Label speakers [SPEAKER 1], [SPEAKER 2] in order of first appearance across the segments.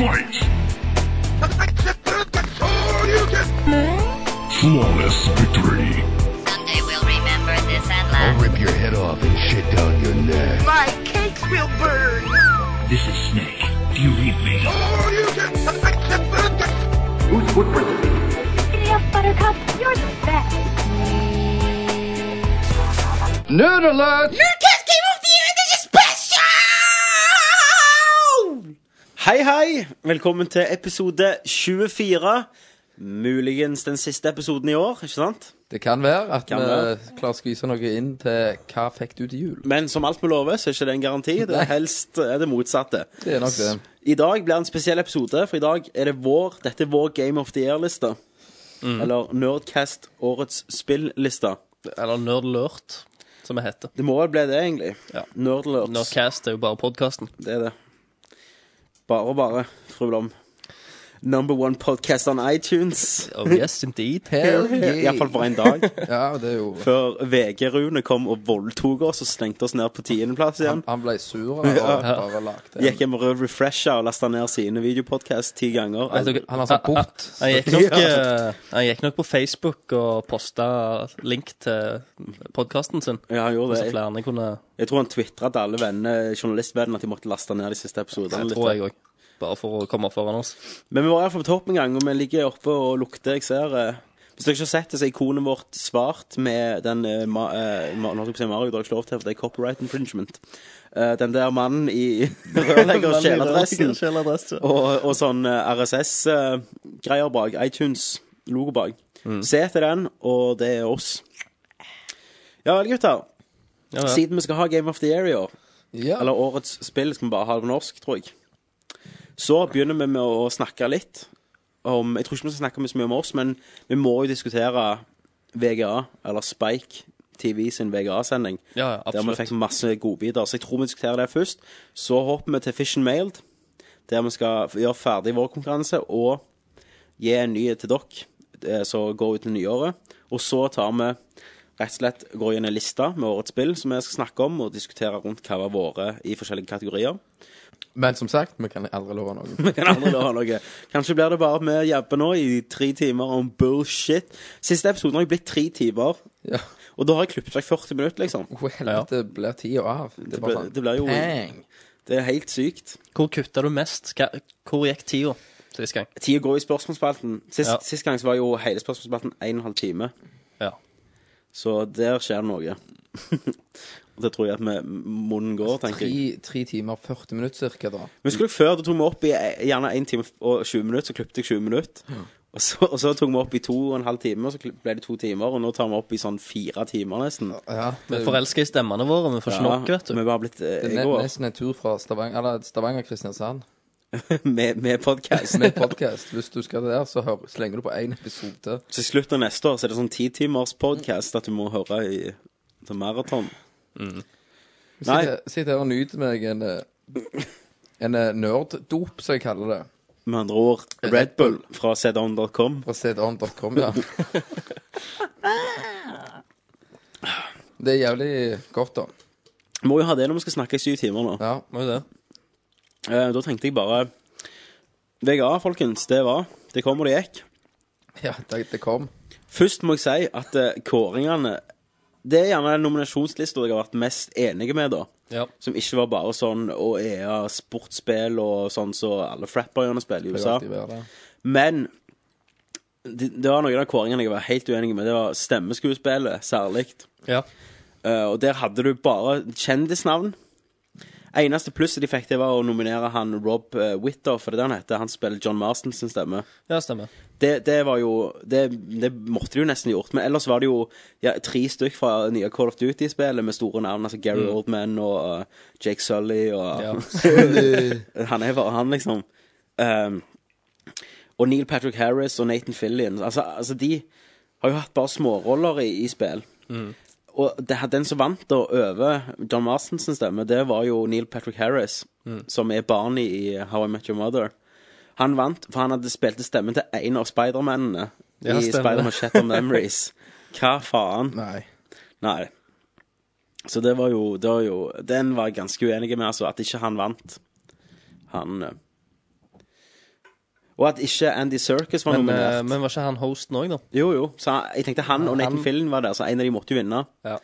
[SPEAKER 1] Fight! Flawless victory.
[SPEAKER 2] Someday we'll remember this and laugh.
[SPEAKER 3] I'll rip your head off and shit down your neck.
[SPEAKER 4] My cakes will burn.
[SPEAKER 1] This is Snake. Do you read me?
[SPEAKER 5] Who's footprints these?
[SPEAKER 6] Giddy up, Buttercup. You're the best.
[SPEAKER 3] Nerd alert!
[SPEAKER 7] Nerdcast Game of the Year Edition Special! Hei, hei. Velkommen til episode 24. Muligens den siste episoden i år, ikke sant?
[SPEAKER 8] Det kan være at
[SPEAKER 7] Kan
[SPEAKER 8] vi
[SPEAKER 7] være.
[SPEAKER 8] klarer å skvise noe inn til hva fikk du til jul.
[SPEAKER 7] Men som alt vi lover, så er ikke det en garanti. Det er helst er det motsatte.
[SPEAKER 8] Det er nok det.
[SPEAKER 7] I dag blir det en spesiell episode, for i dag er det vår Dette er vår Game of the Year-liste.
[SPEAKER 8] Mhm.
[SPEAKER 7] Eller Nerdcast årets spill-liste.
[SPEAKER 9] Eller Nerdlurt, som det heter.
[SPEAKER 7] Det må vel bli det, egentlig.
[SPEAKER 9] Ja.
[SPEAKER 7] Nerdlurts.
[SPEAKER 9] Nerdcast er jo bare podkasten.
[SPEAKER 7] Det er det. Bare, bare, fru Blom. Number one podcast on iTunes.
[SPEAKER 9] Oh yes, indeed.
[SPEAKER 8] Hell yeah.
[SPEAKER 7] Iallfall for en dag.
[SPEAKER 8] Ja, det er jo
[SPEAKER 7] Før VG-Rune kom og voldtok oss og slengte oss ned på tiendeplass
[SPEAKER 8] Han,
[SPEAKER 7] igjen.
[SPEAKER 8] han ble sur og bare lagde
[SPEAKER 7] Gikk hjem og refresha og lasta ned sine videopodkast ti ganger.
[SPEAKER 9] Vet dere-
[SPEAKER 8] Han har sånn port.
[SPEAKER 9] Ah, Han gikk, nok, eh, han gikk nok på Facebook og posta link til podkasten sin.
[SPEAKER 7] Ja, han gjorde
[SPEAKER 9] Så
[SPEAKER 7] det.
[SPEAKER 9] Altså, flere kunne
[SPEAKER 7] Jeg tror han tvitra til alle vennene, journalistvennene at de måtte laste ned de siste episodene.
[SPEAKER 9] Det
[SPEAKER 7] litt.
[SPEAKER 9] tror jeg òg. Bare for å komme foran oss.
[SPEAKER 7] Men vi var iallfall på topp en gang, og vi ligger oppe og lukter. Jeg ser eh, Hvis dere ikke har sett det, så er ikonet vårt svart med den eh, ma, eh, ma, Nå skal jeg si Mario, det har jeg ikke lov til, for det er copyright infringement. Eh, den der mannen i rørlegger- og kjeledressen og, og sånn RSS-greier eh, bak. iTunes-logo bak.
[SPEAKER 9] Mm.
[SPEAKER 7] Se etter den, og det er oss. Ja vel, gutter.
[SPEAKER 9] Ja, ja.
[SPEAKER 7] Siden vi skal ha Game of the Year i år,
[SPEAKER 8] Ja.
[SPEAKER 7] eller årets spill, skal vi bare ha det på norsk, tror jeg. Så begynner vi med å snakke litt om Jeg tror ikke vi skal snakke så mye om oss, men vi må jo diskutere VGA, eller Spike TV sin VGA-sending.
[SPEAKER 9] Ja, ja,
[SPEAKER 7] der vi
[SPEAKER 9] absolutt.
[SPEAKER 7] fikk masse godbiter. Så jeg tror vi diskuterer det først. Så hopper vi til Fish and Mailed, der vi skal gjøre ferdig vår konkurranse og gi en ny til dere eh, som går ut til nyåret. Og så tar vi rett og slett går gjennom en liste med årets spill som vi skal snakke om, og diskutere rundt hva var våre i forskjellige kategorier.
[SPEAKER 8] Men som sagt, vi kan aldri love noe.
[SPEAKER 7] Kan aldri love noe. Kanskje blir det bare vi jabber nå i tre timer om bullshit. Siste episoden har jo blitt tre timer,
[SPEAKER 8] Ja.
[SPEAKER 7] og da har jeg klippet vekk 40 minutter, liksom.
[SPEAKER 8] Hvor helvete blir tida av? Det er
[SPEAKER 7] ble-
[SPEAKER 8] bare sånn
[SPEAKER 7] det ble jo-
[SPEAKER 8] pang.
[SPEAKER 7] Det er helt sykt.
[SPEAKER 9] Hvor kutta du mest? Hva, hvor gikk tida sist gang?
[SPEAKER 7] Tida går i spørsmålsspalten. Sist,
[SPEAKER 9] Ja.
[SPEAKER 7] sist gang så var jo hele spørsmålsspalten 1 1 halv time.
[SPEAKER 9] Ja.
[SPEAKER 7] Så der skjer det noe. Og det tror jeg at vi munnen går, tenker
[SPEAKER 8] Altså, Tre,
[SPEAKER 7] jeg.
[SPEAKER 8] tre timer 40 minutter cirka, da.
[SPEAKER 7] Men husker du før, da tok vi opp i eh, gjerne 1 time og 20 minutter, så klippet jeg 20 minutter. Og så, og så tok vi opp i to og en halv time, og så klipp- ble det to timer. Og nå tar vi opp i sånn fire timer, nesten.
[SPEAKER 8] Ja,
[SPEAKER 9] Vi
[SPEAKER 7] Eh,
[SPEAKER 8] det,
[SPEAKER 9] er forelska i stemmene våre, vi får ikke nok, vet
[SPEAKER 7] Vi
[SPEAKER 9] du.
[SPEAKER 7] er bare blitt eh,
[SPEAKER 8] det er ne-
[SPEAKER 7] egoer
[SPEAKER 8] nesten en tur fra Stavanger Eller Stavanger-Kristiansand
[SPEAKER 7] med, med podkast.
[SPEAKER 8] med podkast. Hvis du skal der, så hør, slenger du på én episode.
[SPEAKER 7] Til slutt av neste år så er det sånn titimers podkast at du må høre i til maraton. Nei.
[SPEAKER 8] Sitt sitt her og nyt meg en, eh, en eh, nerddop, som jeg kaller det.
[SPEAKER 7] Med andre ord Red Bull fra zdown.com.
[SPEAKER 8] Fra cdon.com, ja. Det er jævlig godt, da.
[SPEAKER 7] Må jo ha det når vi skal snakke i syv timer nå.
[SPEAKER 8] Ja.
[SPEAKER 9] Må jo det.
[SPEAKER 7] Eh, da tenkte jeg bare VGA, folkens, det var. Det kom og det gikk.
[SPEAKER 8] ja det, det kom.
[SPEAKER 7] Først må jeg si at eh, kåringene Det er gjerne den nominasjonslista jeg har vært mest enige med, da.
[SPEAKER 9] Ja.
[SPEAKER 7] Som ikke var bare sånn å EA sportsspill og sånn som så alle frapper spiller i
[SPEAKER 8] Det vil
[SPEAKER 7] USA.
[SPEAKER 8] alltid være det.
[SPEAKER 7] Men det, det var noen av kåringene jeg var helt uenig med. Det var stemmeskuespillet særlig.
[SPEAKER 9] Ja.
[SPEAKER 7] Eh, og der hadde du bare kjendisnavn. Eneste plusset de fikk, det var å nominere han Rob uh, Whitter, for det er det han heter. Han spiller John Marston sin stemme.
[SPEAKER 9] ja, stemmer.
[SPEAKER 7] Det, det var jo det, det måtte de jo nesten gjort. Men ellers var det jo ja, tre stykk fra nye Call of Duty-spillet med store navn. Altså Gary Oldman og eh, Jake Sully og
[SPEAKER 9] Ja.
[SPEAKER 7] Han er bare han, liksom. Ehm, og Neil Patrick Harris og Nathan Fillion. Altså, altså de har jo hatt bare småroller i, i spill.
[SPEAKER 9] Mm.
[SPEAKER 7] Og det, den som vant da over John Marston sin stemme, det var jo Neil Patrick Harris,
[SPEAKER 9] Mm.
[SPEAKER 7] som er Barney i How I Met Your Mother. Han vant, for han hadde spilt stemmen til en av Spidermennene
[SPEAKER 9] Ja,
[SPEAKER 7] i
[SPEAKER 9] stemmer.
[SPEAKER 7] Spiderman Shatter Memories. Hva faen?
[SPEAKER 8] Nei.
[SPEAKER 7] Nei. Så det var jo, det var jo Den var jeg ganske uenig med, altså. At ikke han vant. Han eh, Og at ikke Andy Circus var
[SPEAKER 9] Men, eh,
[SPEAKER 7] nominert.
[SPEAKER 9] men var ikke han hosten òg, da?
[SPEAKER 7] Jo, jo. Så han- jeg tenkte han og Nathan
[SPEAKER 9] han-
[SPEAKER 7] Fillion var der, så en av de måtte jo vinne.
[SPEAKER 9] Ja.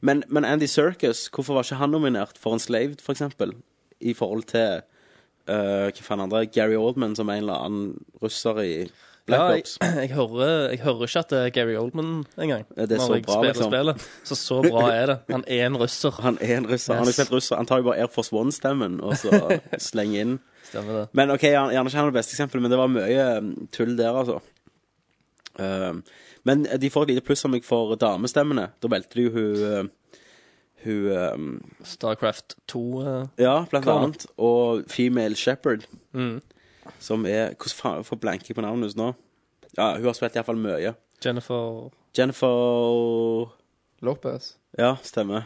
[SPEAKER 7] Men, men Andy Circus, hvorfor var ikke han nominert for Enslaved, for eksempel? I forhold til eh, hva faen andre Gary Oldman, som er en eller annen russer i Black
[SPEAKER 9] Ja, jeg,
[SPEAKER 7] Ops.
[SPEAKER 9] jeg, hører, jeg hører ikke at det er Gary Oldman engang.
[SPEAKER 7] Ja, det er
[SPEAKER 9] når
[SPEAKER 7] så
[SPEAKER 9] jeg
[SPEAKER 7] bra,
[SPEAKER 9] spiller
[SPEAKER 7] liksom.
[SPEAKER 9] spillet. Så så bra er det. Han er en russer.
[SPEAKER 7] Han er en russer. Han har
[SPEAKER 9] Yes.
[SPEAKER 7] spilt russer. Han tar jo bare Air Force One-stemmen og så slenger inn.
[SPEAKER 9] Stemmer det.
[SPEAKER 7] Men ok, gjerne gjerne ikke han er det beste eksempelet, men det var mye um, tull der, altså. Um, men de får et lite pluss om jeg får damestemmene. Da valgte de jo hun uh, Hun um,
[SPEAKER 9] Starcraft 2 eh,
[SPEAKER 7] Ja, blant
[SPEAKER 9] Karen.
[SPEAKER 7] annet. Og Female Shepherd. Mm. Som er Hvordan faen får blanke jeg på navnet hennes nå? Ja, hun har spilt iallfall mye.
[SPEAKER 9] Jennifer
[SPEAKER 7] Jennifer
[SPEAKER 8] Lopez.
[SPEAKER 7] Ja, stemmer.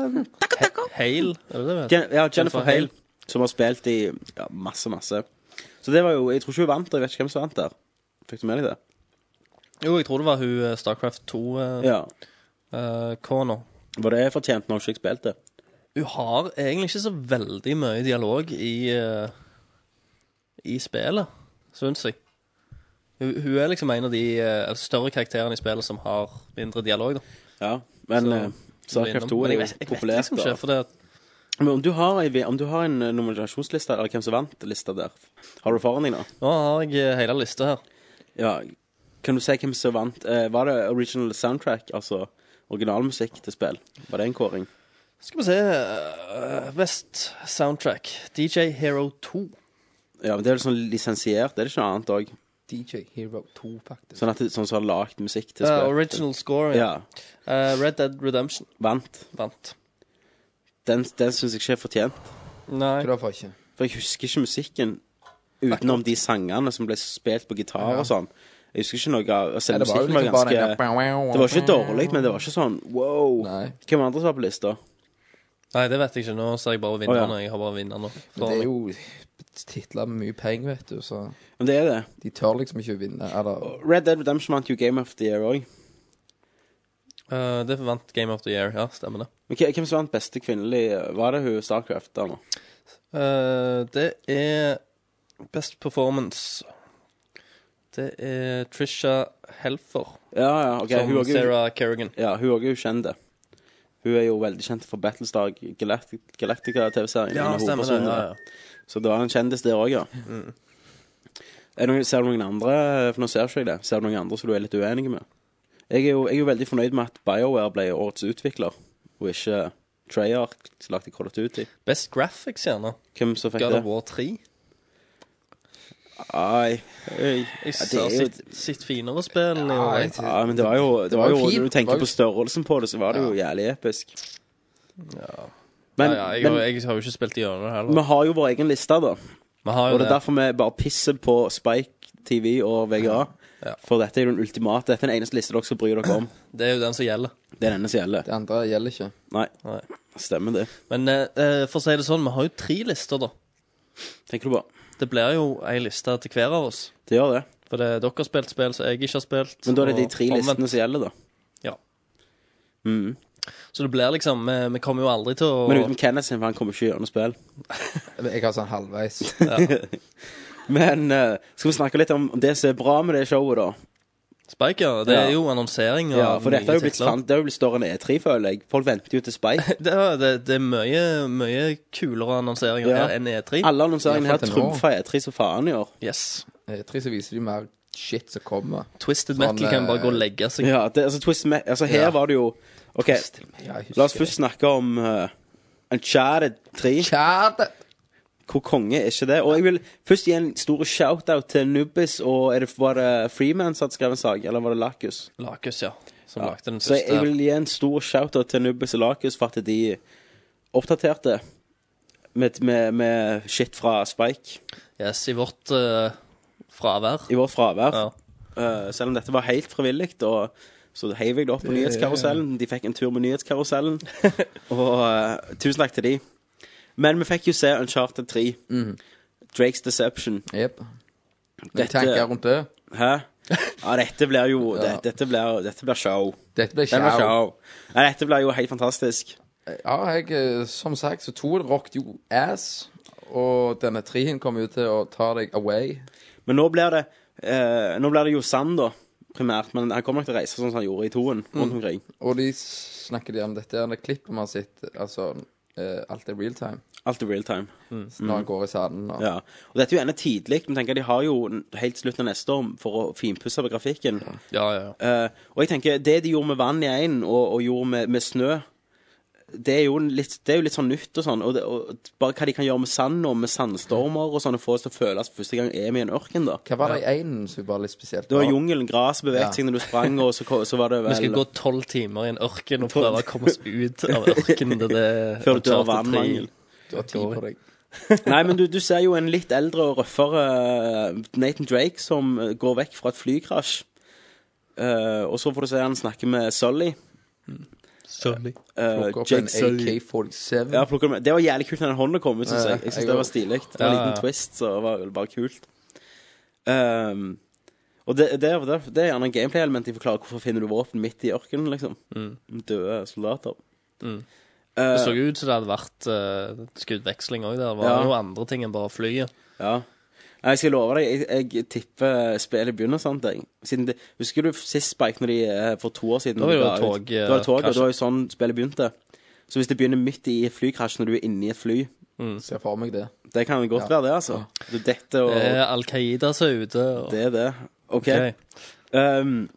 [SPEAKER 9] Hale, er det det? hun heter?
[SPEAKER 7] Jen ja, Jennifer Hale. Som har spilt i ja, masse, masse. Så det var jo Jeg tror ikke hun vant, og jeg vet ikke hvem som vant der. Fikk du med deg det?
[SPEAKER 9] Jo, jeg tror det var hun eh, Starcraft eh, 2-kona.
[SPEAKER 7] Ja. Var det fortjent når hun ikke spilte?
[SPEAKER 9] hun har egentlig ikke så veldig mye dialog i, eh, i spillet, syns jeg. Hun, hun er liksom en av de eh, større karakterene i spillet som har mindre dialog. Da.
[SPEAKER 7] Ja. Men
[SPEAKER 9] Så-
[SPEAKER 7] eh, Starcraft 2
[SPEAKER 9] Men
[SPEAKER 7] er
[SPEAKER 9] jeg
[SPEAKER 7] jo
[SPEAKER 9] vet- jeg vet
[SPEAKER 7] populært.
[SPEAKER 9] liksom ikke,
[SPEAKER 7] og-
[SPEAKER 9] for det, at-
[SPEAKER 7] Men om du har, ei- om du har en eh, nominasjonsliste, eller hvem som vant-lista der, har du foran deg nå?
[SPEAKER 9] nå har jeg eh, hele lista her.
[SPEAKER 7] Ja, kan du si hvem som vant? Eh, var det original soundtrack, altså originalmusikk til spill? Var det en kåring?
[SPEAKER 9] Skal vi se eh, Best soundtrack. DJ Hero Eh, 2.
[SPEAKER 7] Ja, men det er vel sånn lisensiert, det er det ikke noe annet òg?
[SPEAKER 8] DJ Hero 2, faktisk.
[SPEAKER 7] Sånn at det, sånn som har lagd musikk til
[SPEAKER 9] Eh,
[SPEAKER 7] spill.
[SPEAKER 9] original score.
[SPEAKER 7] Ja,
[SPEAKER 9] Ja. Eh, Red Dead Redemption
[SPEAKER 7] vant.
[SPEAKER 9] vant.
[SPEAKER 7] Den, den syns jeg ikke er fortjent.
[SPEAKER 9] Nei.
[SPEAKER 8] Hvorfor ikke?
[SPEAKER 7] For jeg husker ikke musikken utenom de sangene som ble spilt på gitar og sånn. Jeg husker ikke noe av
[SPEAKER 8] Nei,
[SPEAKER 7] Selv
[SPEAKER 8] det var jo
[SPEAKER 7] musikken var
[SPEAKER 8] liksom bare
[SPEAKER 7] ganske
[SPEAKER 8] den der-
[SPEAKER 7] Det var ikke dårlig, men det var ikke sånn wow.
[SPEAKER 8] Nei.
[SPEAKER 7] Hvem andre som var på lista?
[SPEAKER 9] Nei, det vet jeg ikke. Nå ser jeg bare vinnerne.
[SPEAKER 7] Å, ja.
[SPEAKER 9] Jeg har bare vinnerne.
[SPEAKER 8] Det er jo titler med mye penger, vet du, så
[SPEAKER 7] Men det er det.
[SPEAKER 8] de tør liksom ikke å vinne. Eller
[SPEAKER 7] Red Dead Redemption vant jo Game of the Year òg.
[SPEAKER 9] Eh, det vant Game of the Year. Ja, stemmer det.
[SPEAKER 7] Men hva- hvem som vant beste kvinnelige Var det hun Starcraft der nå?
[SPEAKER 9] Eh, det er Best Performance. Det er Trisha Helfer
[SPEAKER 7] Ja, ja, ok
[SPEAKER 9] som
[SPEAKER 7] Hun også-
[SPEAKER 9] Sarah Kerrigan.
[SPEAKER 7] ja, hun også er jo kjent Hun er jo veldig kjent for Battlestar Galacti- Galactica-TV-serien Hun er hovedpersonen
[SPEAKER 9] Ja,
[SPEAKER 7] der. Så det var en kjendis der også, ja Er det noen, Ser du noen andre For nå ser ikke jeg det Ser du noen andre som du er litt uenig med? Jeg er jo, jeg er jo veldig fornøyd med at BioWare ble årets utvikler Og ikke Treyarch som lagde Call of Duty
[SPEAKER 9] Best Graphics, gjerne.
[SPEAKER 7] Hvem som fikk
[SPEAKER 9] God of
[SPEAKER 7] det?
[SPEAKER 9] War 3.
[SPEAKER 7] Ai, ei.
[SPEAKER 9] Jeg
[SPEAKER 7] Ja,
[SPEAKER 9] ser
[SPEAKER 7] det er jo-
[SPEAKER 9] sitt, sitt finere spill. i år, jeg.
[SPEAKER 8] Nei,
[SPEAKER 7] Ja, men det var jo, det
[SPEAKER 8] var
[SPEAKER 7] var jo
[SPEAKER 8] jo fint.
[SPEAKER 7] Når du tenker
[SPEAKER 8] Det var jo-
[SPEAKER 7] på størrelsen på det, så var det jo jævlig episk. Men,
[SPEAKER 9] Ja, ja, jeg,
[SPEAKER 7] men
[SPEAKER 9] jeg har jo ikke spilt gjennom det heller.
[SPEAKER 7] vi har jo vår egen liste, da.
[SPEAKER 9] Vi har jo
[SPEAKER 7] Og det er derfor vi bare pisser på Spike TV og VGA.
[SPEAKER 9] Ja.
[SPEAKER 7] For dette er jo den ultimate. Dette er den eneste liste dere skal bry dere om.
[SPEAKER 9] Det er jo den som gjelder.
[SPEAKER 7] Det er denne som gjelder.
[SPEAKER 8] det andre gjelder ikke.
[SPEAKER 7] Nei,
[SPEAKER 9] Nei.
[SPEAKER 7] stemmer det.
[SPEAKER 9] Men eh, eh, for å si det sånn, vi har jo tre lister, da.
[SPEAKER 7] Tenker du bare.
[SPEAKER 9] Det blir jo ei liste til hver av oss.
[SPEAKER 7] Det gjør det.
[SPEAKER 9] For det er dere har spilt spill som jeg ikke har spilt.
[SPEAKER 7] Men da er det de
[SPEAKER 9] og
[SPEAKER 7] tre
[SPEAKER 9] omvendt.
[SPEAKER 7] listene som gjelder, da.
[SPEAKER 9] Så det blir liksom Vi, vi kommer jo aldri til å
[SPEAKER 7] Men utenom Kenneth sin, for han kommer ikke gjennom spill.
[SPEAKER 8] Jeg har sånn halvveis.
[SPEAKER 7] Men eh, skal vi snakke litt om det som er bra med det showet, da?
[SPEAKER 9] Spike, ja. Det
[SPEAKER 7] Ja.
[SPEAKER 9] er jo annonsering av
[SPEAKER 7] Ja, For dette har
[SPEAKER 9] nye
[SPEAKER 7] jo blitt,
[SPEAKER 9] titler.
[SPEAKER 7] sant- det har jo blitt større enn E3, føler jeg. Folk venter jo til Spike.
[SPEAKER 9] Det er, det, det er mye, mye kulere annonseringer
[SPEAKER 7] Ja.
[SPEAKER 9] her enn E E3.
[SPEAKER 7] Alle annonseringene her
[SPEAKER 8] Iallfall til nå.
[SPEAKER 7] trumfa E3 som faen i år.
[SPEAKER 9] Yes.
[SPEAKER 8] Eh, Tre så viser de mer shit som kommer.
[SPEAKER 9] Twisted
[SPEAKER 8] Sånn,
[SPEAKER 9] Metal kan bare gå og legge seg.
[SPEAKER 7] Ja, det, altså, twist me altså her
[SPEAKER 8] Ja.
[SPEAKER 7] var det jo OK,
[SPEAKER 8] Ja, jeg husker
[SPEAKER 7] la oss
[SPEAKER 8] det.
[SPEAKER 7] først snakke om uh, Uncharted 3.
[SPEAKER 8] Kjære
[SPEAKER 7] Hvor konge er ikke det? Og jeg vil først gi en stor shout-out til Nubbis og er det, Var det Freeman som hadde skrevet en sak, eller var det Lakus?
[SPEAKER 9] Lakus, ja. Som
[SPEAKER 7] Ja.
[SPEAKER 9] lagde den
[SPEAKER 7] Så
[SPEAKER 9] første.
[SPEAKER 7] jeg vil gi en stor shout-out til Nubbis og Lakus for at de oppdaterte med, med, med shit fra Spike
[SPEAKER 9] Yes, i vårt eh, fravær.
[SPEAKER 7] i vårt fravær.
[SPEAKER 9] Ja.
[SPEAKER 7] Eh, selv om dette var helt frivillig, og så heiv jeg det opp på nyhetskarusellen. De fikk en tur med nyhetskarusellen, og eh, tusen takk til de. Men vi fikk jo se Uncharted 3.
[SPEAKER 9] Mm.
[SPEAKER 7] Drakes Deception.
[SPEAKER 8] Jepp.
[SPEAKER 7] Dette-
[SPEAKER 8] Dette...
[SPEAKER 7] eh,
[SPEAKER 8] Tanker rundt det.
[SPEAKER 7] Hæ? Ja, dette blir jo
[SPEAKER 8] Ja.
[SPEAKER 7] det, Dette blir, dette blir show.
[SPEAKER 8] Dette blir
[SPEAKER 7] Den blir
[SPEAKER 8] kjære.
[SPEAKER 7] show. Nei, dette blir jo helt fantastisk.
[SPEAKER 8] Ja, jeg, eh, som sagt, så to rocked jo ass. Og denne trien kommer jo til å ta deg away.
[SPEAKER 7] Men nå blir det eh, Nå blir det jo Sand, da, primært. Men han kommer nok til å reise sånn som han gjorde i toen. rundt omkring
[SPEAKER 8] Og de snakker de om dette her, det klippet vi har sett. Altså, eh, alt er real time.
[SPEAKER 7] Alt i real time.
[SPEAKER 8] Når han går i sanden. Og,
[SPEAKER 7] Mm. Ja. Og dette er jo ennå tidlig. Men tenker de har jo n- helt slutten av neste år for å finpusse på grafikken.
[SPEAKER 9] Ja, ja, ja.
[SPEAKER 7] Eh, og jeg tenker, det de gjorde med vann i einen, og, og gjorde med, med snø det er, jo en litt, det er jo litt sånn nytt og sånn, og, det, og bare hva de kan gjøre med sand og med sandstormer og sånn, og få oss til å føle oss for første gang er vi i en ørken, da.
[SPEAKER 8] Hva var det i einen som var litt spesielt?
[SPEAKER 7] Det var jungelen, gresset beveget
[SPEAKER 8] Ja.
[SPEAKER 7] seg når du sprang, og så, ko- så var det vel
[SPEAKER 9] Vi skal gå tolv timer i en ørken og prøve å komme oss ut av ørkenen. Det, det
[SPEAKER 7] Før du dør av
[SPEAKER 9] Uncharted 3.
[SPEAKER 7] vannmangel.
[SPEAKER 8] Du har tid på deg.
[SPEAKER 7] Nei, men du, du ser jo en litt eldre og røffere eh, Nathan Drake som eh, går vekk fra et flykrasj. Eh, og så får du se han snakker med Sully. eh,
[SPEAKER 8] Plukker opp
[SPEAKER 7] Jake
[SPEAKER 8] en
[SPEAKER 7] Sully.
[SPEAKER 8] AK-47.
[SPEAKER 7] Ja, plukker med. Det var jævlig kult når den hånda kom ut, syns
[SPEAKER 8] Ja,
[SPEAKER 7] jeg. Jeg synes
[SPEAKER 8] jeg
[SPEAKER 7] det
[SPEAKER 8] går-
[SPEAKER 7] var stilig. Det var en
[SPEAKER 9] Ja, ja.
[SPEAKER 7] liten twist, så det var vel bare kult. Ehm, og det, det, er- det, er- det er gjerne en gameplay-element de forklarer hvorfor finner du våpen midt i ørkenen, liksom. Døde soldater. Eh,
[SPEAKER 9] Det Mm. så jo ut som det hadde vært uh, skuddveksling òg der. Det var
[SPEAKER 7] Ja.
[SPEAKER 9] jo andre ting enn bare flyet.
[SPEAKER 7] Ja. Nei, Jeg skal love deg, jeg, jeg tipper spillet begynner sånn. Jeg. Siden det, husker du sist Spike når de, eh, for to år siden?
[SPEAKER 9] Da var
[SPEAKER 7] når de
[SPEAKER 9] det jo
[SPEAKER 7] ga ut-
[SPEAKER 9] tog, eh,
[SPEAKER 7] Da var det tog, og
[SPEAKER 9] krasj.
[SPEAKER 7] det var jo sånn spillet begynte. Så hvis det begynner midt i flykrasj når du er inni et fly,
[SPEAKER 8] Ser for meg det.
[SPEAKER 7] det kan jo godt
[SPEAKER 8] Ja.
[SPEAKER 7] være det, altså. Du, dette og
[SPEAKER 9] Det er Al Qaida som er ute. Og...
[SPEAKER 7] det er det. OK.
[SPEAKER 9] Ok.
[SPEAKER 7] Um,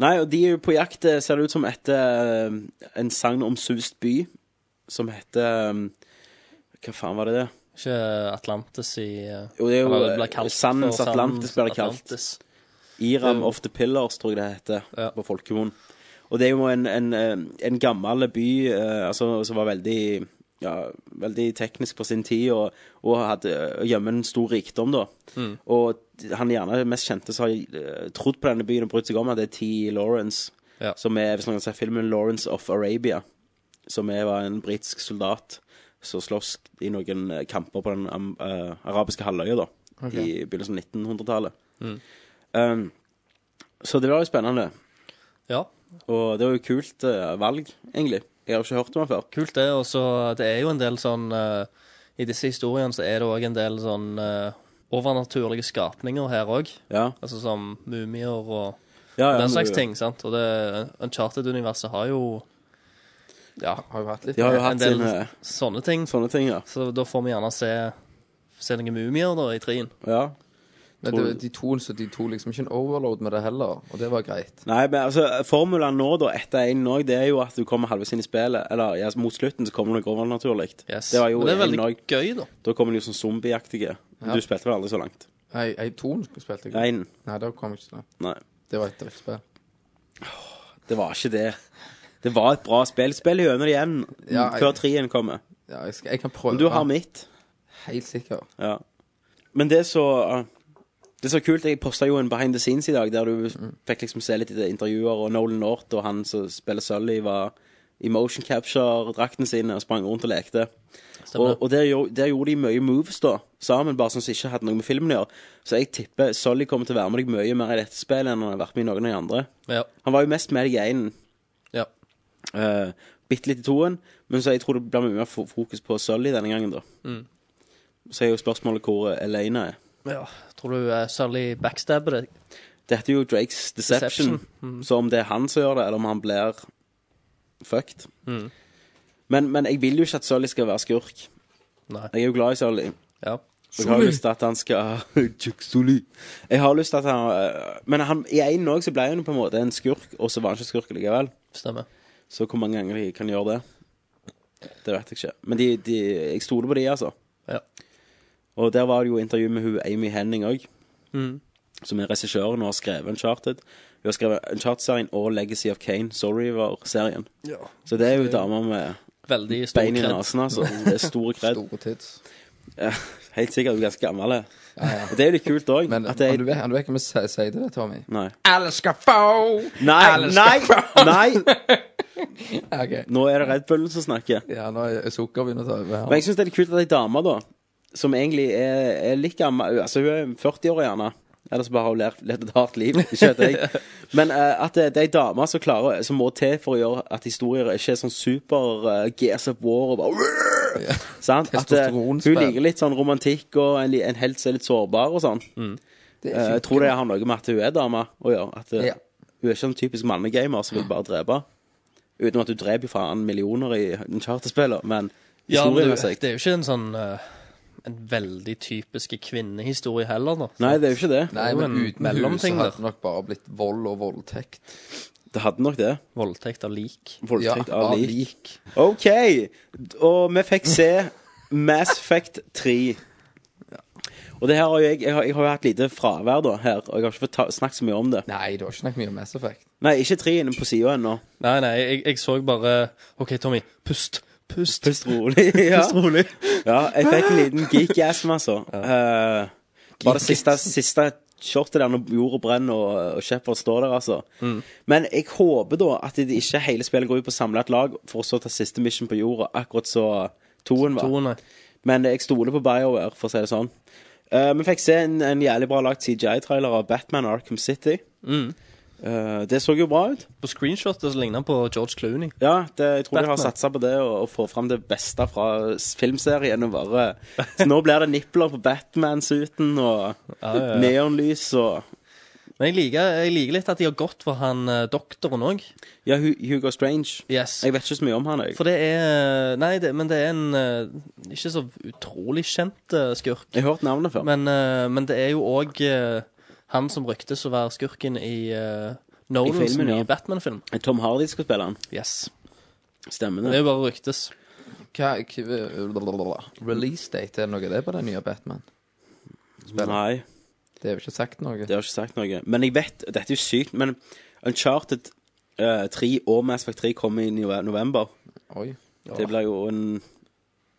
[SPEAKER 7] nei, og de er jo på jakt, eh, ser det ut som, etter um, en sang om Sust by, som heter um, Hva faen var det det?
[SPEAKER 9] Ikke Atlantis i eh,
[SPEAKER 7] Jo, det er jo,
[SPEAKER 9] eller det blir kalt
[SPEAKER 7] Sandens
[SPEAKER 9] for
[SPEAKER 7] Atlantis blir det kalt.
[SPEAKER 9] Atlantis.
[SPEAKER 7] Iram of the Pillars, tror jeg det heter
[SPEAKER 9] Ja.
[SPEAKER 7] på folkemunn. Og det er jo en, en, eh, en gammel by eh, altså, som var veldig ja, veldig teknisk på sin tid, og, og hadde og gjemme en stor rikdom, da.
[SPEAKER 9] Mm.
[SPEAKER 7] Og han gjerne mest kjente som har eh, trodd på denne byen og brydd seg om, at det er T. Lawrence,
[SPEAKER 9] Ja.
[SPEAKER 7] som er, hvis noen ser filmen 'Lawrence of Arabia', som er, var en britisk soldat som sloss i noen eh, kamper på den am- eh, arabiske halvøya, da, i begynnelsen av 1900-tallet.
[SPEAKER 9] Mm.
[SPEAKER 7] Um, så det var jo spennende.
[SPEAKER 9] Ja,
[SPEAKER 7] Og det var jo kult eh, valg, egentlig. Jeg har jo ikke hørt om han før.
[SPEAKER 9] kult det. Og så det er jo en del sånn eh, I disse historiene så er det òg en del sånn eh, overnaturlige skapninger her òg.
[SPEAKER 7] Ja,
[SPEAKER 9] Altså som mumier og
[SPEAKER 7] ja, ja
[SPEAKER 9] den slags
[SPEAKER 7] men-
[SPEAKER 9] ting. sant? Og det Uncharted-universet har jo ja,
[SPEAKER 8] Har jo hatt litt
[SPEAKER 7] De har jo
[SPEAKER 9] en
[SPEAKER 7] hatt
[SPEAKER 9] del
[SPEAKER 7] sine
[SPEAKER 9] sånne ting.
[SPEAKER 7] sånne ting, ja.
[SPEAKER 9] Så da får vi gjerne se, se noen mumier da i trien.
[SPEAKER 7] ja.
[SPEAKER 8] Men det, de to, så de to liksom ikke en overload med det heller, og det var greit.
[SPEAKER 7] Nei, men altså, formulaen nå, da, etter 1 òg, det er jo at du kommer halvveis inn i spillet. Eller ja, mot slutten så kommer det noe overnaturlig.
[SPEAKER 9] Yes.
[SPEAKER 7] Det var jo
[SPEAKER 9] Men det er
[SPEAKER 7] en
[SPEAKER 9] veldig
[SPEAKER 7] også.
[SPEAKER 9] gøy, da.
[SPEAKER 7] Da kommer de jo sånn zombieaktige. Du spilte vel aldri så langt?
[SPEAKER 8] Nei, ei toen spilte jeg.
[SPEAKER 7] Én?
[SPEAKER 8] Nei, det kom ikke til det.
[SPEAKER 7] Nei.
[SPEAKER 8] Det var et drittspill.
[SPEAKER 7] Det var ikke det. Det var et bra spill. Spill gjennom det igjen
[SPEAKER 8] Ja, jeg-
[SPEAKER 7] før 3-en kommer.
[SPEAKER 8] Ja, jeg, skal, jeg kan prøve.
[SPEAKER 7] Men du har mitt.
[SPEAKER 8] Helt sikker.
[SPEAKER 7] Ja. Men det er så Det er så kult. Jeg posta jo en behind the scenes i dag, der du fikk liksom se litt i det intervjuer, og Nolan North og han som spiller Sully, var i motion capture-drakten sin og sprang rundt og lekte. Og, og der, gjo- der gjorde de mye moves, da, sammen, bare sånn som ikke hadde noe med filmen å gjøre. Så jeg tipper Sully kommer til å være med deg mye mer i dette spillet enn han har vært med i noen av de andre.
[SPEAKER 9] Ja.
[SPEAKER 7] Han var jo mest med deg i én
[SPEAKER 9] ja.
[SPEAKER 7] Eh, bitte litt i toen, men så jeg tror det blir mye mer fo- fokus på Sully denne gangen, da. Så er jo spørsmålet hvor eh, Elena er.
[SPEAKER 9] ja. Tror du uh, Sully backstabber deg?
[SPEAKER 7] Dette er jo Drakes Deception, så om det er han som gjør det, eller om han blir fucked men, men jeg vil jo ikke at Sully skal være skurk.
[SPEAKER 9] Nei.
[SPEAKER 7] Jeg er jo glad i Sully.
[SPEAKER 9] Ja.
[SPEAKER 7] Jeg har lyst til at han skal Jack Sully. Jeg har lyst til at han eh, Men han, i én òg så ble han jo på en måte en skurk, og så var han ikke skurk likevel.
[SPEAKER 9] Stemmer.
[SPEAKER 7] Så hvor mange ganger de kan gjøre det, det vet jeg ikke. Men de, de, jeg stoler på de, altså.
[SPEAKER 9] Ja.
[SPEAKER 7] Og der var det jo intervju med hun Amy Henning òg, som er regissøren og har skrevet Uncharted. Hun har skrevet Uncharted-serien og Legacy of Kane, Sorryver-serien. Så det er jo damer med
[SPEAKER 9] Veldig stor
[SPEAKER 7] bein i
[SPEAKER 9] kred.
[SPEAKER 7] nesen, altså. Det er store kred.
[SPEAKER 8] Store tids.
[SPEAKER 7] Helt sikkert hun er ganske gammel. det. Og det er jo litt kult òg.
[SPEAKER 8] Men
[SPEAKER 7] At det
[SPEAKER 8] men du
[SPEAKER 7] er
[SPEAKER 8] vet han vet ikke om jeg sier sier det, Tommy.
[SPEAKER 7] Nei.
[SPEAKER 8] Alle skal få!
[SPEAKER 7] Nei! Nei! nei.
[SPEAKER 8] Ok.
[SPEAKER 7] Nå er det Red Bullen som snakker.
[SPEAKER 8] Ja, nå er sukker begynner å ta over
[SPEAKER 7] Men
[SPEAKER 8] her.
[SPEAKER 7] jeg syns det er litt kult at ei dame, da, som egentlig er, er litt gammel Altså, hun er 40 år, gjerne. Ellers bare har hun levd- levd et hardt liv. Ikke vet jeg. Men eh, at det, det er ei dame som, klarer- som må til for å gjøre at historier ikke er sånn super uh, Gears of War og bare Sant? At eh, hun
[SPEAKER 8] Testosteronspill.
[SPEAKER 7] liker litt sånn romantikk og en, li- en helt som er litt sårbar og sånn.
[SPEAKER 8] Det
[SPEAKER 7] Eh, jeg tror det har noe med at hun er dame å gjøre. At eh,
[SPEAKER 8] Ja.
[SPEAKER 7] Hun er ikke en typisk mannegamer som vil bare drepe. Uten at hun dreper jo faen millioner i en charterspiller, men
[SPEAKER 9] Ja, men det,
[SPEAKER 7] historiemessig
[SPEAKER 9] det er jo ikke en sånn eh, En veldig typisk kvinnehistorie heller, da.
[SPEAKER 7] Nei, det er jo ikke det.
[SPEAKER 8] Nei,
[SPEAKER 9] jo
[SPEAKER 8] men
[SPEAKER 9] en
[SPEAKER 8] uten henne så
[SPEAKER 9] mellomting
[SPEAKER 8] hadde
[SPEAKER 9] der.
[SPEAKER 8] det nok bare blitt vold og voldtekt.
[SPEAKER 7] Det hadde nok det.
[SPEAKER 9] Voldtekt av lik.
[SPEAKER 7] Voldtekt
[SPEAKER 8] Ja,
[SPEAKER 7] av
[SPEAKER 8] av
[SPEAKER 7] lik. OK. Og vi fikk se Mass Effect 3. Og det her har jo jeg, jeg, har, jeg har jo hatt lite fravær da her, og jeg har ikke fått ta, snakket så mye om det.
[SPEAKER 8] Nei, det var ikke snakk mye om Mass Effect.
[SPEAKER 7] Nei, ikke 3 inne på sida ennå.
[SPEAKER 9] Nei, nei, jeg, jeg så bare OK, Tommy, pust. Pust.
[SPEAKER 7] Pust rolig. ja.
[SPEAKER 9] Pust rolig.
[SPEAKER 7] ja, jeg fikk en liten geek-asm, altså. Eh, bare det siste, siste shotet der når jorda brenner og, og Shepard står der, altså. Men jeg håper da at det ikke hele spillet går ut på å samle et lag for så å ta siste mission på jorda, akkurat så toen var.
[SPEAKER 9] Toene.
[SPEAKER 7] Men jeg stoler på BioWare, for å si det sånn. Eh, vi fikk se en, en jævlig bra lagt CGI-trailer av Batman Arkham City. Eh, det så jo bra ut.
[SPEAKER 9] På screenshotet så ligner han på George Clooney.
[SPEAKER 7] Ja, det, jeg tror de har
[SPEAKER 9] Batman.
[SPEAKER 7] satsa på det og, og få fram det beste fra s- filmserien. Og bare, så nå blir det nippler på Batman-suiten og
[SPEAKER 9] ja, ja.
[SPEAKER 7] neonlys og
[SPEAKER 9] Men jeg liker, jeg liker litt at de har gått for han eh, doktoren òg.
[SPEAKER 7] Ja, Hu- Hugo Strange.
[SPEAKER 9] Yes.
[SPEAKER 7] Jeg vet ikke så mye om han, jeg.
[SPEAKER 9] For det er eh, Nei, det, men det er en eh, ikke så utrolig kjent eh, skurk.
[SPEAKER 7] Jeg har hørt navnet før.
[SPEAKER 9] Men, eh, men det er jo òg han som ryktes å være skurken i uh, Nolan
[SPEAKER 7] filmen, ja.
[SPEAKER 9] i Batman-film.
[SPEAKER 7] Tom Hardy skal spille han.
[SPEAKER 9] Yes.
[SPEAKER 7] Stemmer
[SPEAKER 9] Det er
[SPEAKER 7] det.
[SPEAKER 9] jo bare ryktes.
[SPEAKER 8] Hva, hva, release date, er det noe av det på den nye Batman?
[SPEAKER 7] Nei.
[SPEAKER 8] Det er jo ikke sagt noe.
[SPEAKER 7] Det har ikke sagt noe. Men jeg vet Dette er jo sykt, men Uncharted eh, 3 og Mass Effect 3 kommer i nove- november.
[SPEAKER 8] Oi.
[SPEAKER 7] Det blir jo en,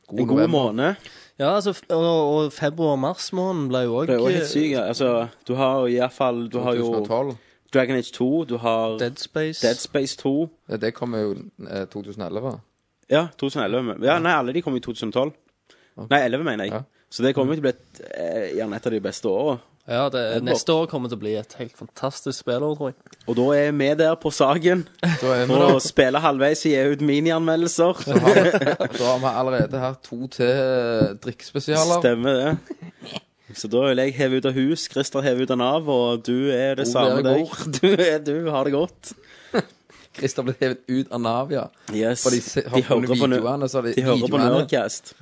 [SPEAKER 8] God
[SPEAKER 7] en god
[SPEAKER 8] november.
[SPEAKER 7] måned.
[SPEAKER 9] Ja, altså, f- og, og februar-mars måned ble jo eh, òg
[SPEAKER 7] Det er jo helt sykt. ja. Altså, du har jo i hvert fall Du har jo
[SPEAKER 8] 2012.
[SPEAKER 7] Dragon Age 2, du har
[SPEAKER 9] Dead Space.
[SPEAKER 7] Dead Space 2
[SPEAKER 8] Ja, Det kommer jo eh, 2011.
[SPEAKER 7] Ja, 2011. men- Ja, nei, alle de kom i 2012. Nei, 11, mener jeg.
[SPEAKER 8] Ja.
[SPEAKER 7] Så det kommer jo til å bli et, eh, gjerne et av de beste åra.
[SPEAKER 9] Ja, det, neste år kommer til å bli et helt fantastisk spillår, tror jeg.
[SPEAKER 7] Og da er vi der på saken
[SPEAKER 8] Da er vi
[SPEAKER 7] for å
[SPEAKER 8] da.
[SPEAKER 7] spille halvveis og gi ut minianmeldelser.
[SPEAKER 8] Da har vi allerede her to til eh, drikkspesialer.
[SPEAKER 7] Stemmer det. Så da vil jeg heve ut av hus, Christer heve ut av Nav, og du er det
[SPEAKER 8] Ole er
[SPEAKER 7] samme deg.
[SPEAKER 8] god.
[SPEAKER 7] Du, er, du har det godt.
[SPEAKER 8] Christer ble hevet ut av Navia.
[SPEAKER 7] Yes.
[SPEAKER 8] For de se- har funnet
[SPEAKER 7] på nø-
[SPEAKER 8] videoene, så har de-
[SPEAKER 7] de hører på
[SPEAKER 8] videoene.
[SPEAKER 7] Nerdcast.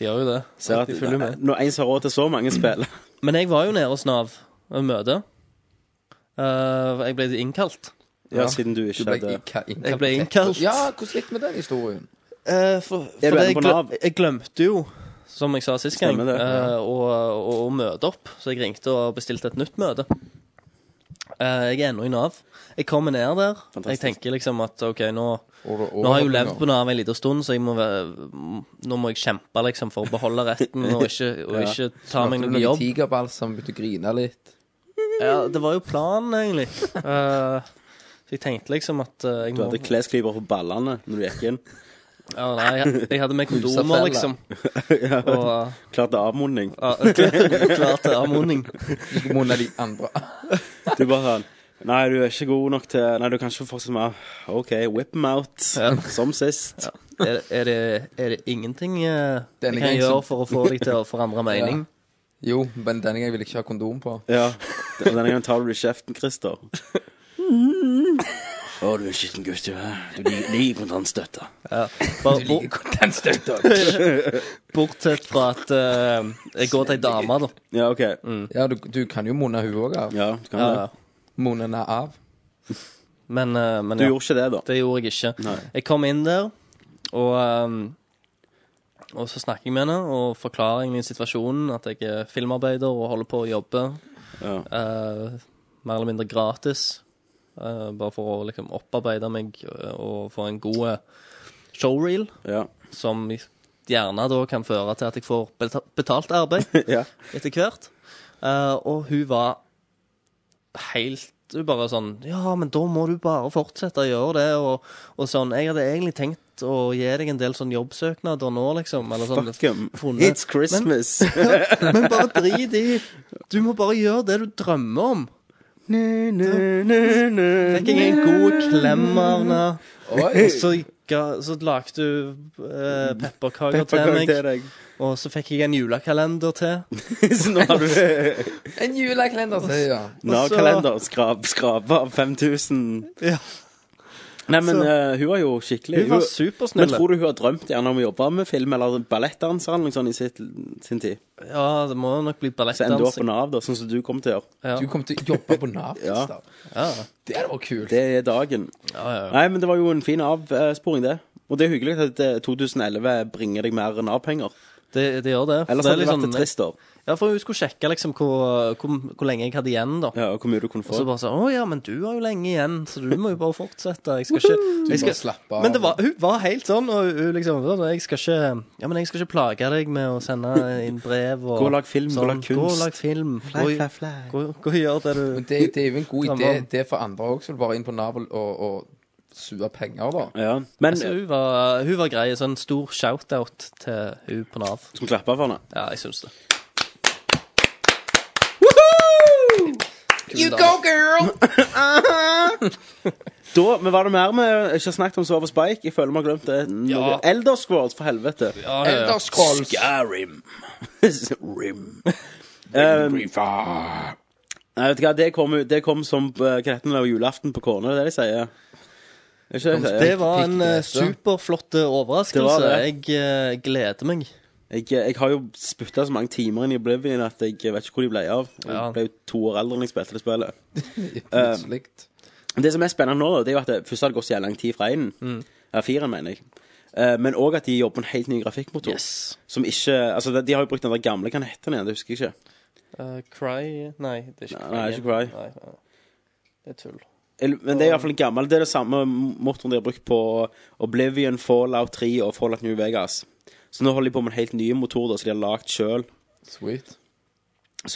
[SPEAKER 9] De gjør jo det.
[SPEAKER 7] Ser at
[SPEAKER 9] de følger med.
[SPEAKER 7] når en som har råd til så mange spill
[SPEAKER 9] Men jeg var jo nede hos Nav og møte. Eh, jeg ble innkalt.
[SPEAKER 7] Ja, siden du ikke
[SPEAKER 8] Du ble
[SPEAKER 7] hadde
[SPEAKER 8] inka- innkalt.
[SPEAKER 9] Jeg ble innkalt.
[SPEAKER 8] Ja, hvordan gikk det med den historien?
[SPEAKER 9] Eh, for, for
[SPEAKER 7] Er du ennå
[SPEAKER 9] det, jeg,
[SPEAKER 7] på
[SPEAKER 9] glem,
[SPEAKER 7] Nav?
[SPEAKER 9] jeg glemte jo, som jeg sa sist gang,
[SPEAKER 7] Stemmer det, ja.
[SPEAKER 9] eh, å, å, å møte opp. Så jeg ringte og bestilte et nytt møte. Eh, jeg er ennå i Nav. Jeg kommer ned der. Jeg
[SPEAKER 7] Fantastisk.
[SPEAKER 9] tenker liksom at OK, nå,
[SPEAKER 8] Og- og-
[SPEAKER 9] nå har jeg jo levd på Nav en liten stund, så jeg må være, nå må jeg kjempe liksom for å beholde retten og ikke, og
[SPEAKER 7] Ja.
[SPEAKER 9] ikke ta meg
[SPEAKER 8] Hadde du
[SPEAKER 9] noe jobb.
[SPEAKER 8] Tigerbalsam, begynte å grine litt.
[SPEAKER 9] Ja, det var jo planen, egentlig. Eh, så jeg tenkte liksom at eh, jeg
[SPEAKER 7] Du hadde klesklyper på ballene når du gikk inn.
[SPEAKER 9] Ja, nei, jeg, jeg hadde med
[SPEAKER 8] Husafella.
[SPEAKER 9] kondomer, liksom. Og
[SPEAKER 7] Klarte avmodning.
[SPEAKER 9] Ja, klar til anmodning.
[SPEAKER 8] Ikke munn av de andre.
[SPEAKER 7] Du bare sånn Nei, du er ikke god nok til Nei, du kan ikke fortsette med OK, whip them out. Som sist.
[SPEAKER 9] Er, er, det, er det ingenting eh, jeg
[SPEAKER 8] Denne
[SPEAKER 9] kan
[SPEAKER 8] gangen
[SPEAKER 9] gjøre
[SPEAKER 8] så-
[SPEAKER 9] for å få deg til å forandre mening?
[SPEAKER 8] Jo, men denne gangen vil jeg ikke ha kondom på.
[SPEAKER 7] Ja. Og denne gangen tar du det i kjeften, Christer. Å, du er en skitten gutt, du. hæ? Du lig- ligger kontantstøtta.
[SPEAKER 9] Bare bort,
[SPEAKER 8] Kontantstøtte.
[SPEAKER 9] bortsett fra at eh, jeg går til ei dame, da.
[SPEAKER 7] Ja, OK.
[SPEAKER 8] Ja, du, du kan jo munne hun òg av.
[SPEAKER 7] Ja, du kan
[SPEAKER 9] Mm. Ja,
[SPEAKER 7] det.
[SPEAKER 9] ja.
[SPEAKER 8] Munne henne av.
[SPEAKER 9] Men, eh, men
[SPEAKER 7] Du
[SPEAKER 9] ja,
[SPEAKER 7] gjorde ikke det, da.
[SPEAKER 9] det gjorde jeg ikke.
[SPEAKER 7] Nei.
[SPEAKER 9] Jeg kom inn der, og eh, og så snakker jeg med henne og forklarer egentlig situasjonen. At jeg er filmarbeider og holder på å jobbe
[SPEAKER 7] Ja.
[SPEAKER 9] eh, mer eller mindre gratis. eh, bare for å liksom opparbeide meg eh, og få en god eh, showreel.
[SPEAKER 7] Ja.
[SPEAKER 9] som gjerne da kan føre til at jeg får beta- betalt arbeid
[SPEAKER 7] ja.
[SPEAKER 9] etter hvert. Eh, og hun var helt Hun bare sånn Ja, men da må du bare fortsette å gjøre det, og, og sånn. Jeg hadde egentlig tenkt tatt og gir deg en del sånn jobbsøknader nå, liksom. Eller sånn,
[SPEAKER 7] Fuck em.
[SPEAKER 9] funnet-
[SPEAKER 7] It's Christmas.
[SPEAKER 9] Men bare drit i. Du må bare gjøre det du drømmer om. Fikk jeg en god klem av henne. Og
[SPEAKER 8] Oi!
[SPEAKER 9] så, ga- så lagde du eh, pepperkaker til
[SPEAKER 7] Pepperkake
[SPEAKER 9] meg.
[SPEAKER 7] til deg.
[SPEAKER 9] Og så fikk jeg en julekalender til.
[SPEAKER 7] Så nå har du
[SPEAKER 8] En julekalender! sier jeg, Ja.
[SPEAKER 7] Nav-kalender. Skrap, skrape av 5000.
[SPEAKER 9] Ja.
[SPEAKER 7] Nei, men
[SPEAKER 9] Så-
[SPEAKER 7] eh, hun var jo skikkelig
[SPEAKER 9] Hun var
[SPEAKER 7] Men
[SPEAKER 9] supersnill.
[SPEAKER 7] tror du hun har drømt gjerne om å jobbe med film eller ballettdanser eller noe sånt i sitt, sin tid?
[SPEAKER 9] Ja, det må nok bli
[SPEAKER 7] Så ender hun opp på
[SPEAKER 9] ballettdansing.
[SPEAKER 7] Nav, da, sånn som du kom til å gjøre.
[SPEAKER 9] Ja.
[SPEAKER 8] Du kommer til å jobbe på Nav.
[SPEAKER 7] Ja.
[SPEAKER 8] Kristian.
[SPEAKER 9] Ja.
[SPEAKER 8] Det hadde vært kult.
[SPEAKER 7] Det er dagen.
[SPEAKER 9] Ja, ja, ja.
[SPEAKER 7] Nei, men det var jo en fin avsporing, det. Og det er hyggelig at eh, 2011 bringer deg mer Nav-penger.
[SPEAKER 9] Det, det gjør det. For
[SPEAKER 7] Ellers
[SPEAKER 9] det er
[SPEAKER 7] hadde det
[SPEAKER 9] litt
[SPEAKER 7] vært
[SPEAKER 9] sånn-
[SPEAKER 7] et trist år.
[SPEAKER 9] Ja, for hun skulle sjekke liksom hvor, hvor, hvor lenge jeg hadde igjen, da.
[SPEAKER 7] Ja, og hvor mye du kunne
[SPEAKER 9] Og så
[SPEAKER 7] få.
[SPEAKER 9] bare sånn Å ja, men du har jo lenge igjen, så du må jo bare fortsette. Jeg skal ikke
[SPEAKER 8] Du
[SPEAKER 9] jeg skal,
[SPEAKER 8] bare slapper av.
[SPEAKER 9] Men det var, hun var helt sånn, og hun liksom sånn, Jeg skal ikke Ja, men jeg skal ikke plage deg med å sende inn brev og sånn.
[SPEAKER 7] Gå og lag film, gå og lag
[SPEAKER 9] Gå
[SPEAKER 7] kunst.
[SPEAKER 9] og lag film. Gå, gå, gå og gjør det
[SPEAKER 8] Men
[SPEAKER 9] du
[SPEAKER 8] det, det er jo en god idé
[SPEAKER 9] Drømmer om.
[SPEAKER 8] det er for andre òg, som bare inn på Nav og, og, og sue penger, da.
[SPEAKER 7] Ja. Men eh,
[SPEAKER 9] altså, hun, var, hun var grei. Sånn stor shout-out til hun på Nav.
[SPEAKER 7] Skal vi klappe for henne?
[SPEAKER 9] Ja, jeg syns det.
[SPEAKER 8] You go, girl!
[SPEAKER 7] Da, men var det mer vi ikke har snakket om som var på Spike? Jeg føler vi har glemt det. Ja.
[SPEAKER 9] Ja.
[SPEAKER 7] Elderscrolls, for helvete.
[SPEAKER 9] Ja, ja, ja.
[SPEAKER 8] Elder Scrolls.
[SPEAKER 7] Skyrim. Rim. Um, Nei, vet du hva, det kom, ut- det kom som eh, hva heter det, julaften på Kåne, det er det de sier. Er ikke det de
[SPEAKER 9] Det
[SPEAKER 7] sier?
[SPEAKER 9] var en eh,
[SPEAKER 8] Pikk, det.
[SPEAKER 9] superflott eh,
[SPEAKER 7] Det var
[SPEAKER 9] overraskelse.
[SPEAKER 7] det.
[SPEAKER 9] Jeg eh, gleder meg.
[SPEAKER 7] Jeg, eh, jeg har jo spytta så mange timer inn i Oblivion at jeg vet ikke hvor de ble av. Jeg
[SPEAKER 9] Ja.
[SPEAKER 7] ble jo to år eldre enn jeg spilte det spillet.
[SPEAKER 8] Plutselig.
[SPEAKER 7] Det som er spennende nå, da, det er jo at det først har det gått så jævlig lang tid fra én.
[SPEAKER 9] Mm.
[SPEAKER 7] Ja, firen, mener jeg. Eh, Men òg at de jobber på en helt ny grafikkmotor.
[SPEAKER 9] Yes.
[SPEAKER 7] Som ikke Altså, de- de har jo brukt den der gamle Hva heter den igjen? Det husker jeg ikke.
[SPEAKER 9] Eh, cry Nei, det er ikke
[SPEAKER 7] Nei,
[SPEAKER 9] Cry.
[SPEAKER 7] nei, ikke Cry.
[SPEAKER 9] Nei, nei. Det er tull.
[SPEAKER 7] Eller- Men det er iallfall en gammel Det er det samme motoren de har brukt på Oblivion, Fallout 3 og Fallout New Vegas. Så nå holder de på med en helt ny motor da, som de har lagd sjøl.
[SPEAKER 8] Sweet.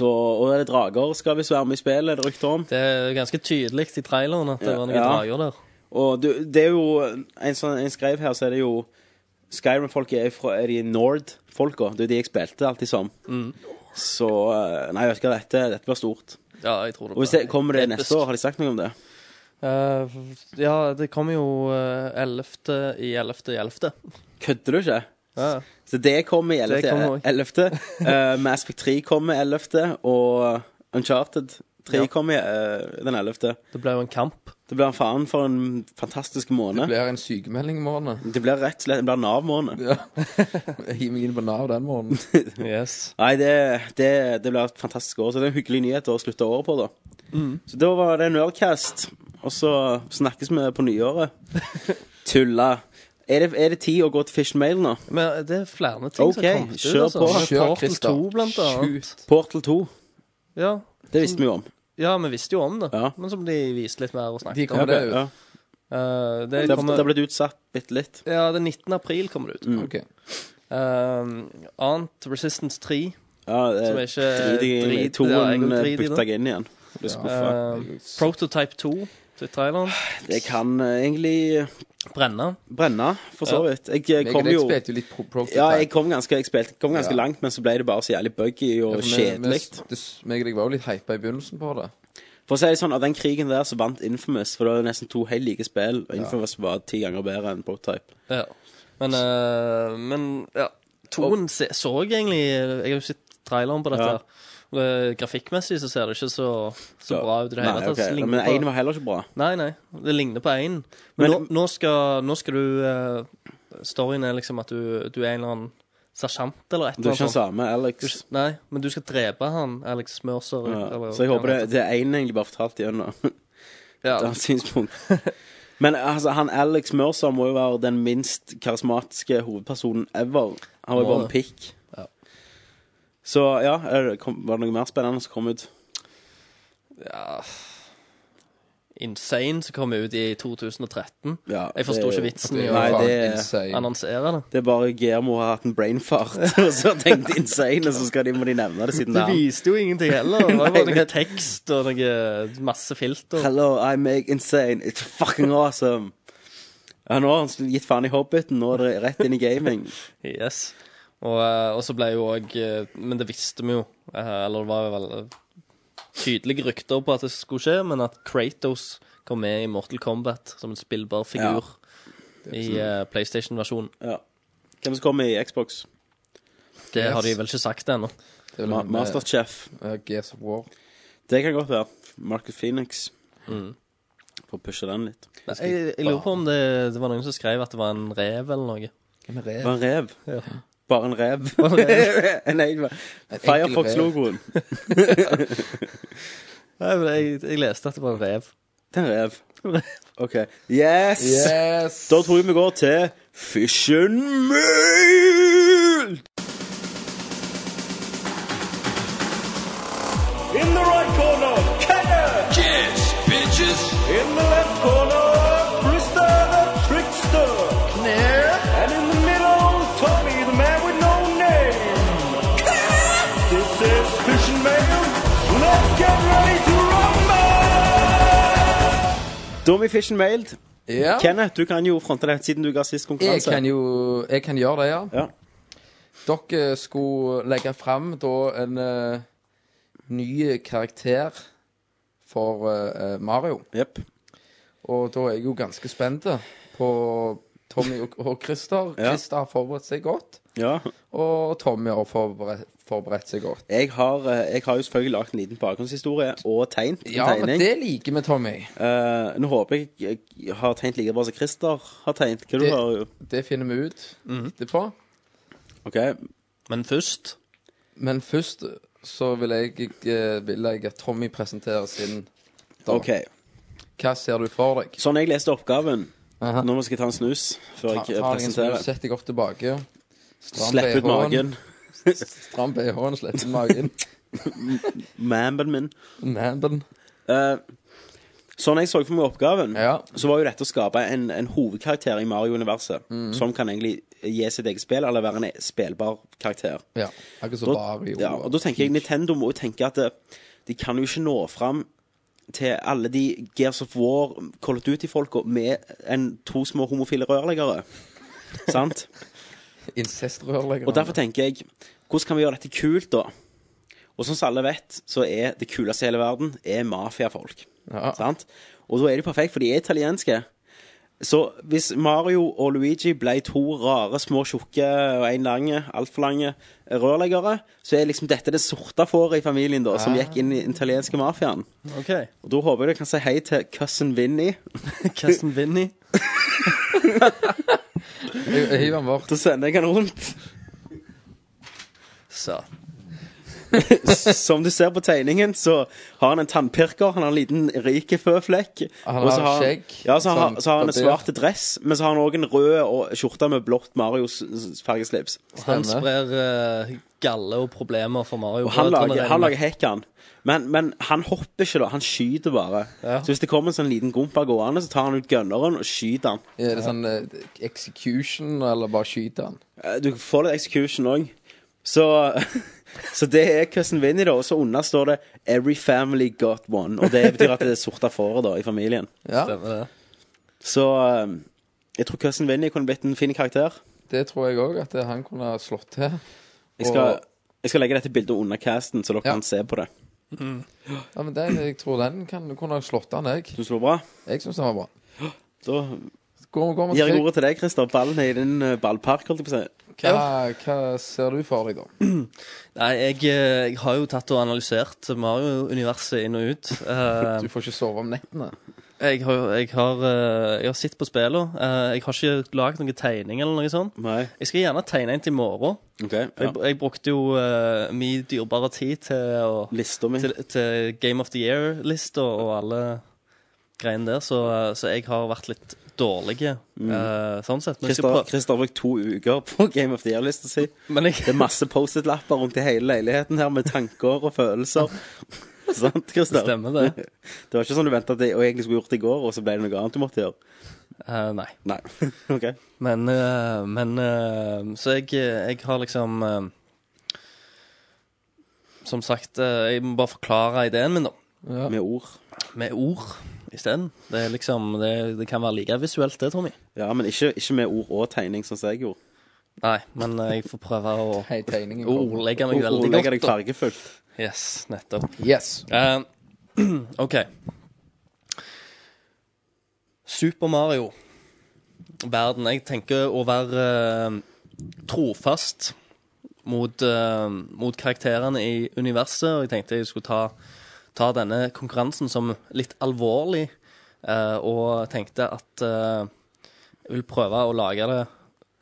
[SPEAKER 7] Og er det drager skal visst være med i spillet, er det rykter om.
[SPEAKER 9] Det er ganske tydelig i traileren at det
[SPEAKER 7] Ja,
[SPEAKER 9] var noen
[SPEAKER 7] ja.
[SPEAKER 9] drager der.
[SPEAKER 7] Og du, det er jo En, sånn, en skrev her, så er det jo Skyrim-folket er, fra- er de Nord-folka. Det er de jeg spilte alltid som. Så eh, Nei, vet du hva, dette, dette blir stort.
[SPEAKER 9] Ja, jeg tror det
[SPEAKER 7] Og hvis det kommer det
[SPEAKER 9] Episk.
[SPEAKER 7] neste år, har de sagt noe om det?
[SPEAKER 9] Eh, ja, det kommer jo eh, 11. i 11. i 11.
[SPEAKER 7] Kødder du ikke?
[SPEAKER 9] Ja.
[SPEAKER 7] Så det kommer i 11.
[SPEAKER 9] Det kommer også.
[SPEAKER 7] 11. Eh, Mass Effect 3 kommer 11. Og Uncharted 3
[SPEAKER 9] Ja.
[SPEAKER 7] kommer eh, den 11.
[SPEAKER 9] Det ble jo en kamp.
[SPEAKER 7] Det blir en faen for en fantastisk
[SPEAKER 8] Det
[SPEAKER 7] måned.
[SPEAKER 8] blir en sykemelding i morgen.
[SPEAKER 7] Det blir rett og slett det blir Nav-måned.
[SPEAKER 8] Ja. Jeg hiver meg inn på Nav den morgenen.
[SPEAKER 9] Yes.
[SPEAKER 7] Nei, det, det, det blir et fantastisk år, så det er en hyggelig nyhet å slutte året på, da. Så da var det Nerdcast, og så snakkes vi på nyåret. Tulla. Er det, er det tid å gå til Fish and Mail nå?
[SPEAKER 9] Men eh, det er flere ting
[SPEAKER 7] Ok,
[SPEAKER 9] som kom ut.
[SPEAKER 7] kjør på.
[SPEAKER 8] Kjør,
[SPEAKER 9] Portal
[SPEAKER 8] Christer.
[SPEAKER 9] 2, blant annet.
[SPEAKER 7] Portal 2.
[SPEAKER 9] Ja.
[SPEAKER 7] Det visste vi jo om.
[SPEAKER 9] ja, vi visste jo om det,
[SPEAKER 7] Ja.
[SPEAKER 9] men som de viste litt mer og
[SPEAKER 8] De
[SPEAKER 9] snakket om.
[SPEAKER 8] kommer det ut.
[SPEAKER 7] Ja.
[SPEAKER 9] Eh, det
[SPEAKER 7] Det
[SPEAKER 9] kommer
[SPEAKER 7] det har blitt Mm. utsatt bitte litt.
[SPEAKER 9] Ja, den 19. april kommer det ut.
[SPEAKER 8] Ok.
[SPEAKER 9] Eh, annet Resistance 3.
[SPEAKER 7] Ja, det
[SPEAKER 9] Som er ikke
[SPEAKER 7] drit i
[SPEAKER 9] drit- ja, jeg
[SPEAKER 7] toen
[SPEAKER 9] går drit i
[SPEAKER 7] bytta
[SPEAKER 9] det.
[SPEAKER 7] jeg inn igjen. Ble skuffa.
[SPEAKER 9] eh, Prototype 2 til traileren.
[SPEAKER 7] Det kan eh, egentlig
[SPEAKER 9] Brenne.
[SPEAKER 7] brenne, for så vidt. Jeg, eh,
[SPEAKER 8] Jeg og
[SPEAKER 7] kom
[SPEAKER 8] deg
[SPEAKER 7] jo
[SPEAKER 8] spilte jo litt pro prototype.
[SPEAKER 7] Ja, jeg kom ganske, jeg spilte, kom ganske
[SPEAKER 8] Ja.
[SPEAKER 7] langt, men så ble det bare så jævlig buggy og kjedelig.
[SPEAKER 8] Meg og deg var jo litt hypa i begynnelsen på det.
[SPEAKER 7] For å si det sånn, av den krigen der så vant Infamous, for det var nesten to helt like spill, og Infamous var ti ganger bedre enn Prototype.
[SPEAKER 9] Ja. Men, eh, men ja. Toen se, så jeg egentlig Jeg har jo sett traileren på dette.
[SPEAKER 7] Ja.
[SPEAKER 9] her. Og det- Grafikkmessig så ser det ikke så, så
[SPEAKER 7] Ja.
[SPEAKER 9] bra ut i det hele
[SPEAKER 7] Nei,
[SPEAKER 9] tatt.
[SPEAKER 7] ok.
[SPEAKER 9] Det ligner
[SPEAKER 7] Men
[SPEAKER 9] på-
[SPEAKER 7] én var heller ikke bra.
[SPEAKER 9] Nei, nei. Det ligner på én.
[SPEAKER 7] Men-
[SPEAKER 9] Men, nå, nå, skal, nå skal du eh, Storyen er liksom at du, du er en eller annen sersjant eller et
[SPEAKER 7] Du er
[SPEAKER 9] eller
[SPEAKER 7] ikke den
[SPEAKER 9] annet. sånt.
[SPEAKER 7] samme,
[SPEAKER 9] Du
[SPEAKER 7] Alex.
[SPEAKER 9] s- Nei, men du skal drepe han Alex Mercer.
[SPEAKER 7] Ja.
[SPEAKER 9] eller-
[SPEAKER 7] Så jeg håper det,
[SPEAKER 9] eller-
[SPEAKER 7] det er én egentlig bare fortalt igjennom.
[SPEAKER 9] ja.
[SPEAKER 7] annet synspunkt. Men altså, han Alex Mercer må jo være den minst karismatiske hovedpersonen ever. Han var jo
[SPEAKER 9] Må
[SPEAKER 7] bare en
[SPEAKER 9] det.
[SPEAKER 7] pikk.
[SPEAKER 9] Ja.
[SPEAKER 7] Så ja, er det- kom, var det noe mer spennende som kom ut?
[SPEAKER 9] ja. Insane som kom ut i 2013.
[SPEAKER 7] Ja,
[SPEAKER 9] Jeg forstår
[SPEAKER 7] det-
[SPEAKER 9] ikke vitsen i
[SPEAKER 8] Det
[SPEAKER 9] å
[SPEAKER 7] Nei,
[SPEAKER 8] var
[SPEAKER 7] det-
[SPEAKER 8] insane.
[SPEAKER 9] annonsere det.
[SPEAKER 7] Det er bare Germo har hatt en brainfart, og så tenkte insane, og så skal de, må de nevne det siden det er han.
[SPEAKER 9] viste jo ingenting heller. Det var
[SPEAKER 7] Nei,
[SPEAKER 9] bare
[SPEAKER 7] men-
[SPEAKER 9] noe tekst og noe masse filter.
[SPEAKER 7] Hello, I make insane. It's fucking awesome. Ja, nå har han gitt faen i Hobbiten, nå er det rett inn i gaming.
[SPEAKER 9] Yes. Og, eh, og så ble jo òg Men det visste vi jo, eh, eller det var vel eh, tydelige rykter på at det skulle skje, men at Kratos kom med i Mortal Kombat som en spillbar figur i eh, PlayStation-versjonen.
[SPEAKER 7] Ja. Hvem som kommer i Xbox?
[SPEAKER 9] Det har de
[SPEAKER 8] Yes.
[SPEAKER 9] vel ikke sagt ennå.
[SPEAKER 8] Det er vel
[SPEAKER 7] Ma
[SPEAKER 8] en, eh,
[SPEAKER 7] Masterchef.
[SPEAKER 8] eh, Gears of War.
[SPEAKER 7] Det kan godt være. Marcus Phoenix. For å pushe den litt.
[SPEAKER 9] Nei, Jeg, jeg lurer på om det, det var noen som skrev at det var en rev eller noe.
[SPEAKER 8] Hvem er det?
[SPEAKER 7] Bare en rev. Bare en rev. Nei, det var-
[SPEAKER 8] enkel
[SPEAKER 7] Firefox-logoen.
[SPEAKER 9] Nei, men jeg, jeg leste at det var en rev.
[SPEAKER 7] Det er en rev. OK. Yes!
[SPEAKER 8] Yes!
[SPEAKER 7] Da tror jeg vi går til Fission Meal!
[SPEAKER 10] In the right corner, Kenner. Yes, bitches. In the left corner, Krista the trickster. Claire. And in the middle, Tommy the man with no name. this is Fish and Mail. Let's get ready to rumble!
[SPEAKER 7] Da er vi Fission Mailed.
[SPEAKER 8] Ja.
[SPEAKER 7] Kenneth, du kan jo fronte det siden du ga sist
[SPEAKER 8] Jeg
[SPEAKER 7] konkurranse.
[SPEAKER 8] kan jo Jeg kan gjøre det, ja.
[SPEAKER 7] Ja.
[SPEAKER 8] Dere skulle legge fram da en eh, ny karakter for eh, eh, Mario.
[SPEAKER 7] Jep.
[SPEAKER 8] Og da er jeg jo ganske spent på Tommy og, og Christer.
[SPEAKER 7] Ja.
[SPEAKER 8] Christer har forberedt seg godt,
[SPEAKER 7] Ja.
[SPEAKER 8] og Tommy har forberedt, forberedt seg godt.
[SPEAKER 7] Jeg har, eh, jeg har jo selvfølgelig lagt en liten bakgrunnshistorie og tegnet en
[SPEAKER 8] Ja, men
[SPEAKER 7] tegning.
[SPEAKER 8] det liker vi, Tommy.
[SPEAKER 7] Eh, nå håper jeg jeg jeg har tegnet like bra som Christer har tegnet. Hva du
[SPEAKER 8] Det-
[SPEAKER 7] har jo? Mhm.
[SPEAKER 8] Det finner vi ut etterpå.
[SPEAKER 7] OK.
[SPEAKER 9] Men først
[SPEAKER 8] Men først så vil jeg, eh, vil jeg at Tommy presenterer sin da.
[SPEAKER 7] ok
[SPEAKER 8] Hva ser du for deg?
[SPEAKER 7] Sånn jeg leste oppgaven
[SPEAKER 8] Aha.
[SPEAKER 7] Nå skal jeg ta en snus
[SPEAKER 8] Ta,
[SPEAKER 7] før jeg eh,
[SPEAKER 8] ta deg en snus,
[SPEAKER 7] presenterer.
[SPEAKER 8] sett deg godt tilbake. Stram
[SPEAKER 7] Slipp ut
[SPEAKER 8] BH-en,
[SPEAKER 7] magen.
[SPEAKER 8] Stram BH-en, slipp ut magen.
[SPEAKER 7] Mamben min.
[SPEAKER 8] Mamben.
[SPEAKER 7] Eh, sånn jeg så for meg oppgaven,
[SPEAKER 8] Ja.
[SPEAKER 7] så var jo dette å skape en, en hovedkarakter i Mario-universet. Som kan egentlig gi sitt eget spill, eller være en spillbar karakter.
[SPEAKER 8] Ja, akkurat som
[SPEAKER 7] Da-
[SPEAKER 8] Mario.
[SPEAKER 7] Ja, og da tenker jeg Nintendo må jo tenke at eh, de kan jo ikke nå fram til alle de Gears of War, Call of Duty-folka med en, to små homofile rørleggere. Sant?
[SPEAKER 8] Incestrørlegger.
[SPEAKER 7] Og derfor tenker jeg Hvordan kan vi gjøre dette kult, da? Og som alle vet, så er det kuleste i hele verden Er mafiafolk.
[SPEAKER 8] Ja.
[SPEAKER 7] Sant? Og da er de perfekt, for de er italienske. Så hvis Mario og Luigi ble to rare, små, tjukke og én lang, altfor lange rørleggere, så er liksom dette det sorte fåret i familien da,
[SPEAKER 8] Ah.
[SPEAKER 7] som gikk inn i den italienske mafiaen.
[SPEAKER 9] OK.
[SPEAKER 7] Og da håper jeg du kan si hei til cousin Vinny.
[SPEAKER 9] Kasten Vinny.
[SPEAKER 8] Jeg- jeg hiver den bort.
[SPEAKER 7] Da sender jeg han rundt.
[SPEAKER 9] Så.
[SPEAKER 7] Som du ser på tegningen, så har han en tannpirker, han har en liten rike føflekk.
[SPEAKER 8] Ah, Han
[SPEAKER 7] og så
[SPEAKER 8] har skjegg,
[SPEAKER 7] Ja, så har,
[SPEAKER 8] sånn
[SPEAKER 7] så har han en
[SPEAKER 8] barbert.
[SPEAKER 7] svart dress, men så har han òg en rød og skjorte med blått Marios-fargeslips.
[SPEAKER 9] Han
[SPEAKER 8] Stemmer.
[SPEAKER 9] sprer eh, galle og problemer for Mario.
[SPEAKER 7] Og han lager,
[SPEAKER 9] Brødrene
[SPEAKER 7] han lager
[SPEAKER 9] regner
[SPEAKER 7] hekk, han. Men, men han hopper ikke, da. Han skyter bare.
[SPEAKER 9] Ja.
[SPEAKER 7] Så hvis det kommer en sånn liten gompa gående, så tar han ut gunneren og skyter han.
[SPEAKER 8] Er det sånn eh, execution, eller bare skyter han?
[SPEAKER 7] Eh, Du får litt execution òg. Så, så det er Cousin Vinny, da. Og så under står det 'Every family got one'. Og det betyr at det er sorte fåret da, i familien.
[SPEAKER 8] Ja,
[SPEAKER 9] med det.
[SPEAKER 7] Så eh, jeg tror Cousin Vinny kunne blitt en fin karakter.
[SPEAKER 8] det tror jeg òg, at eh, han kunne ha slått til.
[SPEAKER 7] Jeg skal,
[SPEAKER 8] Og-
[SPEAKER 7] jeg skal legge dette bildet under casten, så dere
[SPEAKER 8] Ja.
[SPEAKER 7] kan se på det.
[SPEAKER 8] Ja, men den, Jeg tror den kan, kunne ha slått han, jeg.
[SPEAKER 7] Du slår bra.
[SPEAKER 8] Jeg syns den var bra.
[SPEAKER 7] Da
[SPEAKER 8] Går, går vi
[SPEAKER 7] gir jeg
[SPEAKER 8] til
[SPEAKER 7] ordet til deg, Christer. Ballen er i din eh, ballpark, holdt jeg på å si.
[SPEAKER 8] hva, hva ser du for deg, da?
[SPEAKER 9] Nei, jeg, eh, jeg har jo tatt og analysert Mario-universet inn og ut. Eh,
[SPEAKER 8] Du får ikke sove om nettene.
[SPEAKER 9] jeg, har, jeg, har, eh, jeg har sett på spillene. Eh, jeg har ikke lagd noen tegning eller noe sånt.
[SPEAKER 7] Nei.
[SPEAKER 9] Jeg skal gjerne tegne en til i morgen.
[SPEAKER 7] Ok,
[SPEAKER 9] Jeg,
[SPEAKER 7] ja.
[SPEAKER 9] jeg brukte jo eh, min dyrebare tid til, å,
[SPEAKER 7] Lista mi.
[SPEAKER 9] til, til Game of the Year-lista og alle greiene der, så, eh, så jeg har vært litt dårlig eh,
[SPEAKER 7] Mm.
[SPEAKER 9] sånn sett. Men jeg,
[SPEAKER 7] Christer
[SPEAKER 9] skal prøve,
[SPEAKER 7] Christer har brukt to uker på Game of the Year-lista si.
[SPEAKER 9] men
[SPEAKER 7] Det er
[SPEAKER 9] jeg,
[SPEAKER 7] masse Post-It-lapper rundt i hele leiligheten her med tanker og følelser. Sant, Christer?
[SPEAKER 9] Stemmer det.
[SPEAKER 7] Det var ikke sånn du venta at jeg egentlig skulle gjort det i går, og så ble det noe annet du måtte gjøre.
[SPEAKER 9] eh, nei.
[SPEAKER 7] Nei. OK.
[SPEAKER 9] Men, eh, men eh, Så jeg, jeg har liksom eh, Som sagt, eh, jeg må bare forklare ideen min, da.
[SPEAKER 7] Med ord.
[SPEAKER 9] Med ord. isteden. Det, er liksom, det, det kan være like visuelt, det, Tommy.
[SPEAKER 7] Ja, men ikke, ikke med ord og tegning, sånn som jeg gjorde.
[SPEAKER 9] Nei, men eh, jeg får prøve å
[SPEAKER 8] Hei, tegningen.
[SPEAKER 9] å ordlegge meg
[SPEAKER 7] Ord-
[SPEAKER 9] veldig
[SPEAKER 7] Ordlegge deg
[SPEAKER 9] godt. da.
[SPEAKER 7] fargefullt.
[SPEAKER 9] Yes, nettopp.
[SPEAKER 8] Yes.
[SPEAKER 9] Eh, OK. Super Mario. Verden. Jeg tenker å være eh, trofast mot, eh, mot karakterene i universet, og jeg tenkte jeg skulle ta, ta denne konkurransen som litt alvorlig, eh, og tenkte at eh, jeg vil prøve å lage det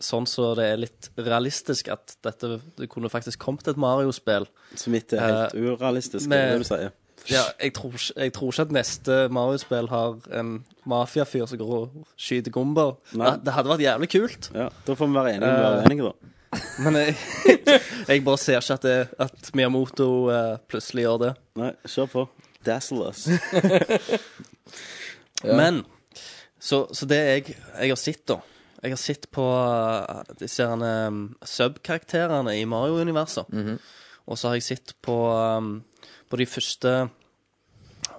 [SPEAKER 9] sånn så det er litt realistisk at dette det kunne faktisk kommet et Mario-spill.
[SPEAKER 7] Så mitt er helt urealistisk,
[SPEAKER 9] Eh, med-
[SPEAKER 7] er det du sier.
[SPEAKER 9] Ja, jeg tror, ikke- jeg tror ikke at neste Mario-spill har en mafiafyr som går og skyter gomber.
[SPEAKER 7] Nei.
[SPEAKER 9] Det, det hadde vært jævlig kult,
[SPEAKER 7] Ja, Da får vi være enige om å være enige, da.
[SPEAKER 9] men jeg, jeg bare ser ikke at, det, at Miyamoto eh, plutselig gjør det.
[SPEAKER 7] Nei, kjør på. Dazzle us.
[SPEAKER 9] Men så, så det jeg, jeg har sett, da Jeg har sett på eh, disse herne, um, subkarakterene i Mario-universet. Og så har jeg sett på, um, på de første,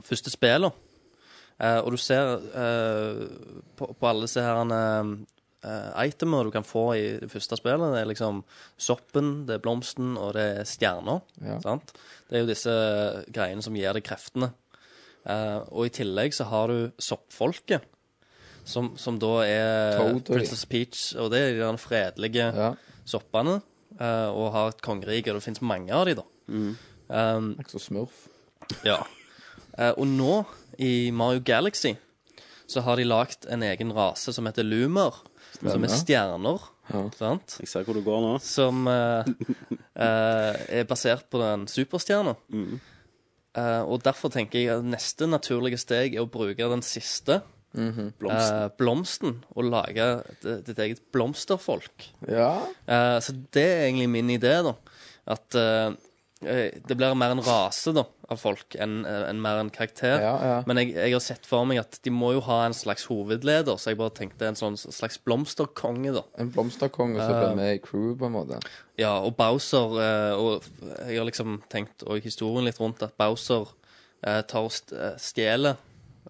[SPEAKER 9] første spillene. Eh, og du ser eh, på, på alle disse herne, um, eh, itemene du kan få i det første spillet. Det er liksom soppen, det er blomsten, og det er stjerner.
[SPEAKER 8] Ja.
[SPEAKER 9] Sant? Det er jo disse eh, greiene som gir deg kreftene. Eh, og i tillegg så har du soppfolket, som, som da er
[SPEAKER 8] Toad og de.
[SPEAKER 9] Princess Peach, og det er de der fredelige
[SPEAKER 8] Ja.
[SPEAKER 9] soppene, eh, og har et kongerike, og det finnes mange av de da.
[SPEAKER 8] Mm.
[SPEAKER 9] Um,
[SPEAKER 8] Ikke så smurf.
[SPEAKER 9] ja. Eh, og nå, i Mario Galaxy, så har de lagt en egen rase som heter Lumer, som er stjerner, sant?
[SPEAKER 7] Jeg ser hvor du går nå.
[SPEAKER 9] som eh, eh, er basert på den superstjerna. Eh, og derfor tenker jeg at neste naturlige steg er å bruke den siste
[SPEAKER 7] Blomsten.
[SPEAKER 9] eh, blomsten og lage d- ditt eget blomsterfolk.
[SPEAKER 8] Ja.
[SPEAKER 9] Eh, så det er egentlig min idé, da. At eh, eh, det blir mer en rase da, av folk enn eh, enn mer en karakter.
[SPEAKER 8] Ja, ja.
[SPEAKER 9] Men jeg, jeg har sett for meg at de må jo ha en slags hovedleder, så jeg bare tenkte en sånn slags blomsterkonge, da.
[SPEAKER 8] En blomsterkonge som ble med i crewet, på en måte.
[SPEAKER 9] Ja, og Bowser eh, Og jeg har liksom tenkt og historien litt rundt at Bowser eh, tar og st- eh, stjeler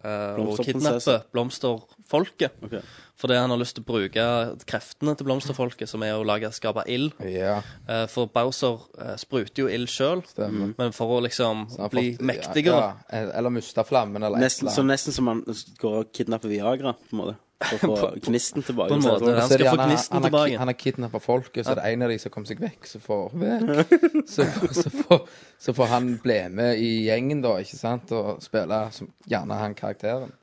[SPEAKER 9] eh, og
[SPEAKER 7] Blomsterprinsesse.
[SPEAKER 9] kidnapper blomsterfolket.
[SPEAKER 7] Ok.
[SPEAKER 9] Fordi han har lyst til å bruke kreftene til blomsterfolket, som er å lage, skape ild.
[SPEAKER 8] Ja.
[SPEAKER 9] Eh, For Bowser eh, spruter jo ild sjøl,
[SPEAKER 8] Stemmer.
[SPEAKER 9] men for å liksom
[SPEAKER 8] Han har
[SPEAKER 9] Mm. bli
[SPEAKER 8] fått-
[SPEAKER 9] mektigere
[SPEAKER 8] Ja, ja. Eller mista flammen, eller et
[SPEAKER 7] Nesten,
[SPEAKER 8] eller
[SPEAKER 7] så
[SPEAKER 8] annet.
[SPEAKER 7] nesten som han går og kidnapper Viagra, på en måte. For å få gnisten tilbake.
[SPEAKER 9] på en måte. Han
[SPEAKER 8] Så er det
[SPEAKER 9] skal få
[SPEAKER 8] gjerne-
[SPEAKER 9] gnisten
[SPEAKER 8] han har
[SPEAKER 9] tilbake.
[SPEAKER 8] ki- Han har kidnappa folket, så er det en av de som kommer seg vekk, så får vekk. Så, så, får, så får han bli med i gjengen, da, ikke sant, og spille som gjerne han karakteren.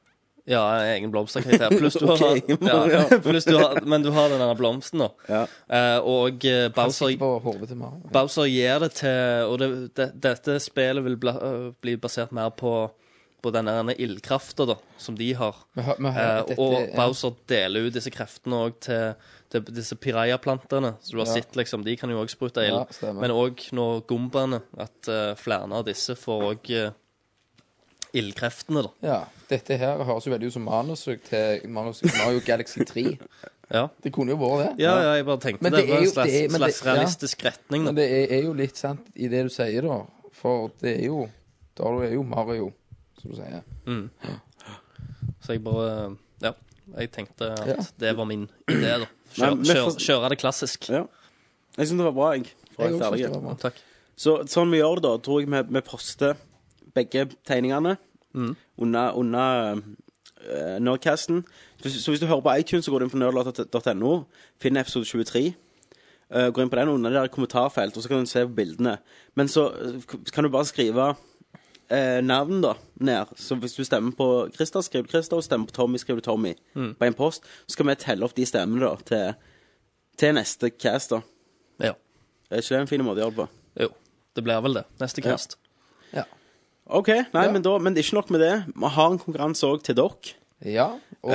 [SPEAKER 9] Ja, en egen blomsterkarakter. Pluss du har
[SPEAKER 7] Ok,
[SPEAKER 9] ja, pluss du har, Men du har den der blomsten, da.
[SPEAKER 7] Ja.
[SPEAKER 9] Eh, Og eh, Bowser,
[SPEAKER 8] Sitter på hodet til Mario.
[SPEAKER 9] Bowser gir det til Og det, det, dette spillet vil bla, øh, bli basert mer på på den der ildkrafta da, som de har.
[SPEAKER 8] Vi har- vi har-
[SPEAKER 9] Eh,
[SPEAKER 8] dette
[SPEAKER 9] og
[SPEAKER 8] er-
[SPEAKER 9] Bowser deler ut disse kreftene òg til, til disse pirajaplantene. Så du har
[SPEAKER 8] Ja.
[SPEAKER 9] sett, liksom, de kan jo òg sprute
[SPEAKER 8] Ja,
[SPEAKER 9] ild.
[SPEAKER 8] stemmer.
[SPEAKER 9] Men òg nå gombaene. At eh, flere av disse får òg eh, ildkreftene, da.
[SPEAKER 8] Ja. Dette her høres jo veldig ut som manuset til manuset til Mario Galaxy 3.
[SPEAKER 9] Ja.
[SPEAKER 8] Det kunne jo vært det.
[SPEAKER 9] Ja, ja, jeg bare tenkte
[SPEAKER 8] Men
[SPEAKER 9] det,
[SPEAKER 8] det er
[SPEAKER 9] var en
[SPEAKER 8] jo-
[SPEAKER 9] slags,
[SPEAKER 8] det er- men
[SPEAKER 9] slags
[SPEAKER 8] det- ja.
[SPEAKER 9] realistisk retning.
[SPEAKER 8] Men
[SPEAKER 9] Da.
[SPEAKER 8] det er, er jo litt sant i det du sier, da. For det er jo Da er jo Mario, som du sier.
[SPEAKER 9] Så jeg bare Ja. Jeg tenkte at
[SPEAKER 8] Ja.
[SPEAKER 9] det var min idé, da.
[SPEAKER 7] Nei,
[SPEAKER 9] Kjøre,
[SPEAKER 7] men
[SPEAKER 9] kjøre,
[SPEAKER 7] for-
[SPEAKER 9] kjøre det klassisk.
[SPEAKER 7] Ja. Jeg syns det var bra, jeg. For å
[SPEAKER 8] Jeg
[SPEAKER 7] være
[SPEAKER 8] også
[SPEAKER 7] helt
[SPEAKER 8] synes det
[SPEAKER 7] ærlig.
[SPEAKER 8] var bra.
[SPEAKER 9] Takk.
[SPEAKER 7] Så sånn vi gjør det, da, tror jeg vi, vi poster begge tegningene under, under eh, Nerdcasten. Så, så hvis du hører på iTunes, så går du inn på nerdlåt.no, finner episode 23. eh, går inn på den under det der kommentarfelt, og så kan du se på bildene. Men så eh, kan du bare skrive eh, navn da, ned. Så hvis du stemmer på Christer, skriver du Christer, og stemmer på Tommy, skriver du Tommy. På en post. Så skal vi telle opp de stemmene da, til, til neste cast. da.
[SPEAKER 9] Ja.
[SPEAKER 7] Er ikke det en fin måte å gjøre det på?
[SPEAKER 9] Jo. Det blir vel det. Neste cast.
[SPEAKER 8] Ja.
[SPEAKER 7] OK, nei, men, da, men det er ikke nok med det. Vi har en konkurranse òg til dere.
[SPEAKER 8] ja. Og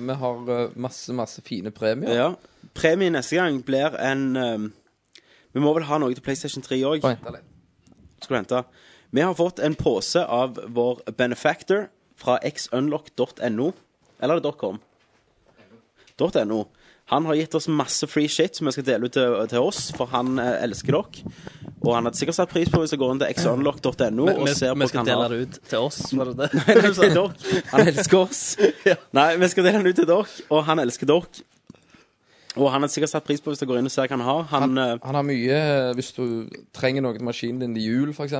[SPEAKER 8] vi har eh, masse, masse fine premier.
[SPEAKER 7] Ja. Premien neste gang blir en ehm, Vi må vel ha noe til PlayStation 3 òg.
[SPEAKER 8] Bare vent litt.
[SPEAKER 7] Skal du hente. Vi har fått en pose av vår benefactor fra xunlock.no. Eller er det .com? .no. Han har gitt oss masse free shit som vi skal dele ut til, til oss, for han eh, elsker dere. Og han hadde sikkert satt pris på hvis jeg går inn til xunlock.no
[SPEAKER 9] Vi,
[SPEAKER 7] og
[SPEAKER 9] vi,
[SPEAKER 7] ser på
[SPEAKER 9] vi
[SPEAKER 7] hva
[SPEAKER 9] skal
[SPEAKER 7] han
[SPEAKER 9] dele
[SPEAKER 7] har.
[SPEAKER 9] det ut til oss, var det det?
[SPEAKER 7] Nei, til dere. Han elsker oss. Nei, vi skal dele den ut til dere, og han elsker dere. Og han hadde sikkert satt pris på hvis jeg går inn og ser hva han har. Han, eh,
[SPEAKER 8] Han har mye eh, Hvis du trenger noe til maskinen din til jul, f.eks.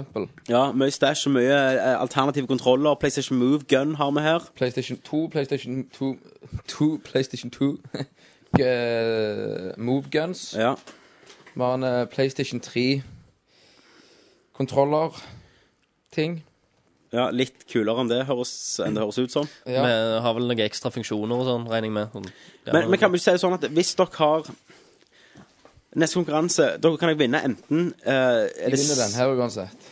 [SPEAKER 7] ja, Mye stæsj og mye eh, alternative kontroller. PlayStation Move, Gun har vi her.
[SPEAKER 8] PlayStation 2, PlayStation 2, 2 PlayStation 2 eh, Move guns.
[SPEAKER 7] Ja.
[SPEAKER 8] Vi har en eh, PlayStation 3 kontroller. Ting.
[SPEAKER 7] ja, Litt kulere enn det høres, enn det høres ut som.
[SPEAKER 8] Ja.
[SPEAKER 9] Vi har vel noen ekstra funksjoner og sånn, regner jeg med. Sånn, ja,
[SPEAKER 7] Men, men kan vi ikke si det sånn at hvis dere har neste konkurranse Dere kan dere vinne enten eh, er
[SPEAKER 8] Jeg
[SPEAKER 7] det
[SPEAKER 8] vinner
[SPEAKER 7] s-
[SPEAKER 8] den her uansett.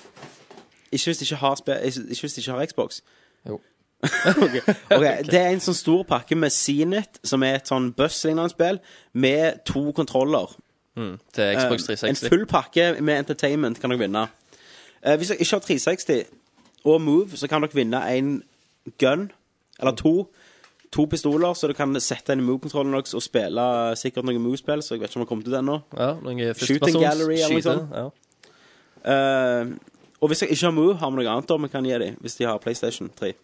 [SPEAKER 7] Ikke hvis de ikke har, spe- ikke hvis de ikke har Xbox.
[SPEAKER 8] Jo.
[SPEAKER 7] Ok. Ok, Det er en sånn stor pakke med Zenit, som er et sånn buss-lignende spill, med to kontroller.
[SPEAKER 9] til Xbox
[SPEAKER 7] Eh, En
[SPEAKER 9] 360.
[SPEAKER 7] full pakke med entertainment kan dere vinne. Eh, hvis dere ikke har 360 og Move, så kan dere vinne en gun, eller to. To pistoler, så dere kan sette inn i Move-kontrollen deres og spille eh, sikkert noen Move-spill, så jeg vet ikke om det har kommet ut ennå.
[SPEAKER 9] Ja, noen
[SPEAKER 7] Shooting gallery eller noe
[SPEAKER 9] skyte,
[SPEAKER 7] sånt.
[SPEAKER 9] Ja.
[SPEAKER 7] Eh, og hvis jeg ikke har Move, har vi noe annet da vi kan gi dem, hvis de har PlayStation 3.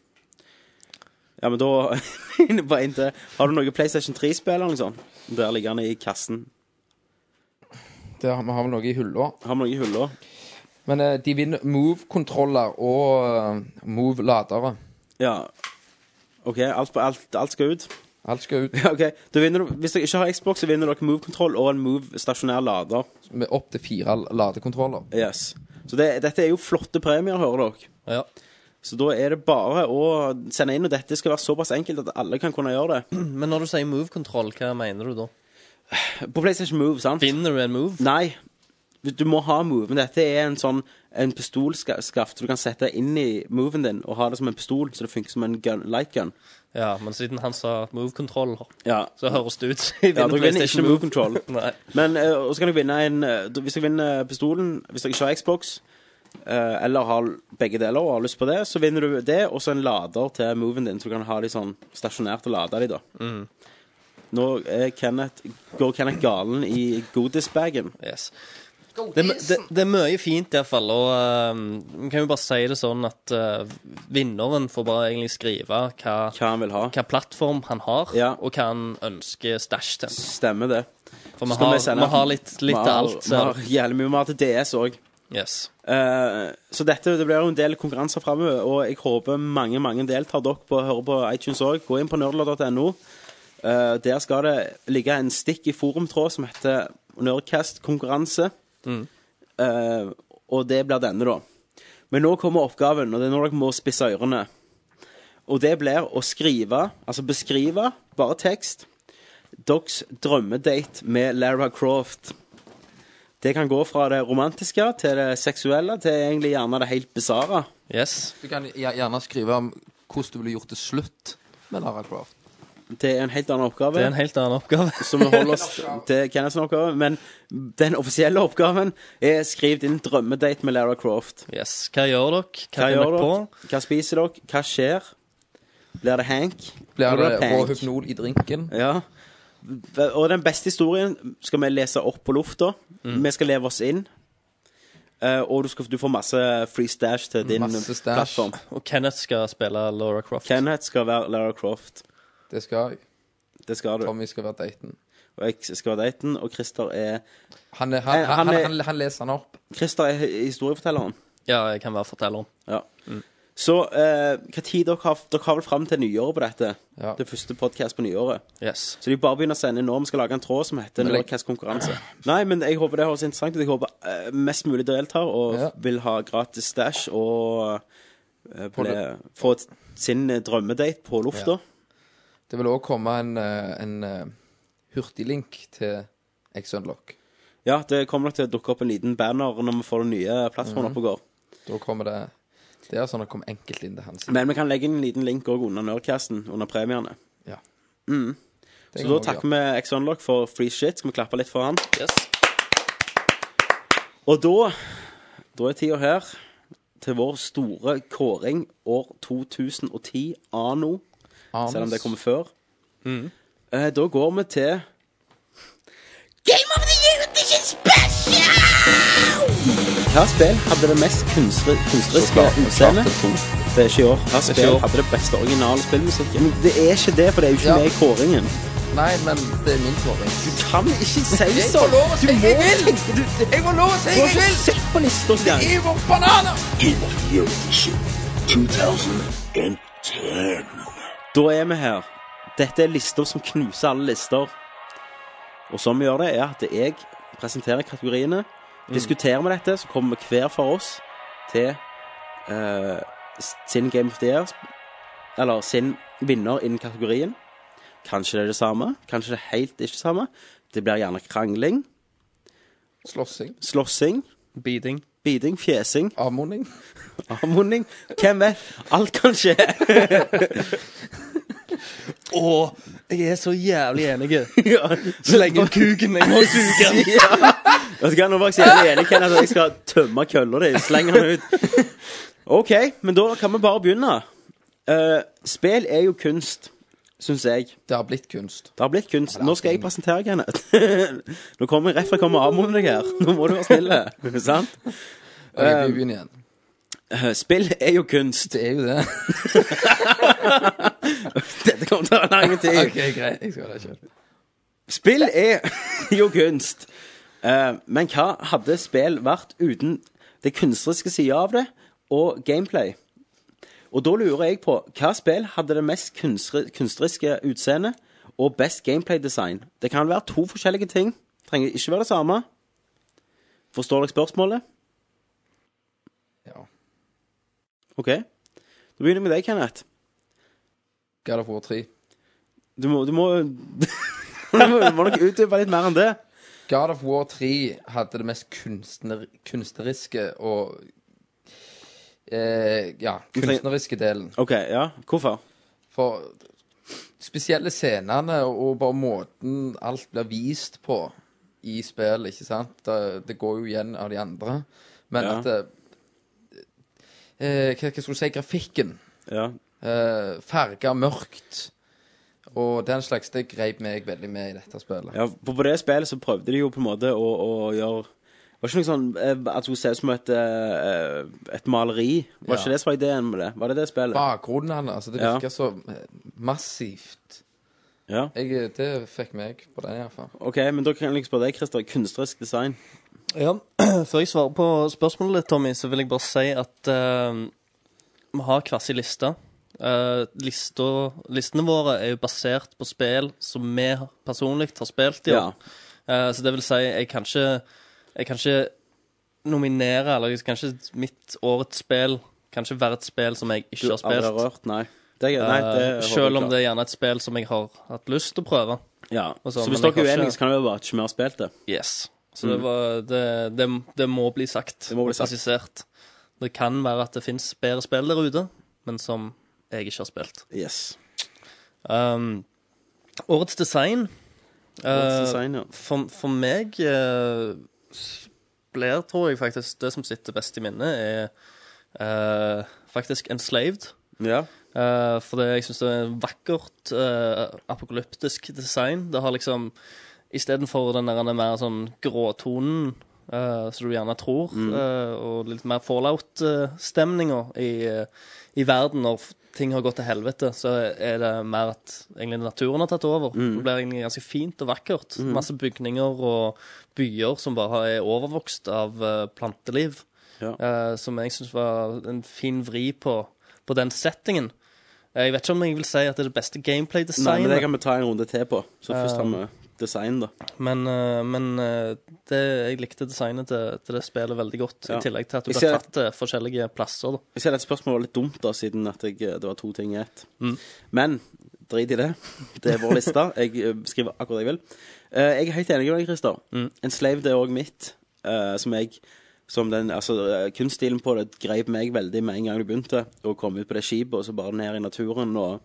[SPEAKER 7] Ja, men da Bare inn til Har du noe PlayStation 3-spill eller noe sånt? Der ligger den i kassen.
[SPEAKER 8] Det har, vi har vel noe i hylla.
[SPEAKER 7] Har vi noe i hylla?
[SPEAKER 8] Men eh, de vinner Move-kontroller og eh, Move-ladere.
[SPEAKER 7] Ja. OK, alt, på- alt, alt skal ut.
[SPEAKER 8] Alt skal ut
[SPEAKER 7] Ja, OK. Da vinner du, hvis dere ikke har Xbox, så vinner dere Move-kontroll og en Move-stasjonær lader.
[SPEAKER 8] med opp til fire ladekontroller.
[SPEAKER 7] Yes. Så det, dette er jo flotte premier, hører dere.
[SPEAKER 9] Ja.
[SPEAKER 7] Så da er det bare å sende inn, og dette skal være såpass enkelt at alle kan kunne gjøre det.
[SPEAKER 9] Men når du sier move-kontroll, hva mener du da?
[SPEAKER 7] På PlayStation Move, sant?
[SPEAKER 9] Vinner du en move?
[SPEAKER 7] Nei. Du må ha moven. Dette er en sånn En pistolskaft du kan sette inn i moven din og ha det som en pistol, så det funker som en gun, light gun.
[SPEAKER 9] Ja, men siden han sa move-kontroll,
[SPEAKER 7] Ja.
[SPEAKER 9] så høres det ut som jeg
[SPEAKER 7] Ja,
[SPEAKER 9] vinner
[SPEAKER 7] dere vinner ikke
[SPEAKER 9] PlayStation
[SPEAKER 7] move
[SPEAKER 9] Move.
[SPEAKER 7] control.
[SPEAKER 9] Nei.
[SPEAKER 7] Men eh, og så kan dere vinne en eh, du- Hvis dere vinner pistolen, hvis dere ikke har Xbox, eh, eller har begge deler og har lyst på det, så vinner du det, og så en lader til moven din, så du kan ha de sånn stasjonært og lade de, da. Nå er Kenneth, går Kenneth galen i godisbagen.
[SPEAKER 9] Yes. Det, er mø- det, det er mye fint i hvert fall, og eh, vi kan jo bare si det sånn at eh, vinneren får bare egentlig skrive hva,
[SPEAKER 7] Hva han vil ha.
[SPEAKER 9] hva plattform han har,
[SPEAKER 7] Ja.
[SPEAKER 9] og hva han ønsker stæsj til.
[SPEAKER 7] Stemmer det.
[SPEAKER 9] For vi
[SPEAKER 7] Skal
[SPEAKER 9] har,
[SPEAKER 7] vi sende-
[SPEAKER 9] vi har litt, litt
[SPEAKER 7] Vi
[SPEAKER 9] av
[SPEAKER 7] har-
[SPEAKER 9] alt.
[SPEAKER 7] Vi
[SPEAKER 9] ser
[SPEAKER 7] har
[SPEAKER 9] du.
[SPEAKER 7] jævlig mye mer til DS òg.
[SPEAKER 9] Yes.
[SPEAKER 7] Eh, så dette, det blir jo en del konkurranser framover, og jeg håper mange mange deltar. Dere på, hører på iTunes òg. Gå inn på nerdlord.no. Eh, der skal det ligge en stikk i forumtråd som heter Nerdcast-konkurranse. Eh, og det blir denne, da. Men nå kommer oppgaven, og det er nå dere må spisse ørene. Og det blir å skrive, altså beskrive, bare tekst, deres drømmedate med Lara Croft. Det kan gå fra det romantiske til det seksuelle til egentlig gjerne det helt bisarre.
[SPEAKER 9] yes.
[SPEAKER 8] Du kan gjer- gjerne skrive om hvordan du ville gjort det slutt med Lara Croft.
[SPEAKER 7] Det er en helt annen oppgave.
[SPEAKER 9] Det er en helt annen oppgave.
[SPEAKER 7] Så vi holder oss til Kenneths oppgave. Men den offisielle oppgaven er skriv din drømmedate med Lara Croft.
[SPEAKER 9] Yes. Hva gjør dere? Hva,
[SPEAKER 7] Hva
[SPEAKER 9] finner
[SPEAKER 7] gjør
[SPEAKER 9] dere på?
[SPEAKER 7] dere? Hva spiser dere? Hva skjer? Blir det Hank?
[SPEAKER 8] Blir det
[SPEAKER 7] Hank?
[SPEAKER 8] rå hypnol i drinken?
[SPEAKER 7] Ja. Og den beste historien skal vi lese opp på lufta. Vi skal leve oss inn. Eh, og du, skal, du får masse free stash til din
[SPEAKER 8] Masse stash.
[SPEAKER 7] plattform.
[SPEAKER 9] Og Kenneth skal spille Laura Croft.
[SPEAKER 7] Kenneth skal være Lara Croft.
[SPEAKER 8] Det skal jeg.
[SPEAKER 7] Det skal du.
[SPEAKER 8] Tommy skal være daten.
[SPEAKER 7] Og jeg skal være daten, og Christer er
[SPEAKER 8] Han, er, han, han,
[SPEAKER 7] Eh, han
[SPEAKER 8] han,
[SPEAKER 7] er-
[SPEAKER 8] han, han leser han opp.
[SPEAKER 7] Christer er historiefortelleren.
[SPEAKER 9] Ja, jeg kan være fortelleren.
[SPEAKER 7] Ja.
[SPEAKER 8] Mm.
[SPEAKER 7] Så eh, hva tid dere har Dere har vel fram til nyåret på dette?
[SPEAKER 8] Ja.
[SPEAKER 7] Det første podkast på nyåret.
[SPEAKER 9] Yes.
[SPEAKER 7] Så de bare begynner å sende nå. Vi skal lage en tråd som heter
[SPEAKER 8] Men jeg-
[SPEAKER 7] Nordcast-konkurranse. Nei, men jeg håper det høres interessant ut. Jeg håper eh, mest mulig deltar og
[SPEAKER 8] Ja.
[SPEAKER 7] vil ha gratis stæsj og eh, ble,
[SPEAKER 8] det-
[SPEAKER 7] få t- sin eh, drømmedate på lufta.
[SPEAKER 8] Det vil òg komme en, eh, en eh, hurtiglink til X-Unlock.
[SPEAKER 7] Ja. det kommer nok til å dukke opp en liten banner når vi får den nye
[SPEAKER 8] Mhm.
[SPEAKER 7] plattformen opp og går.
[SPEAKER 8] Da kommer det Det er sånn at det kommer enkelt inn til hans.
[SPEAKER 7] Men vi kan legge inn en liten link òg under Nerdcasten, under premiene.
[SPEAKER 8] Ja. Det
[SPEAKER 7] Så
[SPEAKER 8] kan
[SPEAKER 7] da
[SPEAKER 8] vi
[SPEAKER 7] takker
[SPEAKER 8] gjøre.
[SPEAKER 7] vi X-Unlock for free shit. Skal vi klappe litt for han?
[SPEAKER 9] yes.
[SPEAKER 7] Og da Da er tida her til vår store kåring år 2010 anno,
[SPEAKER 8] Anus.
[SPEAKER 7] selv om det kommer før.
[SPEAKER 9] Mm.
[SPEAKER 7] Eh, da går vi til
[SPEAKER 4] Game of the Year Edition Special!
[SPEAKER 7] Hva spill hadde det mest kunstner, kunstneriske
[SPEAKER 8] Uncharted
[SPEAKER 7] utseendet?
[SPEAKER 8] 2.
[SPEAKER 7] Det er ikke i år. Hva
[SPEAKER 9] ikke i
[SPEAKER 7] spill
[SPEAKER 9] år.
[SPEAKER 7] hadde det beste originale spillmusikken? Men det er ikke det, for det er jo ikke
[SPEAKER 8] Ja.
[SPEAKER 7] med i kåringen.
[SPEAKER 8] Nei, men det er min kåring.
[SPEAKER 7] Du kan ikke si sånn.
[SPEAKER 8] Jeg får lov å si
[SPEAKER 7] Du
[SPEAKER 8] jeg
[SPEAKER 7] må-
[SPEAKER 8] vil!
[SPEAKER 7] Du, du,
[SPEAKER 8] Jeg må lov å si
[SPEAKER 7] du har
[SPEAKER 8] jeg
[SPEAKER 7] ikke
[SPEAKER 8] vil!
[SPEAKER 7] sett på lista engang.
[SPEAKER 8] Det er vår bananer!
[SPEAKER 1] Game of the Year Edition 2010.
[SPEAKER 7] Da er vi her. Dette er lister som knuser alle lister. Og sånn vi gjør det, er at jeg presenterer kategoriene, diskuterer med dette, så kommer vi hver for oss til eh, sin Game of the Year, eller sin vinner innen kategorien. Kanskje det er det samme, kanskje det er helt ikke det samme. Det blir gjerne krangling,
[SPEAKER 8] Slåssing.
[SPEAKER 7] slåssing,
[SPEAKER 9] Beating.
[SPEAKER 7] biding, fjesing,
[SPEAKER 8] Avmoning.
[SPEAKER 7] avmunning. Hvem vet? Alt kan skje.
[SPEAKER 9] Å, jeg er så jævlig enig.
[SPEAKER 7] Ja.
[SPEAKER 9] Så lenge kuken jeg må suge.
[SPEAKER 7] Ja. Vet du hva, nå var jeg så jævlig enig, Kenneth, at jeg skal tømme kølla di. Slenge den ut. OK, men da kan vi bare begynne. Uh, spill er jo kunst, syns jeg.
[SPEAKER 8] Det har blitt kunst.
[SPEAKER 7] Det har blitt kunst. Nå skal jeg presentere, Kenneth. Nå kommer Reffa kommer og avmunder deg her. Nå må du være snill. Sant?
[SPEAKER 8] Og jeg vil begynne igjen.
[SPEAKER 7] Eh, Spill er jo kunst.
[SPEAKER 8] Det er jo det.
[SPEAKER 7] Dette kommer til å ta lang tid.
[SPEAKER 8] OK, greit. Jeg skal ha det selv.
[SPEAKER 7] Spill er jo kunst. Eh, men hva hadde spill vært uten det kunstneriske sida av det, og gameplay? Og da lurer jeg på hva spill hadde det mest kunstri- kunstneriske utseendet og best gameplay-design? Det kan være to forskjellige ting. Trenger ikke være det samme. Forstår dere spørsmålet?
[SPEAKER 8] Ja.
[SPEAKER 7] OK. Da begynner jeg med deg, Kenneth.
[SPEAKER 8] God of War 3.
[SPEAKER 7] Du må Du må, du må, du må nok utdype litt mer enn det.
[SPEAKER 8] God of War 3 hadde det mest kunstner, kunstneriske og eh, Ja, kunstneriske delen.
[SPEAKER 7] OK, ja. Hvorfor?
[SPEAKER 8] For spesielle scenene og bare måten alt blir vist på i spill, ikke sant? Det, det går jo igjen av de andre. Men
[SPEAKER 7] Ja.
[SPEAKER 8] at det, eh, Hva hva skal du si? Grafikken.
[SPEAKER 7] Ja.
[SPEAKER 8] Eh, Farga mørkt. Og den slags. Det grep meg veldig med i dette spillet.
[SPEAKER 7] Ja, for på det spillet så prøvde de jo på en måte å, å gjøre Var ikke noe sånn eh, at hun ser ut som et, eh, et maleri? Var
[SPEAKER 8] Ja.
[SPEAKER 7] ikke det som var ideen med det? Var det det spillet?
[SPEAKER 8] Bakgrunnen altså, det
[SPEAKER 7] Ja.
[SPEAKER 8] virker så eh, massivt.
[SPEAKER 7] Ja.
[SPEAKER 8] Jeg, eh, det fikk meg på den, iallfall.
[SPEAKER 7] OK, men da kan jeg liksom spørre deg, Christer. Kunstnerisk design.
[SPEAKER 9] Ja, Før jeg svarer på spørsmålet ditt, Tommy, så vil jeg bare si at eh, vi har hver sin liste. Eh, lista- listene våre er jo basert på spill som vi personlig har spilt i.
[SPEAKER 7] Ja.
[SPEAKER 9] år. Eh, så det vil si, jeg kan ikke, jeg kan ikke nominere Eller jeg kan ikke mitt årets spill kan ikke være et spill som jeg ikke har
[SPEAKER 7] aldri
[SPEAKER 9] spilt.
[SPEAKER 7] rørt? Nei. Det, er- nei, det
[SPEAKER 9] Eh,
[SPEAKER 7] håper jeg
[SPEAKER 9] selv om
[SPEAKER 7] klart.
[SPEAKER 9] det er gjerne et spill som jeg har hatt lyst til å prøve.
[SPEAKER 7] Ja.
[SPEAKER 9] og
[SPEAKER 7] Så
[SPEAKER 9] sånn,
[SPEAKER 7] hvis
[SPEAKER 9] men
[SPEAKER 7] dere er
[SPEAKER 9] jeg har
[SPEAKER 7] uenige,
[SPEAKER 9] ikke-
[SPEAKER 7] så kan det jo være at ikke vi har spilt det.
[SPEAKER 9] Yes. Så det, var, det, det, det må bli sagt.
[SPEAKER 7] Mm. Det må bli
[SPEAKER 9] og
[SPEAKER 7] sagt.
[SPEAKER 9] Presisert. Det kan være at det fins bedre spill der ute, men som jeg ikke har spilt.
[SPEAKER 7] Yes.
[SPEAKER 9] Um, årets design,
[SPEAKER 7] Årets
[SPEAKER 9] eh,
[SPEAKER 7] design, ja.
[SPEAKER 9] for, for meg eh, s- blir, tror jeg faktisk, det som sitter best i minnet, er eh, faktisk Enslaved.
[SPEAKER 7] ja.
[SPEAKER 9] Eh, for det, jeg syns det er vakkert, eh, apokalyptisk design. Det har liksom Istedenfor den der mer sånn gråtonen eh, som du gjerne tror, eh, og litt mer fallout-stemninga i, eh, i verden når f- ting har gått til helvete, så er det mer at egentlig naturen har tatt over. Det blir egentlig ganske fint og vakkert. Masse bygninger og byer som bare er overvokst av eh, planteliv.
[SPEAKER 7] Ja.
[SPEAKER 9] Eh, som jeg syns var en fin vri på, på den settingen. Eh, Jeg vet ikke om jeg vil si at det er det
[SPEAKER 7] Nei,
[SPEAKER 9] beste
[SPEAKER 7] men det
[SPEAKER 9] gameplay-designet,
[SPEAKER 7] kan vi ta en runde til på. Så først har vi design, da.
[SPEAKER 9] men, eh, men eh, det, jeg likte designet til, til det spillet veldig godt.
[SPEAKER 7] Ja.
[SPEAKER 9] I tillegg til at du
[SPEAKER 7] Jeg
[SPEAKER 9] ble
[SPEAKER 7] ser-
[SPEAKER 9] tatt til forskjellige plasser. Da.
[SPEAKER 7] Jeg ser at spørsmålet var litt dumt, da, siden at jeg, eh, det var to ting i ett. Men drit i det. Det er vår liste. Jeg eh, skriver akkurat det jeg vil. Eh, jeg er helt enig med deg, Christer. En slave, det er òg mitt. eh, som jeg som den, altså eh, Kunststilen på det greip meg veldig med en gang det begynte. Å komme ut på det skipet og så bare ned i naturen og,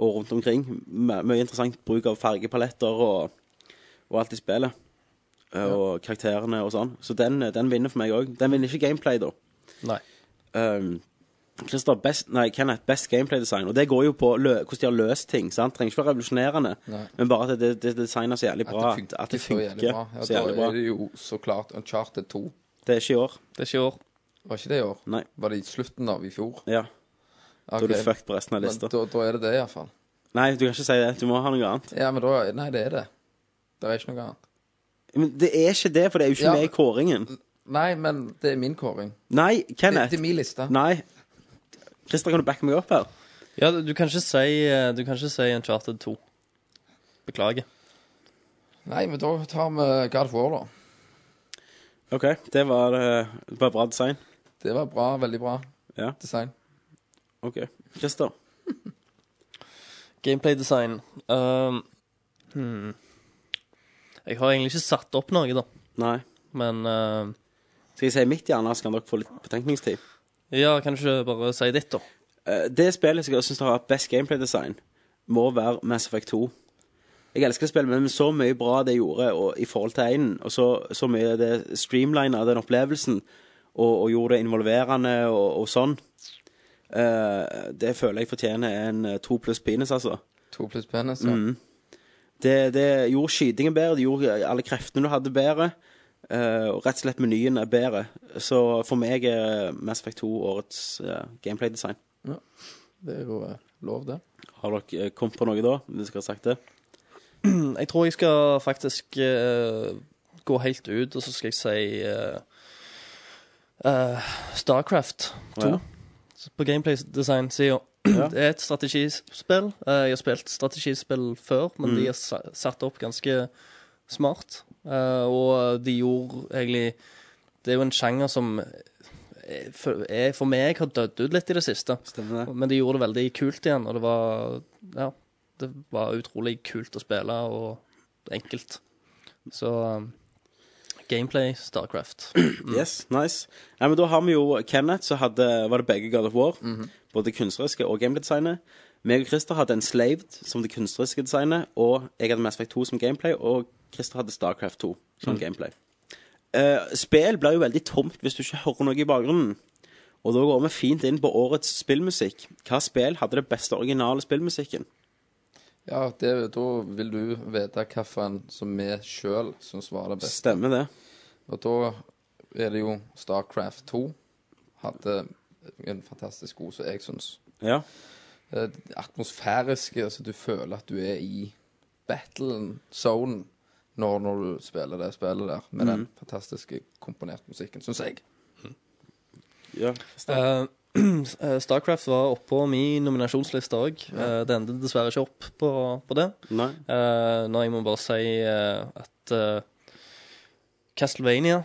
[SPEAKER 7] og rundt omkring. M mye interessant bruk av fargepaletter og, og alt i spillet. Eh, Og karakterene og sånn. Så den, den vinner for meg òg. Den vinner ikke gameplay, da.
[SPEAKER 9] Nei.
[SPEAKER 7] Um, Christer, best, nei, Kenneth, best gameplay design. Og det går jo på lø, hvordan de har løst ting. sant? Trenger ikke være revolusjonerende,
[SPEAKER 8] Nei.
[SPEAKER 7] men bare at det, det, det designer så jævlig bra. At det funker,
[SPEAKER 8] så jævlig bra. Ja,
[SPEAKER 7] så jævlig
[SPEAKER 8] da
[SPEAKER 7] bra.
[SPEAKER 8] er det jo så klart Uncharted 2.
[SPEAKER 7] Det er ikke i år.
[SPEAKER 9] Det er ikke i år.
[SPEAKER 8] Var ikke det i år?
[SPEAKER 7] Nei.
[SPEAKER 8] Var det i slutten av i fjor?
[SPEAKER 7] Ja. Da er
[SPEAKER 8] Ok.
[SPEAKER 7] du fucked på resten av
[SPEAKER 8] Men
[SPEAKER 7] lista.
[SPEAKER 8] da, da er det det, iallfall.
[SPEAKER 7] Nei, du kan ikke si det. Du må ha noe annet.
[SPEAKER 8] Ja, men da Nei, det er det. Det er ikke noe annet.
[SPEAKER 7] Men det er ikke det, for det er jo ikke
[SPEAKER 8] Ja.
[SPEAKER 7] med i kåringen.
[SPEAKER 8] Nei, men det er min kåring.
[SPEAKER 7] Nei,
[SPEAKER 8] Det,
[SPEAKER 7] Kenneth.
[SPEAKER 8] det er min liste.
[SPEAKER 7] Nei. Christer, kan du backe meg opp her?
[SPEAKER 9] Ja, du kan ikke si, eh, du kan ikke si Uncharted 2. Beklager.
[SPEAKER 8] Nei, men da tar vi God of War, da.
[SPEAKER 7] OK, det var, eh, det var bra design.
[SPEAKER 8] Det var bra. Veldig bra
[SPEAKER 7] Ja.
[SPEAKER 8] design.
[SPEAKER 7] OK. Christer.
[SPEAKER 9] Gameplay design. Um, hmm. Jeg har egentlig ikke satt opp noe, da.
[SPEAKER 7] Nei.
[SPEAKER 9] Men eh,
[SPEAKER 7] Skal jeg si mitt hjerne, så kan dere få litt betenkningstid?
[SPEAKER 9] Ja, kan du ikke bare si ditt, da?
[SPEAKER 7] Eh, Det spillet som jeg syns har hatt best gameplay-design, må være Mass Effect 2. Jeg elsker spillet, men så mye bra det gjorde og, i forhold til einen, og så, så mye det streamlina den opplevelsen og, og gjorde det involverende og, og sånn. Eh, det føler jeg fortjener en eh, to pluss penis, altså.
[SPEAKER 8] To pluss penis, ja.
[SPEAKER 7] Mm. Det, det gjorde skytingen bedre, det gjorde alle kreftene du hadde bedre. eh, og rett og slett menyen er bedre. Så for meg er Mass Effect 2 årets eh, gameplay-design.
[SPEAKER 8] Det er jo eh, lov, det.
[SPEAKER 7] Har dere eh, kommet på noe da? Hvis dere har sagt det?
[SPEAKER 9] Jeg tror jeg skal faktisk eh, gå helt ut, og så skal jeg si eh, eh, Starcraft 2
[SPEAKER 7] Ja.
[SPEAKER 9] på gameplay-design-sida.
[SPEAKER 7] Ja.
[SPEAKER 9] Det er et strategispill. Eh, jeg har spilt strategispill før, men
[SPEAKER 7] Mm.
[SPEAKER 9] de er sa- satt opp ganske smart. Eh, og de gjorde egentlig Det er jo en sjanger som er, for- er, for meg har dødd ut litt i det siste.
[SPEAKER 7] Stemmer det?
[SPEAKER 9] Men de gjorde det veldig kult igjen, og det var Ja, det var utrolig kult å spille, og enkelt. Så um, Gameplay Starcraft.
[SPEAKER 7] Yes, nice. Nei, men da har vi jo Kenneth, så hadde, var det begge God of War. Både det kunstneriske og gameplay-designet. Meg og Christer hadde en Slaved som det kunstneriske designet, og jeg hadde Mass Effect 2 som gameplay, og Christer hadde Starcraft 2 som gameplay. Eh, spill blir jo veldig tomt hvis du ikke hører noe i bakgrunnen. Og da går vi fint inn på årets spillmusikk. Hva spill hadde det beste originale spillmusikken?
[SPEAKER 8] Ja, det, da vil du vite hvilken som vi sjøl syns var det beste.
[SPEAKER 7] Stemmer det?
[SPEAKER 8] Og da er det jo Starcraft 2. Hadde en fantastisk god, som jeg syns.
[SPEAKER 7] Ja.
[SPEAKER 8] Eh, Atmosfærisk, altså du føler at du er i battlen, zone, når, når du spiller det spillet der. Med den fantastiske komponerte musikken, syns jeg.
[SPEAKER 7] ja Christer.
[SPEAKER 9] Eh, eh, Starcraft var oppå min nominasjonsliste òg. det endte dessverre ikke opp på, på det.
[SPEAKER 7] Nei.
[SPEAKER 9] Uh, når jeg må bare si eh, at eh, Castlevania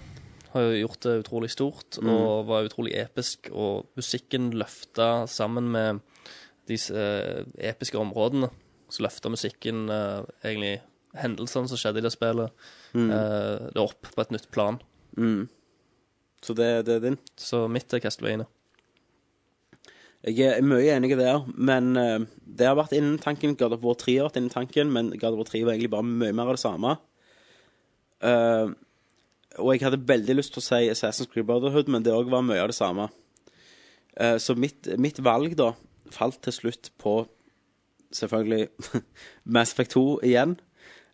[SPEAKER 9] har jo gjort det utrolig stort
[SPEAKER 7] Mm.
[SPEAKER 9] og var utrolig episk, og musikken løfta sammen med de eh, episke områdene. Så løfta musikken eh, egentlig hendelsene som skjedde i det spillet,
[SPEAKER 7] Mm.
[SPEAKER 9] eh, det opp på et nytt plan.
[SPEAKER 7] Så det, det er din.
[SPEAKER 9] Så mitt er Castlevania.
[SPEAKER 7] Jeg er mye enig der, men eh, det har vært innen tanken. God of War 3 har vært innen tanken, men God of War 3 var egentlig bare mye mer av det samme. Eh, og jeg hadde veldig lyst til å si Assassin's Creed Brotherhood, men det òg var mye av det samme. Eh, så mitt, mitt valg, da, falt til slutt på selvfølgelig Mass Effect 2 igjen.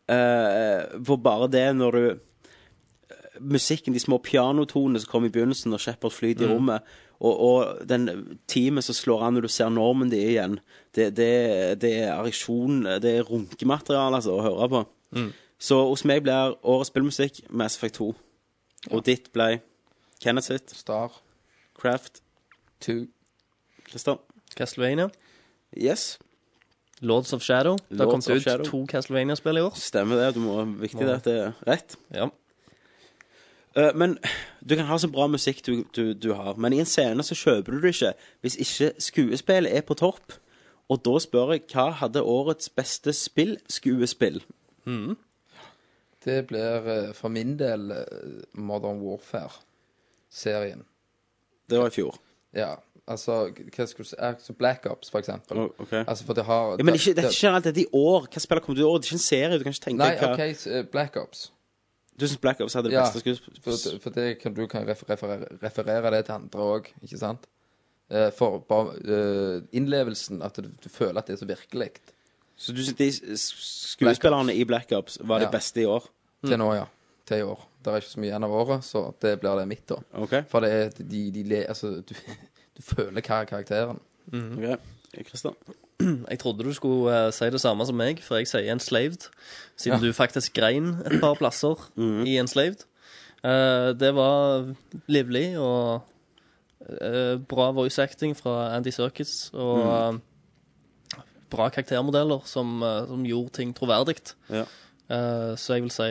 [SPEAKER 7] Eh, for bare det når du musikken, de små pianotonene som kom i begynnelsen når Shepard flyter i rommet, og, og den timen som slår an når du ser normen de er igjen, det, det, det er ereksjon, det er runkemateriale altså, å høre på. Så hos meg blir årets spillmusikk Mass Effect 2. Og ditt ble Kenneth sitt,
[SPEAKER 8] Star
[SPEAKER 7] Craft,
[SPEAKER 8] 2.
[SPEAKER 7] Christer.
[SPEAKER 9] Castlevania.
[SPEAKER 7] Yes,
[SPEAKER 9] Lords of Shadow. Det har
[SPEAKER 7] Lords
[SPEAKER 9] kommet
[SPEAKER 7] of
[SPEAKER 9] ut
[SPEAKER 7] Shadow.
[SPEAKER 9] to Castlevania-spill i år.
[SPEAKER 7] stemmer det. Du må, viktig det at det er rett.
[SPEAKER 9] Ja.
[SPEAKER 7] Eh, men du kan ha så bra musikk du, du, du har, men i en scene så kjøper du det ikke hvis ikke skuespillet er på topp. Og da spør jeg hva hadde årets beste spill-skuespill?
[SPEAKER 8] Det blir eh, for min del eh, Modern Warfare-serien.
[SPEAKER 7] Det var i fjor.
[SPEAKER 8] Ja, altså hva skal du si altså Black Ops, for eksempel.
[SPEAKER 7] Å, ok.
[SPEAKER 8] Altså, for det har
[SPEAKER 7] Ja, men ikke, dette er ikke generelt, dette er i år. Hva spiller kommer til i år? Det er ikke en serie. Du kan ikke tenke
[SPEAKER 8] Nei,
[SPEAKER 7] hva
[SPEAKER 8] OK, s- eh, Black Ops.
[SPEAKER 7] Du syns Black Ops hadde det
[SPEAKER 8] Ja,
[SPEAKER 7] beste skuespillet?
[SPEAKER 8] for, for det kan, du kan refer- referere, referere det til andre òg, ikke sant? Eh, For bare eh, innlevelsen, at du, du føler at det er så virkelig.
[SPEAKER 7] Så du syns de s- skuespillerne i Black Ops var det
[SPEAKER 8] Ja.
[SPEAKER 7] beste i år?
[SPEAKER 8] Til nå, ja. Til i år. Det er ikke så mye igjen av året, så det blir det mitt, da.
[SPEAKER 7] OK.
[SPEAKER 8] For det er de, de le, Altså, du, du føler hva er karakteren.
[SPEAKER 7] ok. Christian.
[SPEAKER 9] Jeg trodde du skulle eh, si det samme som meg, for jeg sier enslaved. Siden du faktisk grein et par plasser i enslaved. Eh, det var livlig og eh, bra voice acting fra Andy Circus. Og eh, bra karaktermodeller som, eh, som gjorde ting troverdig.
[SPEAKER 7] Ja.
[SPEAKER 9] Eh, så jeg vil si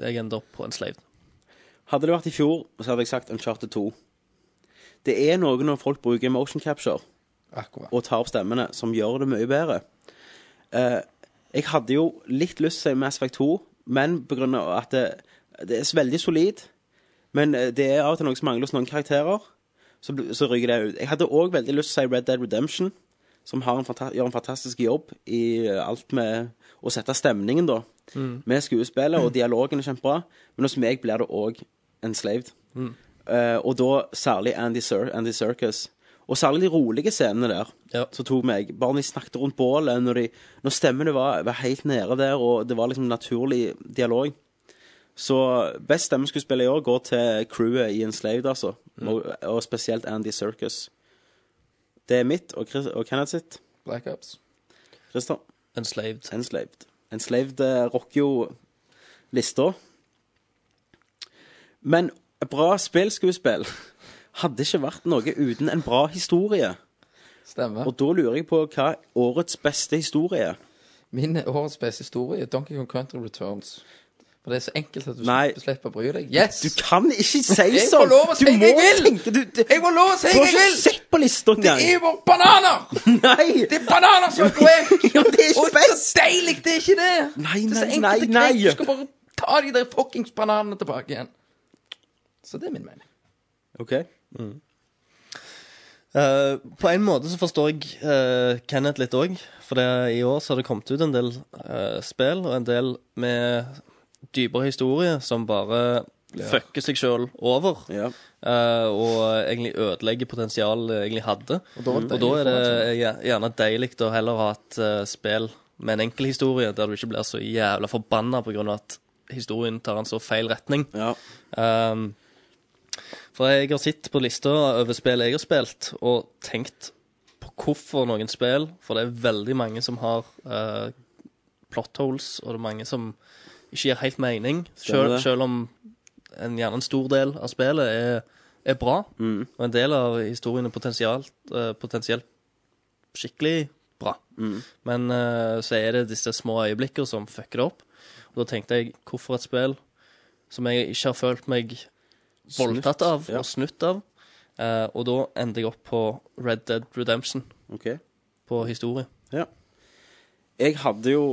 [SPEAKER 9] jeg endte opp på enslaved.
[SPEAKER 7] Hadde det vært i fjor, så hadde jeg sagt Uncharted 2. Det er noe når folk bruker motion capture
[SPEAKER 8] Akkurat.
[SPEAKER 7] og tar opp stemmene, som gjør det mye bedre. Eh, jeg hadde jo litt lyst til å si Mass Effect 2, men på grunn av at det, det er veldig solid, men eh, det er av og til noe som mangler hos noen karakterer, så, bl- så ryker det ut. Jeg hadde òg veldig lyst til å si Red Dead Redemption, som har en fanta gjør en fantastisk jobb i eh, alt med å sette stemningen, da. Med skuespillet, og dialogen er kjempebra, men hos meg blir det òg enslaved. Eh, og da særlig Andy, Sir Andy Circus. Og særlig de rolige scenene der.
[SPEAKER 9] Ja.
[SPEAKER 7] Så tok meg, Bare når de snakket rundt bålet, når, de, når stemmene var, var helt nede der, og det var liksom naturlig dialog. Så best stemmeskuespiller i år går til crewet i Enslaved, altså. Og, og spesielt Andy Circus. Det er mitt og, Chris, og Kenneth sitt.
[SPEAKER 8] Black Ops.
[SPEAKER 7] Christer.
[SPEAKER 9] Enslaved.
[SPEAKER 7] Enslaved. Enslaved eh, rocker jo lista. Men et bra spillskuespill hadde ikke vært noe uten en bra historie.
[SPEAKER 8] Stemmer.
[SPEAKER 7] Og da lurer jeg på hva er årets beste historie er.
[SPEAKER 8] Min eh, årets beste historie er Donkey Kong Country Returns. For det er så enkelt at du
[SPEAKER 7] Nei.
[SPEAKER 8] slipper- slipper å bry deg. Yes!
[SPEAKER 7] Du kan ikke si sånn!
[SPEAKER 8] Jeg får lov å si
[SPEAKER 7] Du
[SPEAKER 8] jeg
[SPEAKER 7] må
[SPEAKER 8] vil!
[SPEAKER 7] tenke- Du, du,
[SPEAKER 8] Jeg må lov å si
[SPEAKER 7] du har
[SPEAKER 8] jeg
[SPEAKER 7] ikke
[SPEAKER 8] vil!
[SPEAKER 7] sett på lista
[SPEAKER 8] Det
[SPEAKER 7] engang!
[SPEAKER 8] er jo bare bananer!
[SPEAKER 7] Nei!
[SPEAKER 8] Det er bananer som er poeng!
[SPEAKER 7] Ja, det er ikke
[SPEAKER 8] Og det er så deilig! Det er ikke det!
[SPEAKER 7] Nei,
[SPEAKER 8] det er så
[SPEAKER 7] nei,
[SPEAKER 8] enkelt og
[SPEAKER 7] nei, nei.
[SPEAKER 8] greit. Du skal bare ta de der fuckings bananene tilbake igjen. Så det er min mening.
[SPEAKER 7] OK.
[SPEAKER 9] Eh, på en måte så forstår jeg eh, Kenneth litt òg. For det, i år så har det kommet ut en del eh, spill, og en del med dypere historie som bare fucker seg sjøl over.
[SPEAKER 7] Ja.
[SPEAKER 9] eh, og egentlig ødelegger potensialet jeg egentlig hadde. Og da,
[SPEAKER 7] Mm.
[SPEAKER 8] var det
[SPEAKER 9] er det gje- gjerne deilig å heller ha et eh, spill med en enkel historie, der du ikke blir så jævla forbanna på grunn av at historien tar en så feil retning.
[SPEAKER 7] ja.
[SPEAKER 9] Um, for jeg har sett på lista over spill jeg har spilt, og tenkt på hvorfor noen spill, for det er veldig mange som har uh, plot holes, og det er mange som ikke gir helt mening,
[SPEAKER 7] Stemmer
[SPEAKER 9] selv,
[SPEAKER 7] det.
[SPEAKER 9] selv om en, gjerne en stor del av spillet er, er bra,
[SPEAKER 7] Mm.
[SPEAKER 9] og en del av historien er potensielt, eh, potensielt skikkelig bra.
[SPEAKER 7] Mm.
[SPEAKER 9] Men eh, så er det disse små øyeblikkene som fucker det opp, og da tenkte jeg, hvorfor et spill som jeg ikke har følt meg voldtatt av
[SPEAKER 7] ja.
[SPEAKER 9] og snutt av. Eh, og da endte jeg opp på Red Dead Redemption
[SPEAKER 7] OK.
[SPEAKER 9] på historie.
[SPEAKER 7] Ja. Jeg hadde jo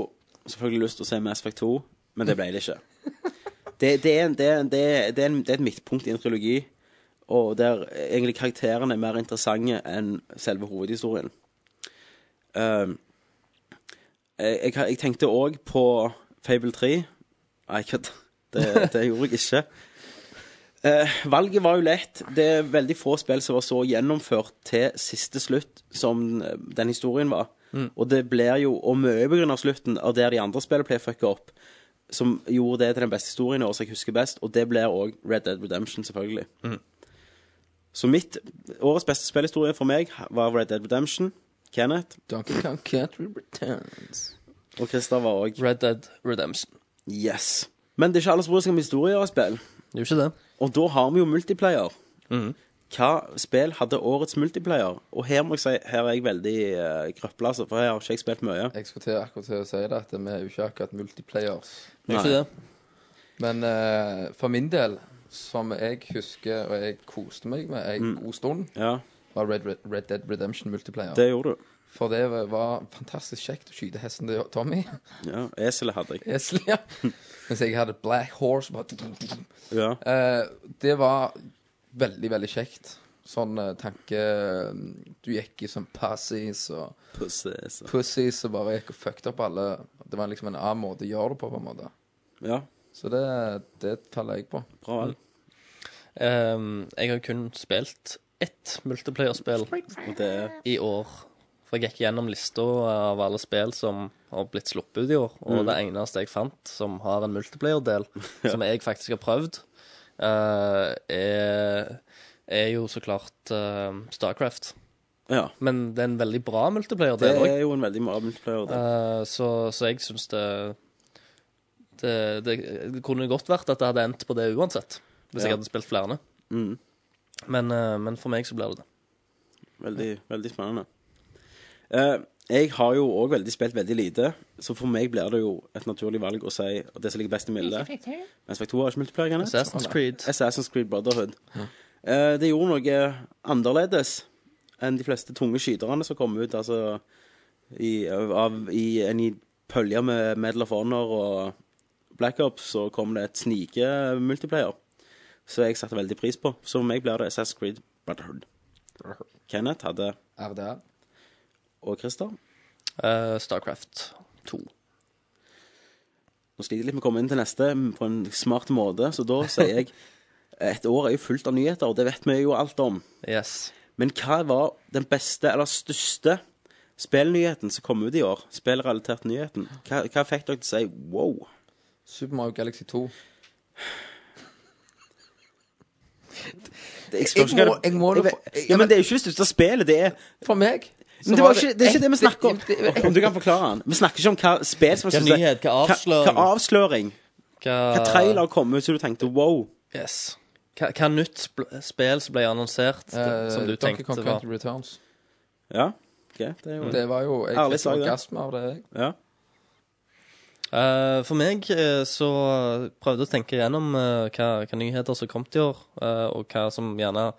[SPEAKER 7] selvfølgelig lyst til å se Mass Effect 2, men det ble det ikke. Det, det, er, en, det, er, en- det, er, det, er en, det er et midtpunkt i en trilogi, og der egentlig karakterene er mer interessante enn selve hovedhistorien. Ehm, jeg, jeg, har- jeg tenkte òg på Fable 3. Nei, kødd. Det, det gjorde jeg ikke. Eh, valget var jo lett. Det er veldig få spill som var så gjennomført til siste slutt som eh, den historien var. Og det blir jo, og mye på grunn av slutten, av der de andre spillene ble fucka opp, som gjorde det til den beste historien i år, som jeg husker best, og det blir òg Red Dead Redemption, selvfølgelig. Så mitt årets beste spillhistorie for meg var Red Dead Redemption. Kenneth
[SPEAKER 8] Donkey Kong Country Returns.
[SPEAKER 7] og Christer var òg
[SPEAKER 9] Red Dead Redemption.
[SPEAKER 7] Yes. Men det er ikke alle som bryr seg om historier og spill.
[SPEAKER 9] Det er jo ikke det.
[SPEAKER 7] Og da har vi jo multiplayer.
[SPEAKER 9] Mhm.
[SPEAKER 7] Hva spill hadde årets multiplayer? Og her må jeg si, her er jeg veldig uh, grøpla, altså, for her har ikke jeg spilt mye.
[SPEAKER 8] Jeg skulle til akkurat til å si det, at vi er jo ikke akkurat multiplayers.
[SPEAKER 9] det, er jo
[SPEAKER 7] Nei.
[SPEAKER 9] ikke det.
[SPEAKER 8] Men eh, for min del, som jeg husker og jeg koste meg med en
[SPEAKER 7] Mm.
[SPEAKER 8] god stund,
[SPEAKER 7] Ja,
[SPEAKER 8] var Red, Red, Red Dead Redemption Multiplayer.
[SPEAKER 7] det gjorde du.
[SPEAKER 8] For det var- var fantastisk kjekt å skyte hesten til Tommy.
[SPEAKER 7] Ja, Eselet hadde jeg.
[SPEAKER 8] Esel, ja. Mens jeg hadde Black Horse. Bare...
[SPEAKER 7] Ja.
[SPEAKER 8] Eh, det var veldig, veldig kjekt. Sånn eh, tanke Du gikk i sånn pussies og
[SPEAKER 7] Pussy, Esel.
[SPEAKER 8] pussies og bare gikk og fucked opp alle. Det var liksom en annen måte å gjøre det på, på en måte.
[SPEAKER 7] ja,
[SPEAKER 8] Så det, det teller jeg på.
[SPEAKER 7] bra valg.
[SPEAKER 9] Ehm, jeg har kun spilt ett multiplayerspill
[SPEAKER 7] Og det er
[SPEAKER 9] i år. For jeg gikk gjennom lista av alle spill som har blitt
[SPEAKER 7] Mm.
[SPEAKER 9] sluppet ut i år, og det eneste jeg fant som har en multiplayer-del, som jeg faktisk har prøvd, eh, er, er jo så klart eh, Starcraft.
[SPEAKER 7] Ja.
[SPEAKER 9] Men det er en veldig bra multiplayer,
[SPEAKER 7] Det
[SPEAKER 9] det òg.
[SPEAKER 7] er jo en veldig bra multiplayer. Det.
[SPEAKER 9] Eh, så, så jeg syns det, det Det kunne godt vært at det hadde endt på det uansett, hvis
[SPEAKER 7] Ja.
[SPEAKER 9] jeg hadde spilt flere.
[SPEAKER 7] Mm.
[SPEAKER 9] Men, eh, men for meg så blir det det.
[SPEAKER 7] Veldig, veldig spennende. Eh, jeg har jo òg veldig spilt veldig lite, så for meg blir det jo et naturlig valg å si at det som ligger best i mildet Mens Effect 2 har ikke multiplayer. Kenneth.
[SPEAKER 9] Assassin's Creed.
[SPEAKER 7] Assassin's Creed Brotherhood. Eh, det gjorde noe annerledes enn de fleste tunge skyterne som kom ut altså, i, av, i en i pølje med Medal of Honor og Black Ops, så kom det et snike-multiplayer. Så jeg satte veldig pris på. Så for meg blir det Assassin's Creed Brotherhood. Kenneth hadde
[SPEAKER 8] RDR.
[SPEAKER 7] og Christer.
[SPEAKER 9] Eh, Starcraft 2.
[SPEAKER 7] Nå sliter jeg litt med å komme inn til neste på en smart måte, så da sier jeg Et år er jo fullt av nyheter, og det vet vi jo alt om.
[SPEAKER 9] Yes.
[SPEAKER 7] Men hva var den beste eller største spillnyheten som kom ut i år? Spillrelatert nyheten. Hva, hva fikk dere til å si wow?
[SPEAKER 8] Super Mario Galaxy 2.
[SPEAKER 7] Det, jeg spør ikke
[SPEAKER 8] Jeg må-
[SPEAKER 7] hva det-
[SPEAKER 8] jeg må da
[SPEAKER 7] vet-
[SPEAKER 8] få- jeg-
[SPEAKER 7] ja, Men det er jo ikke det største spillet, det er
[SPEAKER 8] For meg så
[SPEAKER 7] Men det, var ikke, det er ikke det vi
[SPEAKER 8] et-
[SPEAKER 7] snakker om.
[SPEAKER 8] det- det-
[SPEAKER 7] Om du kan forklare den. Vi snakker ikke om hva spill som
[SPEAKER 9] Hva nyhet, hva avsløring?
[SPEAKER 7] Hva avsløring. Hva trailer kom ut så du tenkte wow?
[SPEAKER 9] Yes. Hva, hva nytt sp- spill som ble annonsert,
[SPEAKER 8] eh,
[SPEAKER 9] som du
[SPEAKER 8] Donkey
[SPEAKER 9] tenkte
[SPEAKER 8] Kong
[SPEAKER 9] var
[SPEAKER 8] Country Returns.
[SPEAKER 7] Ja, ok, det er jo
[SPEAKER 8] Det var jo Jeg
[SPEAKER 7] Ærlig
[SPEAKER 8] fikk
[SPEAKER 7] sak, det.
[SPEAKER 8] orgasme av det. jeg.
[SPEAKER 7] Ja.
[SPEAKER 9] Eh, For meg eh, så prøvde jeg å tenke gjennom eh, hva, hva nyheter som kom til i år, eh, og hva som gjerne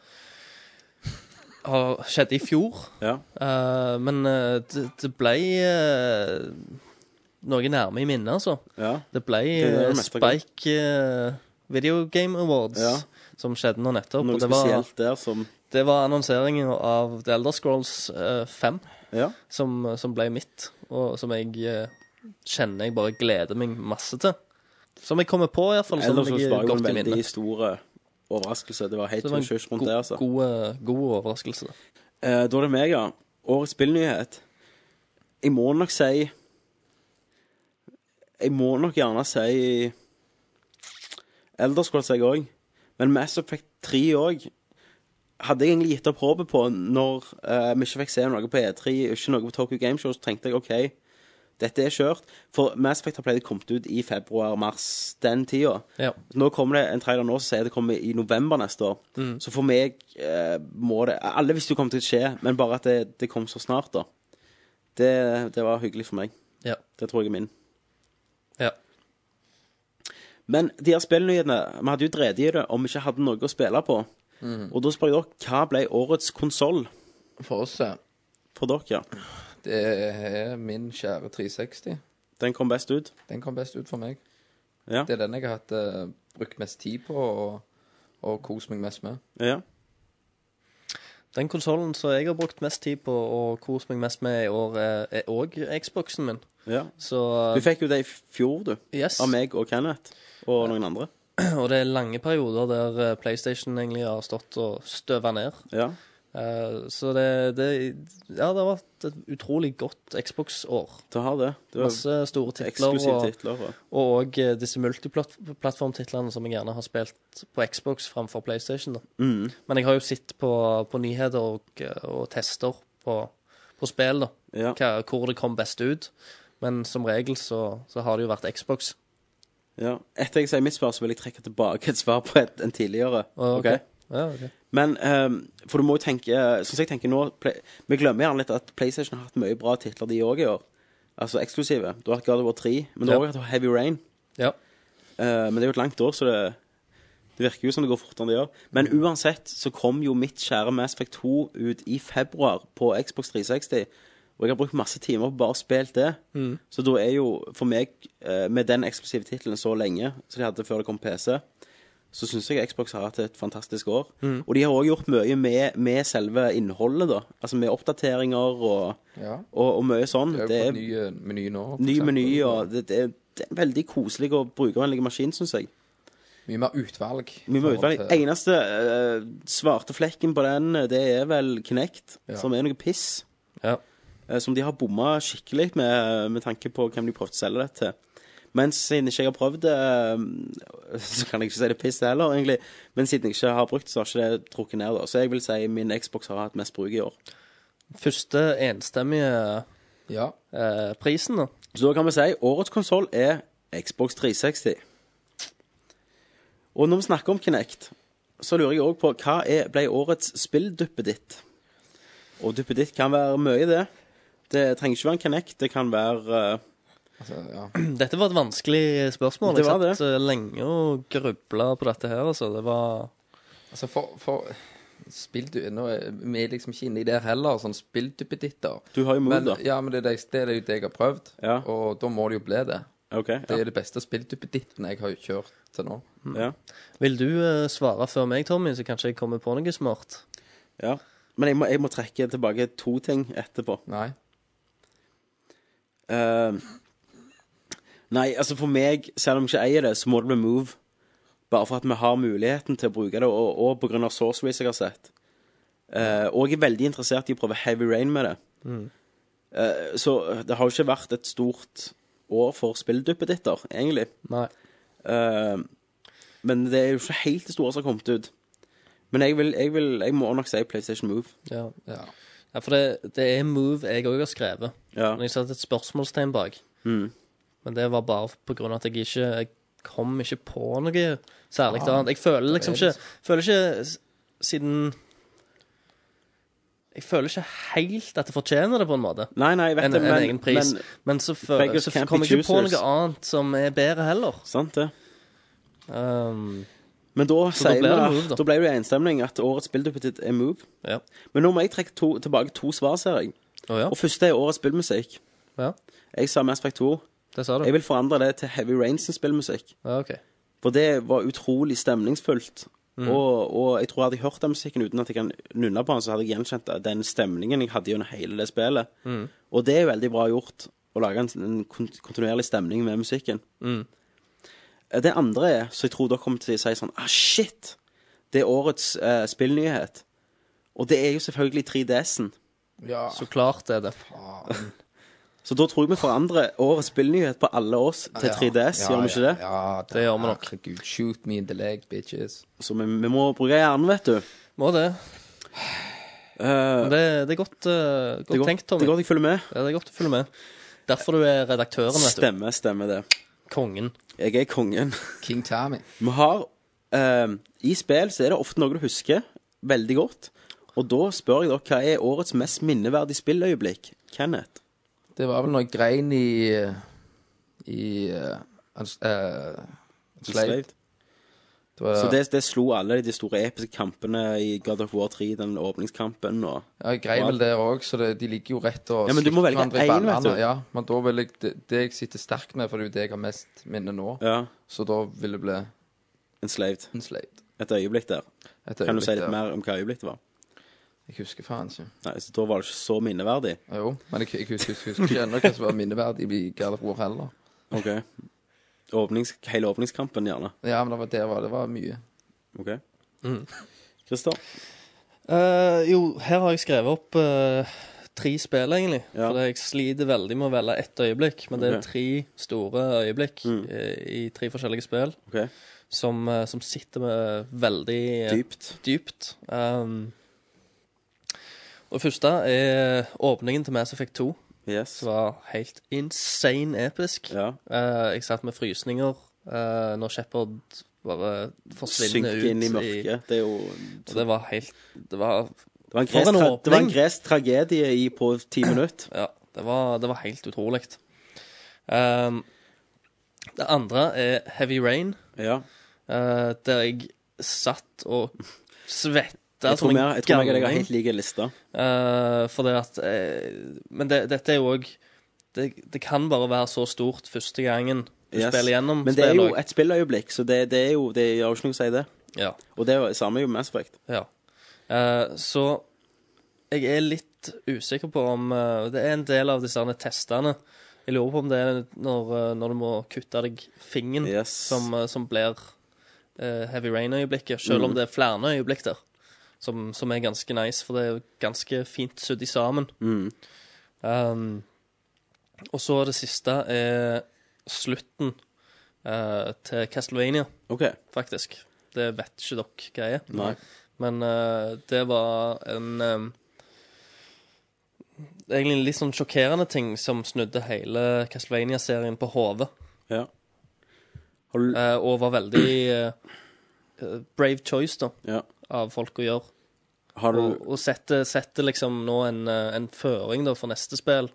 [SPEAKER 9] har skjedd i fjor.
[SPEAKER 7] ja.
[SPEAKER 9] Eh, men eh, det, det ble eh, noe nærme i minnet, altså.
[SPEAKER 7] Ja.
[SPEAKER 9] Det ble
[SPEAKER 7] er det
[SPEAKER 9] eh,
[SPEAKER 7] meste jeg
[SPEAKER 9] Spike eh, Video Game Awards
[SPEAKER 7] Ja.
[SPEAKER 9] som skjedde nå nettopp.
[SPEAKER 7] Noe
[SPEAKER 9] og det var,
[SPEAKER 7] spesielt der som
[SPEAKER 9] det var annonseringen av The Elder Scrolls eh, 5
[SPEAKER 7] Ja.
[SPEAKER 9] som, som ble mitt, og som jeg eh, kjenner jeg bare gleder meg masse til. Som jeg kommer på, iallfall. Som
[SPEAKER 7] Ellers så
[SPEAKER 9] ligger
[SPEAKER 7] var jo en
[SPEAKER 9] godt i
[SPEAKER 7] veldig
[SPEAKER 9] minnet.
[SPEAKER 7] stor eh, overraskelse. Det var helt
[SPEAKER 9] Så det var
[SPEAKER 7] hysj
[SPEAKER 9] en
[SPEAKER 7] rundt det, altså.
[SPEAKER 9] god, god, eh, god overraskelse.
[SPEAKER 7] Eh, da er det meg, ja. Årets spillnyhet. Jeg må nok si Jeg må nok gjerne si Elderskål, jeg òg. Men Mass Effect 3 òg hadde jeg egentlig gitt opp håpet på når eh, vi ikke fikk se noe på E3, ikke noe på Tokyo Game Show, så tenkte jeg OK, dette er kjørt. For Mass Effect har pleid å komme ut i februar-mars den tida.
[SPEAKER 9] Ja.
[SPEAKER 7] Nå kommer det en trailer nå som sier det kommer i november neste år.
[SPEAKER 9] Mm.
[SPEAKER 7] Så for meg eh, må det Alle visste jo det kom til å skje, men bare at det, det kom så snart, da. Det, det var hyggelig for meg.
[SPEAKER 9] Ja.
[SPEAKER 7] Det tror jeg er min.
[SPEAKER 9] ja.
[SPEAKER 7] Men de her spillnyhetene Vi hadde jo dredi i det om vi ikke hadde noe å spille på.
[SPEAKER 9] Mm.
[SPEAKER 7] Og da spør jeg dere, hva ble årets konsoll
[SPEAKER 8] For oss, ja.
[SPEAKER 7] for dere?
[SPEAKER 8] Det er min kjære 360.
[SPEAKER 7] Den kom best ut.
[SPEAKER 8] Den kom best ut for meg.
[SPEAKER 7] Ja.
[SPEAKER 8] Det er den jeg har hatt, eh, brukt mest tid på og, og kost meg mest med.
[SPEAKER 7] Ja.
[SPEAKER 9] Den konsollen som jeg har brukt mest tid på og kost meg mest med i år, er- er òg Xboxen min.
[SPEAKER 7] ja.
[SPEAKER 9] Så eh,
[SPEAKER 7] Du fikk jo det i fjor, du.
[SPEAKER 9] yes.
[SPEAKER 7] Av meg og Kenneth og noen andre.
[SPEAKER 9] Og det er lange perioder der eh, PlayStation egentlig har stått og støva ned.
[SPEAKER 7] Ja.
[SPEAKER 9] Eh, Så det, det Ja, det har vært et utrolig godt Xbox-år.
[SPEAKER 7] Du har det. Det var
[SPEAKER 9] Masse store titler.
[SPEAKER 7] eksklusive
[SPEAKER 9] Og,
[SPEAKER 7] titler. og-
[SPEAKER 9] og òg eh, disse multiplattformtitlene som jeg gjerne har spilt på Xbox framfor PlayStation. Da.
[SPEAKER 7] Mm.
[SPEAKER 9] Men jeg har jo sett på, på nyheter og, og tester på, på spill, da.
[SPEAKER 7] Ja.
[SPEAKER 9] Hva, hvor det kom best ut. Men som regel så, så har det jo vært Xbox.
[SPEAKER 7] Ja. Etter jeg sier mitt svar, så vil jeg trekke tilbake et svar på et, en tidligere.
[SPEAKER 9] Og-
[SPEAKER 7] Ok?
[SPEAKER 9] Ja, ok.
[SPEAKER 7] Men ehm, For du må jo tenke eh, Sånn som jeg tenker nå Play, Vi glemmer gjerne litt at PlayStation har hatt mye bra titler, de òg i år. Altså eksklusive. Du har hatt God of War 3, men du har
[SPEAKER 9] Ja.
[SPEAKER 7] også hatt Heavy Rain.
[SPEAKER 9] ja.
[SPEAKER 7] Eh, men det er jo et langt år, så det, det virker jo som det går fortere enn det gjør. Men uansett så kom jo mitt kjære Mass Effect 2 ut i februar på Xbox 360. Og jeg har brukt masse timer på bare å spille det. Så da er jo for meg, eh, med den eksklusive tittelen så lenge som de hadde før det kom PC, så syns jeg Xbox har hatt et fantastisk år. Og de har òg gjort mye med, med selve innholdet, da. Altså med oppdateringer og,
[SPEAKER 8] Ja.
[SPEAKER 7] og, og mye sånn.
[SPEAKER 8] Jeg har
[SPEAKER 7] Det
[SPEAKER 8] fått
[SPEAKER 7] er
[SPEAKER 8] ny eh, meny nå. for
[SPEAKER 7] ny
[SPEAKER 8] eksempel.
[SPEAKER 7] meny, og det, det, er- det er en veldig koselig og brukervennlig maskin, syns jeg.
[SPEAKER 8] Mye mer utvalg.
[SPEAKER 7] Vi må utvelge.
[SPEAKER 8] Forhold til-
[SPEAKER 7] Eneste eh, svarte flekken på den, eh, det er vel Knect,
[SPEAKER 8] Ja.
[SPEAKER 7] som er noe piss.
[SPEAKER 9] Ja.
[SPEAKER 7] eh, som de har bomma skikkelig med, med tanke på hvem de prøvde å selge det til. Men siden ikke jeg har prøvd det, eh, så kan jeg ikke si det er piss heller, egentlig. Men siden jeg ikke har brukt det, så har ikke det trukket ned, da. Så jeg vil si min Xbox har hatt mest bruk i år.
[SPEAKER 9] Første enstemmige
[SPEAKER 8] Ja.
[SPEAKER 9] eh, prisen, da.
[SPEAKER 7] Så da kan vi si årets konsoll er Xbox 360. Og når vi snakker om Kinect, så lurer jeg òg på hva er, ble årets spillduppet ditt? Og duppet ditt kan være mye, det. Det trenger ikke være en Kinect, det kan være eh,
[SPEAKER 8] Altså, ja.
[SPEAKER 9] Dette var et vanskelig spørsmål.
[SPEAKER 7] Det
[SPEAKER 9] Jeg
[SPEAKER 7] var
[SPEAKER 9] satt eh, lenge og grubla på dette her, altså. Det var
[SPEAKER 8] altså for, for Spill du Nå er vi er liksom ikke inni der heller, sånn spillduppeditter.
[SPEAKER 7] Du har jo mod,
[SPEAKER 8] men,
[SPEAKER 7] da.
[SPEAKER 8] Ja, men det er, det, det er jo det jeg har prøvd,
[SPEAKER 7] Ja.
[SPEAKER 8] og da må det jo bli det.
[SPEAKER 7] OK.
[SPEAKER 8] Det
[SPEAKER 7] Ja.
[SPEAKER 8] er det beste spillduppeditten jeg har kjørt til nå.
[SPEAKER 7] ja.
[SPEAKER 9] Vil du eh, svare før meg, Tommy, så kanskje jeg kommer på noe smart?
[SPEAKER 7] ja. Men jeg må, jeg må trekke tilbake to ting etterpå.
[SPEAKER 8] Nei.
[SPEAKER 7] Eh, nei, altså for meg, selv om jeg ikke eier det, så må det bli Move. Bare for at vi har muligheten til å bruke det, og, og på grunn av sorceries jeg har sett. Eh, og jeg er veldig interessert i å prøve Heavy Rain med det. Eh, så det har jo ikke vært et stort år for spillduppeditter, egentlig.
[SPEAKER 9] Nei.
[SPEAKER 7] Eh, men det er jo ikke helt det store som har kommet ut. Men jeg, vil, jeg, vil, jeg må nok si PlayStation Move.
[SPEAKER 9] Ja,
[SPEAKER 8] Ja.
[SPEAKER 9] ja for det, det er move jeg òg har skrevet.
[SPEAKER 7] Ja. Mm.
[SPEAKER 9] Men jeg satte et spørsmålstegn bak. Men det var bare på grunn av at jeg ikke jeg kom ikke på noe særlig
[SPEAKER 7] Ah,
[SPEAKER 9] annet. Jeg føler liksom ikke Føler ikke s- siden Jeg føler ikke helt at jeg fortjener det, på en måte.
[SPEAKER 7] Nei, nei, jeg vet
[SPEAKER 9] En,
[SPEAKER 7] det,
[SPEAKER 9] en
[SPEAKER 7] men,
[SPEAKER 9] egen pris.
[SPEAKER 7] men
[SPEAKER 9] Men, så, føler,
[SPEAKER 7] beggars
[SPEAKER 9] så
[SPEAKER 7] can't be
[SPEAKER 9] kommer jeg ikke på
[SPEAKER 7] choosers.
[SPEAKER 9] noe annet som er bedre heller.
[SPEAKER 7] Sant, det.
[SPEAKER 9] Um,
[SPEAKER 7] Men da, sier vi
[SPEAKER 9] ble det
[SPEAKER 7] at-
[SPEAKER 9] Move, da.
[SPEAKER 7] da ble det jo enstemning at årets spillduppetitt er Move.
[SPEAKER 9] ja.
[SPEAKER 7] Men nå må jeg trekke to, tilbake to svar, ser jeg.
[SPEAKER 9] Å ja.
[SPEAKER 7] Og første er årets spillmusikk.
[SPEAKER 9] ja.
[SPEAKER 7] Jeg sa Mass Effect 2.
[SPEAKER 9] Det sa du.
[SPEAKER 7] Jeg vil forandre det til Heavy Rain sin spillmusikk.
[SPEAKER 9] Ja, ok.
[SPEAKER 7] For det var utrolig stemningsfullt.
[SPEAKER 8] Mm.
[SPEAKER 7] Og, og jeg tror hadde jeg hørt den musikken uten at jeg kan nunne på den, så hadde jeg gjenkjent den stemningen jeg hadde gjennom hele det spillet.
[SPEAKER 8] Mm.
[SPEAKER 7] Og det er veldig bra gjort, å lage en, en kont- kontinuerlig stemning med musikken.
[SPEAKER 8] Mm.
[SPEAKER 7] Eh, Det andre er, så jeg tror dere kommer til å si sånn Ah, shit! Det er årets eh, spillnyhet. Og det er jo selvfølgelig 3DS-en.
[SPEAKER 8] ja.
[SPEAKER 9] Så klart er det.
[SPEAKER 7] Så da tror jeg vi forandrer årets spillnyhet på alle oss til 3DS, gjør vi ikke det?
[SPEAKER 8] Ja, ja,
[SPEAKER 9] Det gjør vi nok.
[SPEAKER 8] Herregud, shoot me in the leg, bitches.
[SPEAKER 7] Så vi, vi må bruke hjernen, vet du.
[SPEAKER 9] Må det.
[SPEAKER 7] Eh,
[SPEAKER 9] Men det, det er godt, eh, godt
[SPEAKER 7] det, er
[SPEAKER 9] tenkt,
[SPEAKER 7] godt, det
[SPEAKER 9] Tommy.
[SPEAKER 7] er godt jeg følger med.
[SPEAKER 9] Ja, det er godt å følge med. Derfor du er redaktøren, vet du.
[SPEAKER 7] Stemmer, stemmer det.
[SPEAKER 9] Kongen.
[SPEAKER 7] Jeg er kongen.
[SPEAKER 8] King Tommy.
[SPEAKER 7] Vi har eh, I spill så er det ofte noe du husker veldig godt. Og da spør jeg dere hva er årets mest minneverdige spilløyeblikk? Kenneth?
[SPEAKER 8] Det var vel noe grein i I eh, en s- eh, en slave. Det var,
[SPEAKER 7] Så det, det slo alle de store episke kampene i God of War 3, den åpningskampen og
[SPEAKER 8] ja, jeg grein vel der òg, så det, de ligger jo rett og
[SPEAKER 7] Ja, men du må
[SPEAKER 8] slikker hverandre
[SPEAKER 7] velge
[SPEAKER 8] i
[SPEAKER 7] en, vet du.
[SPEAKER 8] ballene. Ja, men da vil jeg det, det jeg sitter sterkt med, for det er jo det jeg har mest minne nå,
[SPEAKER 7] Ja,
[SPEAKER 8] så da vil det bli
[SPEAKER 7] Enslaved.
[SPEAKER 8] enslaved.
[SPEAKER 7] Et øyeblikk der.
[SPEAKER 8] Et
[SPEAKER 7] Kan du
[SPEAKER 8] øyeblikk
[SPEAKER 7] si litt
[SPEAKER 8] der.
[SPEAKER 7] mer om hva øyeblikket var?
[SPEAKER 8] Jeg husker faen ikke.
[SPEAKER 7] Nei, så Da var det ikke så minneverdig.
[SPEAKER 8] Jo, men jeg, jeg husker, husker, husker ikke ennå hva som var minneverdig i God of War heller.
[SPEAKER 7] Ok Åpnings, Hele åpningskampen, gjerne.
[SPEAKER 8] Ja, men det var, det var, det var mye.
[SPEAKER 7] Ok
[SPEAKER 8] Mm.
[SPEAKER 7] Christer?
[SPEAKER 9] Eh, jo, her har jeg skrevet opp eh, tre spill, egentlig.
[SPEAKER 7] Ja.
[SPEAKER 9] For jeg sliter veldig med å velge ett øyeblikk. Men det er
[SPEAKER 7] Ok.
[SPEAKER 9] tre store øyeblikk eh, i tre forskjellige spill
[SPEAKER 7] Ok
[SPEAKER 9] som, eh, som sitter med veldig eh,
[SPEAKER 7] Dypt.
[SPEAKER 9] dypt. Um, og det første er åpningen til Mass Effect 2.
[SPEAKER 7] Yes.
[SPEAKER 9] Det var helt insane episk.
[SPEAKER 7] Ja.
[SPEAKER 9] Eh, jeg satt med frysninger eh, når Shepherd bare forsvinner ut
[SPEAKER 7] Synke inn i mørket. Det er jo
[SPEAKER 9] Og det var helt Det var
[SPEAKER 7] Det var en
[SPEAKER 9] For
[SPEAKER 7] gresk, tra
[SPEAKER 9] en
[SPEAKER 7] det var en
[SPEAKER 9] åpning.
[SPEAKER 7] gresk tragedie i, på ti minutter.
[SPEAKER 9] Ja, det var, det var helt utrolig. Ehm, det andre er Heavy Rain,
[SPEAKER 7] Ja.
[SPEAKER 9] eh, der jeg satt og svetta
[SPEAKER 7] Jeg tror
[SPEAKER 9] som
[SPEAKER 7] vi-
[SPEAKER 9] en
[SPEAKER 7] jeg tror meg og deg har
[SPEAKER 9] galning.
[SPEAKER 7] helt like lister.
[SPEAKER 9] Uh, for det at eh, Men det, dette er jo òg det, det kan bare være så stort første gangen du
[SPEAKER 7] Yes.
[SPEAKER 9] spiller gjennom
[SPEAKER 7] Men det er jo
[SPEAKER 9] spillet.
[SPEAKER 7] et spilløyeblikk, så det, det er jo Det gjør jo ikke noe å si det.
[SPEAKER 9] Ja.
[SPEAKER 7] Og det er jo samme jo med Mass Effect.
[SPEAKER 9] Ja. Eh, så jeg er litt usikker på om eh, Det er en del av disse her testene. Jeg lurer på om det er når, eh, når du må kutte deg fingeren
[SPEAKER 7] Yes.
[SPEAKER 9] som, eh, som blir eh, heavy rain-øyeblikket. Selv
[SPEAKER 7] Mm.
[SPEAKER 9] om det er flere øyeblikk der som, som er ganske nice, for det er jo ganske fint sydd i sammen.
[SPEAKER 7] Mm.
[SPEAKER 9] Um, og så det siste er slutten eh, til Castlevania,
[SPEAKER 7] OK.
[SPEAKER 9] faktisk. Det vet ikke dere hva er.
[SPEAKER 7] Nei.
[SPEAKER 9] Men eh, det var en eh, Egentlig en litt sånn sjokkerende ting som snudde hele Castlevania-serien på hodet.
[SPEAKER 7] Ja. Har du
[SPEAKER 9] eh, og var veldig eh, eh, brave choice, da,
[SPEAKER 7] Ja.
[SPEAKER 9] av folk å gjøre.
[SPEAKER 7] Har du
[SPEAKER 9] Og, og setter, setter liksom nå en, eh, en føring da for neste spill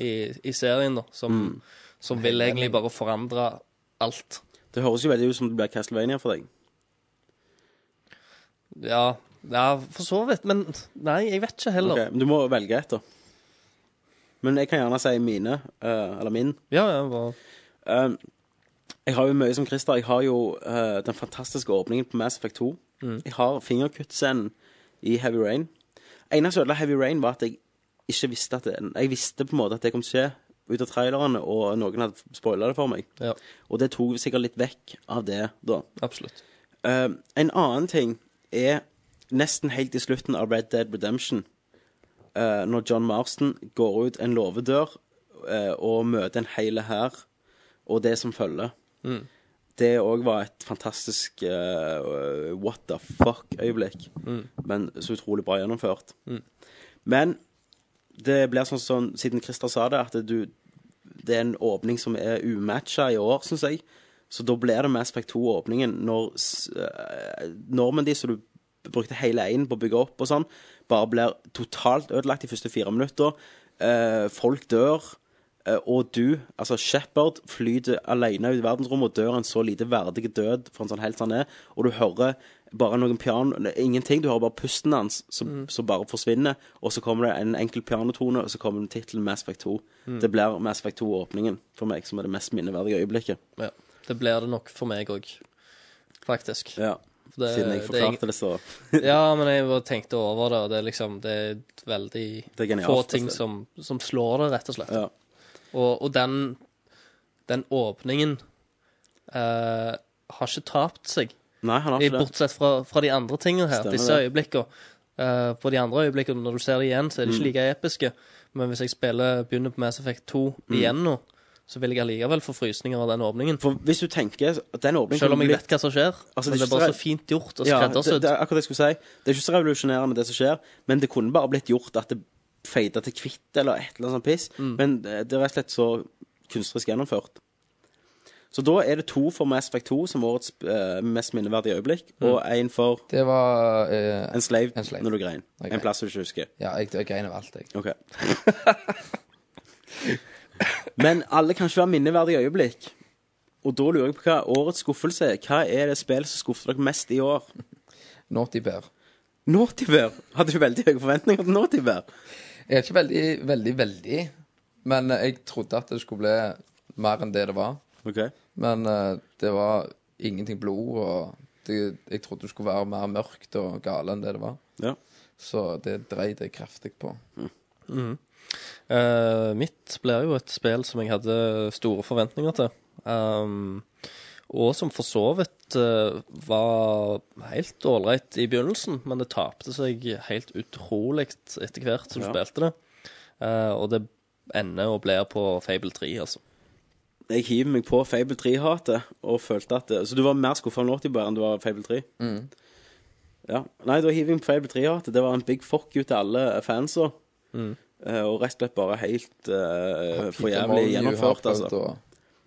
[SPEAKER 9] i, i serien, da, som, som vil egentlig bare forandre alt.
[SPEAKER 7] Det høres jo veldig ut som det blir Castlevania for deg.
[SPEAKER 9] Ja, ja, for så vidt, men nei, jeg vet ikke
[SPEAKER 7] Ok,
[SPEAKER 9] heller.
[SPEAKER 7] men Du må velge et, da. Men jeg kan gjerne si mine. eh, eller min.
[SPEAKER 9] Ja, ja, bare
[SPEAKER 7] Um, jeg har jo mye som Christer. Jeg har jo eh, den fantastiske åpningen på Mass Effect 2. Jeg har fingerkuttscenen i Heavy Rain. Eneste som ødela Heavy Rain, var at jeg ikke visste at det, Jeg visste på en måte at det kom til å skje ut av trailerne, og noen hadde spoila det for meg.
[SPEAKER 9] Ja,
[SPEAKER 7] Og det tok sikkert litt vekk av det, da.
[SPEAKER 9] absolutt.
[SPEAKER 7] Eh, en annen ting er nesten helt i slutten av Red Dead Redemption. eh, når John Marston går ut en låvedør eh, og møter en hel hær, og det som følger. Det òg var et fantastisk eh, what the fuck-øyeblikk. Men så utrolig bra gjennomført. Men det blir sånn som, siden Christer sa det, at du, det er en åpning som er umatcha i år, syns jeg. Så da blir det Mass Effect 2-åpningen når s- eh, normen de som du brukte hele én på å bygge opp og sånn, bare blir totalt ødelagt de første fire minutter. Eh, folk dør. eh, Og du, altså Shepherd, flyter alene ut i verdensrommet og dør en så lite verdig død for en sånn helt han er, og du hører bare noen piano ne, Ingenting. Du hører bare pusten hans som,
[SPEAKER 9] Mm.
[SPEAKER 7] som bare forsvinner, og så kommer det en enkel pianotone, og så kommer tittelen Mass Effect 2.
[SPEAKER 9] Mm.
[SPEAKER 7] Det blir Mass Effect 2-åpningen for meg, som er det mest minneverdige øyeblikket.
[SPEAKER 9] Ja. Det blir det nok for meg òg, faktisk.
[SPEAKER 7] Ja.
[SPEAKER 9] Det-
[SPEAKER 7] Siden jeg
[SPEAKER 9] det er ing-
[SPEAKER 7] forklarte det, så
[SPEAKER 9] Ja, men jeg bare tenkte over det, og det er liksom Det er veldig
[SPEAKER 7] Det er genialt,
[SPEAKER 9] få ting
[SPEAKER 7] altså.
[SPEAKER 9] som, som slår det, rett og slett.
[SPEAKER 7] ja.
[SPEAKER 9] Og, og den, den åpningen eh, har ikke tapt seg,
[SPEAKER 7] Nei, han har
[SPEAKER 9] i,
[SPEAKER 7] ikke det.
[SPEAKER 9] bortsett fra, fra de andre tingene her.
[SPEAKER 7] Stemmer
[SPEAKER 9] disse
[SPEAKER 7] det.
[SPEAKER 9] øyeblikkene. Eh, på de andre øyeblikkene, når du ser det igjen, så er det
[SPEAKER 7] Mm.
[SPEAKER 9] ikke like episke. Men hvis jeg spiller, begynner på Mass Effect 2
[SPEAKER 7] Mm.
[SPEAKER 9] igjen nå, så vil jeg allikevel få frysninger av den åpningen.
[SPEAKER 7] For hvis du tenker at den åpningen
[SPEAKER 9] Selv om jeg
[SPEAKER 7] blir-
[SPEAKER 9] vet hva som skjer.
[SPEAKER 7] Altså, det
[SPEAKER 9] men
[SPEAKER 7] er
[SPEAKER 9] det er
[SPEAKER 7] ikke
[SPEAKER 9] bare
[SPEAKER 7] så-
[SPEAKER 9] så fint gjort og
[SPEAKER 7] ja, det,
[SPEAKER 9] skreddersydd.
[SPEAKER 7] det er akkurat det jeg skulle si. Det er ikke så revolusjonerende, det som skjer, men det kunne bare blitt gjort at det feida til hvitt eller et eller annet sånt piss.
[SPEAKER 8] Mm.
[SPEAKER 7] Men eh, det er rett og slett så kunstnerisk gjennomført. Så da er det to for Mass Effect 2 som årets eh, mest minneverdige øyeblikk, og én for
[SPEAKER 8] Det var eh,
[SPEAKER 7] en slave,
[SPEAKER 8] Mm. En slave.
[SPEAKER 7] når du grein.
[SPEAKER 8] Ok.
[SPEAKER 7] En plass du ikke husker.
[SPEAKER 8] Ja, jeg, jeg grein av alt, jeg.
[SPEAKER 7] OK. Men alle kan ikke være minneverdige øyeblikk. Og da lurer jeg på hva årets skuffelse er. Hva er det spillet som skuffer dere mest i år?
[SPEAKER 8] Naughty Bear.
[SPEAKER 7] Naughtybear. Hadde du veldig høye forventninger til Naughtybear?
[SPEAKER 8] Jeg er ikke veldig, veldig, veldig, men eh, jeg trodde at det skulle bli mer enn det det var.
[SPEAKER 7] OK.
[SPEAKER 8] Men eh, det var ingenting blod, og det, jeg trodde det skulle være mer mørkt og gale enn det det var.
[SPEAKER 7] Ja.
[SPEAKER 8] Så det dreide jeg kraftig på.
[SPEAKER 9] Eh, mitt blir jo et spill som jeg hadde store forventninger til. Ehm, og som for så vidt eh, var helt ålreit i begynnelsen, men det tapte seg helt utrolig etter hvert som du
[SPEAKER 7] Ja.
[SPEAKER 9] spilte det. Eh, og det ender og blir på Fable 3, altså.
[SPEAKER 7] Jeg hiver meg på Fable 3-hatet og følte at det- Så du var mer skuffa av Naughtybear enn du var av Fable 3? Ja. Nei, da hiver jeg meg på Fable 3-hatet. Det var en big fuck you til alle fansa. Eh, og rett og slett bare helt eh, for jævlig gjennomført, altså.
[SPEAKER 8] Å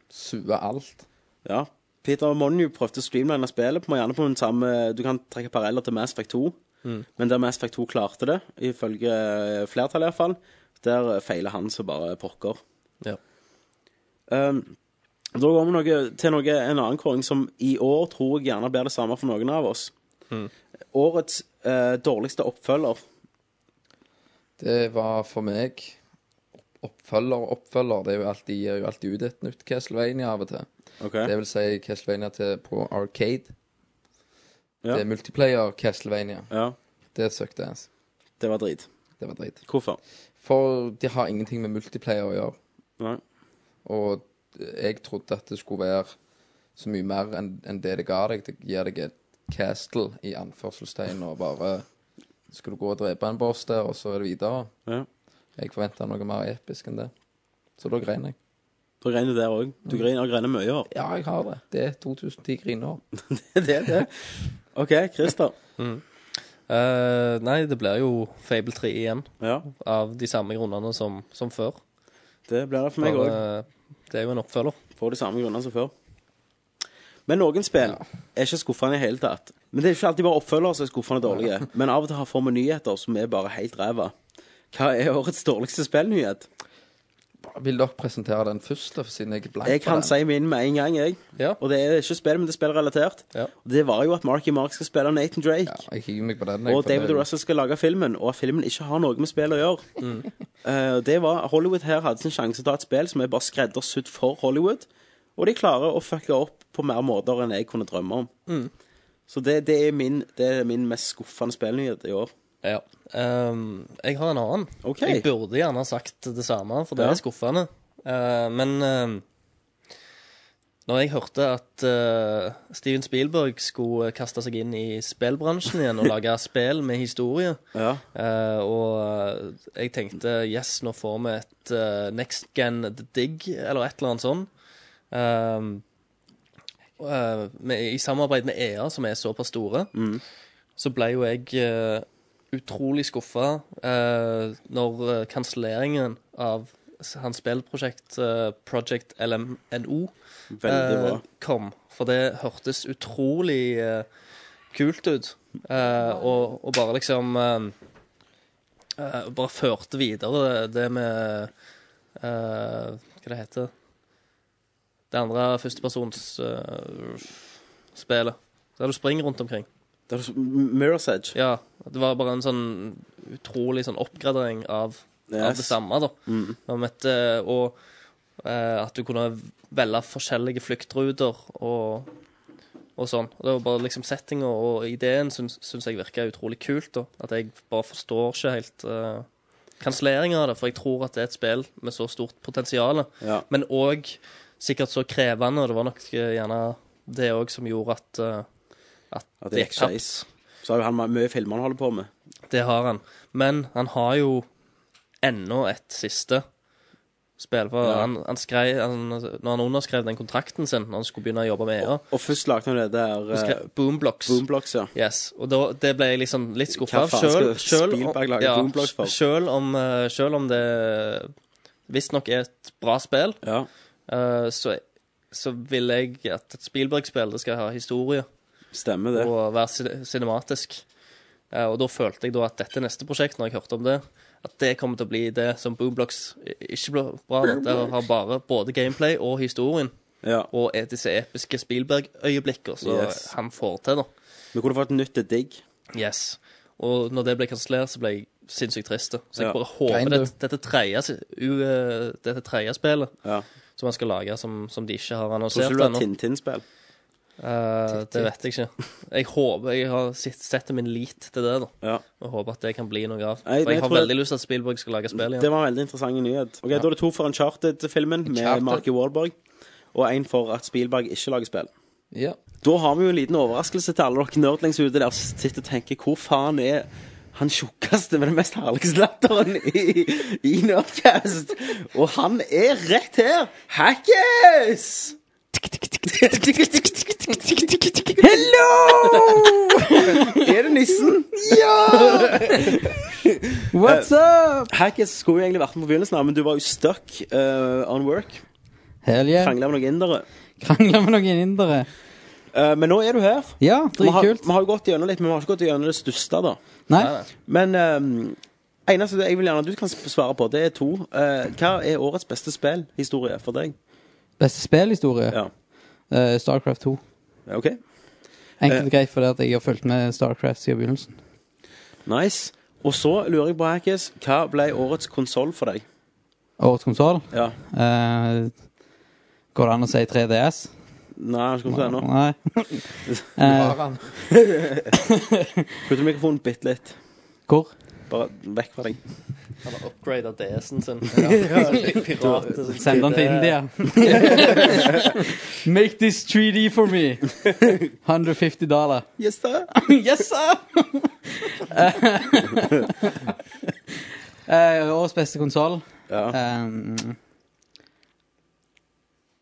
[SPEAKER 8] sue alt.
[SPEAKER 7] Ja. Peter Monju prøvde å streamline spillet på gjerne på den samme Du kan trekke paralleller til Mass Effect 2, men der Mass Effect 2 klarte det, ifølge eh, flertallet iallfall, der feiler han som bare pokker.
[SPEAKER 9] Ja.
[SPEAKER 7] Um, da går vi noe, til noe, en annen kåring som i år tror jeg gjerne blir det samme for noen av oss. Årets eh, dårligste oppfølger.
[SPEAKER 8] Det var for meg oppfølger og oppfølger. Det er jo alltid, gir jo alltid ut et nytt Castlevania av og til. Det vil si Castlevania til, på Arcade.
[SPEAKER 7] Ja.
[SPEAKER 8] Det er multiplayer Castlevania.
[SPEAKER 7] Ja,
[SPEAKER 8] Det søkte jeg. altså.
[SPEAKER 7] det var drit.
[SPEAKER 8] Det var dritt.
[SPEAKER 7] Hvorfor?
[SPEAKER 8] For de har ingenting med multiplayer å gjøre.
[SPEAKER 7] Nei.
[SPEAKER 8] Og jeg trodde at det skulle være så mye mer enn enn det det ga deg. Det gir deg et castle i anførselstegn og bare Skal du gå og drepe en boss der, og så er det videre?
[SPEAKER 7] Ja.
[SPEAKER 8] Jeg forventa noe mer episk enn det. Så da grein jeg.
[SPEAKER 7] Du greiner der òg. Du greiner, greiner mye her.
[SPEAKER 8] Ja, jeg har det. Det er 2010 griner.
[SPEAKER 7] det er det. OK, Christer.
[SPEAKER 9] Eh, nei, det blir jo Fable 3 igjen,
[SPEAKER 7] Ja,
[SPEAKER 9] av de samme grunnene som, som før.
[SPEAKER 7] det blir det for meg
[SPEAKER 9] For,
[SPEAKER 7] òg.
[SPEAKER 9] eh, det er jo en oppfølger.
[SPEAKER 7] Får de samme grunnene som før. Men noen spill er ikke skuffende i hele tatt. Men det er ikke alltid bare oppfølgere som er skuffende dårlige. Men av og til har får vi nyheter som er bare helt ræva. Hva er årets dårligste spillnyhet?
[SPEAKER 8] Vil dere presentere den først, da, siden jeg er blank
[SPEAKER 7] Jeg
[SPEAKER 8] på
[SPEAKER 7] kan
[SPEAKER 8] den?
[SPEAKER 7] si min med en gang, jeg.
[SPEAKER 9] Ja.
[SPEAKER 7] Og det er ikke spill, men det er spillrelatert.
[SPEAKER 9] Ja.
[SPEAKER 7] Og Det var jo at Marky Mark skal spille Nathan Drake.
[SPEAKER 8] Ja, jeg hiver meg på den. jeg,
[SPEAKER 7] Og
[SPEAKER 8] for
[SPEAKER 7] David
[SPEAKER 8] det-
[SPEAKER 7] Russell skal lage filmen, og at filmen ikke har noe med spillet å gjøre. Eh, det var, Hollywood her hadde sin sjanse til å ta et spill som er bare skreddersydd for Hollywood, og de klarer å fucke opp på mer måter enn jeg kunne drømme om. Så det, det, er min, det er min mest skuffende spillnyhet i år.
[SPEAKER 9] Ja. Ehm, jeg har en annen.
[SPEAKER 7] Ok.
[SPEAKER 9] Jeg burde gjerne ha sagt det samme, for det
[SPEAKER 7] Ja.
[SPEAKER 9] er skuffende. Eh, men ehm, når jeg hørte at eh, Steven Spielberg skulle kaste seg inn i spillbransjen igjen og lage spill med historie
[SPEAKER 7] Ja.
[SPEAKER 9] eh, Og eh, jeg tenkte yes, nå får vi et eh, Next Gen The Dig, eller et eller annet sånn. Ehm, eh, med, I samarbeid med EA, som er såpass store så ble jo jeg eh, utrolig skuffa eh, når eh, kanselleringen av s- hans spillprosjekt eh, Project LMNO
[SPEAKER 7] Veldig
[SPEAKER 9] eh,
[SPEAKER 7] bra.
[SPEAKER 9] kom. For det hørtes utrolig eh, kult ut. Eh, og, og bare liksom eh, eh, Bare førte videre det med eh, Hva det heter Det andre førstepersonsspillet. der du springer rundt omkring.
[SPEAKER 7] Det er Mirror's Edge.
[SPEAKER 9] Ja, det var bare en sånn utrolig sånn oppgradering av, av
[SPEAKER 7] Yes. Mm.
[SPEAKER 9] det samme, da. Om et, eh, og eh, at du kunne velge forskjellige fluktruter og, og sånn. Og det var bare liksom settinga og ideen syns, syns jeg virka utrolig kult, da. At jeg bare forstår ikke helt uh, kanselleringa av det, for jeg tror at det er et spill med så stort potensial.
[SPEAKER 7] Ja.
[SPEAKER 9] Men òg sikkert så krevende, og det var nok eh, gjerne det òg som gjorde at, eh, at,
[SPEAKER 7] At
[SPEAKER 9] det gikk tapt.
[SPEAKER 7] skeis. Så har jo han mye filmer han holder på med.
[SPEAKER 9] Det har han. Men han har jo ennå et siste spill. For
[SPEAKER 7] Ja.
[SPEAKER 9] han, han skrev, han, når han underskrev den kontrakten sin når han skulle begynne å jobbe med EA,
[SPEAKER 7] Og først lagde han det der
[SPEAKER 9] så
[SPEAKER 7] eh,
[SPEAKER 9] skrev Boomblocks.
[SPEAKER 7] Boomblocks, ja.
[SPEAKER 9] Yes, og da, det ble jeg liksom litt skuffa
[SPEAKER 7] Hva
[SPEAKER 9] av.
[SPEAKER 7] faen
[SPEAKER 9] Sjøl,
[SPEAKER 7] skal
[SPEAKER 9] sjøl,
[SPEAKER 7] Spielberg lage Boomblocks for?
[SPEAKER 9] sjøl, om, eh, sjøl om det visstnok er et bra spill,
[SPEAKER 7] ja.
[SPEAKER 9] eh, så, så vil jeg at et Spielberg-spill det skal ha historie
[SPEAKER 7] Stemmer det.
[SPEAKER 9] og være cin- cinematisk. Eh, og da følte jeg da at dette neste prosjekt, når jeg hørte om det, at det kommer til å bli det som Boomblocks i- ikke ble bra. Det har bare både gameplay og historien
[SPEAKER 7] Ja.
[SPEAKER 9] og er disse episke Spielberg-øyeblikkene som
[SPEAKER 7] Yes.
[SPEAKER 9] han får til, da.
[SPEAKER 7] Vi kunne fått nytt til digg.
[SPEAKER 9] Yes. Og når det ble kansellert, så ble jeg sinnssykt trist. da. Så jeg
[SPEAKER 7] Ja.
[SPEAKER 9] bare
[SPEAKER 8] Grein
[SPEAKER 9] håper
[SPEAKER 8] du?
[SPEAKER 9] det, dette tredje si- u- eh, dette tredje spillet
[SPEAKER 7] Ja.
[SPEAKER 9] som han skal lage, som, som de ikke har
[SPEAKER 7] Tror
[SPEAKER 9] annonsert
[SPEAKER 7] ikke du det var
[SPEAKER 9] ennå
[SPEAKER 7] Tintin-spill?
[SPEAKER 9] Eh, det vet jeg ikke. Jeg håper jeg har sitt- setter min lit til det, da.
[SPEAKER 7] Ja.
[SPEAKER 9] Og håper at det kan bli noe av.
[SPEAKER 7] Nei,
[SPEAKER 9] For jeg
[SPEAKER 7] jeg
[SPEAKER 9] har
[SPEAKER 7] tror-
[SPEAKER 9] veldig lyst til at Spielberg skal lage spill
[SPEAKER 7] Det
[SPEAKER 9] igjen.
[SPEAKER 7] var en veldig interessant nyhet. Ok, Da er det to for Uncharted-filmen med
[SPEAKER 8] Uncharted.
[SPEAKER 7] Marky Wahlberg, og en for at Spielberg ikke lager spill.
[SPEAKER 8] Ja.
[SPEAKER 7] Da har vi jo en liten overraskelse til alle dere nerdlings ute der som sitter og tenker hvor faen er han tjukkeste med den mest herligste latteren i, i Nerdcast? Og han er rett her! Hackes! Hello! Er det nissen? Ja! What's up? Hackes skulle jo egentlig vært med på begynnelsen, her, men du var jo stuck eh, on work.
[SPEAKER 11] Hell yeah.
[SPEAKER 7] Krangla med noen indere.
[SPEAKER 11] Krangler med noen indere.
[SPEAKER 7] Eh, men nå er du her.
[SPEAKER 11] Ja,
[SPEAKER 7] Vi har,
[SPEAKER 11] dritkult.
[SPEAKER 7] vi har jo gått gjennom litt, men vi har ikke gått gjennom det største, da.
[SPEAKER 11] Nei,
[SPEAKER 7] Men ehm, eneste det jeg vil gjerne at du kan svare på, det er to. Eh, hva er årets beste spillhistorie for deg?
[SPEAKER 11] beste spillhistorie.
[SPEAKER 7] Ja.
[SPEAKER 11] Eh, Starcraft 2.
[SPEAKER 7] OK.
[SPEAKER 11] Enkelt og greit fordi at jeg har fulgt med Starcraft siden begynnelsen.
[SPEAKER 7] Nice. Og så lurer jeg på, Hackes, hva ble årets konsoll for deg?
[SPEAKER 11] Årets konsoll.
[SPEAKER 7] Ja.
[SPEAKER 11] Eh, går det an å si 3DS?
[SPEAKER 7] Nei, jeg skal ikke si det nå.
[SPEAKER 11] Nei.
[SPEAKER 8] Har
[SPEAKER 11] Eh,
[SPEAKER 8] han?
[SPEAKER 7] Putte mikrofonen bitte litt.
[SPEAKER 11] hvor?
[SPEAKER 7] Bare vekk fra deg.
[SPEAKER 9] Han har upgrada DS-en sin. Pirater som
[SPEAKER 11] Send den til India. Make this 3D for me. 150 dollar.
[SPEAKER 7] Yes, sir.
[SPEAKER 11] Yes, sir! Eh, årets beste konsoll.
[SPEAKER 7] Ja.
[SPEAKER 11] Um,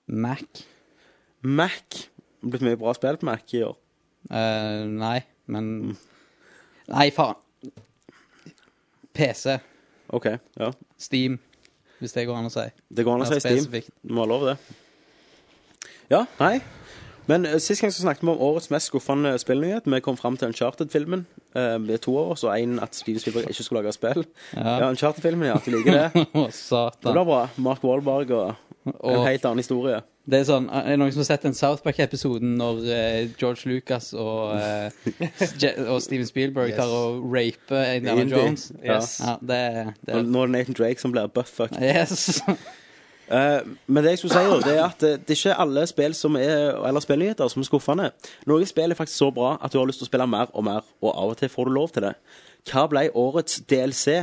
[SPEAKER 11] Mac.
[SPEAKER 7] Mac. Det har blitt mye bra spill på Mac i år.
[SPEAKER 11] Eh, nei, men Nei, faen. PC.
[SPEAKER 7] OK. Ja.
[SPEAKER 11] Steam, hvis det går an å si.
[SPEAKER 7] Det går an å
[SPEAKER 11] Mer
[SPEAKER 7] si Steam.
[SPEAKER 11] spesifikt.
[SPEAKER 7] Du må ha lov til det. Ja, nei. Men eh, sist gang så snakket vi om årets mest skuffende spillnyhet. Vi kom fram til Uncharted-filmen. Eh, det er to år, så én at Steven Spielberg ikke skulle lage spill. Ja, Uncharted-filmen, ja. At de liker det.
[SPEAKER 11] Å,
[SPEAKER 7] Det
[SPEAKER 11] satan.
[SPEAKER 7] blir bra. Mark Wahlberg og en
[SPEAKER 11] Og-
[SPEAKER 7] helt annen historie.
[SPEAKER 11] Det er sånn, er det noen som har sett den South Park-episoden når eh, George Lucas og, eh, Je- og Steven Spielberg
[SPEAKER 8] Yes.
[SPEAKER 11] tar og raper Indiana
[SPEAKER 7] Indy.
[SPEAKER 11] Jones?
[SPEAKER 7] Ja.
[SPEAKER 9] Yes.
[SPEAKER 11] Ja, det, det
[SPEAKER 7] Og Nå er det Nathan Drake som blir buff-fucked.
[SPEAKER 11] Yes.
[SPEAKER 7] Eh, men det jeg skulle si, da, det er at eh, det er ikke alle spill som er, eller spillnyheter som er skuffende. Noen spill er faktisk så bra at du har lyst til å spille mer og mer, og av og til får du lov til det. Hva ble årets DLC?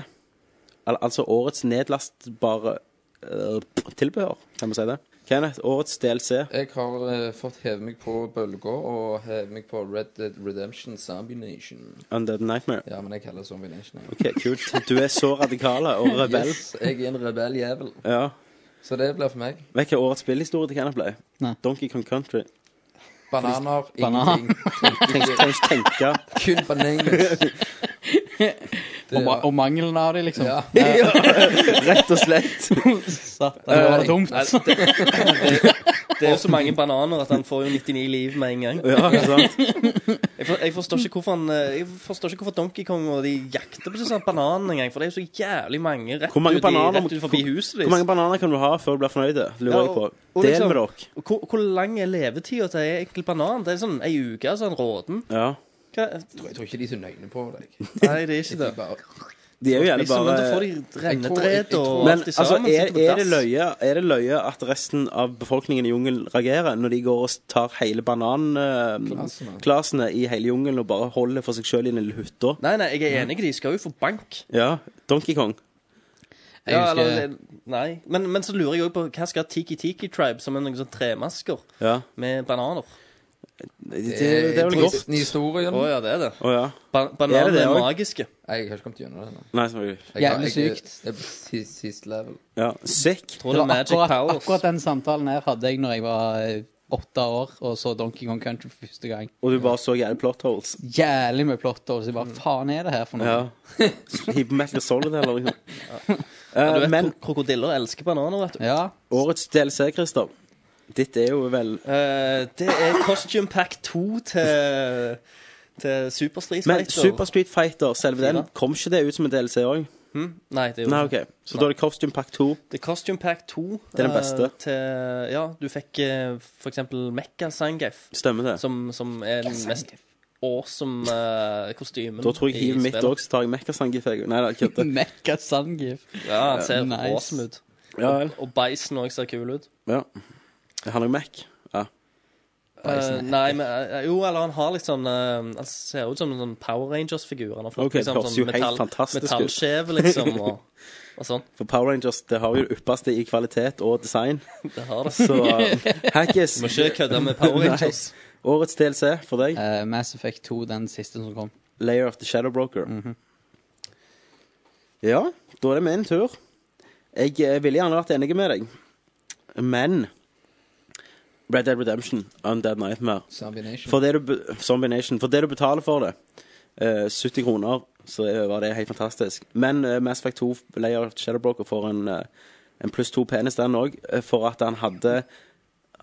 [SPEAKER 7] Al altså årets nedlastbare eh, tilbehør, kan vi si det. Kenneth, årets DLC.
[SPEAKER 8] Jeg har eh, fått heve meg på bølga og heve meg på Red Dead Redemption Zombie Nation.
[SPEAKER 7] Undead Nightmare.
[SPEAKER 8] Ja, men jeg kaller det Zombie Nation. jeg.
[SPEAKER 7] Ok, Kult. Du er så radikal og rebell.
[SPEAKER 8] Yes, jeg er en rebelljævel.
[SPEAKER 7] Ja.
[SPEAKER 8] Så det blir for meg.
[SPEAKER 7] Vet du hva årets spillhistorie til Kenneth ble?
[SPEAKER 11] Nei.
[SPEAKER 7] Donkey Kong Country.
[SPEAKER 8] Bananer,
[SPEAKER 11] Banan.
[SPEAKER 8] ingenting.
[SPEAKER 7] Trenger trenger ikke tenke.
[SPEAKER 8] Kun bananas.
[SPEAKER 11] Og, ma og mangelen av det, liksom.
[SPEAKER 8] Ja.
[SPEAKER 7] Rett og slett.
[SPEAKER 11] Satan, det var dumt.
[SPEAKER 9] Det er jo så mange bananer at han får jo 99 liv med en gang.
[SPEAKER 7] Ja, sant.
[SPEAKER 9] Jeg, for, jeg, forstår ikke hvorfor han, eh, jeg forstår ikke hvorfor Donkey Kong og de jakter på sånn banan en gang, for det er jo så jævlig mange rett
[SPEAKER 7] Hvor mange
[SPEAKER 9] ut i-
[SPEAKER 7] bananer-
[SPEAKER 9] rett ut forbi huset
[SPEAKER 7] Hvor mange bananer kan du ha før du blir fornøyd? Lurer jeg på. Del
[SPEAKER 9] liksom-
[SPEAKER 7] med dere.
[SPEAKER 9] Hvor, hvor lang er levetida til ei enkel banan? Det er sånn ei uke, altså en råten.
[SPEAKER 7] Ja.
[SPEAKER 9] Hva?
[SPEAKER 8] Jeg tror ikke de er så nøgne på deg.
[SPEAKER 9] Nei, det er ikke
[SPEAKER 8] De
[SPEAKER 9] det.
[SPEAKER 8] bare,
[SPEAKER 7] De er jo gjerne
[SPEAKER 9] Liksom, men da får
[SPEAKER 7] bare
[SPEAKER 9] de
[SPEAKER 8] Jeg
[SPEAKER 9] rennedret
[SPEAKER 8] tror-
[SPEAKER 9] og
[SPEAKER 7] Men
[SPEAKER 9] alt de
[SPEAKER 7] altså,
[SPEAKER 9] sammen.
[SPEAKER 7] er,
[SPEAKER 9] sitter på
[SPEAKER 7] er, det
[SPEAKER 9] dass.
[SPEAKER 7] løye, er det løye at resten av befolkningen i jungelen reagerer når de går og tar hele
[SPEAKER 8] Klasene.
[SPEAKER 7] bananklasene i hele jungelen og bare holder for seg sjøl i den lille hytta?
[SPEAKER 9] Nei, nei, jeg er enig, de skal jo få bank.
[SPEAKER 7] Ja. Donkey Kong.
[SPEAKER 11] Jeg
[SPEAKER 9] Ja,
[SPEAKER 11] husker-
[SPEAKER 9] eller, nei. Men, men så lurer jeg òg på hva skal Tiki Tiki Tribe, som er noen sånne tremasker
[SPEAKER 7] Ja.
[SPEAKER 9] med bananer?
[SPEAKER 7] Det, det, det er vel godt.
[SPEAKER 8] Tristen historie.
[SPEAKER 9] Å ja, det er det.
[SPEAKER 7] Å ja.
[SPEAKER 9] Ba bananer
[SPEAKER 7] Er
[SPEAKER 9] er,
[SPEAKER 7] det det også?
[SPEAKER 9] magiske.
[SPEAKER 8] Nei, Jeg har ikke kommet gjennom det ennå.
[SPEAKER 7] Nei, selvfølgelig.
[SPEAKER 8] Jeg-
[SPEAKER 11] Jævlig
[SPEAKER 8] jeg-
[SPEAKER 11] sykt.
[SPEAKER 8] Jeg er på sist- sist level.
[SPEAKER 7] Ja. Sick.
[SPEAKER 9] Tror det
[SPEAKER 11] Det
[SPEAKER 9] er
[SPEAKER 11] var
[SPEAKER 9] Magic
[SPEAKER 11] akkurat,
[SPEAKER 9] Powers.
[SPEAKER 11] akkurat den samtalen her hadde jeg når jeg var eh, åtte år og så Donkey Kong Country for første gang.
[SPEAKER 7] Og du bare så jævlig plot holes.
[SPEAKER 11] Jævlig med plott, og så jeg bare faen er det her for noe?
[SPEAKER 7] Ja. Hipp Metal Solid, eller noe sånt.
[SPEAKER 9] Ja, du
[SPEAKER 7] Eh,
[SPEAKER 9] vet,
[SPEAKER 7] Men
[SPEAKER 9] kro- krokodiller elsker bananer, vet du.
[SPEAKER 11] Ja.
[SPEAKER 7] årets DLC, Christer, ditt er jo vel
[SPEAKER 9] Eh, det er Costume Pack 2 til, til Super Street
[SPEAKER 7] Men
[SPEAKER 9] Fighter.
[SPEAKER 7] Super Street Fighter, selve den,
[SPEAKER 9] Fire.
[SPEAKER 7] kom ikke det ut som en DLC òg?
[SPEAKER 9] Nei, det er jo
[SPEAKER 7] Nei, OK. Så da er det Costume Pack 2.
[SPEAKER 9] Det er Costume Pack 2.
[SPEAKER 7] Det er den
[SPEAKER 9] eh,
[SPEAKER 7] beste.
[SPEAKER 9] til, ja, du fikk eh, for eksempel Mekka Sangef,
[SPEAKER 7] Stemmer det.
[SPEAKER 9] som, som er den mest awesome eh, kostymen.
[SPEAKER 7] Da tror jeg
[SPEAKER 9] i
[SPEAKER 7] hivet mitt
[SPEAKER 9] spillet.
[SPEAKER 7] òg, så tar jeg Mekkasangi. Nei da, kødder.
[SPEAKER 11] Mekka Sandgif.
[SPEAKER 9] Ja, han ser
[SPEAKER 7] Ehm,
[SPEAKER 11] Nice.
[SPEAKER 9] awesome ut.
[SPEAKER 7] Ja vel.
[SPEAKER 9] Og Bison òg ser kul ut.
[SPEAKER 7] Ja. Han er Mac. Ja.
[SPEAKER 9] Eh, nei, men eh, Jo, eller han har litt sånn eh, Han ser ut som en sånn Power Rangers-figur. Han har fått liksom
[SPEAKER 7] Ok, det høres jo helt fantastisk ut.
[SPEAKER 9] metallskjeve, liksom, og, og sånn.
[SPEAKER 7] For Power Rangers det har jo det ypperste i kvalitet og design.
[SPEAKER 9] Det har det.
[SPEAKER 7] Så Hackis,
[SPEAKER 9] Må ikke kødde med Power Rangers.
[SPEAKER 7] årets DLC for deg,
[SPEAKER 11] Eh, Mass Effect 2, den siste som kom.
[SPEAKER 7] Layer of the Shadow Broker.
[SPEAKER 9] Mhm.
[SPEAKER 7] Ja, da er det min tur. Jeg eh, ville gjerne vært enig med deg, men Red Dead Redemption, Undead Nightmare
[SPEAKER 8] Zombie Nation.
[SPEAKER 7] For det du, be- Zombie Nation. For det du betaler for det, eh, 70 kroner, så er- var det helt fantastisk. Men eh, Mass Effect 2 Layer of Shadowbroker får en, eh, en pluss to penis, den òg, for at han hadde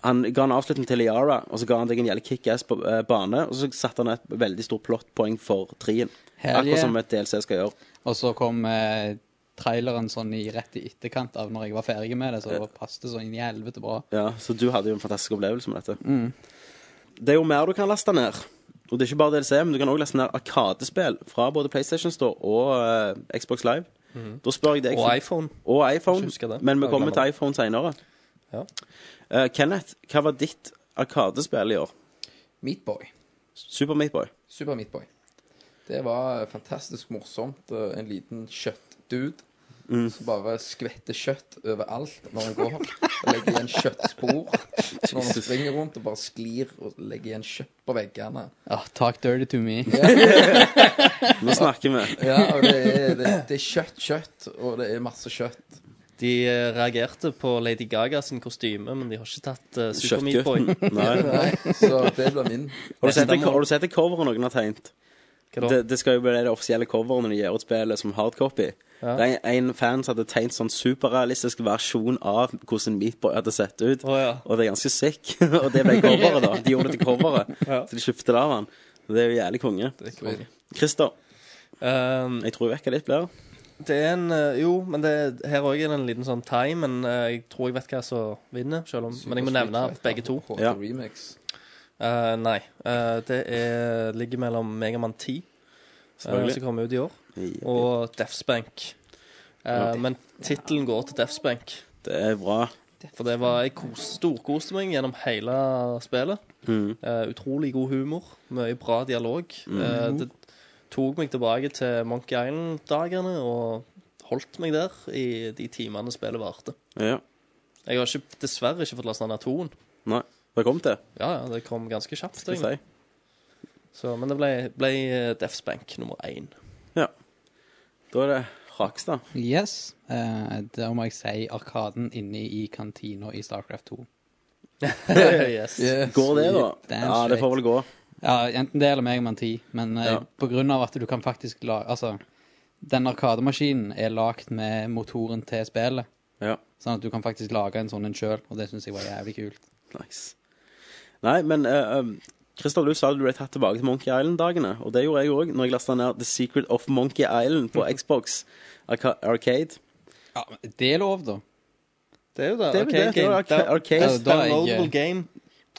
[SPEAKER 7] han ga en avslutning til Liara, og så ga han deg en jævlig kickass på eh, bane, og så satte han et veldig stort plottpoeng for trien.
[SPEAKER 11] Hell
[SPEAKER 7] Akkurat
[SPEAKER 11] yeah.
[SPEAKER 7] som et DLC skal gjøre.
[SPEAKER 11] Og så kom eh, traileren sånn i rett i etterkant av når jeg var ferdig med det, så det passet sånn i helvete bra.
[SPEAKER 7] Ja, Så du hadde jo en fantastisk opplevelse med dette.
[SPEAKER 9] Mm.
[SPEAKER 7] Det er jo mer du kan laste ned. Og det er ikke bare DLC, men du kan òg laste ned Arkadespill fra både PlayStation Store og eh, Xbox Live. Da spør jeg deg
[SPEAKER 9] Mhm. Og iPhone.
[SPEAKER 7] Og iPhone.
[SPEAKER 9] Ikke husker det.
[SPEAKER 7] Men vi
[SPEAKER 9] Jeg
[SPEAKER 7] kommer
[SPEAKER 9] glemmer
[SPEAKER 7] til iPhone seinere.
[SPEAKER 9] Ja.
[SPEAKER 7] Kenneth, hva var ditt Arkadespill i år?
[SPEAKER 8] Meatboy.
[SPEAKER 7] Super Meatboy.
[SPEAKER 8] Super Meatboy. Det var fantastisk morsomt. eh, En liten kjøttdude som bare skvetter kjøtt overalt når han går. Og legger igjen kjøttspor når han springer rundt og bare sklir og legger igjen kjøtt på veggene.
[SPEAKER 11] Ah, talk dirty to me.
[SPEAKER 7] Nå snakker vi.
[SPEAKER 8] Ja, og det er, det, det er kjøtt, kjøtt, og det er masse kjøtt.
[SPEAKER 9] De eh, reagerte på Lady Gaga sin kostyme, men de har ikke tatt uh, Super Meat Boy.
[SPEAKER 7] Kjøttgutten. Nei.
[SPEAKER 8] Nei, så det blir min.
[SPEAKER 7] Har du sett det,
[SPEAKER 9] Neste
[SPEAKER 7] har du sett det coveret noen har tegnet?
[SPEAKER 9] Hva da?
[SPEAKER 7] Det, det skal jo bli det offisielle coveret når de gir ut spillet som hardcopy.
[SPEAKER 9] Ja.
[SPEAKER 7] Det er en, en fan som hadde tegnet sånn superrealistisk versjon av hvordan Meatboy hadde sett ut.
[SPEAKER 9] Å, ja.
[SPEAKER 7] Og det er ganske sick. og det ble coveret, da. De gjorde det til coveret.
[SPEAKER 9] Ja.
[SPEAKER 7] Så de kjøpte det av han. Det er jo jævlig konge. Christer,
[SPEAKER 9] Um,
[SPEAKER 7] jeg tror vekka ditt blir
[SPEAKER 9] det er en eh, Jo, men det, her òg er det en liten sånn tie, men eh, jeg tror jeg vet hva som vinner, selv om Men jeg må nevne begge to.
[SPEAKER 8] På
[SPEAKER 7] Ja.
[SPEAKER 8] Remix.
[SPEAKER 9] Eh, nei. Eh, det er, ligger mellom Megaman 10, eh, som kommer ut i år, og Defsbank. Eh, men tittelen går til Defsbank.
[SPEAKER 7] Det er bra.
[SPEAKER 9] For det var jeg kos, storkoste meg gjennom hele spillet.
[SPEAKER 7] Mm.
[SPEAKER 9] Eh, utrolig god humor, mye bra dialog. Eh,
[SPEAKER 7] Mm.
[SPEAKER 9] det tok meg tilbake til Monkey Island-dagene og holdt meg der i de timene spillet varte.
[SPEAKER 7] Ja.
[SPEAKER 9] Jeg har ikke, dessverre ikke fått lasta ned toen.
[SPEAKER 7] Nei. Velkommen til.
[SPEAKER 9] Ja, ja, det kom ganske kjapt.
[SPEAKER 7] Skal
[SPEAKER 9] egentlig.
[SPEAKER 7] jeg si.
[SPEAKER 9] Så, men det ble, ble Defsbank nummer én.
[SPEAKER 7] Ja. Da er det Rakstad.
[SPEAKER 11] Yes. Eh, der må jeg si Arkaden inne i kantina i Starcraft 2.
[SPEAKER 9] yes.
[SPEAKER 8] Yes,
[SPEAKER 7] Går det, da?
[SPEAKER 11] Sweet. Damn
[SPEAKER 7] Ja, det får vel gå.
[SPEAKER 11] Ja, enten det eller Megaman 10, men eh,
[SPEAKER 7] Ja.
[SPEAKER 11] på grunn av at du kan faktisk lage Altså, den arkademaskinen er lagd med motoren til spillet,
[SPEAKER 7] Ja.
[SPEAKER 11] sånn at du kan faktisk lage en sånn en sjøl, og det syns jeg var jævlig kult.
[SPEAKER 7] Nice. Nei, men eh, um, Christer, du sa du ble tatt tilbake til Monkey Island-dagene. Og det gjorde jeg òg, når jeg lasta ned The Secret of Monkey Island på
[SPEAKER 11] Mm.
[SPEAKER 7] Xbox Arca Arcade.
[SPEAKER 11] Ja, men Det er lov, da.
[SPEAKER 9] Det er jo det.
[SPEAKER 7] Det er vel det,
[SPEAKER 9] arcade
[SPEAKER 7] det er
[SPEAKER 9] game.
[SPEAKER 7] jo arca-
[SPEAKER 9] Down-
[SPEAKER 7] arcade.
[SPEAKER 9] best
[SPEAKER 11] Ja, da er jeg-
[SPEAKER 9] downloadable game.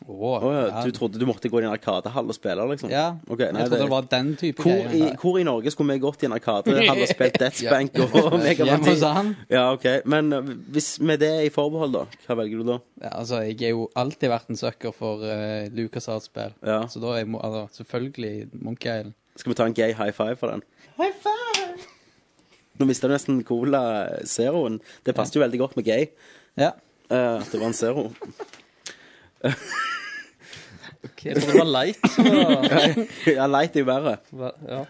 [SPEAKER 11] Å,
[SPEAKER 7] Å ja, du
[SPEAKER 11] ja.
[SPEAKER 7] trodde du måtte gå i en arkadehall og spille, liksom?
[SPEAKER 11] Ja,
[SPEAKER 7] Ok, nei,
[SPEAKER 11] jeg trodde det var den type
[SPEAKER 7] hvor i,
[SPEAKER 11] greier.
[SPEAKER 7] hvor i Norge skulle vi gått i en arkadehall og spilt Death Bank og Megaman
[SPEAKER 11] Hjemme hos
[SPEAKER 7] 10?
[SPEAKER 11] han.
[SPEAKER 7] Ja, OK. Men eh, hvis, med det i forbehold, da, hva velger du da?
[SPEAKER 11] Ja, altså, jeg er jo alltid vært en sucker for uh, Lucas Arts-spill,
[SPEAKER 7] Ja.
[SPEAKER 11] så da er jeg, må- altså, selvfølgelig Monkey Island.
[SPEAKER 7] Skal vi ta en gay high five for den? High five! Nå mista du nesten Cola Zeroen. Det passet jo veldig godt med gay.
[SPEAKER 11] Ja.
[SPEAKER 7] eh, At det var en Zero.
[SPEAKER 9] Jeg trodde det var light. som var-
[SPEAKER 7] ja, Light er jo verre.
[SPEAKER 9] var- Ja.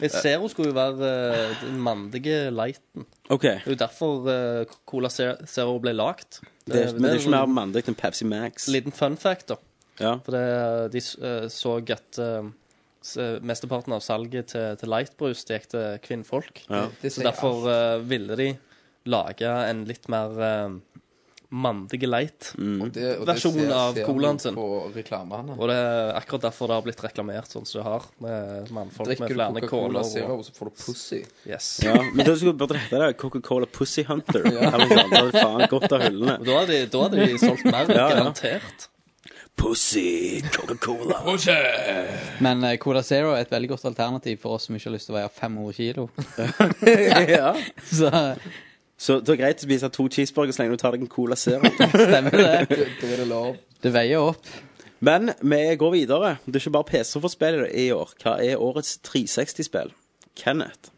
[SPEAKER 9] Jeg ser hun skulle jo være eh, den mandige lighten.
[SPEAKER 7] OK.
[SPEAKER 9] Det er jo derfor eh, Cola Ze- Zero ble lagt.
[SPEAKER 7] Det, er- men det er sånn- ikke mer mandig enn Pepsi Max.
[SPEAKER 9] en liten fun fact, da.
[SPEAKER 7] Ja.
[SPEAKER 9] For det, de s- eh, så at eh, s- mesteparten av salget til, til lightbrus det gikk til kvinnfolk.
[SPEAKER 7] Ja.
[SPEAKER 8] Det
[SPEAKER 9] Så
[SPEAKER 8] sier
[SPEAKER 9] derfor eh, ville de lage en litt mer eh, mandig light.
[SPEAKER 8] alt. Det- og det
[SPEAKER 9] versjonen
[SPEAKER 8] ser-
[SPEAKER 9] av
[SPEAKER 8] ser
[SPEAKER 9] colaen
[SPEAKER 8] vi
[SPEAKER 9] sin.
[SPEAKER 8] På reklamene.
[SPEAKER 9] Og det er akkurat derfor det har blitt reklamert sånn som det har, med mannfolk
[SPEAKER 8] Drikker
[SPEAKER 9] med
[SPEAKER 8] du
[SPEAKER 9] flere
[SPEAKER 8] Coca-Cola
[SPEAKER 9] kåler og
[SPEAKER 8] Zero, så får du pussy.
[SPEAKER 9] Yes.
[SPEAKER 7] ja. Men da skulle burde det hete det Coca-Cola Pussy Hunter. Eller noe sånt. Det hadde faen gått av
[SPEAKER 9] Og
[SPEAKER 7] hyllene.
[SPEAKER 9] Da hadde de, da hadde de solgt mer,
[SPEAKER 7] Ja, ja.
[SPEAKER 9] garantert.
[SPEAKER 7] Pussy Coca-Cola.
[SPEAKER 11] Men eh, Cola Zero er et veldig godt alternativ for oss som ikke har lyst til å veie 500 kilo.
[SPEAKER 7] ja.
[SPEAKER 11] Så
[SPEAKER 7] Så det er greit å spise to cheeseburgere så lenge du tar deg en Cola Zero.
[SPEAKER 11] stemmer det.
[SPEAKER 8] Det, det er det lov.
[SPEAKER 11] Det veier opp.
[SPEAKER 7] Men vi går videre. Det er ikke bare PC som får spill i år. Hva er årets 360-spill? Kenneth.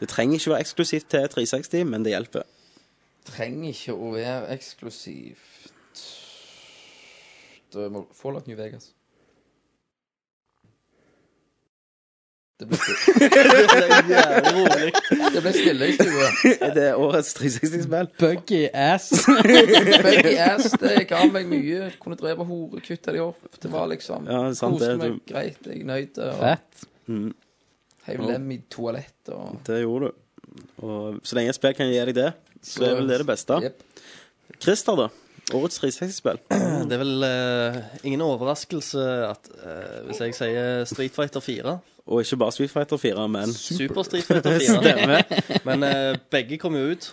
[SPEAKER 7] Det trenger ikke være eksklusivt til 360, men det hjelper.
[SPEAKER 8] Trenger ikke å være eksklusivt. Det må Fallout New Vegas. Det ble stille, det ble stille i stua.
[SPEAKER 7] Er det årets 360-spill?
[SPEAKER 11] Buggy ass.
[SPEAKER 8] Begge ass, det ga meg mye. Kunne drepe hore, kutte de opp. Det var liksom
[SPEAKER 7] Ja, det er sant,
[SPEAKER 8] Koste
[SPEAKER 7] det,
[SPEAKER 8] meg
[SPEAKER 7] du-
[SPEAKER 8] greit, jeg er nøyd. og
[SPEAKER 11] Fett.
[SPEAKER 8] Heiv lem i toalettet og
[SPEAKER 7] Det gjorde du. Og så lenge et spill kan gi deg det, så er vel det det beste.
[SPEAKER 8] Jep.
[SPEAKER 7] Christer, da? Årets 360-spill?
[SPEAKER 9] Det er vel eh, ingen overraskelse at eh, hvis jeg sier Street Fighter 4
[SPEAKER 7] Og ikke bare Street Fighter 4, men
[SPEAKER 9] Super Street Fighter 4.
[SPEAKER 7] Stemmer.
[SPEAKER 9] Men eh, begge kom jo ut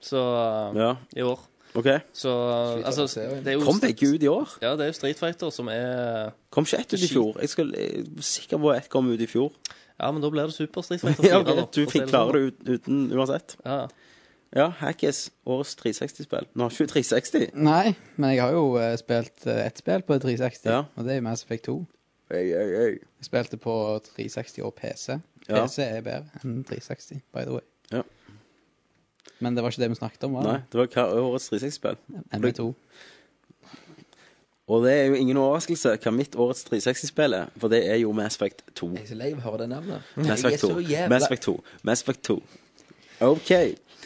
[SPEAKER 9] så eh,
[SPEAKER 7] Ja,
[SPEAKER 9] i år.
[SPEAKER 7] OK.
[SPEAKER 9] Så eh, altså
[SPEAKER 8] Fighter-serien.
[SPEAKER 9] det er jo,
[SPEAKER 7] Kom begge ut i år?
[SPEAKER 9] Ja, det er jo Street Fighter som er
[SPEAKER 7] Kom ikke ett ut i fjor? Jeg skal jeg er sikker på at ett kom ut i fjor.
[SPEAKER 9] Ja, men da blir det Super Street Fighter 4.
[SPEAKER 7] Ja,
[SPEAKER 9] da,
[SPEAKER 7] ok, du
[SPEAKER 9] for å si
[SPEAKER 7] fikk
[SPEAKER 9] det
[SPEAKER 7] klare
[SPEAKER 9] sånn.
[SPEAKER 7] det ut- uten uansett.
[SPEAKER 9] Ja.
[SPEAKER 7] Ja, Hackis. Årets 360-spill. Nå har ikke vi 360.
[SPEAKER 11] Nei, men jeg har jo eh, spilt eh, ett spill på 360,
[SPEAKER 7] Ja.
[SPEAKER 11] og det er Mass Effect 2.
[SPEAKER 7] Ei, ei, ei.
[SPEAKER 11] Jeg spilte på 360 og PC.
[SPEAKER 7] Ja.
[SPEAKER 11] PC er bedre enn 360, by the way.
[SPEAKER 7] Ja.
[SPEAKER 11] Men det var ikke det vi snakket om, var
[SPEAKER 7] Nei,
[SPEAKER 11] det?
[SPEAKER 7] det var hva årets 360-spill.
[SPEAKER 11] MB2.
[SPEAKER 7] Og det er jo ingen overraskelse hva mitt årets 360-spill er, for det er jo Mass Effect 2.
[SPEAKER 8] Jeg er så lei av å høre det navnet.
[SPEAKER 7] Mass
[SPEAKER 8] Jeg er
[SPEAKER 7] Effect
[SPEAKER 8] så
[SPEAKER 7] 2.
[SPEAKER 8] jævla
[SPEAKER 7] Mass Effect 2. Mass Effect 2. OK.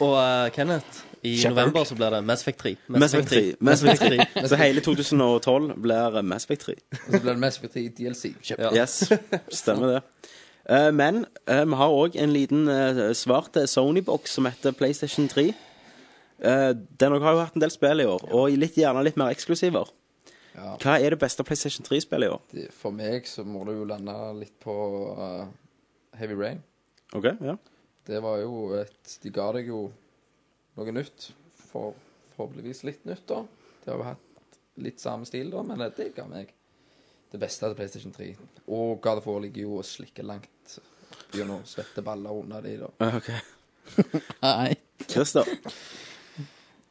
[SPEAKER 9] Og eh, Kenneth, i
[SPEAKER 7] Shepard.
[SPEAKER 9] november så blir det Mass Effect 3.
[SPEAKER 7] Mass Effect 3. Mass Effect 3. Så
[SPEAKER 8] Effect
[SPEAKER 7] hele 2012 blir eh, Mass Effect 3.
[SPEAKER 8] Og så blir det mest for tid DLC.
[SPEAKER 9] Ja.
[SPEAKER 7] Yes, stemmer det. Eh, men eh, vi har òg en liten eh, svart eh, Sony-boks som heter PlayStation 3. Eh, den også har jo hatt en del spill i år, og litt, gjerne litt mer eksklusiver.
[SPEAKER 8] Ja.
[SPEAKER 7] Hva er det beste PlayStation 3-spillet i år?
[SPEAKER 8] Det- For meg så må det jo lande litt på eh, Heavy Rain.
[SPEAKER 7] Ok, ja.
[SPEAKER 8] Det var jo et De ga deg jo noe nytt. For, forhåpentligvis litt nytt, da. De har jo hatt litt samme stil, da, men det ga meg det beste til PlayStation 3. Og God of War ligger jo og slikker langt gjennom svette baller under de, da.
[SPEAKER 7] Eh, ok.
[SPEAKER 11] Nei.
[SPEAKER 7] Christer.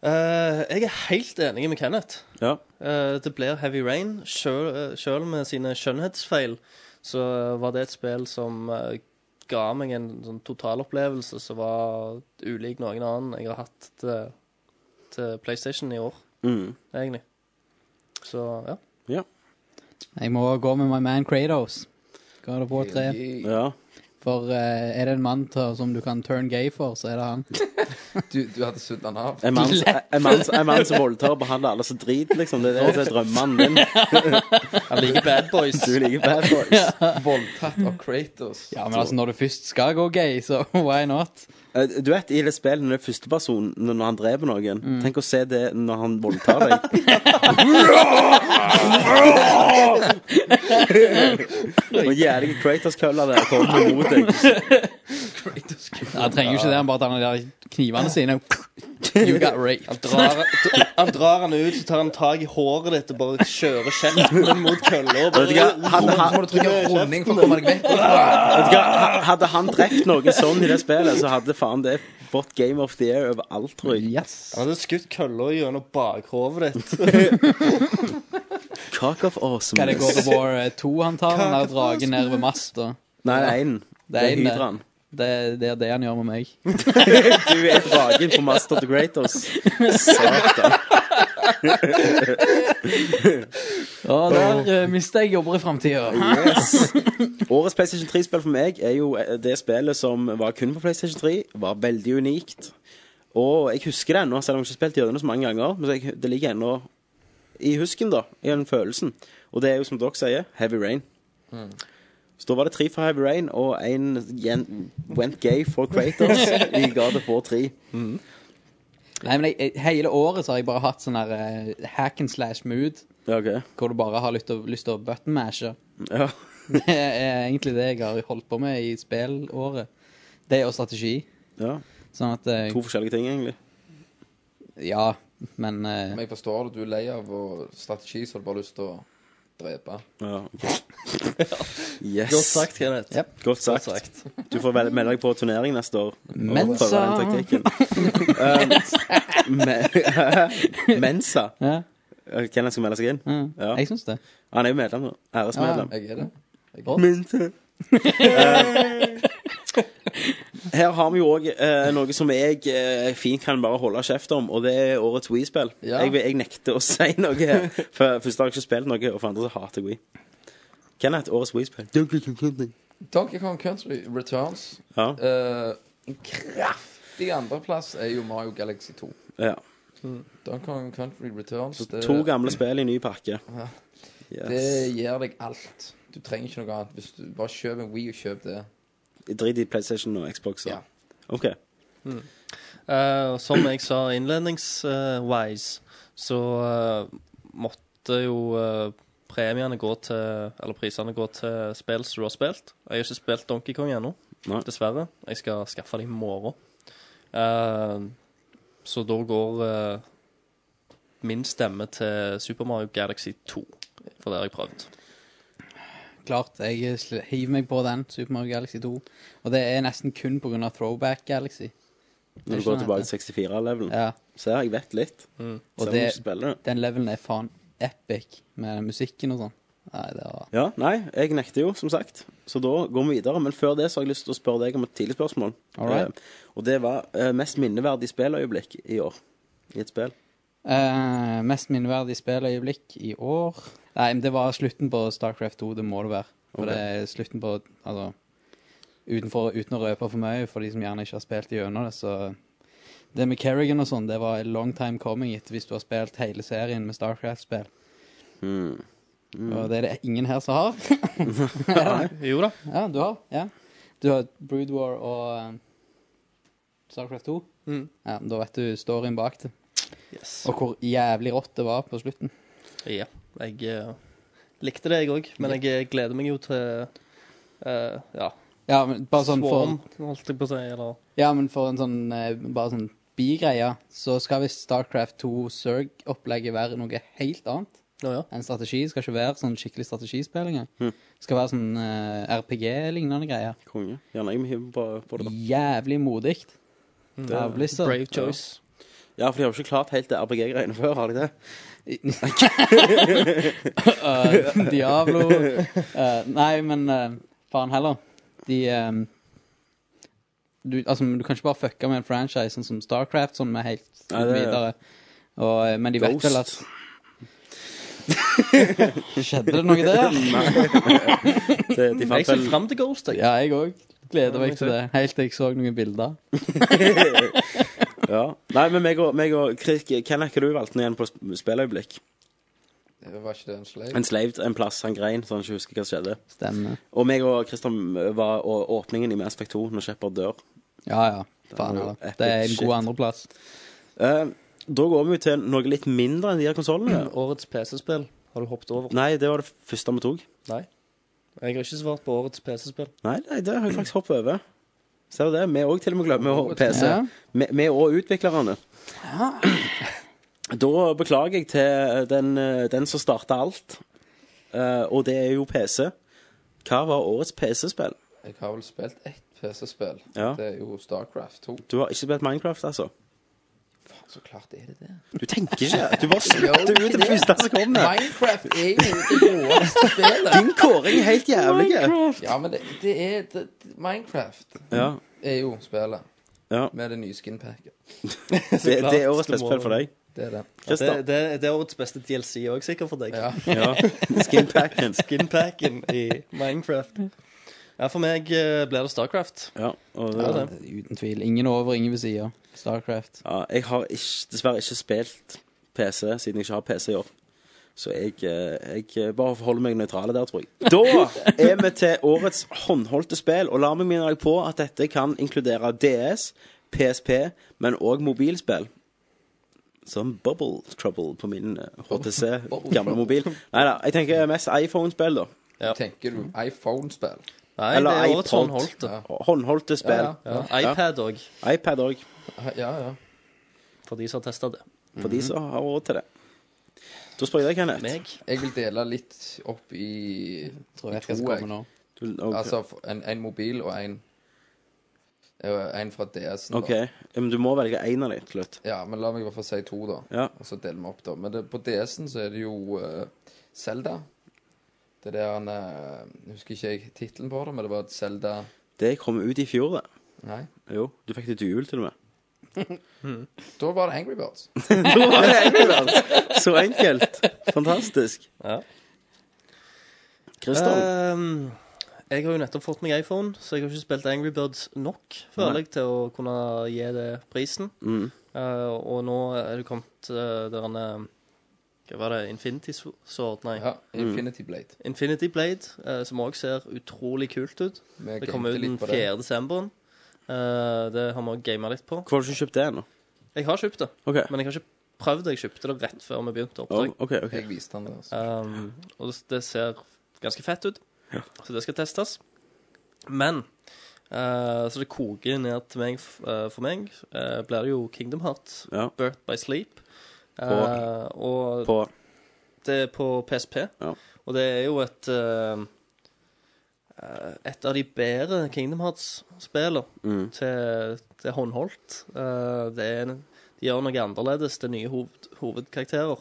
[SPEAKER 9] Eh, jeg er helt enig med Kenneth.
[SPEAKER 7] Ja.
[SPEAKER 9] Eh, det blir Heavy Rain. Sjøl, eh, sjøl med sine skjønnhetsfeil så var det et spill som eh, ga meg en sånn totalopplevelse som var ulik noen annen jeg har hatt til, til PlayStation i år,
[SPEAKER 7] Mm.
[SPEAKER 9] egentlig. Så ja.
[SPEAKER 11] Jeg må gå med my man Kratos. God of War 3.
[SPEAKER 8] Du,
[SPEAKER 7] ja.
[SPEAKER 11] For eh, er det en mann til, som du kan turn gay for, så er det han.
[SPEAKER 8] du hadde sudd den av.
[SPEAKER 7] En mann en mann- en mann som voldtar og behandler alle som drit, liksom. Det er det som er drømmemannen din.
[SPEAKER 9] Jeg liker Bad Boys.
[SPEAKER 7] Du liker Bad Boys.
[SPEAKER 8] Voldtatt av Kratos.
[SPEAKER 11] Ja, men altså, når du først skal gå gay, så why not?
[SPEAKER 7] Eh, Du vet, i det spillet når det er førsteperson, når når han dreper noen Tenk å se det når han voldtar deg. Og jævlig Kratos-kølla der kommer mot deg.
[SPEAKER 11] Ja, han trenger jo ikke det, han bare tar de der knivene sine. You got raped.
[SPEAKER 9] Han drar, han drar han ut, så tar han tak i håret ditt og bare kjører kjeften mot kølla. og
[SPEAKER 7] Vet du hva?
[SPEAKER 9] bare-
[SPEAKER 7] Han,
[SPEAKER 8] Så
[SPEAKER 7] han,
[SPEAKER 8] må du trykke runding for å komme deg vekk.
[SPEAKER 7] vet du hva? Ha- hadde han drept noen sånn i det spillet, så hadde faen det fått Game of the Year overalt, tror jeg.
[SPEAKER 11] Yes.
[SPEAKER 9] Han hadde skutt kølla gjennom bakhovet ditt.
[SPEAKER 7] Cock of awesome.
[SPEAKER 11] Hva er det God of War 2 han tar? Han der dragen nede ved masta.
[SPEAKER 7] Nei, det er eh, én. Det
[SPEAKER 11] Det er
[SPEAKER 7] er
[SPEAKER 11] en, det.
[SPEAKER 7] Hydraen.
[SPEAKER 11] Det, det er det han gjør med meg.
[SPEAKER 7] Du er dragen på Master of the Kratos. Satan.
[SPEAKER 11] Å, der uh, mister jeg jobber i framtida.
[SPEAKER 7] Yes. Årets PlayStation 3-spill for meg er jo eh, det spillet som var kun på PlayStation 3. Var veldig unikt. Og jeg husker det ennå, selv om jeg ikke har spilt gjennom det så mange ganger. Men jeg, det ligger ennå i husken, da. I den følelsen. Og det er jo, som dere sier, Heavy Rain. Så da var det tre for Heavy Rain, og én went gay for Kratos i God of War 3.
[SPEAKER 11] Nei, men jeg, jeg, hele året så har jeg bare hatt sånn her eh, hack and slash mood,
[SPEAKER 7] Ja, ok.
[SPEAKER 11] hvor du bare har lyst til å- lyst til å button mashe.
[SPEAKER 7] Ja.
[SPEAKER 11] Det er egentlig det jeg har holdt på med i spillåret. Det og strategi.
[SPEAKER 7] ja.
[SPEAKER 11] Sånn at eh,
[SPEAKER 7] To forskjellige ting, egentlig.
[SPEAKER 11] Ja, men eh,
[SPEAKER 8] Men jeg forstår det. Du er lei av å- strategi, så du bare har lyst til å drepe.
[SPEAKER 7] Ja, ok. Yes.
[SPEAKER 9] Godt sagt, Kenneth.
[SPEAKER 11] Yep.
[SPEAKER 7] Godt sagt. Du får vel- melde deg på turnering neste år.
[SPEAKER 11] Mensa.
[SPEAKER 7] Prøve den taktikken. um, me Mensa.
[SPEAKER 11] ja,
[SPEAKER 7] Eh, Kenneth skal melde seg inn.
[SPEAKER 8] Mm.
[SPEAKER 7] Ja.
[SPEAKER 11] jeg syns det.
[SPEAKER 7] Han er jo medlem nå. Æresmedlem.
[SPEAKER 8] Jeg er det.
[SPEAKER 7] Mensa. Eh, her har vi jo òg noe som jeg eh, fint kan bare holde kjeft om, og det er årets Wii-spill.
[SPEAKER 8] Ja.
[SPEAKER 7] Jeg, vil- jeg nekter å si noe. her, For Først har jeg ikke spilt noe, og for andre så hater jeg Wii. Kenneth, årets Wii-spill.
[SPEAKER 8] Donkey Kong Country Returns.
[SPEAKER 7] Ja.
[SPEAKER 8] Eh, en kraftig andreplass er jo Mario Galaxy 2.
[SPEAKER 7] ja.
[SPEAKER 8] Donkey Kong Country Returns det,
[SPEAKER 7] To gamle spill i ny pakke.
[SPEAKER 8] det
[SPEAKER 7] Yes.
[SPEAKER 8] gir deg alt. Du trenger ikke noe annet. Hvis du bare kjøper en Wii og kjøp det.
[SPEAKER 7] Drit i PlayStation og Xbox.
[SPEAKER 8] Ja.
[SPEAKER 7] Ja. OK.
[SPEAKER 9] Eh, og som jeg sa innledningswise, så eh, måtte jo eh, premiene gå til Eller prisene gå til spill som du har spilt. Jeg har ikke spilt Donkey Kong ennå,
[SPEAKER 7] Nei.
[SPEAKER 9] dessverre. Jeg skal skaffe det i morgen. Eh, så da går eh, min stemme til Super Mario Galaxy 2, for det har jeg prøvd.
[SPEAKER 11] Klart, jeg sl- hiver meg på den, Super Mario Galaxy 2. Og det er nesten kun pga. Throwback Galaxy.
[SPEAKER 7] Når du
[SPEAKER 11] Skjønner
[SPEAKER 7] går tilbake
[SPEAKER 11] dette.
[SPEAKER 7] til 64-levelen.
[SPEAKER 11] Ja, Mm.
[SPEAKER 7] Se her, jeg vet litt.
[SPEAKER 11] Og
[SPEAKER 7] Selv om
[SPEAKER 11] det-
[SPEAKER 7] jeg ikke spiller det.
[SPEAKER 11] Den levelen er faen epic, med den musikken og sånn. Nei, det var
[SPEAKER 7] Ja, nei, jeg nekter jo, som sagt. Så da går vi videre. Men før det så har jeg lyst til å spørre deg om et tidlig spørsmål.
[SPEAKER 11] Alright.
[SPEAKER 7] Eh, og det var eh, mest minneverdig spilløyeblikk i år. I et spill.
[SPEAKER 11] Eh, Mest minneverdig spilløyeblikk i år Nei, men det var slutten på Starcraft 2, det må det være. For
[SPEAKER 7] Ok.
[SPEAKER 11] det er slutten på Altså utenfor, uten å røpe for mye for de som gjerne ikke har spilt gjennom det. Så det med Kerrigan og sånn, det var a long time coming etter hvis du har spilt hele serien med Starcraft-spill.
[SPEAKER 7] Hmm,
[SPEAKER 11] Og det er det ingen her som har.
[SPEAKER 9] Jo da.
[SPEAKER 11] Ja, du har. Ja. Du har Brood War og eh, Starcraft 2.
[SPEAKER 9] Mm.
[SPEAKER 11] Ja, da vet du storyen bak det.
[SPEAKER 9] Yes.
[SPEAKER 11] Og hvor jævlig rått det var på slutten.
[SPEAKER 9] Ja. Jeg eh, likte det, jeg òg. Men jeg gleder meg jo til eh, ja,
[SPEAKER 11] Ja, men bare sånn for,
[SPEAKER 9] Swarm, holdt jeg på å si. Eller
[SPEAKER 11] ja, men for en sånn eh, bare sånn bigreie, så skal visst Starcraft 2 Zerg-opplegget være noe helt annet
[SPEAKER 9] Å ja.
[SPEAKER 11] enn strategi. Det skal ikke være sånn skikkelig strategispill engang. Det skal være sånn eh, RPG-lignende greier.
[SPEAKER 7] Konge. Gjerne jeg må hive på, på det, da.
[SPEAKER 11] Jævlig modig av Blizzard.
[SPEAKER 9] Brave choice.
[SPEAKER 7] Ja, for de har jo ikke klart helt det RPG-greiene før, har de det?
[SPEAKER 11] Eh, Diablo Eh, Nei, men eh, faen heller. De eh, du, altså, men du kan ikke bare fucke med en franchise sånn som Starcraft sånn med helt
[SPEAKER 7] Nei, det er-
[SPEAKER 11] videre. Og, eh, men de vet vel at
[SPEAKER 7] Ghost.
[SPEAKER 11] Skjedde det noe der?
[SPEAKER 7] det de
[SPEAKER 9] Jeg
[SPEAKER 7] fant
[SPEAKER 9] ser
[SPEAKER 7] vel
[SPEAKER 9] fram til Ghost, jeg.
[SPEAKER 11] Ja, jeg òg. Gleder meg til det. Helt til jeg så noen bilder.
[SPEAKER 7] ja. Nei, men meg og, meg og Krik, Kenneth, hva du valgte nå igjen på sp- spilløyeblikk?
[SPEAKER 8] Det var ikke det en slave?
[SPEAKER 7] En slaved en plass, han grein, så han ikke husker hva som skjedde.
[SPEAKER 11] Stemmer.
[SPEAKER 7] Og meg og Christian var og åpningen i Mass Effect 2, når Shepard dør.
[SPEAKER 11] Ja, ja. Faen
[SPEAKER 7] Det er jo
[SPEAKER 11] heller.
[SPEAKER 7] epic
[SPEAKER 11] Det er en
[SPEAKER 7] shit.
[SPEAKER 11] god andreplass.
[SPEAKER 7] Eh, da går vi jo til noe litt mindre enn de her konsollene.
[SPEAKER 9] Årets PC-spill har du hoppet over.
[SPEAKER 7] Nei, det var det første vi tok.
[SPEAKER 9] Nei. Jeg har ikke svart på årets PC-spill.
[SPEAKER 7] Nei, nei, det har jeg faktisk hoppet over. Ser du det? Vi òg til og med glemmer å- PC.
[SPEAKER 11] Ja.
[SPEAKER 7] Vi- Vi og utviklerne. Da beklager jeg til den, eh, den som starta alt, Eh, og det er jo PC. Hva var årets PC-spill?
[SPEAKER 8] Jeg har vel spilt ett PC-spill.
[SPEAKER 7] Ja.
[SPEAKER 8] Det er jo Starcraft 2.
[SPEAKER 7] Du har ikke spilt Minecraft, altså?
[SPEAKER 8] Faen, så klart er det det.
[SPEAKER 7] Du tenker ikke. Du bare spytter ut det første som kommer.
[SPEAKER 8] Minecraft er jo det råeste spillet.
[SPEAKER 7] Din kåring er helt jævlig.
[SPEAKER 8] Ja, men det, det er det, det- Minecraft
[SPEAKER 7] Ja,
[SPEAKER 8] er jo spillet
[SPEAKER 7] ja.
[SPEAKER 8] med det nye skinpacket.
[SPEAKER 7] Det, det er årets
[SPEAKER 9] Du må-
[SPEAKER 7] beste spill for deg.
[SPEAKER 8] Det er det.
[SPEAKER 9] Det,
[SPEAKER 7] Christer.
[SPEAKER 9] det, det er årets beste DLC òg, sikkert for deg.
[SPEAKER 8] Ja.
[SPEAKER 7] Ja. Skinpacken.
[SPEAKER 9] Skinpacken i Minecraft. Ja, for meg eh, ble det Starcraft.
[SPEAKER 7] Ja, og
[SPEAKER 9] Ja,
[SPEAKER 7] det,
[SPEAKER 9] det.
[SPEAKER 11] Uten tvil. Ingen over, ingen ved sida. Starcraft.
[SPEAKER 7] ja, jeg har ikke, dessverre ikke spilt PC, siden jeg ikke har PC i år. Så jeg, eh, jeg bare forholder meg nøytrale der, tror jeg. Da er vi til årets håndholdte spill, og la meg minne deg på at dette kan inkludere DS, PSP, men òg mobilspill. Som Bubble Trouble på min eh, HTC, gamle mobil. Nei da, jeg tenker mest iPhone-spill, da.
[SPEAKER 8] Tenker du iPhone-spill?
[SPEAKER 9] Nei,
[SPEAKER 7] Eller
[SPEAKER 9] det er årets
[SPEAKER 7] iPod.
[SPEAKER 9] håndholdte.
[SPEAKER 8] Ja.
[SPEAKER 7] Håndholdte spill.
[SPEAKER 8] Ja,
[SPEAKER 9] Ja, iPad òg,
[SPEAKER 7] iPad òg.
[SPEAKER 8] Ja, ja.
[SPEAKER 9] for de som har testa det.
[SPEAKER 7] For
[SPEAKER 8] Mhm.
[SPEAKER 7] de som har råd til det. Da spør jeg deg, Kenneth.
[SPEAKER 9] Meg.
[SPEAKER 8] Jeg vil dele litt opp i,
[SPEAKER 11] Tror
[SPEAKER 8] i
[SPEAKER 11] jeg skal
[SPEAKER 8] to,
[SPEAKER 11] komme
[SPEAKER 8] jeg.
[SPEAKER 11] nå.
[SPEAKER 7] Du, ok.
[SPEAKER 8] Altså f- en, en mobil og en eh, En fra DS-en. da.
[SPEAKER 7] OK. Ja, Men du må velge én av dem til slutt.
[SPEAKER 8] Ja, men la meg i hvert fall si to, da.
[SPEAKER 7] Ja.
[SPEAKER 8] Og så deler vi opp, da. Men det, på DS-en så er det jo eh, Zelda. Det der han eh, jeg Husker ikke jeg tittelen på det, men det var et Zelda
[SPEAKER 7] Det kom ut i fjor, det.
[SPEAKER 8] Nei.
[SPEAKER 7] Jo, du fikk det til jul, til og med.
[SPEAKER 8] Da var det Angry Birds.
[SPEAKER 7] Nå var det enkelt. Så enkelt. Fantastisk.
[SPEAKER 9] Ja.
[SPEAKER 11] Eh.
[SPEAKER 7] Kristian.
[SPEAKER 9] Ehm, jeg har jo nettopp fått meg iPhone, så jeg har ikke spilt Angry Birds nok føler jeg, til å kunne gi det prisen.
[SPEAKER 7] Mm.
[SPEAKER 9] Eh, og nå er det kommet uh, der en eh, Hva var det? Infinity Sword? Nei.
[SPEAKER 8] Ja,
[SPEAKER 11] Mm.
[SPEAKER 8] Infinity Blade.
[SPEAKER 9] Infinity Blade, eh, som òg ser utrolig kult ut.
[SPEAKER 8] Vi
[SPEAKER 9] Det kommer
[SPEAKER 8] gamte
[SPEAKER 9] ut den
[SPEAKER 8] litt på det.
[SPEAKER 9] 4. desember. Eh, det har vi òg gama litt på.
[SPEAKER 7] Hvorfor har du ikke kjøpt det ennå?
[SPEAKER 9] Jeg har kjøpt det,
[SPEAKER 7] OK.
[SPEAKER 9] men jeg har ikke prøvd det. Jeg kjøpte det rett før vi begynte
[SPEAKER 7] Oh,
[SPEAKER 9] oppdrag.
[SPEAKER 7] OK. ok
[SPEAKER 8] Jeg viste han det. Altså.
[SPEAKER 9] Um, og det- det ser ganske fett ut, så det skal testes. Men eh, Så det koker ned til meg, f- eh, for meg, eh, blir det jo Kingdom Hearts,
[SPEAKER 7] Ja.
[SPEAKER 9] Birth by Sleep. Eh,
[SPEAKER 7] På-
[SPEAKER 9] og
[SPEAKER 7] På
[SPEAKER 9] det er eh, på PSP.
[SPEAKER 7] Ja.
[SPEAKER 9] Og det er jo et eh, eh, Et av de bedre Kingdom Hearts-spillene til, til håndholdt. Eh, det er, en- de gjør noe annerledes til nye hoved, hovedkarakterer.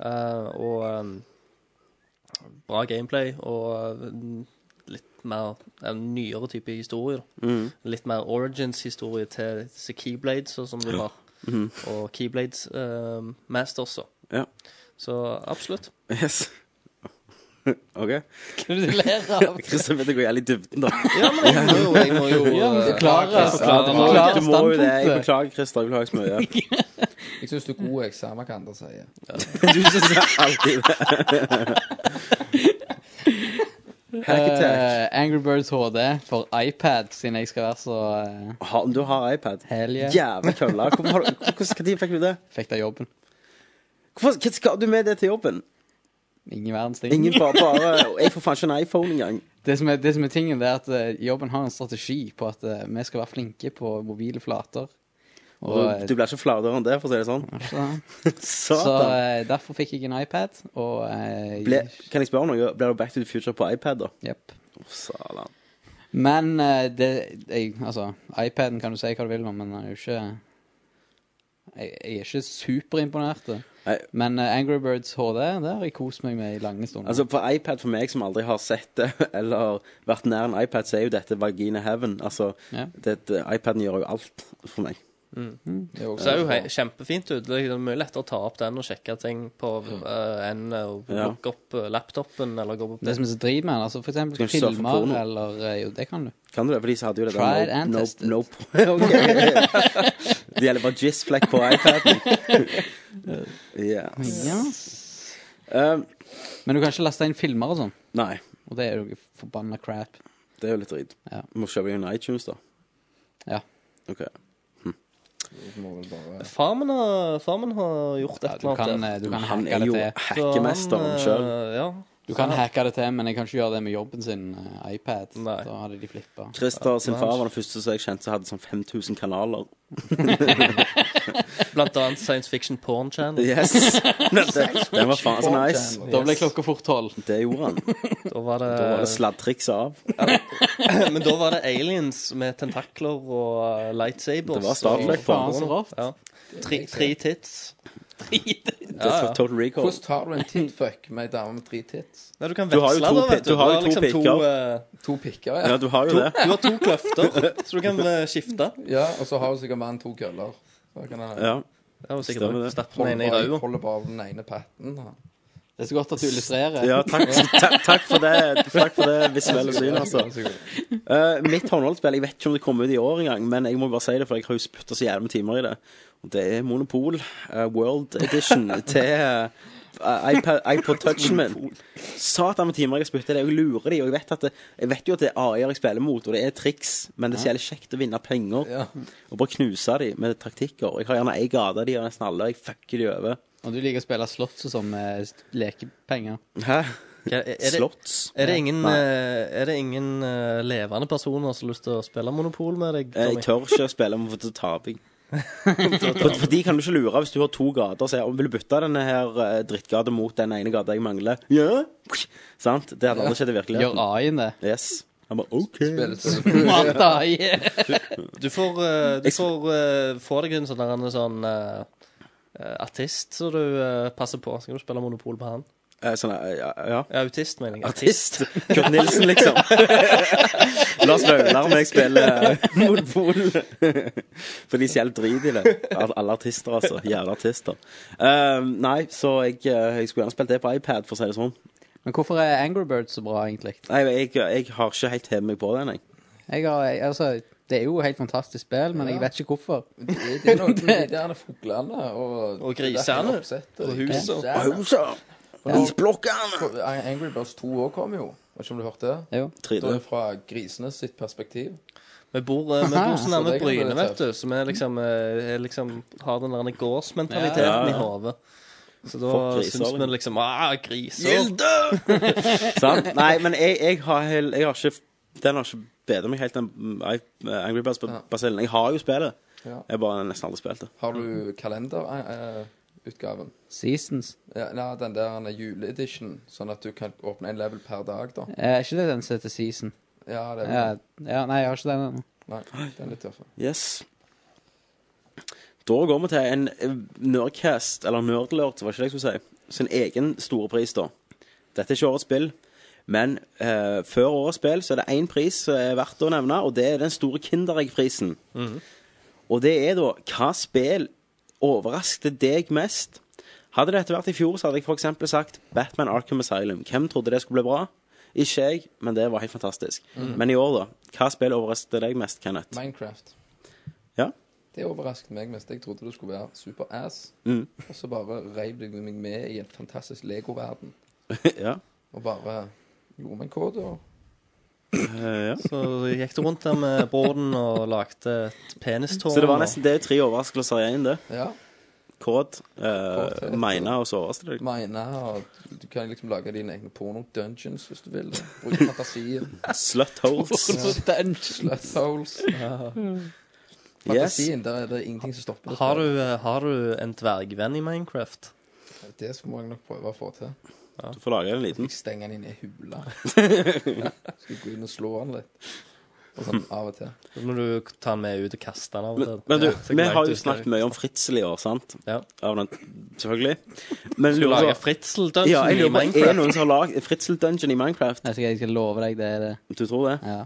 [SPEAKER 9] Eh, og eh, bra gameplay og eh, litt mer en nyere type historie. da. Litt mer origins-historie til disse Keyblades og som du har. Og Keyblades eh, Masters også.
[SPEAKER 7] Ja.
[SPEAKER 9] Så absolutt.
[SPEAKER 7] Yes. OK?
[SPEAKER 11] Hva er det du ler av?
[SPEAKER 7] Kristian vet jeg går jævlig i dybden, da.
[SPEAKER 9] Ja, men jeg må jo, jeg må jo
[SPEAKER 11] Ja, men
[SPEAKER 9] eh,
[SPEAKER 11] forklare,
[SPEAKER 9] forklare-
[SPEAKER 11] forklare,
[SPEAKER 9] forklare-
[SPEAKER 11] må-
[SPEAKER 9] forklare.
[SPEAKER 11] klare
[SPEAKER 7] du må jo det. Jeg
[SPEAKER 11] standpunktet.
[SPEAKER 7] beklager, Christer. Jeg vil ha så mye.
[SPEAKER 8] Jeg syns du er god, jeg. Samme hva andre sier.
[SPEAKER 7] Du syns alltid det. Hack attack.
[SPEAKER 11] Eh, Angry Birds HD for iPad, siden jeg skal være så eh,
[SPEAKER 7] Ha, du har iPad?
[SPEAKER 11] Hell yeah.
[SPEAKER 7] Jævla kølla. Hvorfor har du- hvordan- Når fikk du det?
[SPEAKER 11] fikk det jobben.
[SPEAKER 7] Hvorfor hva skal du med det til jobben?
[SPEAKER 11] Ingen verdens ting.
[SPEAKER 7] Ingen bare, bare Jeg får faen ikke en iPhone engang.
[SPEAKER 11] Det, som er, det som er tingen, det er at eh, jobben har en strategi på at eh, vi skal være flinke på mobile flater. Og, eh,
[SPEAKER 7] Du, du blir ikke fladere enn det, for å si det sånn.
[SPEAKER 11] så, så
[SPEAKER 7] Satan.
[SPEAKER 11] eh, derfor fikk jeg en iPad, og eh,
[SPEAKER 7] Ble, kan jeg spørre om noe? Blir det Back to the Future på iPad, da?
[SPEAKER 11] Jepp.
[SPEAKER 7] Å, Salan.
[SPEAKER 11] Men eh, det jeg, Altså, iPaden kan du si hva du vil om, men den er jo ikke Jeg, jeg er ikke superimponert.
[SPEAKER 7] Nei.
[SPEAKER 11] Men eh, Angry Birds HD, det har jeg kost meg med i lange stunder.
[SPEAKER 7] Altså, på iPad for meg som aldri har sett det, eller vært nær en iPad, så er jo dette vagina heaven. Altså,
[SPEAKER 11] Ja.
[SPEAKER 7] det, det- iPaden gjør jo alt for meg.
[SPEAKER 8] Det er jo
[SPEAKER 9] Det ser jo he- kjempefint ut. Det er liksom mye lettere å ta opp den og sjekke ting på eh, enn eh, å
[SPEAKER 7] Ja.
[SPEAKER 9] lukke opp eh, laptopen eller gå opp
[SPEAKER 11] det som er så drit med den, altså for eksempel
[SPEAKER 7] Skal ikke surfe
[SPEAKER 11] filmer
[SPEAKER 7] porno.
[SPEAKER 11] eller eh, Jo, det kan du.
[SPEAKER 7] Kan du det? For de hadde jo det
[SPEAKER 11] Tried
[SPEAKER 7] der
[SPEAKER 11] and
[SPEAKER 7] no,
[SPEAKER 11] tested.
[SPEAKER 7] no, no, Ok. Det gjelder bare jizz-flekk på iPaden. Ja. Um,
[SPEAKER 11] Men du kan ikke laste inn filmer og sånn,
[SPEAKER 7] nei,
[SPEAKER 11] og det er jo forbanna crap.
[SPEAKER 7] det er jo litt drit.
[SPEAKER 11] Ja.
[SPEAKER 7] Må kjøpe en iTunes, da.
[SPEAKER 11] Ja.
[SPEAKER 7] Ok.
[SPEAKER 8] må vel bare
[SPEAKER 9] Far min har, far min har gjort
[SPEAKER 11] Ja,
[SPEAKER 9] et
[SPEAKER 11] du
[SPEAKER 9] eller
[SPEAKER 11] kan,
[SPEAKER 9] annet.
[SPEAKER 11] eh, du kan
[SPEAKER 7] Han
[SPEAKER 11] hacke
[SPEAKER 7] er
[SPEAKER 11] det
[SPEAKER 7] jo
[SPEAKER 11] til.
[SPEAKER 9] der. Så han,
[SPEAKER 7] hackemesteren
[SPEAKER 9] eh,
[SPEAKER 7] sjøl.
[SPEAKER 9] Ja.
[SPEAKER 11] Du kan hacke det til, men jeg kan ikke gjøre det med jobben sin, eh, iPad.
[SPEAKER 9] Nei.
[SPEAKER 11] Da hadde de flippa.
[SPEAKER 7] Christer sin far var den første som jeg kjente som hadde sånn 5000 kanaler.
[SPEAKER 9] Blant annet Science Fiction Porn Channel.
[SPEAKER 7] Yes! Den, den var faen så nice.
[SPEAKER 11] Da ble klokka fort tolv.
[SPEAKER 7] Det gjorde han.
[SPEAKER 9] Da var det,
[SPEAKER 7] Da var
[SPEAKER 11] Eh,
[SPEAKER 7] det sladtriks av.
[SPEAKER 9] men da var det aliens med tentakler og eh, lightsabers.
[SPEAKER 7] Det var Star
[SPEAKER 9] og-
[SPEAKER 7] Trek på
[SPEAKER 11] Faen, så rått.
[SPEAKER 9] Ja. Tre, tre tits.
[SPEAKER 7] Det er Total Recall.
[SPEAKER 8] Hvordan tar du en titfuck med ei dame med tre tits?
[SPEAKER 9] Nei, du kan
[SPEAKER 7] Du har jo
[SPEAKER 9] veksle,
[SPEAKER 7] to
[SPEAKER 9] da,
[SPEAKER 7] pi-
[SPEAKER 9] vet du.
[SPEAKER 7] du har jo to pikker.
[SPEAKER 9] eh,
[SPEAKER 8] To pikker,
[SPEAKER 7] Ja,
[SPEAKER 8] ja.
[SPEAKER 7] du har jo det.
[SPEAKER 9] du har to kløfter, så du kan eh, skifte.
[SPEAKER 8] ja og så har jo sikkert mannen to køller. Så kan han
[SPEAKER 7] Ja.
[SPEAKER 9] Det
[SPEAKER 7] Stemmer
[SPEAKER 9] var sikkert
[SPEAKER 7] det.
[SPEAKER 9] Stapp den
[SPEAKER 8] holde
[SPEAKER 9] ene i
[SPEAKER 8] bare-
[SPEAKER 9] røya.
[SPEAKER 8] holde bare den ene patten. da.
[SPEAKER 11] Det er så godt at du illustrerer.
[SPEAKER 7] Ja, takk, ta- takk for det Takk for det visuelle synet, altså.
[SPEAKER 8] Så god.
[SPEAKER 7] Eh, mitt håndholdspill Jeg vet ikke om det kommer ut i år engang, men jeg må bare si det, for jeg har jo spytta så jævlig med timer i det. Og det er Monopol eh, World Edition til eh, iPad, iPod Touchen min. Satan med timer jeg har spytta i det. og Jeg lurer de, og jeg vet, at det, jeg vet jo at det er AI-er jeg spiller mot, og det er triks, men det er så jævlig kjekt å vinne penger
[SPEAKER 8] Ja.
[SPEAKER 7] og bare knuse de med taktikker. Jeg har gjerne ei gate av de og nesten alle, og jeg fucker de over.
[SPEAKER 11] Og du liker å spille slott sånn som eh, st- lekepenger.
[SPEAKER 7] Hæ?
[SPEAKER 9] Ja, er- er det-
[SPEAKER 7] Slotts?
[SPEAKER 9] Er det ingen,
[SPEAKER 7] Nei.
[SPEAKER 9] eh, er det ingen eh, levende personer som har lyst til å spille Monopol med deg?
[SPEAKER 7] Jeg
[SPEAKER 9] Tommy?
[SPEAKER 7] tør ikke å spille om for å tape. For, for de kan du ikke lure hvis du har to gater og sier om vil du bytte denne her eh, drittgata mot den ene gata jeg mangler. Ja! Sant? Det hadde aldri skjedd i
[SPEAKER 11] Gjør
[SPEAKER 7] virkeligheten.
[SPEAKER 11] A-en det?
[SPEAKER 7] Yes. Han bare OK.
[SPEAKER 8] Spiller til-
[SPEAKER 11] Mat AI!
[SPEAKER 9] Du får, eh, du
[SPEAKER 7] Jeg sp-
[SPEAKER 9] får eh, få deg en sånn, der, en sånn eh, eh, artist som du eh, passer på. Så kan du spille Monopol på han.
[SPEAKER 7] Eh, Sånn, eh, ja, ja.
[SPEAKER 9] Ja, autist, mener jeg.
[SPEAKER 7] Artist. Kurt Nilsen, liksom. Lars Vaular om jeg spiller Monopol. For de stjeler drit i det. Al- Alle artister, altså. Jævla artister. Eh, nei, så jeg, eh, jeg skulle gjerne spilt det på iPad, for å si det sånn.
[SPEAKER 11] Men hvorfor er Angry Birds så bra, egentlig?
[SPEAKER 7] Nei, jeg, jeg har ikke helt hevet meg på den, jeg.
[SPEAKER 11] Jeg har, jeg, altså, det er jo et helt fantastisk spill, men jeg vet ikke hvorfor.
[SPEAKER 8] Det det er noe med de der fuglene og
[SPEAKER 9] Og grisene.
[SPEAKER 8] det der oppsettet.
[SPEAKER 9] Og huset.
[SPEAKER 8] Grisene.
[SPEAKER 7] Isblokkene!
[SPEAKER 8] Angry Birds 2 òg kom jo. Vet ikke om du hørte det?
[SPEAKER 11] Jo.
[SPEAKER 8] Det er
[SPEAKER 7] 3D.
[SPEAKER 8] fra grisene sitt perspektiv.
[SPEAKER 9] Vi bor, eh, vi bor
[SPEAKER 8] Så
[SPEAKER 9] sånn
[SPEAKER 8] det
[SPEAKER 9] her med
[SPEAKER 8] kan bli
[SPEAKER 9] Bryne,
[SPEAKER 8] litt
[SPEAKER 9] vet
[SPEAKER 8] tøft.
[SPEAKER 9] du, som er liksom, eh, er liksom har den der gårdsmentaliteten
[SPEAKER 7] Ja, ja, ja.
[SPEAKER 9] i hodet. Så da
[SPEAKER 7] Fuck griser,
[SPEAKER 9] syns vi
[SPEAKER 7] liksom.
[SPEAKER 9] liksom Ah, griser!
[SPEAKER 7] Gilde! Sant? Nei, men jeg, jeg har hel, jeg har ikke Den har ikke bedret meg helt, den mm, I- Angry
[SPEAKER 8] Ja.
[SPEAKER 7] Birds-basillen. Jeg har jo spillet.
[SPEAKER 8] Ja.
[SPEAKER 7] Jeg bare nesten aldri spilt det.
[SPEAKER 8] Har du kalenderutgaven?
[SPEAKER 11] Seasons.
[SPEAKER 8] Ja, nei, den der den er juleedition, sånn at du kan åpne en level per dag, da.
[SPEAKER 11] Eh, Er ikke det den som heter Season?
[SPEAKER 8] Ja, det er
[SPEAKER 11] Ja, ja, nei, jeg har ikke den ennå.
[SPEAKER 8] Nei, den er litt tøffere.
[SPEAKER 7] Yes. Da går vi til en eh, Nerdcast, eller Nerdlert, var ikke det jeg skulle si, sin egen store pris, da. Dette er ikke årets spill, men eh, før årets spill så er det én pris som er verdt å nevne, og det er den store Kinderegg-prisen. Og det er da hva spill overraskte deg mest? Hadde dette vært i fjor, så hadde jeg f.eks. sagt Batman Arkham Asylum. Hvem trodde det skulle bli bra? Ikke jeg, men det var helt fantastisk. Men i år, da? Hva spill overrasket deg mest, Kenneth?
[SPEAKER 8] Minecraft.
[SPEAKER 7] Ja?
[SPEAKER 8] Det overrasket meg mest. Jeg trodde det skulle være super-ass. Og så bare reiv det meg med i en fantastisk Lego-verden.
[SPEAKER 7] ja.
[SPEAKER 8] Og bare gjorde meg kåt. Og
[SPEAKER 7] Eh, ja.
[SPEAKER 9] Så gikk du rundt der med borden og lagde et penistårn.
[SPEAKER 7] Så det var nesten det tre overraskelser igjen, det.
[SPEAKER 8] ja,
[SPEAKER 7] Kåt, uh,
[SPEAKER 8] Kåthet.
[SPEAKER 7] meina og så overrasket deg.
[SPEAKER 8] mine og du- Du kan liksom lage dine egne porno-dungeons hvis du vil. Bruke fantasien.
[SPEAKER 7] Slutholes.
[SPEAKER 8] Slutholes.
[SPEAKER 7] Yes.
[SPEAKER 8] Fantasien, der er det ingenting som stopper. det.
[SPEAKER 9] Har du, eh, har du en dvergvenn i Minecraft?
[SPEAKER 8] Det skal jeg nok prøve å få til.
[SPEAKER 7] Du får lage en liten.
[SPEAKER 8] Jeg stenger den inn i ei hule. Skal gå inn og slå den litt. Og sånn av og til.
[SPEAKER 9] Så må du ta den med ut og kaste den av og
[SPEAKER 7] Men,
[SPEAKER 9] til.
[SPEAKER 7] men du,
[SPEAKER 9] Ja, så
[SPEAKER 7] vi
[SPEAKER 9] langt
[SPEAKER 7] har jo
[SPEAKER 9] du skal-
[SPEAKER 7] snakket mye om Fritzel i år, sant?
[SPEAKER 9] Ja.
[SPEAKER 7] Av den, selvfølgelig. Men
[SPEAKER 9] Du
[SPEAKER 7] lurer
[SPEAKER 9] lager
[SPEAKER 7] på
[SPEAKER 9] fritzel-dungeon
[SPEAKER 7] ja, jeg
[SPEAKER 9] i
[SPEAKER 7] lurer på, Er det
[SPEAKER 9] Minecraft.
[SPEAKER 7] noen som har lagd Fritzel Dungeon i Minecraft?
[SPEAKER 11] Jeg skal, jeg skal love deg, det er det.
[SPEAKER 7] Du tror det?
[SPEAKER 11] Ja.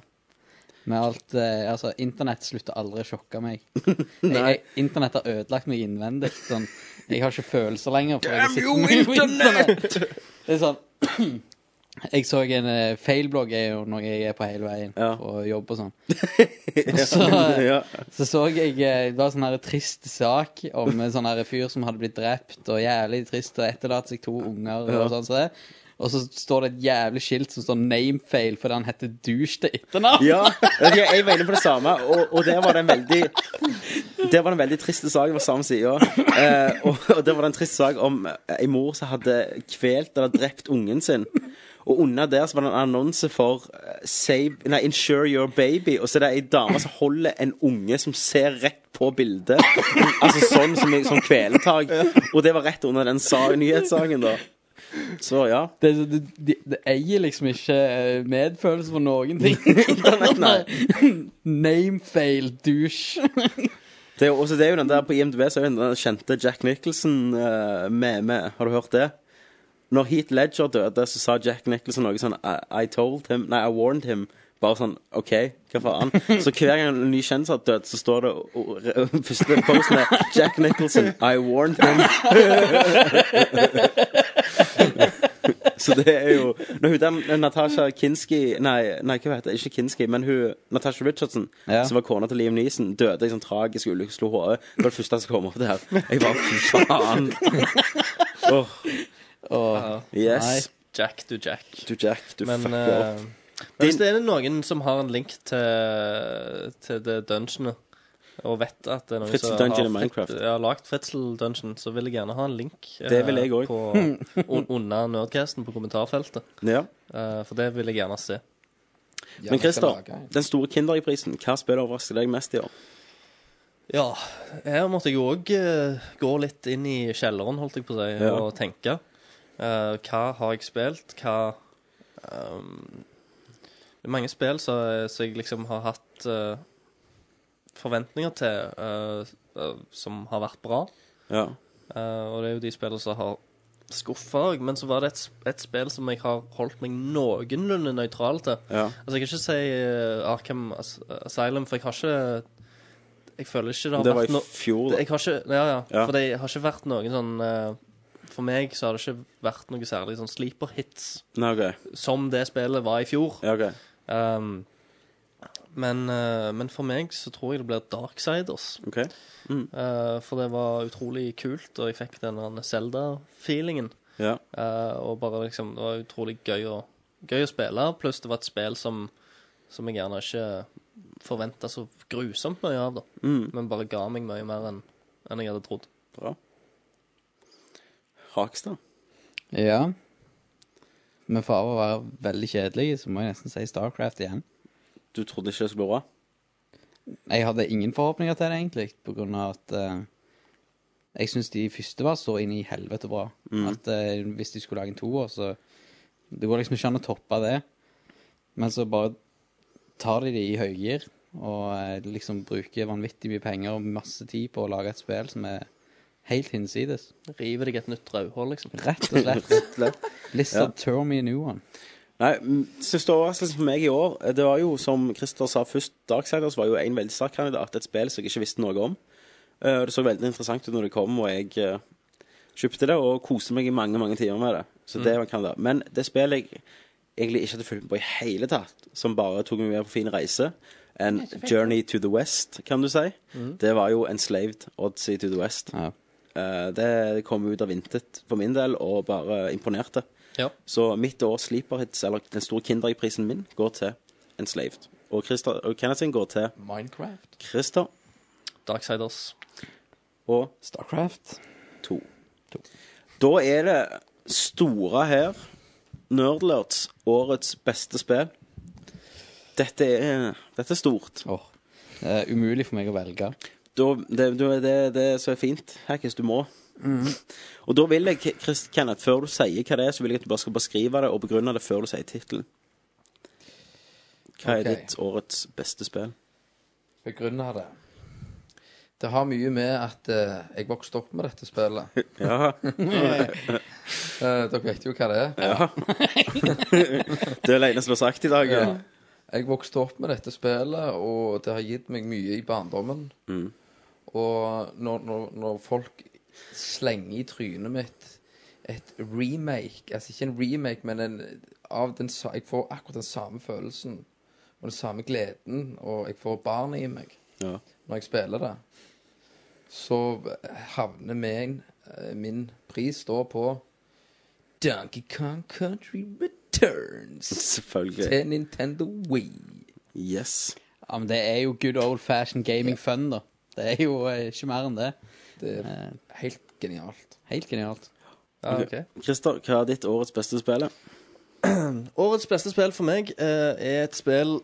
[SPEAKER 11] Med alt eh, Altså, internett slutter aldri å sjokke meg. Jeg, jeg, internett har ødelagt meg innvendig. Sånn, jeg har ikke følelser lenger. For Damn you, internett! Det er sånn Jeg så en eh, feilblogg er jo når jeg er på hele veien
[SPEAKER 7] Ja.
[SPEAKER 11] og jobb og sånn. Så,
[SPEAKER 7] ja.
[SPEAKER 11] så så jeg eh, Det var sånn her trist sak om en sånn her fyr som hadde blitt drept, og jævlig trist, og etterlatt seg to unger og sånn som det. Og så står det et jævlig skilt som står 'namefail' fordi han heter douche til etternavn.
[SPEAKER 7] Ja, vet du hva, jeg var inne på det samme, og, og der var det en veldig Der var det en veldig trist sak på samme side. Eh, og, og der var det en trist sak om ei mor som hadde kvelt eller drept ungen sin. Og under der så var det en annonse for eh, save, nei, 'Insure your baby'. Og så er det ei dame som holder en unge som ser rett på bildet. Altså sånn som i- som kvelertak. Og det var rett under den sa nyhetssaken, da. Så ja.
[SPEAKER 11] Det, det, det, det eier liksom ikke eh, medfølelse for noen ting.
[SPEAKER 7] Internett, nei.
[SPEAKER 11] Namefail douche.
[SPEAKER 7] Det er, jo- også, det er jo den der På IMDb så er jo den der kjente Jack Nicholson eh, med, med. Har du hørt det? Når Heat Ledger døde, så sa Jack Nicholson noe sånn I, I told him Nei, I warned him. Bare sånn OK, hva faen? Så hver gang en ny kjendis har dødd, så står det og- og- og- første posten er Jack Nicholson. I warned him. så det er jo Når hun der Natasha Kinski Nei, nei hva heter det? Ikke Kinski, men hun Natasha Richardson,
[SPEAKER 11] Ja.
[SPEAKER 7] som var kona til Liam Neeson, døde i sånn tragisk ulykke, slo hodet. Det var det første som kom opp der. Jeg bare Fy faen. Åh,
[SPEAKER 11] Og,
[SPEAKER 7] yes.
[SPEAKER 9] Jack to Jack.
[SPEAKER 7] Du Jack, du
[SPEAKER 9] Men,
[SPEAKER 7] fucker
[SPEAKER 9] eh,
[SPEAKER 7] opp.
[SPEAKER 9] men hvis det er noen som har en link til, til det dungeonet, og vet at det er noen
[SPEAKER 7] Fritzel
[SPEAKER 9] som
[SPEAKER 7] Dungeon i
[SPEAKER 9] har,
[SPEAKER 7] Minecraft.
[SPEAKER 9] ja, lagd Fritzel Dungeon, så vil jeg gjerne ha en link eh,
[SPEAKER 7] Det vil jeg også.
[SPEAKER 9] på, un, under Nerdcasten på kommentarfeltet.
[SPEAKER 7] Ja.
[SPEAKER 9] Eh, for det vil jeg gjerne se.
[SPEAKER 8] Ja, jeg skal
[SPEAKER 7] Men Christer,
[SPEAKER 8] lage en.
[SPEAKER 7] den store Kinderøy-prisen, hva spillet overrasker deg mest i år?
[SPEAKER 9] Ja, her måtte jeg òg gå litt inn i kjelleren, holdt jeg på å si,
[SPEAKER 7] Ja.
[SPEAKER 9] og tenke. Eh, hva har jeg spilt? Hva ehm, Det er mange spill som som jeg liksom har hatt eh, forventninger til, eh, eh, som har vært bra.
[SPEAKER 7] Ja.
[SPEAKER 9] Eh, og det er jo de spillene som har skuffa. Men så var det et, et spill som jeg har holdt meg noenlunde nøytral til.
[SPEAKER 7] ja.
[SPEAKER 9] Altså, jeg kan ikke si eh, Arkham As Asylum, for jeg har ikke Jeg føler ikke det har
[SPEAKER 7] Det var
[SPEAKER 9] vært
[SPEAKER 7] i
[SPEAKER 9] no...
[SPEAKER 7] fjor, da.
[SPEAKER 9] Jeg har ikke Ja, ja.
[SPEAKER 7] Ja.
[SPEAKER 9] For det har ikke vært noen sånn eh, For meg så har det ikke vært noe særlig sånn sleeper hits
[SPEAKER 7] Nei, OK.
[SPEAKER 9] som det spillet var i fjor.
[SPEAKER 7] Ja, ok.
[SPEAKER 9] Um, men, eh, men for meg så tror jeg det blir Darksiders.
[SPEAKER 7] Ok.
[SPEAKER 9] Eh, for det var utrolig kult, og jeg fikk denne Zelda-feelingen.
[SPEAKER 7] Ja.
[SPEAKER 9] Eh, og bare liksom, det var utrolig gøy å, gøy å spille, pluss det var et spill som, som jeg gjerne ikke forventa så grusomt mye av, da.
[SPEAKER 7] Mm.
[SPEAKER 9] Men bare ga meg mye mer enn enn jeg hadde trodd.
[SPEAKER 7] Bra. Hakstad.
[SPEAKER 11] ja. Med fare for å være veldig kjedelig, så må jeg nesten si Starcraft igjen.
[SPEAKER 7] Du trodde ikke det skulle bli bra?
[SPEAKER 11] Jeg hadde ingen forhåpninger til det, egentlig, på grunn av at eh, jeg syns de første var så inn i helvete bra. At eh, hvis de skulle lage en toer, så Det går liksom ikke an å toppe det. Men så bare tar de det i høygir og eh, liksom bruker vanvittig mye penger og masse tid på å lage et spill som er helt hinsides.
[SPEAKER 9] River deg et nytt rødhår, liksom.
[SPEAKER 11] Rett og slett. Lizard turn me a new one.
[SPEAKER 7] Nei, mm, siste overraskelsen for meg i år eh, Det var jo, som Christer sa først, Darksiders var jo en veldig sterk kandidat. Et spill som jeg ikke visste noe om. Eh, Det så veldig interessant ut når det kom, og jeg eh, Kjøpte det og koste meg i mange mange timer med det. Så det kan det. Men det spillet jeg egentlig ikke hadde fulgt med på i hele tatt, som bare tok meg med på fin reise, en Journey to the West, kan du si, det var jo Enslaved Odyssey to the West.
[SPEAKER 11] Ja.
[SPEAKER 7] Eh, det kom ut av intet for min del, og bare imponerte.
[SPEAKER 9] Ja.
[SPEAKER 7] Så mitt års sleeperhits, eller den store Kinderegg-prisen min, går til Enslaved. Og, Christer, og Kenneth sin går til
[SPEAKER 8] Minecraft.
[SPEAKER 7] Christer
[SPEAKER 9] Darksiders.
[SPEAKER 7] og
[SPEAKER 11] Starcraft.
[SPEAKER 7] to. Da er det store her Nerdlerts årets beste spill. Dette er, dette er stort.
[SPEAKER 11] Åh, Det er umulig for meg å velge.
[SPEAKER 7] Da, det, det, det, det er så fint. Hackes, du må. Mhm. Og da vil jeg, Chris, Kenneth, før du sier hva det er, så vil jeg at du bare skal beskrive det og begrunne det før du sier tittelen. Hva er
[SPEAKER 8] Ok.
[SPEAKER 7] ditt årets beste spill?
[SPEAKER 8] Begrunna det. Det har mye med at eh, jeg vokste opp med dette spillet.
[SPEAKER 7] Ja,
[SPEAKER 8] Eh, dere vet jo hva det er.
[SPEAKER 7] Det er Leine som har sagt i dag.
[SPEAKER 8] Ja. Jeg vokste opp med dette spillet, og det har gitt meg mye i barndommen. Og når, når, når folk slenger i trynet mitt et remake Altså ikke en remake, men en, av den, sa- jeg får akkurat den samme følelsen og den samme gleden, og jeg får barnet i meg
[SPEAKER 7] Ja.
[SPEAKER 8] når jeg spiller det. Så havner min, eh, min pris da på Donkey Kong Country Returns
[SPEAKER 7] Selvfølgelig.
[SPEAKER 8] til Nintendo Wii.
[SPEAKER 7] Yes.
[SPEAKER 11] Ja, men det er jo good old fashioned gaming fun, da. Det er jo eh, ikke mer enn det. Eh,
[SPEAKER 8] Det er helt genialt.
[SPEAKER 11] Helt genialt.
[SPEAKER 9] Ja, ok.
[SPEAKER 7] Christer, hva er ditt årets beste spill?
[SPEAKER 9] Årets beste spill for meg eh, er et spill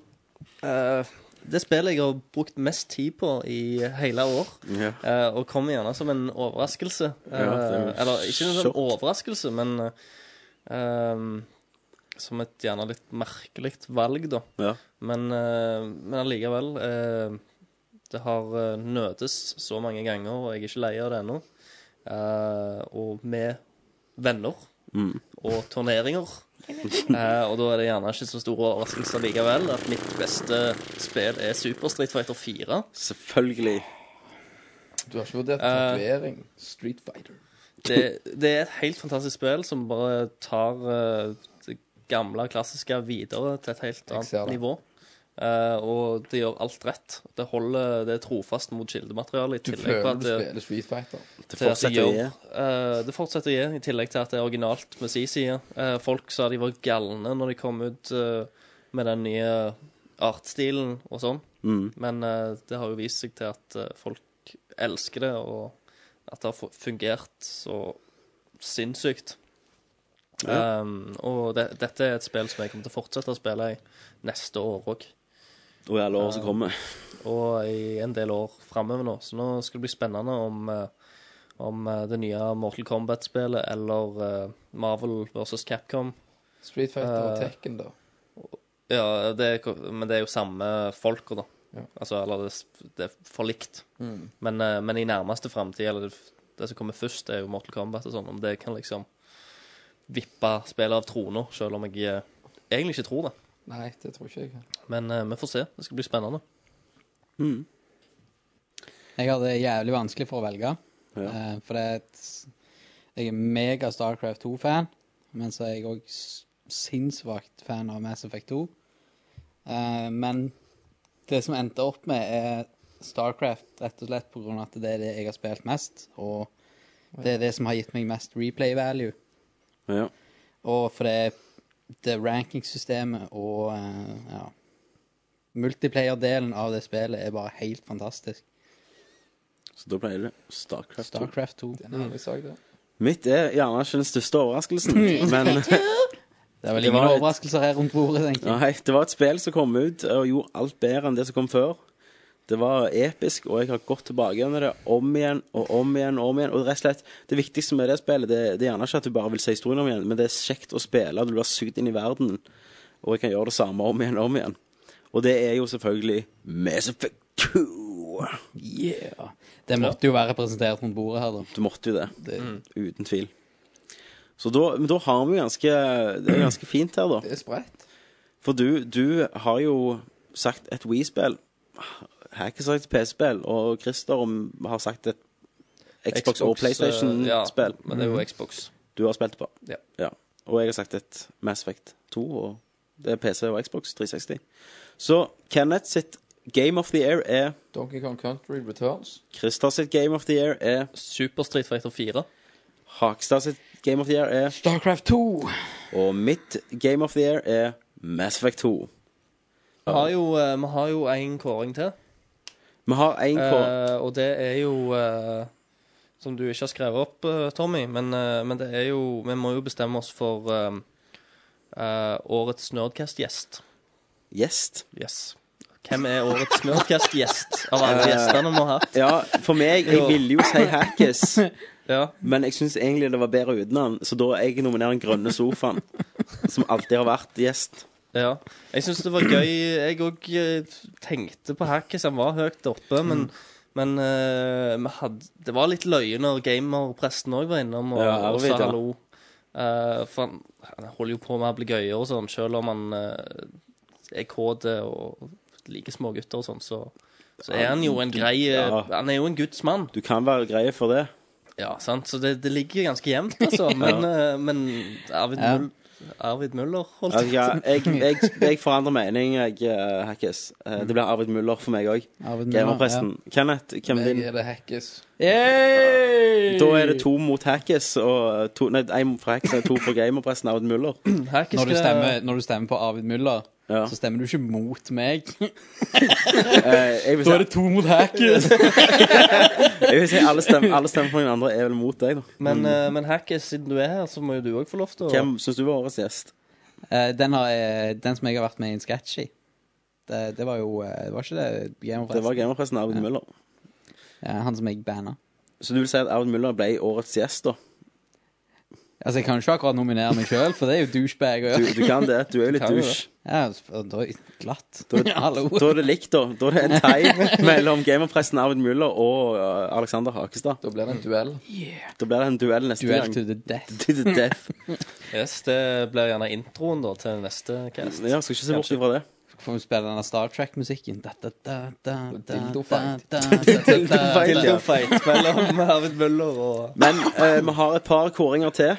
[SPEAKER 9] eh, Det spillet jeg har brukt mest tid på i hele år.
[SPEAKER 7] Ja.
[SPEAKER 9] eh, og kommer gjerne som en overraskelse. Eh,
[SPEAKER 7] Ja, det er jo
[SPEAKER 9] eller ikke en
[SPEAKER 7] sjokk.
[SPEAKER 9] sånn overraskelse, men eh, ehm, som et gjerne litt merkelig valg, da.
[SPEAKER 7] Ja.
[SPEAKER 9] Men, eh, men allikevel eh, Det har eh, nøtes så mange ganger, og jeg er ikke lei av det ennå. Eh, og med venner og turneringer. Eh, og da er det gjerne ikke så store overraskelser likevel at mitt beste spill er Super Street Fighter 4.
[SPEAKER 7] Selvfølgelig.
[SPEAKER 8] Du har ikke vurdert
[SPEAKER 9] Eh,
[SPEAKER 8] tatovering. Street Fighter.
[SPEAKER 9] Det, det er et helt fantastisk spill som bare tar eh, det gamle, klassiske videre til et helt
[SPEAKER 8] ser
[SPEAKER 9] annet
[SPEAKER 8] det.
[SPEAKER 9] nivå. Eh, og det gjør alt rett. Det holder, det er trofast mot kildemateriale. i
[SPEAKER 8] Du
[SPEAKER 9] tillegg
[SPEAKER 8] føler
[SPEAKER 9] på at
[SPEAKER 8] du
[SPEAKER 9] det-
[SPEAKER 8] spiller Street Fighter.
[SPEAKER 7] Det
[SPEAKER 9] til at de
[SPEAKER 7] fortsetter å
[SPEAKER 9] gjør.
[SPEAKER 7] gi.
[SPEAKER 9] Eh, det fortsetter å gi, i tillegg til at det er originalt med si side. Eh, folk sa de var galne når de kom ut eh, med den nye artstilen og sånn,
[SPEAKER 7] Mm.
[SPEAKER 9] men eh, det har jo vist seg til at eh, folk elsker det, og at det har fu- fungert så sinnssykt. Ehm, og det, dette er et spill som jeg kommer til å fortsette å spille i neste år òg
[SPEAKER 7] Og i alle år som kommer.
[SPEAKER 9] og i en del år framover nå. Så nå skal det bli spennende om, eh, om eh, det nye Mortal Kombat-spillet eller eh, Marvel versus Capcom.
[SPEAKER 8] Street Fighter og
[SPEAKER 9] Eh,
[SPEAKER 8] Tekken, da.
[SPEAKER 9] Ja, det er, ko- men det er jo samme folka, da.
[SPEAKER 8] Ja.
[SPEAKER 9] Altså, eller det, s- det er for likt. Men, eh, men i nærmeste framtid, eller det, f- det som kommer først, er jo Mortal Kombat og sånn. Om det kan liksom vippe spillet av trona, selv om jeg eh, egentlig ikke tror det.
[SPEAKER 8] Nei, det tror ikke jeg.
[SPEAKER 9] Men eh, vi får se. Det skal bli spennende.
[SPEAKER 11] Jeg hadde det jævlig vanskelig for å velge. eh, For det er et Jeg er mega Starcraft 2-fan, men så er jeg òg sinnssvakt fan av Mass Effect 2. Eh, Men det som endte opp med, er Starcraft, rett og slett pga. at det er det jeg har spilt mest, og det er det som har gitt meg mest replay value.
[SPEAKER 7] Ja.
[SPEAKER 11] Og for det, det rankingsystemet og eh, ja, multiplayer-delen av det spillet er bare helt fantastisk.
[SPEAKER 7] Så da ble det Starcraft. to.
[SPEAKER 11] Starcraft 2.
[SPEAKER 8] En ærlig sak, det.
[SPEAKER 7] Mitt er gjerne ikke den største overraskelsen, men
[SPEAKER 11] Det er vel
[SPEAKER 7] Det
[SPEAKER 11] ingen
[SPEAKER 7] var et-
[SPEAKER 11] overraskelser her rundt bordet, tenker jeg.
[SPEAKER 7] nei, det var et spill som kom ut og gjorde alt bedre enn det som kom før. Det var episk, og jeg har gått tilbake gjennom det om igjen og om igjen. og om igjen, og rett og slett, Det viktigste med det spillet det, det er gjerne ikke at du bare vil se historien om igjen, men det er kjekt å spille, og du blir sugd inn i verden, og jeg kan gjøre det samme om igjen og om igjen. Og det er jo selvfølgelig Mass Effect 2.
[SPEAKER 11] Yeah. Det måtte jo være representert rundt bordet her, da.
[SPEAKER 7] Du måtte jo det. Mm. Uten tvil. Så da, men da har vi jo ganske Det er ganske fint her, da.
[SPEAKER 8] Det er spredt.
[SPEAKER 7] For du, du har jo sagt et Wii-spill. Jeg har ikke sagt et PC-spill, og Christer om- har sagt et Xbox, og PlayStation-spill.
[SPEAKER 9] eh, Ja, men det er jo Xbox.
[SPEAKER 7] Du har spilt på?
[SPEAKER 9] Ja.
[SPEAKER 7] Og jeg har sagt et Mass Effect 2, og det er PC og Xbox 360. Så Kenneth sitt Game of the Year er
[SPEAKER 8] Donkey Kong Country Returns.
[SPEAKER 7] Christer sitt Game of the Year er
[SPEAKER 9] Super Street Fighter 4.
[SPEAKER 7] Hakstad sitt Game of the Year er
[SPEAKER 11] Starcraft 2.
[SPEAKER 7] Og mitt Game of the Year er Mass Effect 2.
[SPEAKER 9] Vi har jo, eh, vi har jo en kåring til.
[SPEAKER 7] Vi har én kår.
[SPEAKER 9] Eh, og det er jo eh, Som du ikke har skrevet opp, eh, Tommy, men, eh, men det er jo Vi må jo bestemme oss for eh, eh, årets Nerdcast-gjest.
[SPEAKER 7] Gjest.
[SPEAKER 9] Yes. Eh, Hvem er årets Nerdcast-gjest av alle gjestene vi har hatt?
[SPEAKER 7] Ja, for meg Jeg
[SPEAKER 9] Jo.
[SPEAKER 7] ville jo si Hackis,
[SPEAKER 9] Ja.
[SPEAKER 7] men jeg syns egentlig det var bedre uten han, så da jeg nominerer Den grønne sofaen, som alltid har vært gjest.
[SPEAKER 9] ja. Jeg syns det var gøy. Jeg òg tenkte på Hackis. Han var høyt oppe,
[SPEAKER 7] Mm.
[SPEAKER 9] men men eh, vi hadde, det var litt løye når gamerpresten òg var innom og,
[SPEAKER 7] Ja,
[SPEAKER 9] og
[SPEAKER 7] Arvid,
[SPEAKER 9] sa
[SPEAKER 7] ja.
[SPEAKER 9] hallo. Eh, for han, han holder jo på med å bli gøyere og sånn, selv om han eh, er kåt og liker smågutter og sånn, så, så er han jo en grei eh,
[SPEAKER 7] Ja.
[SPEAKER 9] Han er jo en Guds mann,
[SPEAKER 7] Du kan være grei for det.
[SPEAKER 9] ja, sant? så det, det ligger ganske jevnt, altså. Men, eh, men Arvid,
[SPEAKER 11] Ja.
[SPEAKER 9] Mull, Arvid Muller holdt
[SPEAKER 7] Altså, ja, jeg, jeg, jeg forandrer mening, jeg, eh, Hackis. Eh, det blir Arvid Muller for meg òg.
[SPEAKER 11] Arvid Muller,
[SPEAKER 7] Gamerpresten. Kenneth, hvem er
[SPEAKER 8] Jeg
[SPEAKER 7] din?
[SPEAKER 8] er det Hackes.
[SPEAKER 7] Da er det to mot Hackis, og eh, to, nei, én fra Hackis og to for gamerpresten Arvid Muller.
[SPEAKER 9] Her, hva
[SPEAKER 11] Når du
[SPEAKER 9] skal-
[SPEAKER 11] stemmer, når du stemmer på Arvid Muller,
[SPEAKER 7] Ja.
[SPEAKER 11] så stemmer du ikke mot meg.
[SPEAKER 7] Eh, jeg vil si-
[SPEAKER 11] Da er det to mot Hackers.
[SPEAKER 7] Jeg vil si alle stemmer, alle stemmer for noen andre er vel mot deg, da.
[SPEAKER 9] Men, eh, men Hackis, siden du er her, så må jo du òg få lov til å
[SPEAKER 7] Hvem syns du var årets gjest?
[SPEAKER 11] Eh, den, har, jeg- den som jeg har vært med i en sketsj i. Det, det var jo eh, Var ikke det Game of
[SPEAKER 7] Det var
[SPEAKER 11] Thrones?
[SPEAKER 7] gamerpresten Arvid Møller.
[SPEAKER 11] Ja, han som jeg banna.
[SPEAKER 7] Så du vil si at Arvid Møller ble årets gjest, da?
[SPEAKER 11] Altså, jeg kan jo ikke akkurat nominere meg sjøl, for det er jo douchebag å
[SPEAKER 7] Du,
[SPEAKER 11] gjøre.
[SPEAKER 7] du kan det. Du er jo litt
[SPEAKER 9] Kan jo
[SPEAKER 7] douche.
[SPEAKER 11] Ja, og da glatt. Hallo.
[SPEAKER 7] Da er det likt, da. Da er det en tie mellom gamerpresten Arvid Møller og eh, Alexander Hakestad.
[SPEAKER 8] Da blir det en duell.
[SPEAKER 7] Da blir det en duell neste
[SPEAKER 11] Duell to
[SPEAKER 7] gang.
[SPEAKER 11] the death.
[SPEAKER 7] To the death.
[SPEAKER 9] yes, Det blir gjerne introen da til neste cast.
[SPEAKER 7] Ja, skal ikke se bort ifra det.
[SPEAKER 11] Får vi spille denne Star Track-musikken? Da, da, da, da, da,
[SPEAKER 8] Dildofight.
[SPEAKER 11] da, da, da, da.
[SPEAKER 7] Dildofight, ja.
[SPEAKER 9] Dildofight mellom Arvid Møller og
[SPEAKER 7] Men eh, vi har et par kåringer til.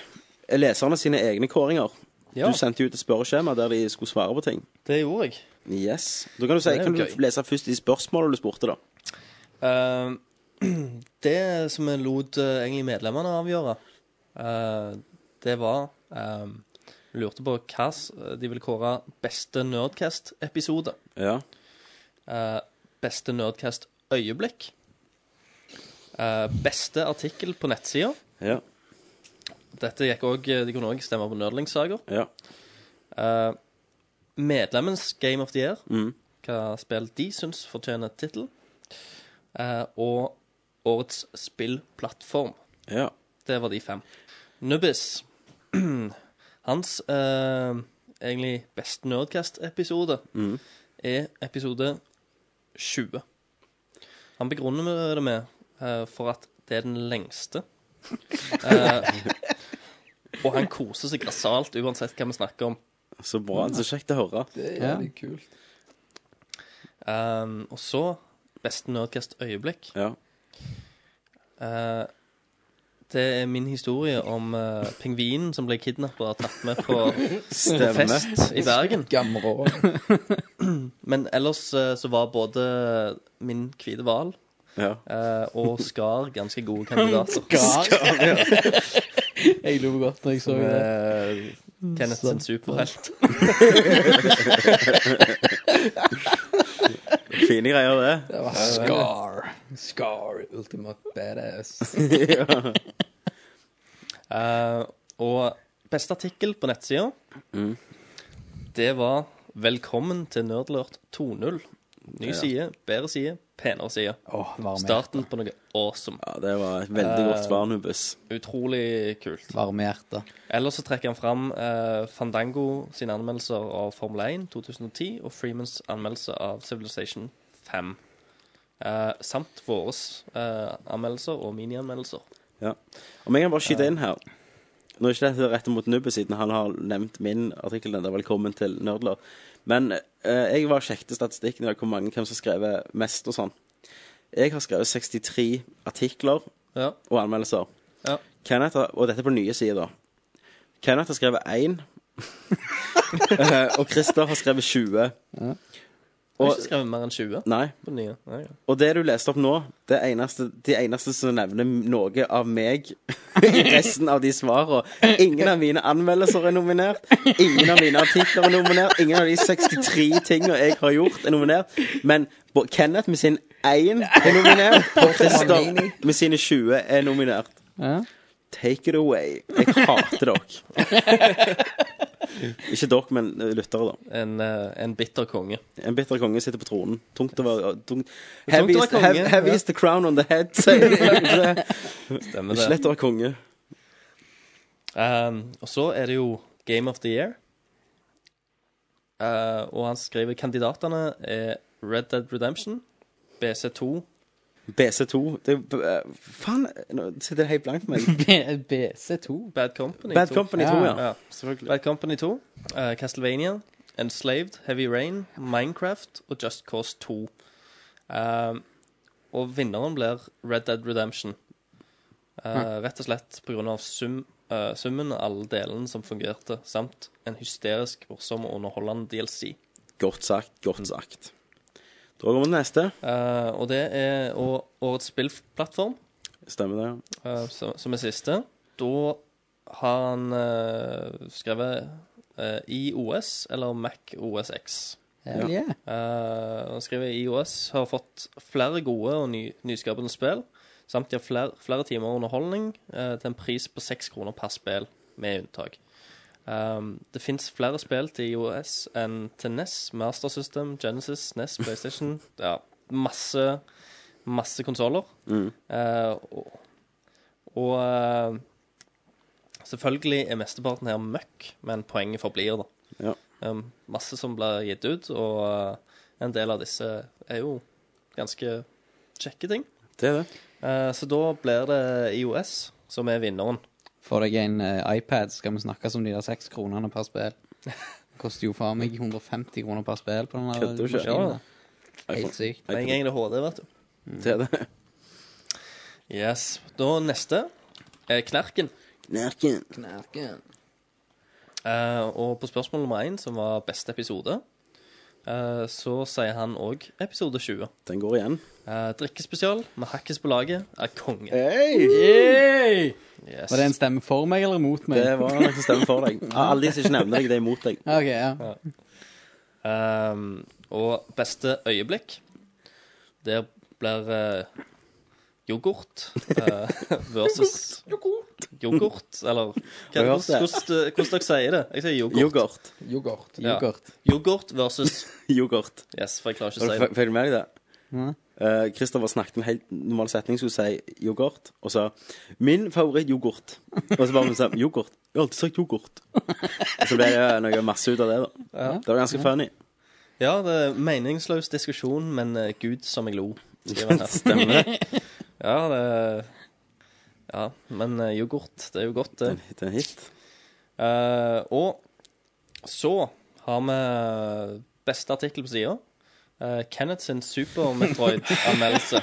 [SPEAKER 7] Leserne sine egne kåringer.
[SPEAKER 9] Ja,
[SPEAKER 7] Du sendte jo ut et spørreskjema der de skulle svare på ting.
[SPEAKER 9] det gjorde jeg.
[SPEAKER 7] Yes. Da kan du si,
[SPEAKER 9] Det er jo
[SPEAKER 7] kan du
[SPEAKER 9] gøy.
[SPEAKER 7] lese først de spørsmålene du spurte, da.
[SPEAKER 9] Eh, det som vi lot eh, egentlig medlemmene avgjøre, eh, det var eh, Vi lurte på hva s- de ville kåre beste Nerdcast-episode.
[SPEAKER 7] Ja.
[SPEAKER 9] eh, beste Nerdcast-øyeblikk. eh, beste artikkel på nettsida.
[SPEAKER 7] Ja.
[SPEAKER 9] Dette gikk også, De kunne òg stemme på Nerdlingsaker.
[SPEAKER 7] ja.
[SPEAKER 9] Eh, medlemmens Game of the Year. Hva spill de syns fortjener tittel. Eh, og årets spillplattform.
[SPEAKER 7] Ja.
[SPEAKER 9] Det var de fem. Nubbis. Hans eh, egentlig best Nerdcast-episode er episode 20. Han begrunner med det med eh, for at det er den lengste. Eh, og han koser seg grassat uansett hva vi snakker om.
[SPEAKER 7] Så bra. Så kjekt å høre.
[SPEAKER 8] Det er
[SPEAKER 11] Ja.
[SPEAKER 8] jævlig kult.
[SPEAKER 9] Um, og så beste Nerdcast-øyeblikk.
[SPEAKER 7] Ja.
[SPEAKER 9] Eh, det er min historie om eh, pingvinen som ble kidnappa og tatt med på på
[SPEAKER 7] Stemme.
[SPEAKER 9] fest i Bergen.
[SPEAKER 8] Gamle år.
[SPEAKER 9] Men ellers eh, så var både min hvite hval
[SPEAKER 7] Ja.
[SPEAKER 9] eh, og Skar ganske gode kandidater.
[SPEAKER 11] Jeg lo godt når jeg så det.
[SPEAKER 9] Eh, Kenneth sin superhelt.
[SPEAKER 7] Fine greier, det.
[SPEAKER 8] Det var Scar. Scar, ultimate badass.
[SPEAKER 9] Eh, og beste artikkel på nettsida, det var 'Velkommen til Nerdlurt 2.0'. Ny side, bedre side, penere side.
[SPEAKER 11] Åh, varme
[SPEAKER 9] Starten på noe awesome.
[SPEAKER 7] Ja, Det var et veldig godt svar, Nubbes.
[SPEAKER 9] Utrolig kult.
[SPEAKER 11] Varmehjerte.
[SPEAKER 9] Ellers så trekker han fram eh, Fandango sine anmeldelser av Formel 1 2010 og Freemans anmeldelse av Civilization 5. Eh, samt våre eh, anmeldelser og minianmeldelser.
[SPEAKER 7] Ja. Om jeg kan bare skyte inn her Nå er ikke dette rett mot Nubbes, siden han har nevnt min artikkel. Den der, Velkommen til nerdler. Men eh, jeg var og sjekket statistikken i dag, hvor mange hvem som har skrevet mest og sånn. Jeg har skrevet 63 artikler
[SPEAKER 9] Ja.
[SPEAKER 7] og anmeldelser.
[SPEAKER 9] Ja.
[SPEAKER 7] Kenneth har, og dette er på nye sider. Kenneth har skrevet 1, og Christer har skrevet 20.
[SPEAKER 9] Jeg
[SPEAKER 7] Og,
[SPEAKER 9] har ikke skrevet mer enn 20
[SPEAKER 7] nei,
[SPEAKER 9] på den nye. Nei, ja.
[SPEAKER 7] og det du leste opp nå, det eneste, de eneste som nevner noe av meg i resten av de svarene Ingen av mine anmeldelser er nominert, ingen av mine artikler er nominert, ingen av de 63 tingene jeg har gjort, er nominert. Men bo- Kenneth med sin 1 er nominert, og Christer med sine 20 er nominert.
[SPEAKER 11] Ja.
[SPEAKER 7] Take it away. Jeg hater dere. Ikke dere, men eh, lyttere, da.
[SPEAKER 9] En, eh, en bitter konge.
[SPEAKER 7] En bitter konge sitter på tronen. Tungt å være tungt.
[SPEAKER 9] Tungt
[SPEAKER 7] Heavy,
[SPEAKER 9] å være
[SPEAKER 7] is, heavy,
[SPEAKER 9] konge,
[SPEAKER 7] heavy
[SPEAKER 9] ja.
[SPEAKER 7] is the crown on the head, sier de kanskje.
[SPEAKER 9] Stemmer
[SPEAKER 7] Ikke
[SPEAKER 9] det.
[SPEAKER 7] lett å være konge.
[SPEAKER 9] Um, og så er det jo Game of the Year. Uh, og han skriver kandidatene er Red Dead Redemption, BC2
[SPEAKER 7] BC2 det, er- eh, Faen, nå sitter det helt blankt med meg.
[SPEAKER 11] B- BC2.
[SPEAKER 9] Bad Company
[SPEAKER 7] Bad
[SPEAKER 9] 2.
[SPEAKER 7] Company 2, ja.
[SPEAKER 9] Ja, Bad Company 2, eh, Castlevania, Enslaved, Heavy Rain, Minecraft og Just Cause 2. Um, og vinneren blir Red Dead Redemption. Eh, Rett og slett pga. Sum, eh, summen av alle delene som fungerte, samt en hysterisk morsom og underholdende DLC.
[SPEAKER 7] Godt sagt. Godt sagt. Da går vi til neste.
[SPEAKER 9] Eh, og det er og årets spillplattform,
[SPEAKER 7] Stemmer det.
[SPEAKER 9] eh, som, som er siste. Da har han eh, skrevet eh, IOS eller Mac OSX.
[SPEAKER 11] Hell yeah.
[SPEAKER 9] Eh, han skriver IOS har fått flere gode og ny, nyskapende spill, samt de har flere, flere timer underholdning eh, til en pris på seks kroner per spill, med unntak. Um, det fins flere spill til IOS enn til NES, Master System, Genesis, NES, PlayStation Ja, masse masse konsoller. Eh, og og eh, selvfølgelig er mesteparten her møkk, men poenget forblir, da.
[SPEAKER 7] Ja.
[SPEAKER 9] Um, masse som blir gitt ut, og eh, en del av disse er jo ganske kjekke ting.
[SPEAKER 7] Det er det.
[SPEAKER 9] Eh, så da blir det IOS som er vinneren.
[SPEAKER 11] Får deg en eh, iPad, skal vi snakkes om de der seks kronene per spill. Koster jo faen meg 150 kroner per spill på den der
[SPEAKER 7] Kødder du ikke?
[SPEAKER 11] maskinen. der.
[SPEAKER 7] iPhone.
[SPEAKER 11] Helt sykt.
[SPEAKER 9] Med en gang det er HD, vet du.
[SPEAKER 7] Det er det.
[SPEAKER 9] Yes. Da neste er Knerken.
[SPEAKER 7] Nerken.
[SPEAKER 9] Eh, og på spørsmål nummer én, som var beste episode, eh, så sier han òg episode 20.
[SPEAKER 7] Den går igjen.
[SPEAKER 9] Eh, drikkespesial med Hakkis på laget er konge. Yes.
[SPEAKER 11] Eh, Var det en stemme for meg eller mot meg?
[SPEAKER 7] Det var noen som stemmer for deg. Alle de som ikke nevner deg, det er imot deg.
[SPEAKER 11] Ja, Ok, ja.
[SPEAKER 9] Ehm, og beste øyeblikk Der blir eh, yoghurt eh, versus Yoghurt! eller
[SPEAKER 7] Har du
[SPEAKER 9] hva, hvordan,
[SPEAKER 7] hørt det?
[SPEAKER 9] hvordan, hvordan dere sier det? Jeg sier yoghurt.
[SPEAKER 7] Yoghurt.
[SPEAKER 8] Yoghurt.
[SPEAKER 9] Ja.
[SPEAKER 11] Yoghurt.
[SPEAKER 9] Yoghurt versus
[SPEAKER 7] Yoghurt.
[SPEAKER 9] Yes, for jeg klarer ikke å si det.
[SPEAKER 7] Følg med deg det.
[SPEAKER 11] Nei.
[SPEAKER 7] Eh, Kristoffer snakket en helt normal setning, skulle si yoghurt, og sa 'min favoritt-yoghurt'. Og så bare hun sa 'yoghurt'. Jeg har alltid sagt yoghurt. Og så ble det noe masse ut av det, da. Det var ganske funny.
[SPEAKER 9] Ja, det er meningsløs diskusjon, men eh, gud som jeg lo. skriver han her.
[SPEAKER 7] Stemmer det?
[SPEAKER 9] Ja, det Ja, men eh, yoghurt, det er jo godt, det.
[SPEAKER 7] En hit, en hit.
[SPEAKER 9] Eh, og så har vi beste artikkel på sida. Uh, Kenneth sin Super Metroid-anmeldelse.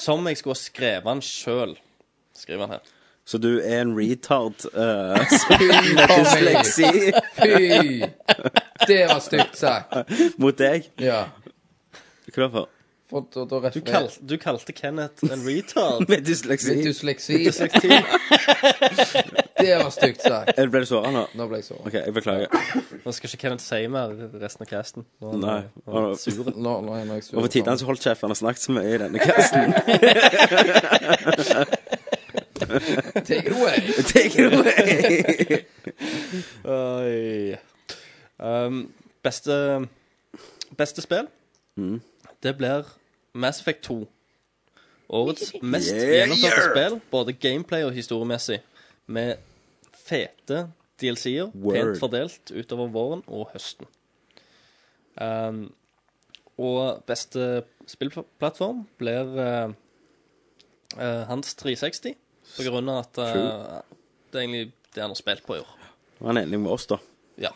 [SPEAKER 9] som jeg skulle ha skrevet den sjøl, skriver han her.
[SPEAKER 7] Så du er en retard eh, med dysleksi
[SPEAKER 8] Fy! Det var stygt sagt.
[SPEAKER 7] mot deg?
[SPEAKER 8] Ja.
[SPEAKER 7] Hva da for?
[SPEAKER 8] For da, da
[SPEAKER 9] Du, kal du kalte Kenneth en retard.
[SPEAKER 7] Med dysleksi?
[SPEAKER 8] Dysleksi. Det var stygt sagt.
[SPEAKER 7] Eh, Ble du såra nå?
[SPEAKER 8] Nå ble jeg såret.
[SPEAKER 7] OK, jeg beklager.
[SPEAKER 9] Nå skal ikke Kenneth si mer resten av casten. Nå er
[SPEAKER 7] Nei.
[SPEAKER 9] han- nå er han sur.
[SPEAKER 8] Nå, nå er jeg sur.
[SPEAKER 7] Over tid han så holdt kjeft, han har snakket så mye i denne casten.
[SPEAKER 8] Take it away.
[SPEAKER 7] Take it away!
[SPEAKER 9] Oi. Um, beste Beste spill?
[SPEAKER 7] Mm.
[SPEAKER 9] Det blir Mass Effect 2. Årets mest
[SPEAKER 7] Yeah,
[SPEAKER 9] gjennomførte
[SPEAKER 7] yeah.
[SPEAKER 9] spill, både gameplay og historiemessig, med fete DLC-er,
[SPEAKER 7] Word.
[SPEAKER 9] pent fordelt utover våren og høsten. Um, og beste spillplattform blir eh, eh, hans 360, på grunn av at eh, det er egentlig det han har spilt på i år.
[SPEAKER 7] Han er enig med oss, da.
[SPEAKER 9] Ja.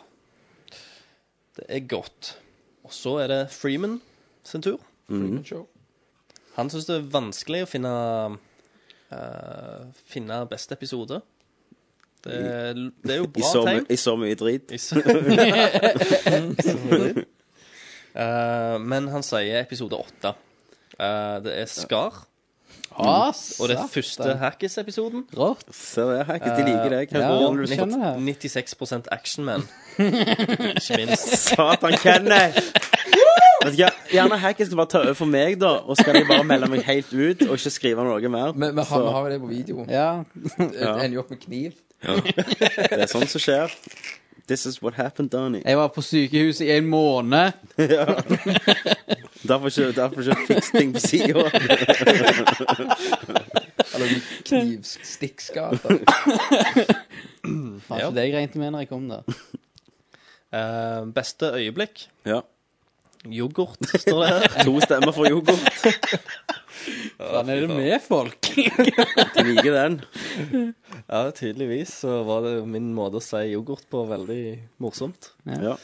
[SPEAKER 9] Det er godt. Og så er det Freeman sin tur.
[SPEAKER 7] Mm-hmm.
[SPEAKER 8] Show.
[SPEAKER 9] Han syns det er vanskelig å finne eh, finne beste episode. Det, det er jo
[SPEAKER 7] I
[SPEAKER 9] bra
[SPEAKER 7] så, my-
[SPEAKER 9] tegn.
[SPEAKER 7] I så mye drit.
[SPEAKER 9] I så- Eh, men han sier episode åtte. Eh, det er Skar, og det er første Hackis-episoden.
[SPEAKER 11] Rått.
[SPEAKER 7] Se det, Hackis. De liker deg. liksom.
[SPEAKER 11] Ja,
[SPEAKER 7] Hvordan
[SPEAKER 11] du
[SPEAKER 7] du-
[SPEAKER 11] skjønner det.
[SPEAKER 9] 96 Actionman. Ikke minst.
[SPEAKER 7] Satan, Kenneth! Vet du hva, Gjerne Hackis skal være tøffe for meg, da. Og så kan jeg bare melde meg helt ut og ikke skrive noe mer.
[SPEAKER 8] Men vi har, vi har jo det på video.
[SPEAKER 11] Ja.
[SPEAKER 8] Det ender jo opp med kniv.
[SPEAKER 7] Det er sånt som skjer. This is what happened, Donnie.
[SPEAKER 11] Jeg var på sykehus i en måned.
[SPEAKER 7] Derfor ikke, derfor ikke fiks ting på sida.
[SPEAKER 8] Eller knivstikkskader.
[SPEAKER 11] Var
[SPEAKER 9] Ja.
[SPEAKER 11] ikke det jeg regnet med når jeg kom der.
[SPEAKER 9] Eh, beste øyeblikk.
[SPEAKER 7] Ja.
[SPEAKER 9] Yoghurt, står det her.
[SPEAKER 7] To stemmer for yoghurt.
[SPEAKER 11] Faen, er det med folk?
[SPEAKER 7] De liker den.
[SPEAKER 9] Ja, tydeligvis så var det min måte å si yoghurt på veldig morsomt.
[SPEAKER 7] Ja.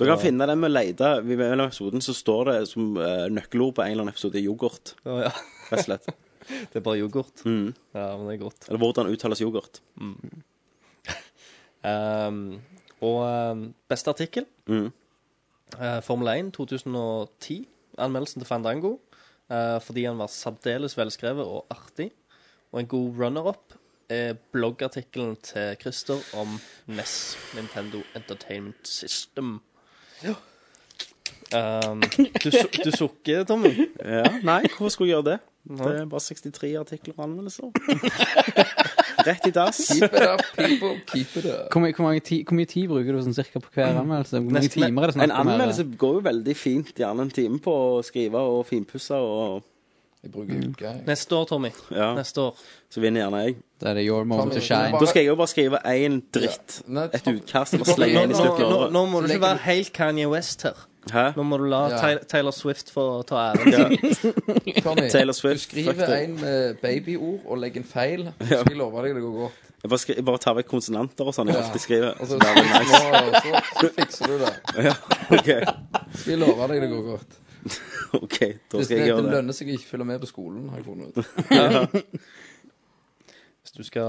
[SPEAKER 7] Dere kan finne den med å lete. I mellom episoden så står det som eh, nøkkelord på en eller annen episode yoghurt.
[SPEAKER 9] Å, ja.
[SPEAKER 7] Rett og slett. Mm.
[SPEAKER 9] Det er bare yoghurt. Ja, men det er godt.
[SPEAKER 7] Eller hvordan uttales yoghurt.
[SPEAKER 9] Ehm, og ehm, beste artikkel?
[SPEAKER 7] Mhm.
[SPEAKER 9] Eh, Formel 1 2010. Anmeldelsen til Fandango. eh, fordi han var særdeles velskrevet og artig. Og en god runner-up er bloggartikkelen til Christer om NES, Nintendo Entertainment System. Ehm, du, su- du sukker, Tommy.
[SPEAKER 7] Ja, Nei, hvorfor skulle jeg gjøre det? Det er bare 63 artikler og anmeldelser. Rett i dass.
[SPEAKER 8] Keep it up, people. Keep it up.
[SPEAKER 11] Hvor, mye- hvor, mange ti, hvor mye tid bruker du sånn cirka på hver anmeldelse? Hvor mange
[SPEAKER 9] Nesten-
[SPEAKER 11] timer er det
[SPEAKER 7] En
[SPEAKER 11] snakk om? her?
[SPEAKER 7] anmeldelse går jo veldig fint, gjerne en time på å skrive og finpusse og
[SPEAKER 8] Jeg bruker uke. jeg.
[SPEAKER 9] Neste år, Tommy.
[SPEAKER 7] Ja.
[SPEAKER 9] Neste år.
[SPEAKER 7] Så vinner gjerne jeg.
[SPEAKER 11] Da er det your moment to
[SPEAKER 8] Tommy,
[SPEAKER 11] shine.
[SPEAKER 7] Da skal jeg jo bare skrive én dritt.
[SPEAKER 8] Ja. Nei,
[SPEAKER 7] Et
[SPEAKER 8] Tom-
[SPEAKER 7] utkast og
[SPEAKER 8] Tommy,
[SPEAKER 7] slenge
[SPEAKER 9] Nå,
[SPEAKER 7] inn i
[SPEAKER 9] nå,
[SPEAKER 7] slutten av
[SPEAKER 9] nå,
[SPEAKER 7] året.
[SPEAKER 9] nå må du ikke være helt Kanye West her.
[SPEAKER 7] Hæ?
[SPEAKER 9] Nå må du la
[SPEAKER 8] Ja.
[SPEAKER 9] Taylor, Taylor Swift få ta æren.
[SPEAKER 8] Tommy,
[SPEAKER 7] Taylor Swift,
[SPEAKER 8] du
[SPEAKER 7] fuck
[SPEAKER 8] skriver
[SPEAKER 7] deg.
[SPEAKER 8] en med babyord og legger en feil, så skal jeg love deg det går godt.
[SPEAKER 7] Jeg bare, skri- jeg bare tar vekk konsonanter og sånn. Jeg
[SPEAKER 8] Ja.
[SPEAKER 7] alltid skriver.
[SPEAKER 8] Og
[SPEAKER 7] Så
[SPEAKER 8] så,
[SPEAKER 7] det er vel nice.
[SPEAKER 8] så, så fikser du det.
[SPEAKER 7] Ja, OK.
[SPEAKER 8] Skal jeg love deg det går godt.
[SPEAKER 7] Ok, Da
[SPEAKER 8] Hvis
[SPEAKER 7] skal
[SPEAKER 8] det,
[SPEAKER 7] jeg
[SPEAKER 8] det
[SPEAKER 7] gjøre det.
[SPEAKER 8] lønner seg å ikke følge med på skolen, har jeg funnet ut.
[SPEAKER 9] Hvis du skal,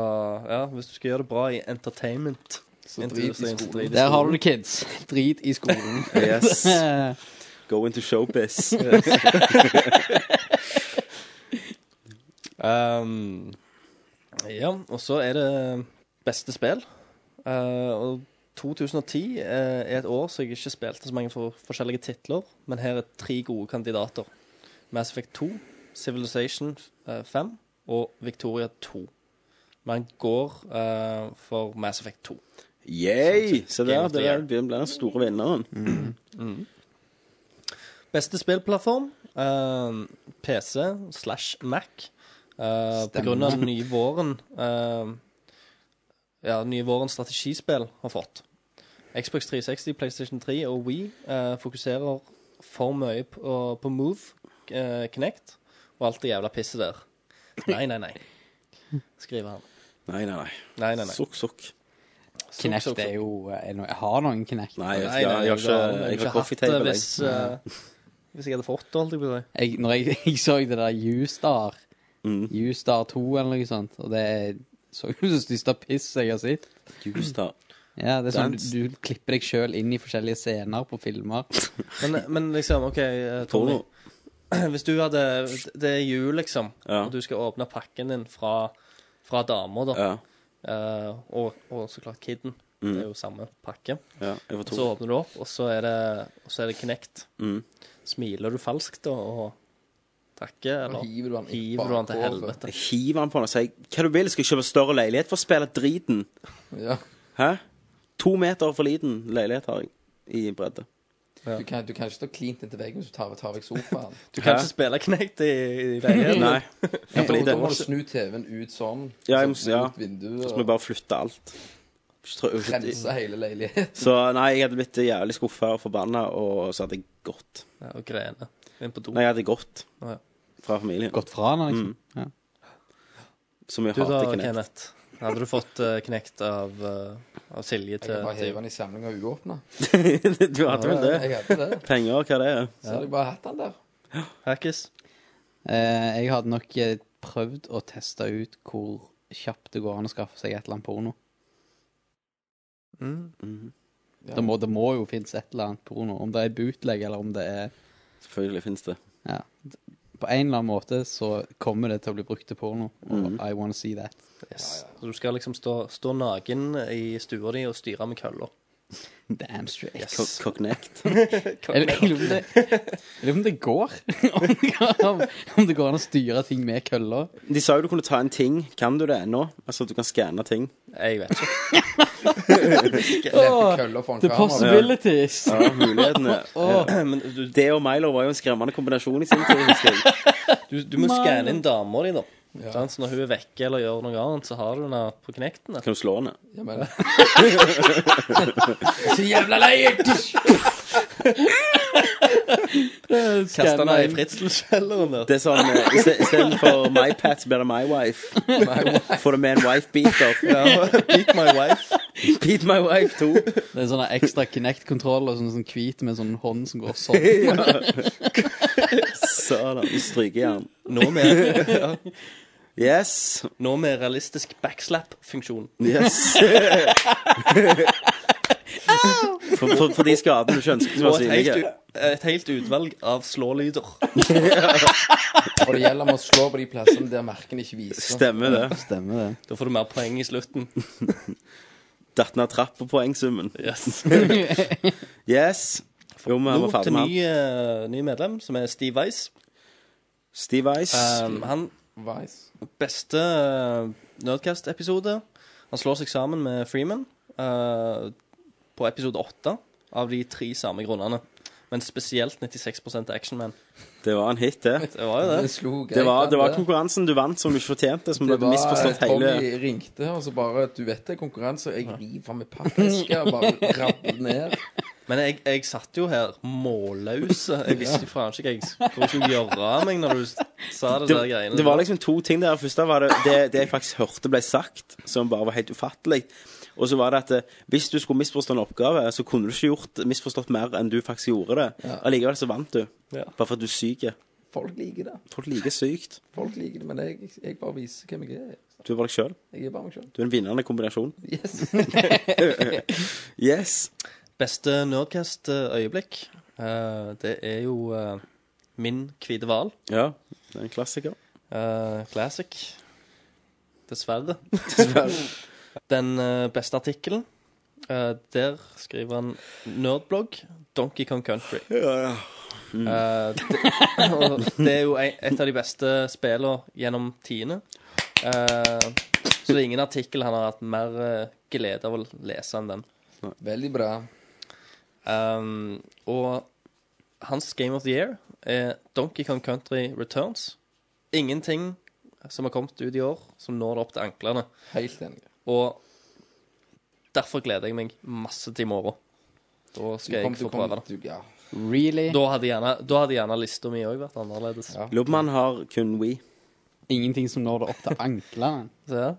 [SPEAKER 9] ja, hvis du skal gjøre det bra i entertainment
[SPEAKER 8] Så drit i
[SPEAKER 9] industrien, så drit
[SPEAKER 8] skolen.
[SPEAKER 9] i
[SPEAKER 11] Der har du det, kids. Drit i skolen.
[SPEAKER 7] Yes.
[SPEAKER 11] Eh,
[SPEAKER 7] Go into showbiz.
[SPEAKER 9] Um, ja, og så er det beste spill. Eh, og 2010 eh, er et år så jeg ikke spilte så mange for forskjellige titler, men her er tre gode kandidater. Mass Effect 2, Civilization eh, 5 og Victoria 2. Man går eh, for Mass Effect 2.
[SPEAKER 7] Yay! Se
[SPEAKER 9] Game
[SPEAKER 7] der.
[SPEAKER 9] of the
[SPEAKER 7] Det
[SPEAKER 9] year.
[SPEAKER 7] der blir blir den store vinneren.
[SPEAKER 9] Beste spillplattform? eh, PC slash Mac. Uh, på grunn av den nye våren eh, Ja, den nye vårens strategispill har fått. Xbox 360, PlayStation 3 og We fokuserer for mye på, på Move, uh, Connect og alt det jævla pisset der. Nei, nei, nei, skriver han.
[SPEAKER 7] Nei, nei, nei.
[SPEAKER 9] Nei, nei, nei.
[SPEAKER 7] Sukk, sukk.
[SPEAKER 9] Sukk, sukk,
[SPEAKER 11] Kinect er
[SPEAKER 9] sukk.
[SPEAKER 11] jo eh, no- Jeg har noen Kinect.
[SPEAKER 7] Nei, jeg,
[SPEAKER 9] Nei,
[SPEAKER 7] jeg, jeg,
[SPEAKER 9] nei, nei,
[SPEAKER 7] har
[SPEAKER 9] du har-
[SPEAKER 7] ikke- jeg
[SPEAKER 9] du
[SPEAKER 7] har
[SPEAKER 9] hatt
[SPEAKER 7] coffee table. jeg.
[SPEAKER 9] det Hvis, eh, hvis jeg hadde fått det, holdt jeg på å si.
[SPEAKER 11] Jeg, når jeg, jeg så det der U-Star, Mm. U-Star 2 eller noe sånt, og det så ut som det største piss jeg har sett.
[SPEAKER 7] Just da.
[SPEAKER 11] Ja, det er sånn
[SPEAKER 7] Dans.
[SPEAKER 11] du, du klipper deg sjøl inn i forskjellige scener på filmer.
[SPEAKER 9] Men, men liksom, OK, eh, Tommy.
[SPEAKER 7] Porno.
[SPEAKER 9] Hvis du hadde Det er jul, liksom,
[SPEAKER 7] Ja.
[SPEAKER 9] og du skal åpne pakken din fra, fra dama, da.
[SPEAKER 7] Ja.
[SPEAKER 9] eh, og, og så klart kiden. Det er jo samme pakke.
[SPEAKER 7] ja. Jeg får
[SPEAKER 9] Og
[SPEAKER 7] to.
[SPEAKER 9] så åpner du opp, og så er det, og så er det Kinect.
[SPEAKER 7] Mm.
[SPEAKER 9] Smiler du falskt da og takker, eller
[SPEAKER 8] hiver du han i
[SPEAKER 9] hiver du han til
[SPEAKER 8] bakhovet.
[SPEAKER 9] helvete?
[SPEAKER 7] Jeg hiver han på den og sier hva du vil, skal jeg kjøpe større leilighet for å spille driten?
[SPEAKER 8] Ja.
[SPEAKER 7] Hæ? To meter for liten leilighet har jeg i bredde.
[SPEAKER 8] Du, kan, du kan ikke stå klint inntil veggen hvis du tar, tar vekk sofaen.
[SPEAKER 9] Du kan
[SPEAKER 7] Hæ?
[SPEAKER 9] ikke spille Kinect i, i leiligheten.
[SPEAKER 7] Nei.
[SPEAKER 8] Da
[SPEAKER 7] for lite.
[SPEAKER 8] da må du snu TV-en ut sånn,
[SPEAKER 7] Ja, jeg
[SPEAKER 8] sånn
[SPEAKER 7] må- ja.
[SPEAKER 8] mot vinduet,
[SPEAKER 7] Så må vi
[SPEAKER 8] og
[SPEAKER 7] bare flytte alt. Strø-
[SPEAKER 8] rense hele leiligheten.
[SPEAKER 7] Så nei, jeg hadde blitt jævlig skuffa og forbanna, og så hadde jeg gått.
[SPEAKER 9] Ja, og grene. Inn på do.
[SPEAKER 7] Nei, jeg hadde gått
[SPEAKER 9] Å, ja.
[SPEAKER 7] fra familien. Mm.
[SPEAKER 11] Gått fra den, liksom. Ja.
[SPEAKER 7] Så mye
[SPEAKER 9] Du da,
[SPEAKER 7] hater jeg Kenneth.
[SPEAKER 9] Kenneth. Hadde du fått uh, Kinect av, eh, av Silje
[SPEAKER 8] Jeg
[SPEAKER 9] til,
[SPEAKER 8] kan bare
[SPEAKER 9] til
[SPEAKER 8] heve den i samling og uåpna.
[SPEAKER 7] du hadde vel det?
[SPEAKER 8] Jeg hadde det.
[SPEAKER 7] Penger, hva det er?
[SPEAKER 8] Så hadde jeg bare hatt den der.
[SPEAKER 9] Hackis?
[SPEAKER 11] Eh, jeg hadde nok eh, prøvd å teste ut hvor kjapt det går an å skaffe seg et eller annet porno.
[SPEAKER 9] Mm.
[SPEAKER 7] Mhm.
[SPEAKER 8] Ja.
[SPEAKER 11] Det, må, det må jo finnes et eller annet porno, om det er bootleg eller om det er
[SPEAKER 7] Selvfølgelig finnes det.
[SPEAKER 11] ja. På en eller annen måte så kommer det til å bli brukt til porno, og I wanna see that.
[SPEAKER 9] Yes. Så du skal liksom stå, stå naken i stua di og styre med kølla.
[SPEAKER 11] Damn straight.
[SPEAKER 7] Co Cognect.
[SPEAKER 11] Jeg jeg lurer på om det- jeg lurer på om det går. Om det går- om- Om det går an å styre ting med kølla.
[SPEAKER 7] De sa jo du kunne ta en ting. Kan du det ennå? Altså at du kan skanne ting.
[SPEAKER 9] Jeg vet ikke.
[SPEAKER 8] Lepe køller foran
[SPEAKER 11] The
[SPEAKER 8] kamera.
[SPEAKER 11] possibilities!
[SPEAKER 7] Ja, mulighetene.
[SPEAKER 11] Åh.
[SPEAKER 7] Eh, Men du, det og Milo var jo en skremmende kombinasjon i sin tid, husker jeg.
[SPEAKER 9] Du, du må
[SPEAKER 11] Milo.
[SPEAKER 9] skanne inn dama di, da. Sant? Så når hun er vekke eller gjør noe annet, så har du henne på knekten.
[SPEAKER 7] Kan du slå henne?
[SPEAKER 8] Ja, men- Jeg er så jævla lei!
[SPEAKER 9] Kaste henne i
[SPEAKER 11] Skanner inn.
[SPEAKER 9] fritselskjelleren der.
[SPEAKER 7] Det er sånn, eh, i ste- i stedet for my pat, så blir det my wife. Får du med en wife beater.
[SPEAKER 9] Beat my wife.
[SPEAKER 7] Beat my wife too.
[SPEAKER 11] Det er sånn der ekstra Kinect-kontroll og sånn, sånn hvit med sånn hånd som går sånn.
[SPEAKER 7] Sådan. Strykejern.
[SPEAKER 9] Nå med,
[SPEAKER 7] Yes.
[SPEAKER 9] nå med realistisk backslap-funksjon.
[SPEAKER 7] Yes. For, for, for de skadene du ikke ønsket som var
[SPEAKER 9] Og et helt,
[SPEAKER 7] synlige.
[SPEAKER 9] u- et helt utvalg av slålyder.
[SPEAKER 8] Og det gjelder om å slå på de plassene der merken ikke viser.
[SPEAKER 7] Stemmer det.
[SPEAKER 11] Stemmer det.
[SPEAKER 9] Da får du mer poeng i slutten.
[SPEAKER 7] Datt ned trapp på poengsummen.
[SPEAKER 9] Yes.
[SPEAKER 7] Yes. Jo, vi
[SPEAKER 9] Nå
[SPEAKER 7] var ferdig
[SPEAKER 9] til
[SPEAKER 7] med
[SPEAKER 9] ny,
[SPEAKER 7] han.
[SPEAKER 9] eh, ny medlem, som er Steve Weiss.
[SPEAKER 7] Steve Ice.
[SPEAKER 8] Eh,
[SPEAKER 9] Um, han
[SPEAKER 8] Vice.
[SPEAKER 9] beste eh, Nerdcast-episode. Han slår seg sammen med Freeman eh, på episode 8 av de tre samme grunnene. Men spesielt 96 Actionman.
[SPEAKER 7] Det var en hit, det.
[SPEAKER 9] Det var jo
[SPEAKER 8] Det
[SPEAKER 9] det.
[SPEAKER 8] slo greit.
[SPEAKER 7] Det var, det var
[SPEAKER 8] det.
[SPEAKER 7] konkurransen du vant som du ikke fortjente, som du
[SPEAKER 8] Det
[SPEAKER 7] hadde
[SPEAKER 8] var
[SPEAKER 7] misforstått hele
[SPEAKER 8] Tommy ringte, og så bare Du vet det er konkurranse, og jeg river med pappesker og bare rabler ned.
[SPEAKER 9] Men jeg, jeg satt jo her målløs. Jeg visste jo faen ikke jeg s- hvor jeg skulle gjøre av meg når du s- sa det, der
[SPEAKER 7] det,
[SPEAKER 9] greiene.
[SPEAKER 7] det var liksom to ting der. Først da var det, det det jeg faktisk hørte ble sagt, som bare var helt ufattelig. Og så var det at eh, hvis du skulle misforstå en oppgave, så kunne du ikke gjort misforstått mer enn du faktisk gjorde det. Allikevel så vant du.
[SPEAKER 9] Ja.
[SPEAKER 7] Bare for at du er syk.
[SPEAKER 8] Folk liker det.
[SPEAKER 7] Folk liker sykt.
[SPEAKER 8] Folk liker det, men jeg, jeg bare viser hvem jeg er.
[SPEAKER 7] Du er bare deg sjøl.
[SPEAKER 8] Jeg er bare meg sjøl.
[SPEAKER 7] Du er en vinnende kombinasjon.
[SPEAKER 8] Yes.
[SPEAKER 7] Yes.
[SPEAKER 9] Beste Nerdcast-øyeblikk, eh, det er jo eh, min hvite hval.
[SPEAKER 7] Ja, det er en klassiker.
[SPEAKER 9] Eh, classic. Dessverre. Den eh, beste artikkelen, eh, der skriver han nerdblogg Donkey Kong Country. Eh, det, og det er jo en, et av de beste spillene gjennom tiende. Eh, så det er ingen artikkel han har hatt mer eh, glede av å lese enn den.
[SPEAKER 8] Veldig bra.
[SPEAKER 9] Um, og hans Game of the Year er Donkey Kong Country Returns. Ingenting som har kommet ut i år, som når det opp til anklene.
[SPEAKER 8] Helt enig.
[SPEAKER 9] Og derfor gleder jeg meg masse til i morgen. Da
[SPEAKER 8] Du
[SPEAKER 9] skal
[SPEAKER 8] kom-
[SPEAKER 9] jeg
[SPEAKER 8] du
[SPEAKER 9] få
[SPEAKER 8] kom-
[SPEAKER 9] prøve det.
[SPEAKER 8] du- Ja.
[SPEAKER 11] Really?
[SPEAKER 9] Da hadde gjerne, da hadde gjerne lista mi òg vært annerledes.
[SPEAKER 8] Ja.
[SPEAKER 7] Lobman har kun We.
[SPEAKER 11] Ingenting som når det opp til anklene.
[SPEAKER 9] Så, ja.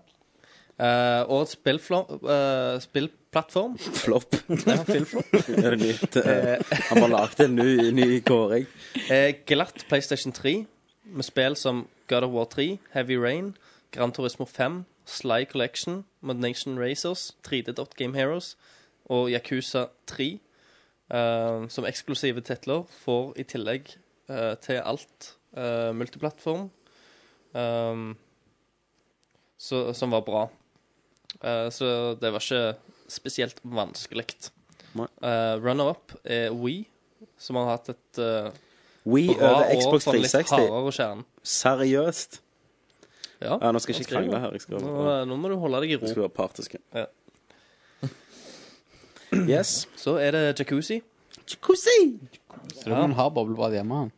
[SPEAKER 9] Eh, årets spillflo- eh, spillplattform
[SPEAKER 7] Flopp.
[SPEAKER 9] ja, filmflo-
[SPEAKER 7] Er det nytt? eh, Han bare lagde en ny, ny kåring.
[SPEAKER 9] er Eh, glatt PlayStation 3, med spill som God of War 3, Heavy Rain, Gran Turismo 5, Sly Collection, Mod Nation Racers, 3D Game Heroes og Yakuza 3, eh, som eksklusive titler, får i tillegg eh, til alt eh, multiplattform, eh, så, som var bra. Eh, så det var ikke spesielt vanskelig.
[SPEAKER 7] Nei.
[SPEAKER 9] Eh, Runner-up er We, som har hatt et eh,
[SPEAKER 7] We
[SPEAKER 9] Bra
[SPEAKER 7] over
[SPEAKER 9] år
[SPEAKER 7] Xbox
[SPEAKER 9] for en litt
[SPEAKER 7] 360.
[SPEAKER 9] hardere kjerne.
[SPEAKER 7] Seriøst.
[SPEAKER 9] Ja.
[SPEAKER 7] Ja, nå skal jeg ikke
[SPEAKER 9] skriver.
[SPEAKER 7] krangle her. Jeg skal,
[SPEAKER 9] Nå, nå må du holde deg i
[SPEAKER 7] jeg
[SPEAKER 9] ro.
[SPEAKER 7] skal være partisk.
[SPEAKER 9] Ja.
[SPEAKER 7] Yes.
[SPEAKER 9] Så er det jacuzzi.
[SPEAKER 11] Så da må han ha boblebad hjemme, han.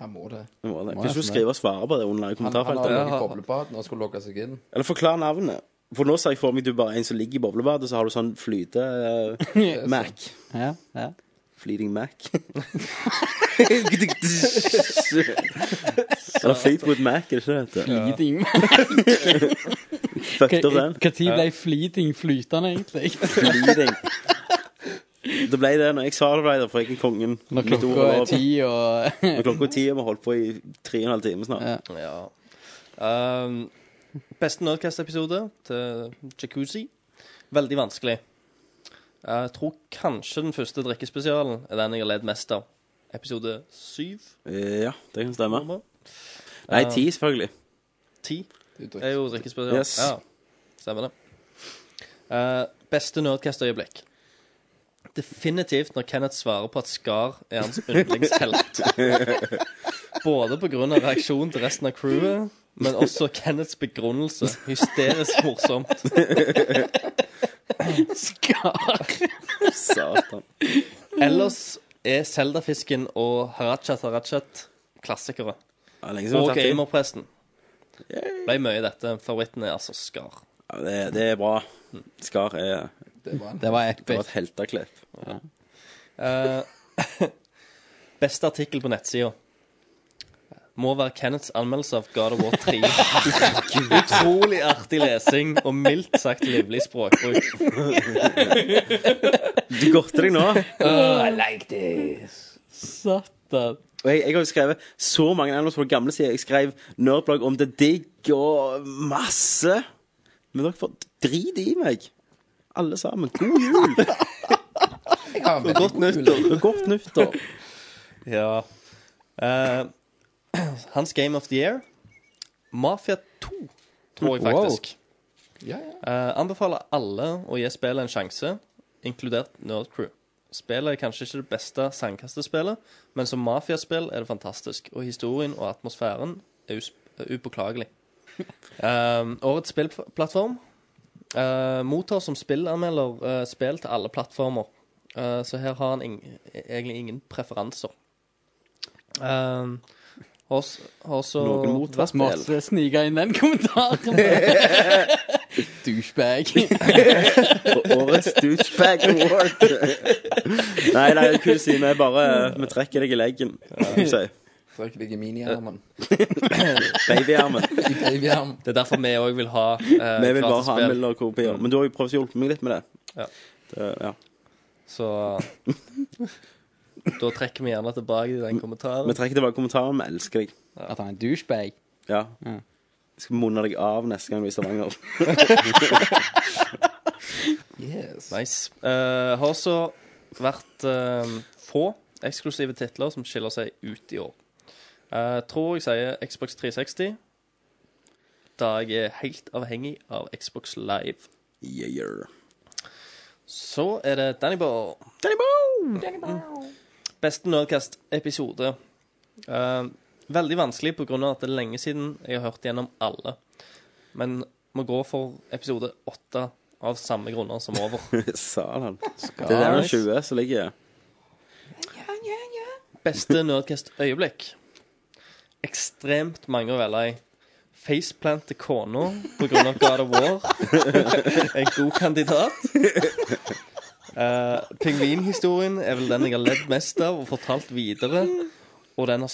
[SPEAKER 8] Han må det.
[SPEAKER 7] Det må det.
[SPEAKER 11] Må
[SPEAKER 7] Hvis
[SPEAKER 11] jeg
[SPEAKER 7] du
[SPEAKER 11] få
[SPEAKER 7] skriver og svarer på det under i
[SPEAKER 8] Han, han
[SPEAKER 7] kommentarfeltet.
[SPEAKER 8] hadde
[SPEAKER 9] Ja.
[SPEAKER 8] noe boblebad når han skulle logge seg inn.
[SPEAKER 7] Eller forklar navnet. For nå ser jeg for meg du bare er en som ligger i boblebadet, så har du sånn flyte... eh, Mac.
[SPEAKER 11] Ja, ja.
[SPEAKER 7] Fleating Mac. Eller Fleetwood Mac, er det ikke det det heter?
[SPEAKER 11] Flyting.
[SPEAKER 7] Fucked opp den.
[SPEAKER 11] Når ble flyting flytende, egentlig?
[SPEAKER 7] Fleating. Det ble det når jeg sa det ble det, for jeg er kongen.
[SPEAKER 11] Når
[SPEAKER 7] Mitt ord
[SPEAKER 11] klokka
[SPEAKER 7] var-
[SPEAKER 11] er ti og
[SPEAKER 7] Når klokka er ti, og vi har holdt på i tre og en halv time snart.
[SPEAKER 11] Ja.
[SPEAKER 9] Ja. Um, beste Nerdcast-episode til Jacuzzi. Veldig vanskelig. Jeg tror kanskje den første drikkespesialen er den jeg har ledd mest av. Episode syv.
[SPEAKER 7] Eh, Ja, det kan stemme.
[SPEAKER 9] nummer
[SPEAKER 7] Nei, ti, selvfølgelig.
[SPEAKER 9] Ti
[SPEAKER 8] Du
[SPEAKER 9] Det er
[SPEAKER 8] drikker.
[SPEAKER 9] jo drikkespesial.
[SPEAKER 7] Yes.
[SPEAKER 9] Ja, stemmer det. Eh, beste Nerdcast-øyeblikk? Definitivt når Kenneth svarer på at Skar er hans yndlingshelt. Både pga. reaksjonen til resten av crewet, men også Kenneths begrunnelse. Hysterisk morsomt.
[SPEAKER 7] Satan.
[SPEAKER 9] Ellers er Zelda-fisken og Harachat Harachat klassikere.
[SPEAKER 7] Det er lenge siden vi
[SPEAKER 9] Og
[SPEAKER 7] har tatt det.
[SPEAKER 9] gamerpresten. Ble mye i dette. Favoritten er altså Skar.
[SPEAKER 7] Ja, det, det er bra. Skar er
[SPEAKER 8] Det var en
[SPEAKER 11] Det var
[SPEAKER 7] det var
[SPEAKER 11] epic.
[SPEAKER 7] et helteklipp.
[SPEAKER 9] Eh, beste artikkel på nettsida må være Kenneths anmeldelse av God of War 3. Utrolig artig lesing og mildt sagt livlig språkbruk.
[SPEAKER 7] Du godter deg nå. Og
[SPEAKER 9] Satan.
[SPEAKER 7] jeg, jeg har jo skrevet så mange anmeldelser på gamle sider. Jeg skrev nerdblogg om The Digg og masse. Men dere får drit i meg. Alle sammen. God jul
[SPEAKER 8] Jeg har veldig god
[SPEAKER 7] godt nyttår. Og godt nyttår.
[SPEAKER 9] Ja. Eh, hans Game of the Year, Mafia 2, tror jeg faktisk.
[SPEAKER 8] Ja, ja.
[SPEAKER 9] Eh, anbefaler alle å gi spillet en sjanse, inkludert Nerdcrew. Spillet er kanskje ikke det beste sandkastespillet, men som mafiaspill er det fantastisk, og historien og atmosfæren er us- er upåklagelig. Um, årets spillplattform eh, mottar som spillanmelder eh, spill til alle plattformer, Eh, så her har han ing egentlig ingen preferanser. Um, har s- har også
[SPEAKER 7] Noen mottar spill.
[SPEAKER 11] Måtte snike inn den kommentaren. Douchebag.
[SPEAKER 7] på årets douchebag award. nei, nei, kusine, jeg bare Vi trekker deg i leggen. Ja.
[SPEAKER 8] Drikker deg i miniarmen.
[SPEAKER 7] Babyarmen.
[SPEAKER 8] I babyarmen.
[SPEAKER 9] Det er derfor vi òg vil ha eh,
[SPEAKER 7] Vi vil bare ha
[SPEAKER 9] gratis spill.
[SPEAKER 7] anmelderkopier. Men du har jo prøvd å hjelpe meg litt med det.
[SPEAKER 9] Ja.
[SPEAKER 7] det ja.
[SPEAKER 9] Så da trekker vi gjerne tilbake til den kommentaren.
[SPEAKER 7] Vi trekker tilbake kommentaren. Vi elsker deg.
[SPEAKER 11] At han er en douchebag.
[SPEAKER 7] Ja. Jeg skal munne deg av neste gang du er i Stavanger.
[SPEAKER 8] Yes.
[SPEAKER 9] Nice. Eh, har også vært eh, få eksklusive titler som skiller seg ut i år. Eh, tror jeg sier Xbox 360, da jeg er helt avhengig av Xbox Live.
[SPEAKER 7] Yeah.
[SPEAKER 9] Så er det Danny Boe. Beste Nerdcast-episode. Eh, veldig vanskelig pga. at det er lenge siden jeg har hørt gjennom alle. Men må gå for episode åtte av samme grunner som over.
[SPEAKER 7] Satan. Det er den 20 som ligger
[SPEAKER 9] Beste Nerdcast-øyeblikk. Ekstremt mange å velge i. Faceplant til kona pga. God of War. En god kandidat. Eh, Pingvinhistorien er vel den jeg har ledd mest av og fortalt videre. Og den har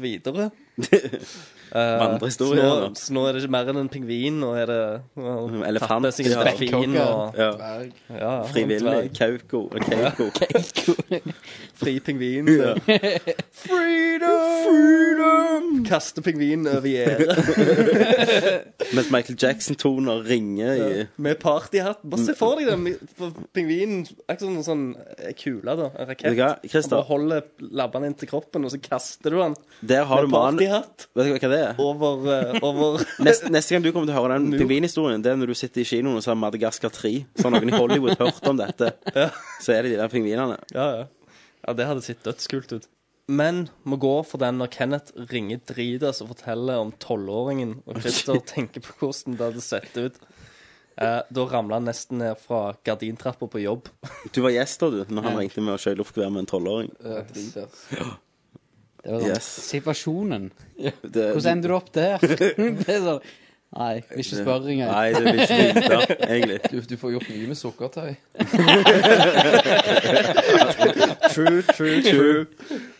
[SPEAKER 9] videre. Eh, Så nå,
[SPEAKER 7] vandrehistorien.
[SPEAKER 9] så nå er det ikke mer enn en pingvin. Nå er det nå
[SPEAKER 7] Elefant,
[SPEAKER 9] tapper seg en
[SPEAKER 7] ja.
[SPEAKER 9] delfin og
[SPEAKER 7] Ja.
[SPEAKER 8] Dverg.
[SPEAKER 9] ja, ja,
[SPEAKER 7] Frivillig.
[SPEAKER 9] en dverg.
[SPEAKER 7] Kauko. og Keiko.
[SPEAKER 9] Fri pingvin. Freedom! Freedom! Kaste pingvinen over gjerdet.
[SPEAKER 7] Mens Michael Jackson-toner ringer i
[SPEAKER 9] Med partyhatt. Bare se for deg den for pingvinen. Akkurat som en sånn eh, kule, da. En
[SPEAKER 7] Vet du
[SPEAKER 9] rakett.
[SPEAKER 7] hva,
[SPEAKER 9] Han bare
[SPEAKER 7] Christer?
[SPEAKER 9] holder labbene inn til kroppen, og så kaster du den
[SPEAKER 7] Der har du
[SPEAKER 9] med
[SPEAKER 7] mannen
[SPEAKER 9] partyhatt
[SPEAKER 7] Vet du hva det er?
[SPEAKER 9] over, eh, over
[SPEAKER 7] Neste, neste gang du kommer til å høre den pingvinhistorien, det er når du sitter i kinoen og ser Madagaskar 3. Så har noen i Hollywood hørt om dette.
[SPEAKER 9] Ja.
[SPEAKER 7] Så er det de der pingvinene.
[SPEAKER 9] Ja, ja. Ja, det hadde sett dødskult ut. Men må gå for den når Kenneth ringer dritas og forteller om tolvåringen, og Christer tenker på hvordan det hadde sett ut. Eh, da ramla han nesten ned fra gardintrappa på jobb.
[SPEAKER 7] Du var gjest da, du, når han ringte med å kjøre i luftgevær med en tolvåring.
[SPEAKER 8] Eh, drit, ass.
[SPEAKER 11] Det var sånn
[SPEAKER 7] Yes.
[SPEAKER 11] Situasjonen.
[SPEAKER 7] Det-
[SPEAKER 11] Hvordan ender du opp der? det er sånn Nei, vil ikke spørre engang.
[SPEAKER 7] Nei, det vil ikke vite, egentlig.
[SPEAKER 8] Du, du får gjort mye med sukkertøy.
[SPEAKER 7] True, true, true.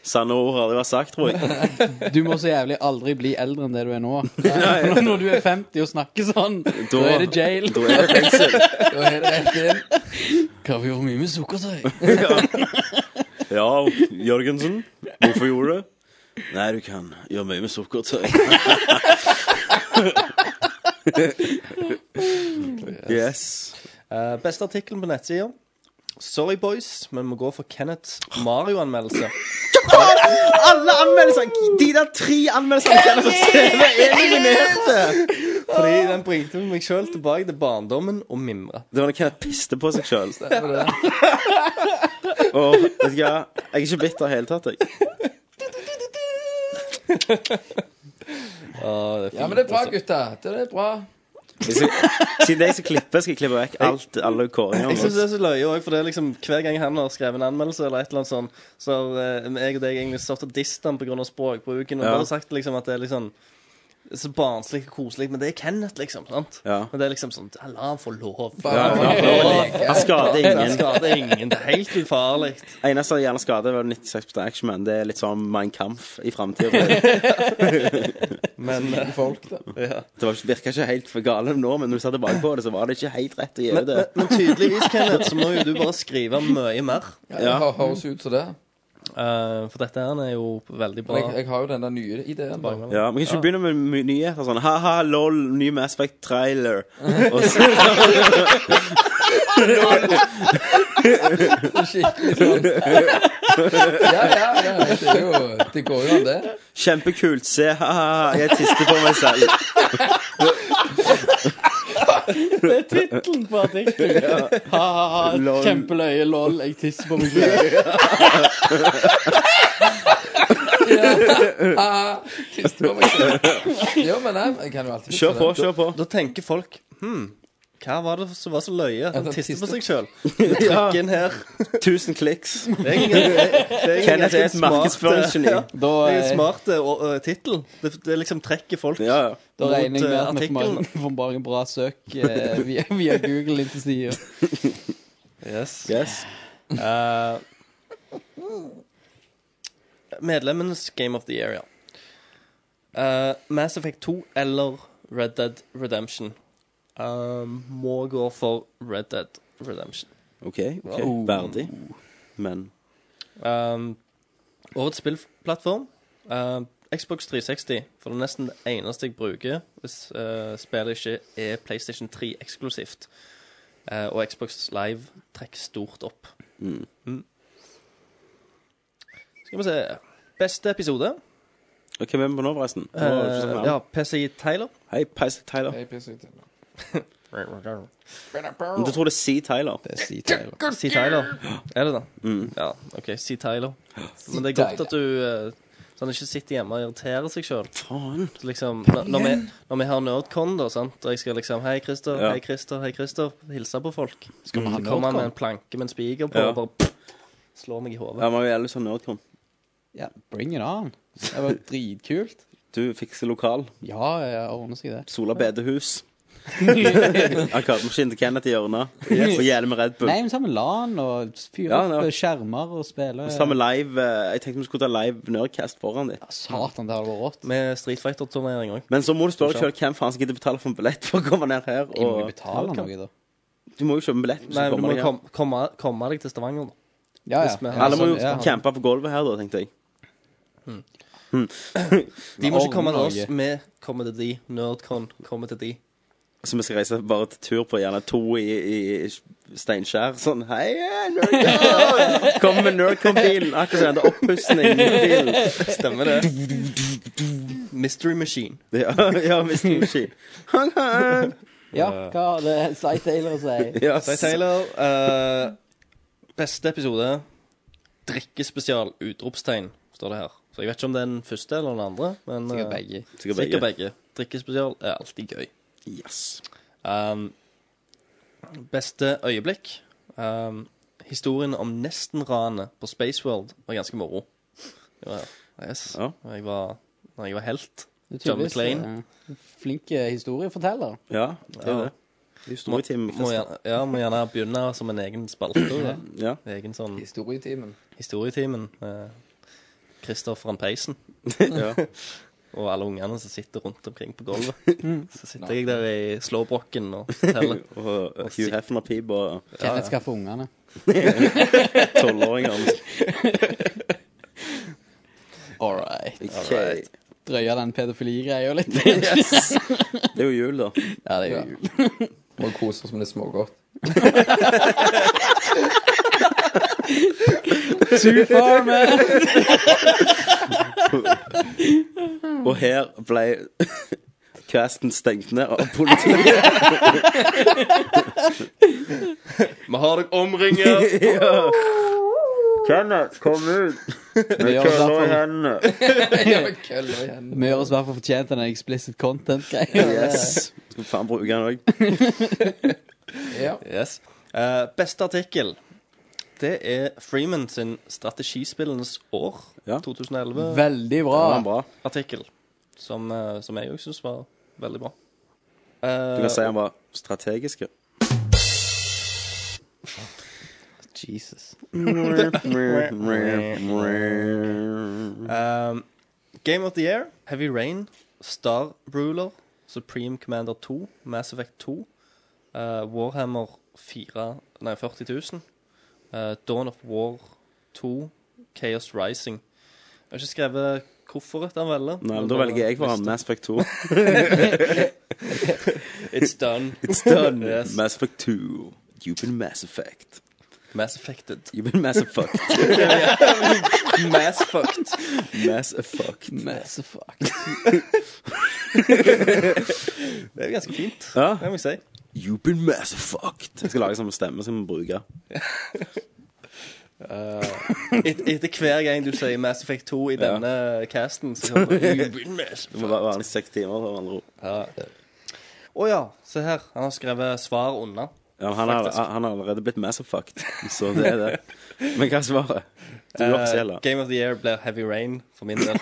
[SPEAKER 7] Sanne ord har det vært sagt, tror jeg.
[SPEAKER 11] Du må så jævlig aldri bli eldre enn det du er nå. Når du er 50 og snakker sånn, da er det jail.
[SPEAKER 7] Da er det fengsel.
[SPEAKER 8] Da er det rett inn.
[SPEAKER 11] Hva vi gjorde mye med sukkertøy?
[SPEAKER 7] Ja, Jørgensen. Hvorfor gjorde du det? Nei, du kan gjøre mye med sukkertøy. Yes.
[SPEAKER 9] Eh, beste artikkelen på nettsida. Sorry, boys, men må gå for Kenneths Mario-anmeldelse.
[SPEAKER 7] Alle anmeldelsene! De der tre anmeldelsene Kenneth har skrevet, er nominerte!
[SPEAKER 9] Fordi den bringte meg sjøl tilbake til barndommen og mimra.
[SPEAKER 7] Det var da Kenneth piste på seg sjøl. Og vet du hva, jeg er ikke bitter i det hele tatt, jeg.
[SPEAKER 9] Ah, det er
[SPEAKER 8] Ja,
[SPEAKER 9] fint,
[SPEAKER 8] men det er bra,
[SPEAKER 9] altså.
[SPEAKER 8] gutter. Det er bra.
[SPEAKER 7] Hvis jeg- Siden det er jeg som klipper, skal jeg klippe vekk alt, alle
[SPEAKER 9] Jeg synes det
[SPEAKER 7] kåringene.
[SPEAKER 9] er så løye også, for det er liksom hver gang han har skrevet en anmeldelse, eller et eller annet sånt, så har eh, jeg og deg egentlig stått og disset han på grunn av språkbruken. Og
[SPEAKER 7] Ja.
[SPEAKER 9] bare sagt liksom at det er liksom så barnslig og koselig, men det er Kenneth, liksom. sant?
[SPEAKER 7] Ja.
[SPEAKER 9] Men det er liksom sånn La han få lov.
[SPEAKER 8] Bare
[SPEAKER 7] Ja, ja, Han skader
[SPEAKER 9] Det
[SPEAKER 7] ingen.
[SPEAKER 9] skader ingen. Det er helt ufarlig.
[SPEAKER 7] Eneste jeg gjerne skader, var 96 Actionman. Det er litt sånn Mein Kampf i framtida.
[SPEAKER 9] Men eh,
[SPEAKER 8] folk, da.
[SPEAKER 7] Det var- virka ikke helt for gale nå, men når du ser tilbake på det, så var det ikke helt rett å gjøre
[SPEAKER 9] men, men,
[SPEAKER 7] det.
[SPEAKER 9] men tydeligvis, Kenneth, så må jo du bare skrive mye mer.
[SPEAKER 8] Ja, det hø- høres ut som det.
[SPEAKER 9] Eh, for dette her er jo veldig
[SPEAKER 8] Men
[SPEAKER 9] bra.
[SPEAKER 8] jeg, jeg har jo den der nye ideen. da.
[SPEAKER 7] Ja, men Kan ikke begynne med my- nyheter sånn Ha-ha, lol, ny Mass Effect-trailer. Og så-
[SPEAKER 8] Skikkelig sånn. Ja, ja, ja. Det, er jo, det går jo an, det.
[SPEAKER 7] Kjempekult. Se, ha-ha, jeg tister på meg selv.
[SPEAKER 11] Tittelen på artikkelen. Ha-ha-ha.
[SPEAKER 7] Lol.
[SPEAKER 11] Kjempeløye lol. Jeg tisser på meg selv.
[SPEAKER 8] Ah, tyst på meg selv. Jo, men nei, jeg kan jo alltid fikse
[SPEAKER 7] Kjør på,
[SPEAKER 8] det.
[SPEAKER 7] kjør på.
[SPEAKER 9] Da tenker folk Hm, hva var det som var så løye? at Han
[SPEAKER 8] han
[SPEAKER 9] tiste på
[SPEAKER 8] tiste.
[SPEAKER 9] seg sjøl. Trykk inn her.
[SPEAKER 7] 1000 kliks.
[SPEAKER 9] Det er ingen- det- det er
[SPEAKER 7] Kenneth er
[SPEAKER 9] ganske
[SPEAKER 7] et
[SPEAKER 9] smart,
[SPEAKER 7] markedsføringsgeni.
[SPEAKER 9] ja.
[SPEAKER 11] Da,
[SPEAKER 9] Det er
[SPEAKER 11] eh,
[SPEAKER 9] en smart uh, tittel. Det, det liksom trekker folk
[SPEAKER 7] Ja, ja.
[SPEAKER 11] da regner jeg
[SPEAKER 9] mot,
[SPEAKER 11] med
[SPEAKER 9] eh,
[SPEAKER 11] at vi får bare-
[SPEAKER 9] artikkelen.
[SPEAKER 11] får bare en bra søk eh, via, via Google inn til sida.
[SPEAKER 9] Yes.
[SPEAKER 7] Yes.
[SPEAKER 9] Eh, medlemmenes Game of the Year, ja. Eh, Mass Effect 2 eller Red Dead Redemption. Eh, må gå for Red Dead Redemption.
[SPEAKER 7] OK. ok Verdig. Men
[SPEAKER 9] Um, årets spillplattform um, Xbox 360. For det er nesten det eneste jeg bruker hvis uh, spillet ikke er PlayStation 3 eksklusivt. Uh, og Xbox Live trekker stort opp. Mm. Skal vi se Beste episode.
[SPEAKER 7] Og Hvem er vi på nå, forresten? Nå var det ikke
[SPEAKER 9] Uh,
[SPEAKER 7] sånn
[SPEAKER 9] ja,
[SPEAKER 7] navn.
[SPEAKER 9] PCI Taylor.
[SPEAKER 7] Hei, Pace Tyler.
[SPEAKER 8] Jeg pisser ut.
[SPEAKER 7] Men du tror det er C. Tyler?
[SPEAKER 9] C. Tyler. Er det det? Ja, OK. C. Tyler. Men det er godt at du uh, Sånn ikke sitter hjemme og irriterer seg sjøl.
[SPEAKER 7] Faen.
[SPEAKER 9] Så liksom, når, når, vi, når vi har Nerdcon, da, sant? og jeg skal liksom Hei, Christer.
[SPEAKER 7] Ja.
[SPEAKER 9] Hei, Christer. Hei, Christer. Hilse på folk.
[SPEAKER 11] Skal vi ha
[SPEAKER 9] Så kommer han med en
[SPEAKER 11] Nordcon?
[SPEAKER 9] planke med en spiker på
[SPEAKER 7] Ja.
[SPEAKER 9] og bare pff, slår meg i hodet.
[SPEAKER 7] Ja, vi har jo alle sånn nerdcom.
[SPEAKER 11] Ja, bring it on. Det var dritkult.
[SPEAKER 7] Du fikser lokal.
[SPEAKER 11] Ja, jeg ordner seg det.
[SPEAKER 7] Sola bedehus. Arkademaskin til Kenneth i hjørnet. Og hjelm Red Bull.
[SPEAKER 11] Nei, men sammen LAN og fyre
[SPEAKER 7] Ja, det var-
[SPEAKER 11] opp eh, skjermer og spille
[SPEAKER 7] Så har vi live eh, Jeg tenkte vi skulle ta live Nerdcast foran dem.
[SPEAKER 11] Satan, det hadde vært rått.
[SPEAKER 9] Med Street Fighter-turnering òg.
[SPEAKER 7] Men så må du spørre sjøl hvem faen som gidder betale for en billett for å komme ned her.
[SPEAKER 11] Jeg må jo
[SPEAKER 7] Og
[SPEAKER 11] betale noe, da.
[SPEAKER 7] du må jo kjøpe en billett. hvis
[SPEAKER 9] Nei, men du må
[SPEAKER 7] deg her.
[SPEAKER 9] kom, komme, komme deg til Stavanger, da.
[SPEAKER 11] Ja,
[SPEAKER 9] Hvis vi-
[SPEAKER 11] ja. sånn,
[SPEAKER 7] Alle må jo
[SPEAKER 11] Ja.
[SPEAKER 7] campe på gulvet her, da, tenkte jeg.
[SPEAKER 9] De må ikke komme til oss.
[SPEAKER 11] Norge.
[SPEAKER 9] Vi kommer til de. Nerdcon kommer til de.
[SPEAKER 7] Så vi skal reise bare til tur på gjerne to i, i Steinkjer. Sånn Hei, eh, Nerdcom! Kom med Nerdcom-bilen. Akkurat som den der oppussingen-bilen.
[SPEAKER 9] Stemmer det? Mystery Machine.
[SPEAKER 7] Ja, ja hvis du ikke
[SPEAKER 11] Ja, hva har det Sly Taylor å si?
[SPEAKER 7] ja,
[SPEAKER 9] Say Taylor. eh, beste episode. Drikkespesial. Utropstegn, står det her. Så jeg vet ikke om det er den første eller den andre. Men,
[SPEAKER 11] Sikkert
[SPEAKER 9] eh,
[SPEAKER 11] begge.
[SPEAKER 7] Sikkert begge.
[SPEAKER 9] Sikkert begge. Drikkespesial er alltid gøy.
[SPEAKER 7] Yes.
[SPEAKER 9] Um, beste øyeblikk? Um, historien om nesten-ranet på Spaceworld var ganske moro. Det var, yes.
[SPEAKER 7] Ja.
[SPEAKER 9] Og Jeg var, når jeg var helt.
[SPEAKER 11] Du er
[SPEAKER 9] John
[SPEAKER 11] tydeligvis,
[SPEAKER 9] McClane.
[SPEAKER 11] eh, Flink eh, historieforteller.
[SPEAKER 7] Ja, det er
[SPEAKER 9] Ja.
[SPEAKER 7] det. Det er jo store team.
[SPEAKER 9] Må gjerne, ja, må gjerne begynne som en egen spalte. da.
[SPEAKER 7] Ja.
[SPEAKER 9] Egen sånn
[SPEAKER 8] Historietimen.
[SPEAKER 9] historietimen med Christer van Peisen
[SPEAKER 7] ja.
[SPEAKER 9] og alle ungene som sitter rundt omkring på gulvet. Så sitter jeg der i slåbroken og forteller.
[SPEAKER 7] Og uh, Hugh Hefner-pip og
[SPEAKER 11] Kenneth skal få ungene.
[SPEAKER 7] tolvåringer.
[SPEAKER 11] All right.
[SPEAKER 7] Okay.
[SPEAKER 11] drøye den pedofiligreia litt.
[SPEAKER 7] Det er jo jul, da.
[SPEAKER 11] ja, det er jo
[SPEAKER 8] Ja. Må kose oss med litt smågodt.
[SPEAKER 11] Too far, man!
[SPEAKER 7] Og her ble casten stengt ned av politiet.
[SPEAKER 9] Vi har deg omringet.
[SPEAKER 7] Kenneth, kom ut!
[SPEAKER 11] Vi gjør oss i hvert fall-
[SPEAKER 7] hendene.
[SPEAKER 8] Ja, men køller i hendene.
[SPEAKER 11] vi gjør oss i hvert fall fortjent til den explicit content-greia.
[SPEAKER 7] Yes. Skal faen bruke den òg.
[SPEAKER 8] Ja.
[SPEAKER 9] Yes. Eh, beste artikkel. Det er Freeman sin 'Strategispillenes år'
[SPEAKER 7] Ja.
[SPEAKER 9] 2011-artikkel.
[SPEAKER 11] Veldig bra.
[SPEAKER 7] Bra.
[SPEAKER 9] Som, eh, som jeg òg syns var veldig bra. Eh,
[SPEAKER 7] Du kan si han var strategisk. ja.
[SPEAKER 11] Jesus.
[SPEAKER 9] Um, Game of the Year, Heavy Rain, Star Ruler, Supreme Commander 2, Mass Effect 2, uh, Warhammer 4, nei, 40 000, uh, Dawn of War 2, Chaos Rising. Jeg har ikke skrevet hvorfor etter han velger.
[SPEAKER 7] Nei, men Da velger jeg for han Mass Effect 2.
[SPEAKER 9] It's done.
[SPEAKER 7] It's done.
[SPEAKER 9] Yes.
[SPEAKER 7] Mass Effect 2. You've been Mass Effect.
[SPEAKER 9] Mass Affected.
[SPEAKER 7] You've been Mass Effect.
[SPEAKER 9] Mass fucked.
[SPEAKER 7] Mass Effect.
[SPEAKER 11] Mass of fuck.
[SPEAKER 9] Det er jo ganske fint,
[SPEAKER 7] Ja.
[SPEAKER 9] det må jeg si.
[SPEAKER 7] You've been Mass Effect. Jeg skal lage sånn stemme som vi bruker.
[SPEAKER 9] Et, etter hver gang du sier Mass Effect 2 i denne casten, så kommer det "You've been Mass
[SPEAKER 7] Det må være være en seks timer. for andre ord.
[SPEAKER 9] Å ja, se her. Han har skrevet svar unna.
[SPEAKER 7] Ja, han, har,
[SPEAKER 9] Faktisk.
[SPEAKER 7] han har allerede blitt Mass Effect, så det er det. Men hva er svaret? Det er uoffisielle.
[SPEAKER 9] Eh, Game of the Year blir Heavy Rain for min del.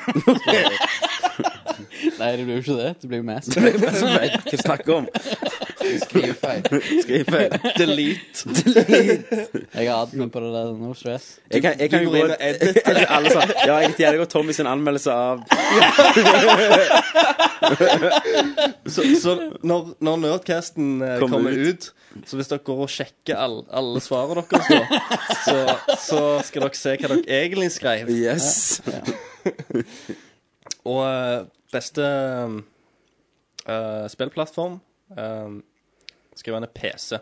[SPEAKER 11] Nei, det blir jo ikke det. Det blir jo Mass.
[SPEAKER 7] Hva snakker vi om?
[SPEAKER 8] Skriv feil.
[SPEAKER 7] Skriv feil.
[SPEAKER 9] Delete.
[SPEAKER 11] Jeg har admin på det der. No stress.
[SPEAKER 7] Jeg kan, jeg
[SPEAKER 9] Du
[SPEAKER 7] kan jo
[SPEAKER 9] går
[SPEAKER 7] gå
[SPEAKER 9] inn og edit.
[SPEAKER 7] alle sa, Ja, jeg likte jævlig godt Tommy sin anmeldelse av
[SPEAKER 9] Så, så når, når Nerdcasten eh,
[SPEAKER 7] Kommer
[SPEAKER 9] kommer
[SPEAKER 7] ut.
[SPEAKER 9] ut. så hvis dere går og sjekker all, alle svarene deres, da, så, så skal dere se hva dere egentlig skrev.
[SPEAKER 7] Yes.
[SPEAKER 9] Og eh, beste eh, spillplattform uh, skal være en PC.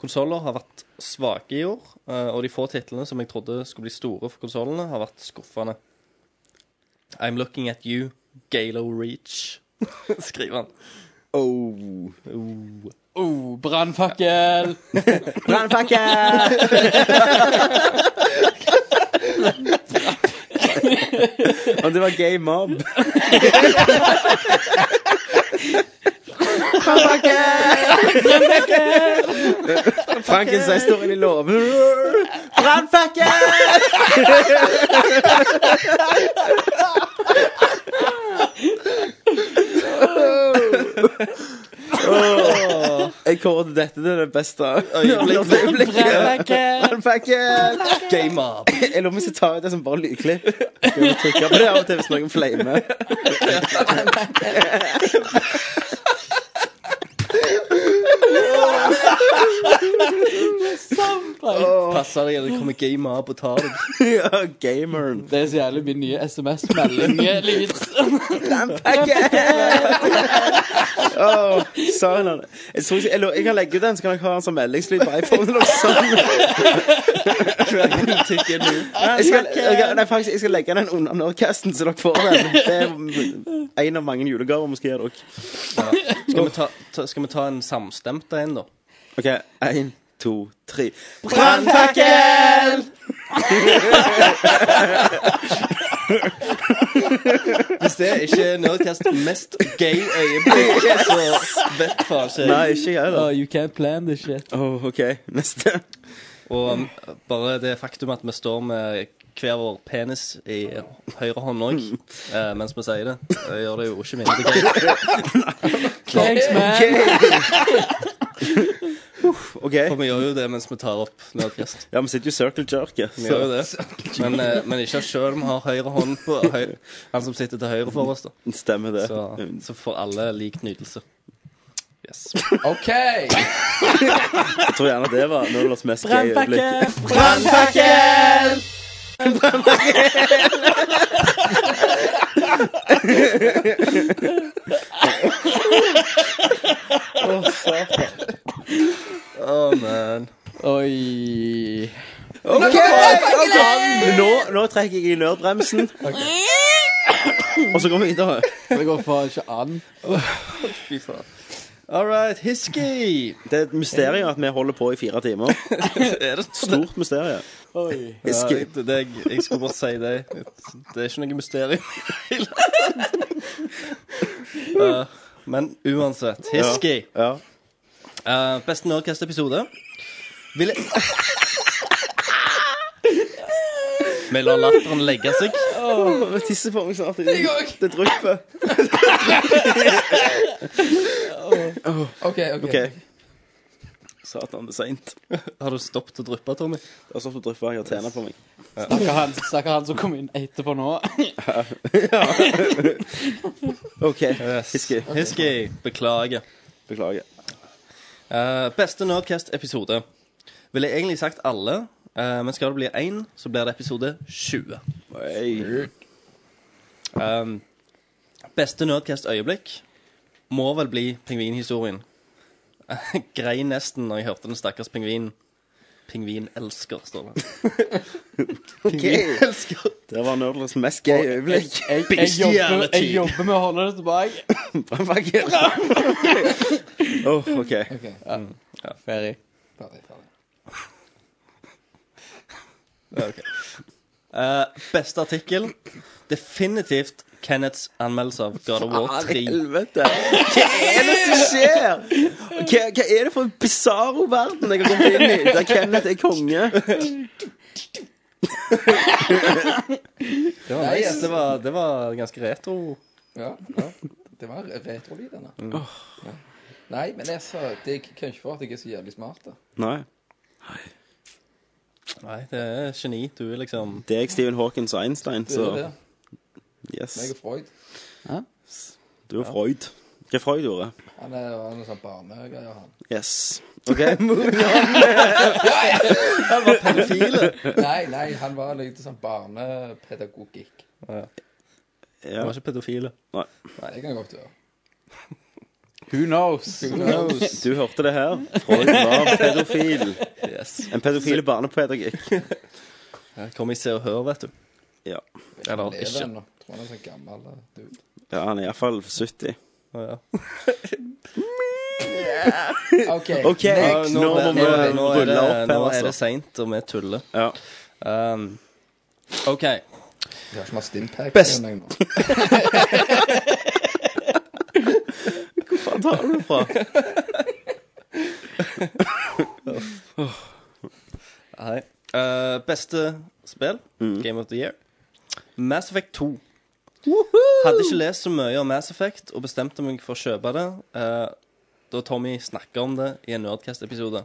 [SPEAKER 9] Konsoller har vært svake i år, eh, og de få titlene som jeg trodde skulle bli store for konsollene, har vært skuffende. I'm looking at you, Galo Reach, skriver han.
[SPEAKER 7] Oh.
[SPEAKER 11] Oh, brannfakkel!
[SPEAKER 7] Brannpakke! Om det var gay mob. Brannpakke! Frankenstein står inne i låven. Brannpakke! Jeg kårer dette til det beste øyeblikket. Brannfakkel!
[SPEAKER 9] Game up!
[SPEAKER 7] Jeg lurer på om jeg skal ta ut det som bare lydklipp. Skal vi trykke på det av og til hvis noen flamer.
[SPEAKER 9] Passer deg, eller det kommer game up og tar deg.
[SPEAKER 7] Ja, gameren.
[SPEAKER 11] Det er så jævlig min nye SMS-melding-lyd.
[SPEAKER 7] Åh, sa hun det? Jeg, tror ikke- jeg, lurer- jeg kan legge ut den, så kan dere ha den som meldingslyd på iPhone. Eller sånn. jeg skal, jeg, kan- nei, faktisk, jeg skal legge den under Nordcasten, så dere får den. Det er en av mange julegaver vi skal gi dere.
[SPEAKER 9] Skal vi ta, ta, skal vi ta en samstemt en, da?
[SPEAKER 7] OK, én, to, tre. Brannfakkel!
[SPEAKER 9] Hvis det ikke er Nerdcast mest gay øyeblikk, så vet faen ikke jeg.
[SPEAKER 7] Nei, ikke jeg, da.
[SPEAKER 11] Oh, you can't plan this shit.
[SPEAKER 7] Åh, OK, neste.
[SPEAKER 9] Og um, bare det faktum at vi står med hver vår penis i høyre hånd òg, eh, mens vi sier det, eh, gjør det jo ikke mindre gøy.
[SPEAKER 11] Thanks, man!
[SPEAKER 7] OK.
[SPEAKER 9] For vi gjør jo det mens vi tar opp Nerdcast.
[SPEAKER 7] Ja, vi sitter jo circle jerk, ja.
[SPEAKER 9] Vi
[SPEAKER 7] så-
[SPEAKER 9] gjør jo det. Men, eh, men ikke sjøl om vi har høyre hånd på høy, han som sitter til høyre for oss, da.
[SPEAKER 7] Stemmer det.
[SPEAKER 9] Så, så får alle lik nytelse. Yes.
[SPEAKER 8] OK!
[SPEAKER 7] Jeg tror gjerne det var Nordlands mest gøy øyeblikk.
[SPEAKER 11] Brannfakkel!
[SPEAKER 9] Oh, man.
[SPEAKER 11] Oi.
[SPEAKER 7] Nå, nå trekker jeg i nødbremsen. Og så går vi videre.
[SPEAKER 11] Det går faen ikke an.
[SPEAKER 9] Fy faen. All right, Hiski.
[SPEAKER 7] Det er et mysterium at vi holder på i fire timer.
[SPEAKER 9] Er det sånn?
[SPEAKER 7] Stort mysterium.
[SPEAKER 9] Hiski.
[SPEAKER 7] Hiski.
[SPEAKER 9] det, det, jeg, jeg skulle bare si det. Det er ikke noe mysterium. uh, men uansett, Hiski.
[SPEAKER 7] Ja.
[SPEAKER 9] Uh, beste Nerdcast-episode. Vil jeg Vi lar latteren legge seg.
[SPEAKER 7] Jeg tisser på meg snart. Det drypper.
[SPEAKER 8] OK, OK.
[SPEAKER 7] OK. Satan, det er seint.
[SPEAKER 9] Har du stoppet å dryppe, Tommy?
[SPEAKER 7] Det er sånn som drypper. Jeg har tjena på meg.
[SPEAKER 11] Snakker han, snakker han som kom inn etterpå nå.
[SPEAKER 7] OK. Hiski.
[SPEAKER 9] Hiski, beklager.
[SPEAKER 7] Beklager.
[SPEAKER 9] Eh, beste Nerdcast-episode. Ville jeg egentlig sagt alle, eh, men skal det bli én, så blir det episode 20.
[SPEAKER 7] Oi.
[SPEAKER 9] Um, beste Nerdcast-øyeblikk må vel bli pingvinhistorien. Grei nesten når jeg hørte den stakkars pingvinen. Pingvinelsker, står det. Pingvinelsker.
[SPEAKER 7] Det var Nerdlands mest gøy øyeblikk.
[SPEAKER 11] Jeg, jeg, jobber, jeg jobber med å holde det tilbake.
[SPEAKER 7] Brannfakkel. Åh, OK.
[SPEAKER 8] ok.
[SPEAKER 11] Ferdig.
[SPEAKER 8] Ferdig, ferdig.
[SPEAKER 9] Eh, beste artikkel definitivt Kenneths anmeldelse av God of
[SPEAKER 7] Ah,
[SPEAKER 9] War 3.
[SPEAKER 7] Helvete. Hva er det som skjer? Hva, hva er det for en bisarro verden jeg har kommet inn i, der Kenneth er konge?
[SPEAKER 9] Det var, nice. det var, det var ganske retro.
[SPEAKER 8] Ja, ja. Det var retrolyd, denne. Ja. Nei, men jeg sa Det er kanskje for at jeg er så jævlig smart, da.
[SPEAKER 7] Nei.
[SPEAKER 9] Nei, det er geni. Du er liksom
[SPEAKER 7] Det er jeg, Stephen Hawkins og Einstein,
[SPEAKER 8] Det
[SPEAKER 7] så
[SPEAKER 8] er det. Meg
[SPEAKER 7] yes.
[SPEAKER 8] og Freud.
[SPEAKER 7] Du er Freud. Hva er Freud gjorde?
[SPEAKER 8] Han er han er en sånn barnegreier, han.
[SPEAKER 7] Yes. OK?
[SPEAKER 8] Nei, nei, han var litt sånn barnepedagogikk.
[SPEAKER 9] Du
[SPEAKER 7] Ja.
[SPEAKER 9] var ikke pedofile.
[SPEAKER 7] Nei.
[SPEAKER 8] Nei, det kan jeg godt gjøre.
[SPEAKER 11] Who knows?
[SPEAKER 7] Du hørte det her. Freud var pedofil.
[SPEAKER 9] Yes.
[SPEAKER 7] En pedofil barnepedagogikk.
[SPEAKER 9] Jeg kom i Se og Hør, vet du.
[SPEAKER 7] Ja.
[SPEAKER 9] Eller
[SPEAKER 8] Lever
[SPEAKER 9] ikke.
[SPEAKER 8] ennå. Tror han er sånn gammel eh, dude.
[SPEAKER 7] ja, han er iallfall 70.
[SPEAKER 9] Å, ja.
[SPEAKER 8] OK.
[SPEAKER 7] OK,
[SPEAKER 9] Ja,
[SPEAKER 7] nå må vi
[SPEAKER 9] er det-
[SPEAKER 7] rulle opp her,
[SPEAKER 9] Nå er det
[SPEAKER 7] altså.
[SPEAKER 9] seint, og vi tuller.
[SPEAKER 7] Ja.
[SPEAKER 9] Um, OK.
[SPEAKER 8] Jeg har ikke masse impact.
[SPEAKER 9] Best.
[SPEAKER 8] igjen, jeg, nå.
[SPEAKER 7] Hva tar du fra?
[SPEAKER 9] Hei. Uh, beste spill? Game of the Year? Mass Effect 2. Hadde ikke lest så mye om Mass Effect og bestemte meg for å kjøpe det eh, da Tommy snakka om det i en Nerdcast-episode.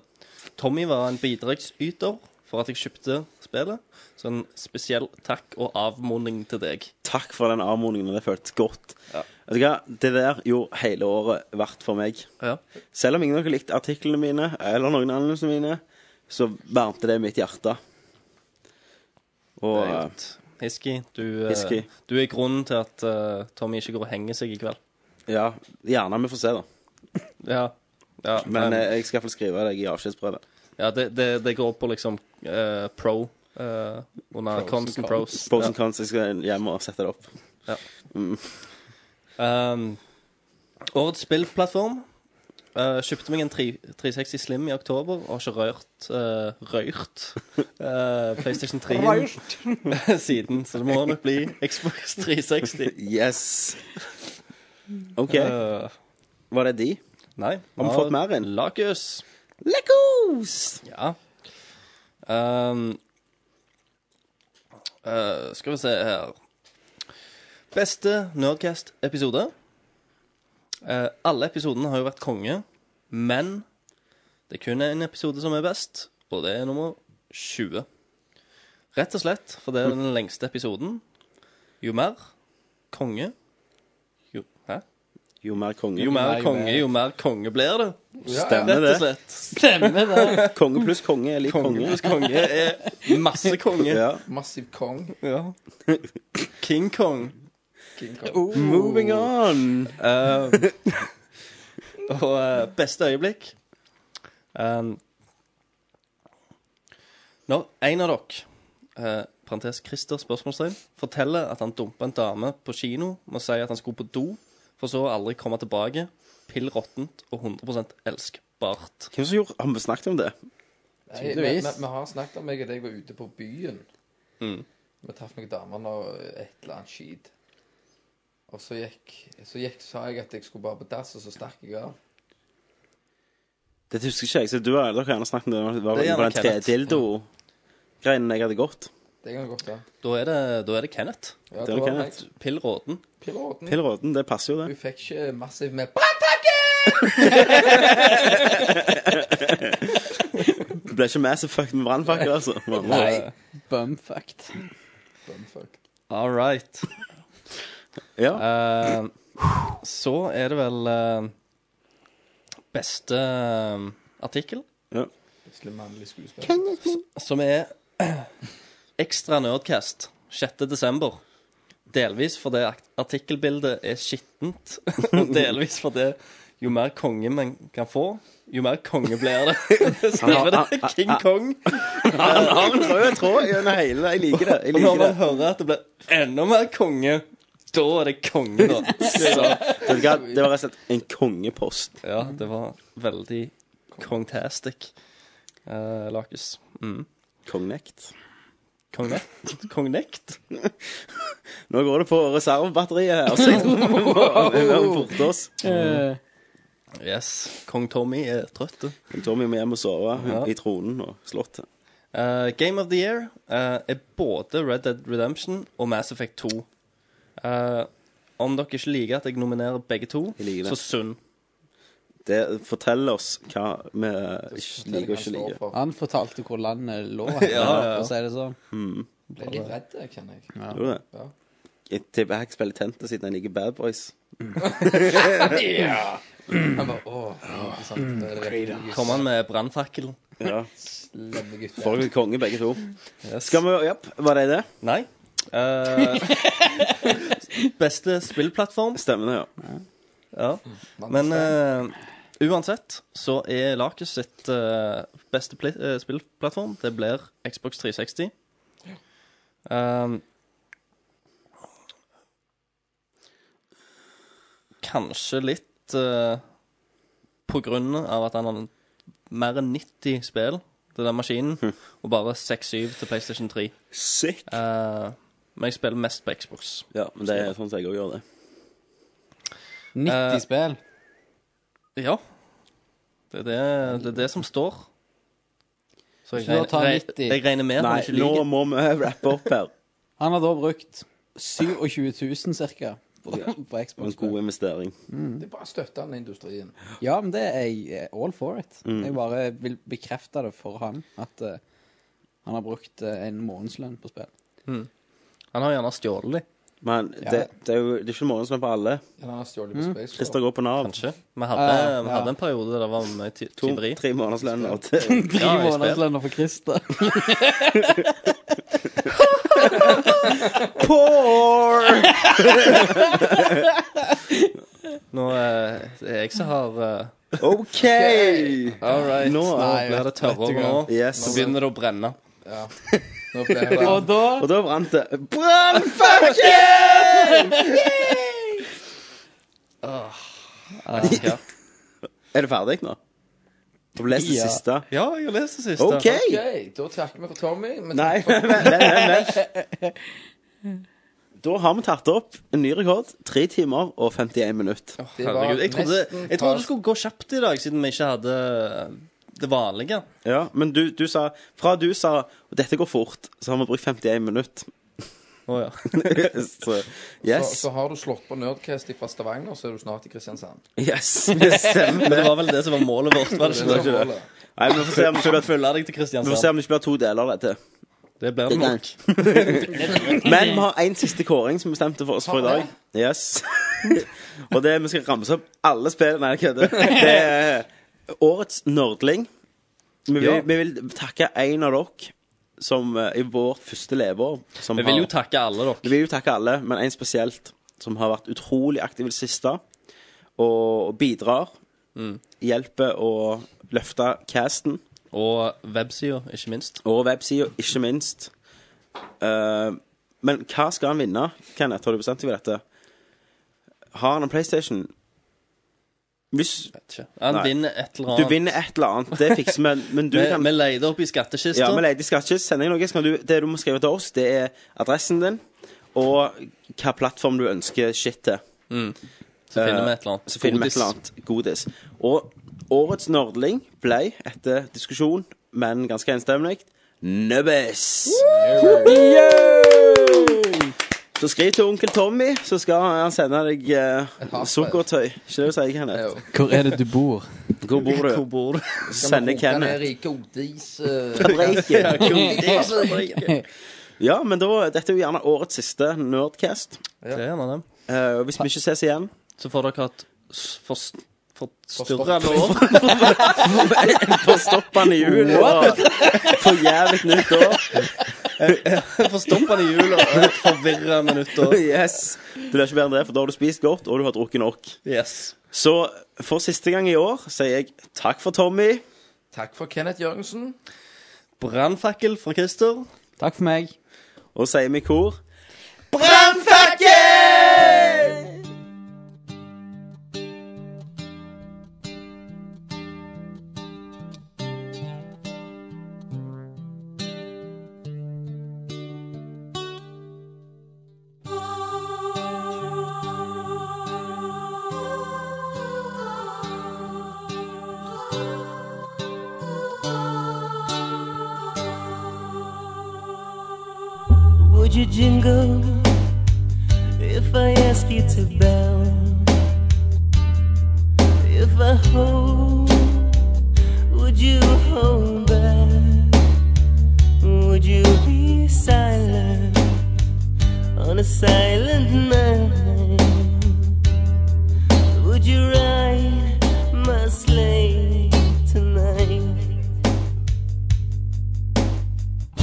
[SPEAKER 9] Tommy var en bidragsyter for at jeg kjøpte spillet, så en spesiell takk og avmoning til deg.
[SPEAKER 7] Takk for den avmodningen, det føltes godt. Vet du hva, Det der gjorde hele året verdt for meg.
[SPEAKER 9] Ja.
[SPEAKER 7] Selv om ingen av dere likte artiklene mine, eller noen av anmeldelsene mine, så varmte det mitt hjerte. Og eh,
[SPEAKER 9] Det er godt. Hiski, du, eh,
[SPEAKER 7] Hiski.
[SPEAKER 9] du er grunnen til at eh, Tommy ikke går og henger seg i kveld.
[SPEAKER 7] eh, ja, gjerne vi får se, da.
[SPEAKER 9] Ja, ja
[SPEAKER 7] Men
[SPEAKER 9] men,
[SPEAKER 7] eh, jeg skal iallfall skrive deg i avskjedsprøve.
[SPEAKER 9] ja det, det, det går på liksom eh, pro eh, under cons and pros.
[SPEAKER 7] Pros and cons, jeg skal hjem og sette det opp.
[SPEAKER 9] Ja. Um, årets spillplattform. Eh, kjøpte meg en 3, 360 Slim i oktober og har ikke rørt eh, Rørt eh, PlayStation 3 siden, så det må nok bli Xbox 360.
[SPEAKER 7] Yes! OK.
[SPEAKER 9] Eh,
[SPEAKER 7] Var det de?
[SPEAKER 9] Nei.
[SPEAKER 7] Har vi fått mer inn?
[SPEAKER 9] Lakus.
[SPEAKER 7] Lekos!
[SPEAKER 9] Ja. Ehm, eh, skal vi se her Beste Nerdcast-episode. Eh, alle episodene har jo vært konge, men det er kun en episode som er best, og det er nummer 20. Rett og slett, for det er den lengste episoden. Jo mer konge Jo, hæ?
[SPEAKER 7] Jo mer konge.
[SPEAKER 9] Jo mer konge, jo mer konge blir det.
[SPEAKER 7] Stemmer
[SPEAKER 9] Rett og
[SPEAKER 7] det.
[SPEAKER 9] slett.
[SPEAKER 11] Stemmer det.
[SPEAKER 7] Konge pluss konge er lik
[SPEAKER 9] Konge
[SPEAKER 7] konge.
[SPEAKER 9] pluss konge er masse konge.
[SPEAKER 7] Ja.
[SPEAKER 8] Massiv kong.
[SPEAKER 9] Ja. King Kong.
[SPEAKER 8] King Kong.
[SPEAKER 7] Moving on!
[SPEAKER 9] Og eh, beste øyeblikk um, Når en av dere, eh, parentes Christer, spørsmålstegn, forteller at han dumpa en dame på kino med å si at han skulle på do, for så å aldri komme tilbake, pill råttent og 100 elskbart.
[SPEAKER 7] Hvem som gjorde Har vi snakket om det?
[SPEAKER 8] Nei, vi, vi, vi har snakket om meg og deg var ute på byen. Vi traff noen damer og et eller annet skit. Og så gikk, så gikk, sa jeg at jeg skulle bare på dass, og så stakk jeg av.
[SPEAKER 7] Det husker ikke jeg. Så du har, dere har gjerne snakket om det. Det var
[SPEAKER 9] Det er
[SPEAKER 7] vel
[SPEAKER 9] gjerne
[SPEAKER 7] på den
[SPEAKER 9] Kenneth.
[SPEAKER 7] tredildo-greien jeg hadde gått.
[SPEAKER 8] Det kan godt være.
[SPEAKER 9] Da er det, da er det Kenneth.
[SPEAKER 8] Ja,
[SPEAKER 7] Det er
[SPEAKER 8] det var
[SPEAKER 7] Kenneth.
[SPEAKER 8] meg.
[SPEAKER 9] Pill råten.
[SPEAKER 8] Piloten.
[SPEAKER 7] Til råten. Det passer jo,
[SPEAKER 8] Hun
[SPEAKER 7] det.
[SPEAKER 8] fikk ikke massivt med Brannpakke!
[SPEAKER 7] Det ble ikke med så fucked med brannfakkel, altså.
[SPEAKER 11] Nei. Bumfucked.
[SPEAKER 8] Fuck.
[SPEAKER 9] All right.
[SPEAKER 7] Ja.
[SPEAKER 9] Eh, så er det vel eh, beste eh, artikkel,
[SPEAKER 7] ja.
[SPEAKER 8] Plutselig mannlig skuespiller.
[SPEAKER 9] som er Ekstra Nerdcast 6. desember. Delvis fordi akt- artikkelbildet er skittent, og delvis fordi jo mer konge man kan få, jo mer konge blir det. Så er sånn det King Kong.
[SPEAKER 7] Han har Ah, en rød tråd gjennom hele. Jeg liker det. Jeg
[SPEAKER 9] Og når
[SPEAKER 7] liker det.
[SPEAKER 9] man hører at det blir enda mer konge, da er det konge, da. Så,
[SPEAKER 7] Vet du hva? Det var rett og slett en kongepost.
[SPEAKER 9] ja, det var veldig kongtastic, uh, Lakus. Mm.
[SPEAKER 7] Kongnekt.
[SPEAKER 9] Kongnekt? Kongnekt?
[SPEAKER 7] Nå går det på reservebatteriet her, altså. så jeg tror vi må- vi må forte oss.
[SPEAKER 9] Yes. Kong Tommy er trøtt.
[SPEAKER 7] Tommy må hjem og sove
[SPEAKER 9] Ja.
[SPEAKER 7] i tronen og slottet.
[SPEAKER 9] Eh, Game of the Year eh, er både Red Dead Redemption og Mass Effect 2. Eh, om dere ikke liker at jeg nominerer begge to,
[SPEAKER 7] Jeg liker det.
[SPEAKER 9] så synd.
[SPEAKER 7] Det forteller oss hva vi ikke liker og ikke liker.
[SPEAKER 11] Han fortalte hvor landet lå,
[SPEAKER 9] ja,
[SPEAKER 11] ja,
[SPEAKER 9] ja.
[SPEAKER 11] for å si det sånn.
[SPEAKER 8] Ble litt redd, jeg, kjenner jeg.
[SPEAKER 7] Jo, det.
[SPEAKER 8] Ja.
[SPEAKER 7] Jeg tipper Hack spiller Tente siden han liker Bad Boys.
[SPEAKER 8] Han bare åh, ikke sant. Det er det riktige
[SPEAKER 9] Kom han med brannfakkel?
[SPEAKER 7] Ja.
[SPEAKER 8] slemme gutter.
[SPEAKER 7] Folk er konge, begge to. Skal vi Ja, var det det?
[SPEAKER 9] Nei. Eh, beste spillplattform?
[SPEAKER 7] Stemmer det, ja.
[SPEAKER 9] Ja. Men eh, uansett så er Lakus sitt eh, beste pli- eh, spillplattform Det blir Xbox 360. Um, kanskje litt eh, på grunn av at han har mer enn 90 spill til den maskinen, og bare 6-7 til PlayStation 3.
[SPEAKER 7] Sick.
[SPEAKER 9] Eh, men jeg spiller mest på Xbox.
[SPEAKER 7] Ja, men det er sånn som jeg òg gjør det.
[SPEAKER 11] 90
[SPEAKER 9] Eh,
[SPEAKER 11] spill.
[SPEAKER 9] Ja. Det er det, det, er det som står. Så jeg
[SPEAKER 11] Hvis du da
[SPEAKER 9] regner,
[SPEAKER 11] tar
[SPEAKER 9] reg-
[SPEAKER 11] 90.
[SPEAKER 9] jeg regner med at han
[SPEAKER 7] Nei,
[SPEAKER 9] ikke
[SPEAKER 7] nå
[SPEAKER 9] liker
[SPEAKER 7] må vi rappe opp her.
[SPEAKER 11] Han har da brukt 27 000 cirka på, på
[SPEAKER 7] En
[SPEAKER 11] Xbox.
[SPEAKER 7] god investering.
[SPEAKER 8] Det er bare å støtte den industrien.
[SPEAKER 11] Ja, men det er jeg eh, all for it.
[SPEAKER 9] Mm.
[SPEAKER 11] Jeg bare vil bekrefte det for han at eh, han har brukt eh, en månedslønn på spill.
[SPEAKER 9] Han har gjerne stjålet dem,
[SPEAKER 7] Men det, det er jo det er ikke mange som er på alle.
[SPEAKER 8] Den har stjålet på Space
[SPEAKER 7] Christer går på Nav.
[SPEAKER 9] kanskje. Vi hadde,
[SPEAKER 11] Ja,
[SPEAKER 9] vi
[SPEAKER 11] ja.
[SPEAKER 9] hadde en periode der det var mye ty-
[SPEAKER 7] To,
[SPEAKER 9] tyveri.
[SPEAKER 7] tre måneders lønn og til
[SPEAKER 11] Tre
[SPEAKER 9] Ja, i spill.
[SPEAKER 11] månedslønner for Christer.
[SPEAKER 9] Nå eh, det er jeg som har eh,
[SPEAKER 7] OK!
[SPEAKER 9] All right. Nå
[SPEAKER 11] Nei,
[SPEAKER 9] blir det
[SPEAKER 11] vet- vet du
[SPEAKER 9] tørrere nå.
[SPEAKER 11] hva.
[SPEAKER 7] Yes.
[SPEAKER 9] Så begynner det å brenne.
[SPEAKER 8] Nå ble det
[SPEAKER 11] Og da
[SPEAKER 7] Og da brant det. Brannfakkel!
[SPEAKER 9] Ja,
[SPEAKER 7] Er du ferdig nå? Du har lest det
[SPEAKER 11] Ja.
[SPEAKER 7] siste.
[SPEAKER 9] ja jeg har lest det siste.
[SPEAKER 7] OK!
[SPEAKER 8] OK, da takker vi for Tommy. Men
[SPEAKER 7] Nei, vent, vent, vent, vent. Da har vi tatt opp en ny rekord. Tre timer og 51 minutter.
[SPEAKER 8] det var
[SPEAKER 9] Herregud, jeg trodde,
[SPEAKER 8] nesten
[SPEAKER 9] jeg trodde
[SPEAKER 8] fast.
[SPEAKER 9] det skulle gå kjapt i dag, siden vi ikke hadde eh, det vanlige.
[SPEAKER 7] Ja, Men du, du sa Fra du sa Og dette går fort, så har vi brukt 51 minutter.
[SPEAKER 9] Å ja.
[SPEAKER 7] så
[SPEAKER 8] så,
[SPEAKER 7] yes.
[SPEAKER 8] så har du slått på Nerdcast fra Stavanger, så er du snart i Kristiansand.
[SPEAKER 7] Yes, det stemmer.
[SPEAKER 9] Det var vel det som var målet vårt, var det
[SPEAKER 8] Det
[SPEAKER 9] ikke?
[SPEAKER 8] er
[SPEAKER 7] det.
[SPEAKER 8] målet.
[SPEAKER 7] Nei, vi får se om det ikke blir-
[SPEAKER 9] Følge
[SPEAKER 7] vi får
[SPEAKER 9] deg til
[SPEAKER 7] se
[SPEAKER 9] Kristiansand.
[SPEAKER 7] om det ikke blir to deler av dette.
[SPEAKER 9] Det blir det nok.
[SPEAKER 7] Men vi har en siste kåring som bestemte for oss for i dag. Yes. Og det er vi skal ramse opp alle spillene. Nei, jeg kødder. Det er årets nerdling. Vi vil,
[SPEAKER 9] Ja.
[SPEAKER 7] vi vil takke en av dere som eh, i vårt første leveår som
[SPEAKER 9] Vi vil
[SPEAKER 7] har-
[SPEAKER 9] jo takke alle dere.
[SPEAKER 7] Vi vil jo takke alle, men en spesielt. som har vært utrolig aktiv i det siste, og bidrar. Mm. Hjelper å løfte casten
[SPEAKER 9] Og websida, ikke minst.
[SPEAKER 7] og websida, ikke minst. Eh, men hva skal han vinne, Kenneth? Har du bestemt deg for dette? Har han en PlayStation? Hvis
[SPEAKER 9] Vet ikke. Han
[SPEAKER 7] Nei.
[SPEAKER 9] vinner et eller
[SPEAKER 7] du
[SPEAKER 9] annet.
[SPEAKER 7] vinner et eller annet, det fikser vi, men du
[SPEAKER 9] Vi,
[SPEAKER 7] kan
[SPEAKER 9] vi leide opp i skattkista.
[SPEAKER 7] Ja, vi leter i skattkist. Send inn noe. Så kan du, det du må skrive til oss, det er adressen din og hva plattform du ønsker shit til.
[SPEAKER 9] så finner vi et eller annet.
[SPEAKER 7] Så finner vi
[SPEAKER 9] Godis.
[SPEAKER 7] et eller annet godis. Og årets nerdling ble, etter diskusjon, men ganske enstemmig, Nubbis. Yay! Så skriv til onkel Tommy, så skal han sende deg eh,
[SPEAKER 8] hardt
[SPEAKER 7] sukkertøy. Ikke det du sier, Kenneth?
[SPEAKER 8] Jo.
[SPEAKER 11] Hvor er det du bor?
[SPEAKER 7] Hvor bor
[SPEAKER 9] Hvor
[SPEAKER 7] du?
[SPEAKER 9] bor du?
[SPEAKER 7] Så sender
[SPEAKER 8] Kan vi koke ned
[SPEAKER 7] Kenneth
[SPEAKER 8] i godis eh,
[SPEAKER 7] fabrikken.
[SPEAKER 8] godisfabrikken.
[SPEAKER 7] altså Ja, men da, dette er jo gjerne årets siste Nerdcast.
[SPEAKER 9] Det er en av dem.
[SPEAKER 7] Eh, og hvis vi ikke ses igjen
[SPEAKER 9] Så får dere et s- forst- forstyrrende år.
[SPEAKER 7] Forstoppende jul og for jævlig nytt år.
[SPEAKER 9] Forstoppende jul og et forvirrende nyttår.
[SPEAKER 7] Yes. Det blir ikke bedre enn det, for da har du spist godt, og du har drukket nok.
[SPEAKER 9] Yes.
[SPEAKER 7] Så for siste gang i år sier jeg takk for Tommy.
[SPEAKER 8] Takk for Kenneth Jørgensen.
[SPEAKER 9] Brannfakkel fra Christer.
[SPEAKER 11] Takk for meg.
[SPEAKER 7] Og sier vi i kor
[SPEAKER 12] Would you jingle if I ask you to bell? If I hold, would you hold back? Would you be silent on a silent night? Would you ride my sleigh tonight? I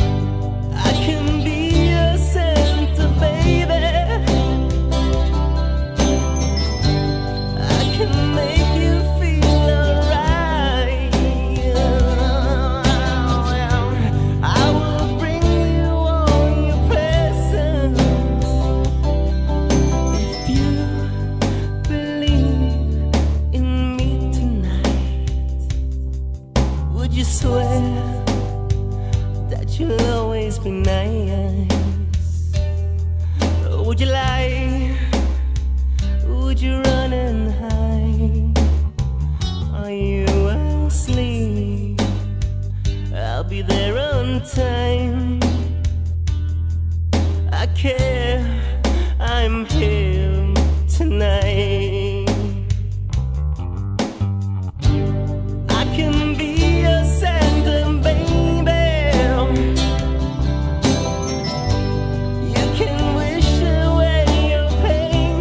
[SPEAKER 12] can be your Santa, baby. I can make you feel alright. I will bring you all your presents if you believe in me tonight. Would you swear? that you'll always be nice. Would you lie? Would you run and hide? Are you asleep? I'll be there on time. I care, I'm here tonight. I can be your Santa, baby. You can wish away your pain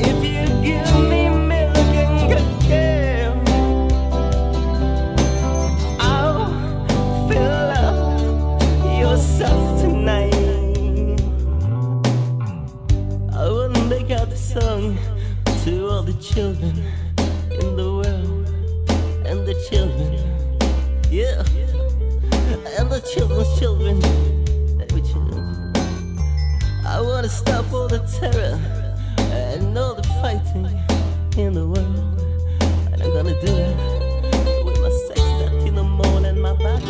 [SPEAKER 12] if you give me milk and cookies. I'll fill up your soft tonight. I wanna make out a song to all the children in the world and the children, yeah, and the children's children, every children. I wanna stop all the terror and all the fighting in the world, and I'm gonna do it with my sex back in the morning and my body.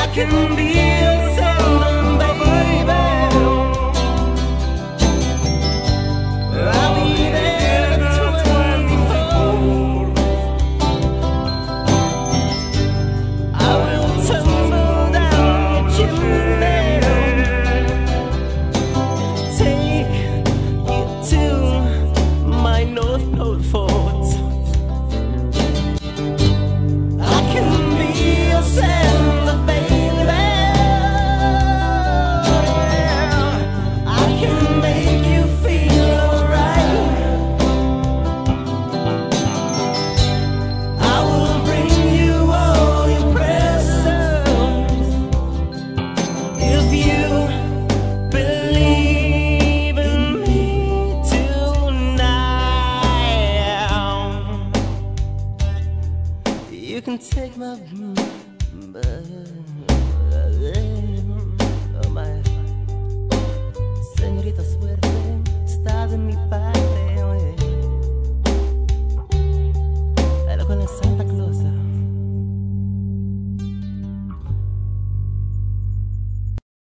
[SPEAKER 12] I can be a sandman, baby. I'll be there 24. I will tumble down your chimney. Take you to my North Pole fort. I can be your Santa baby. You can take my. Oh,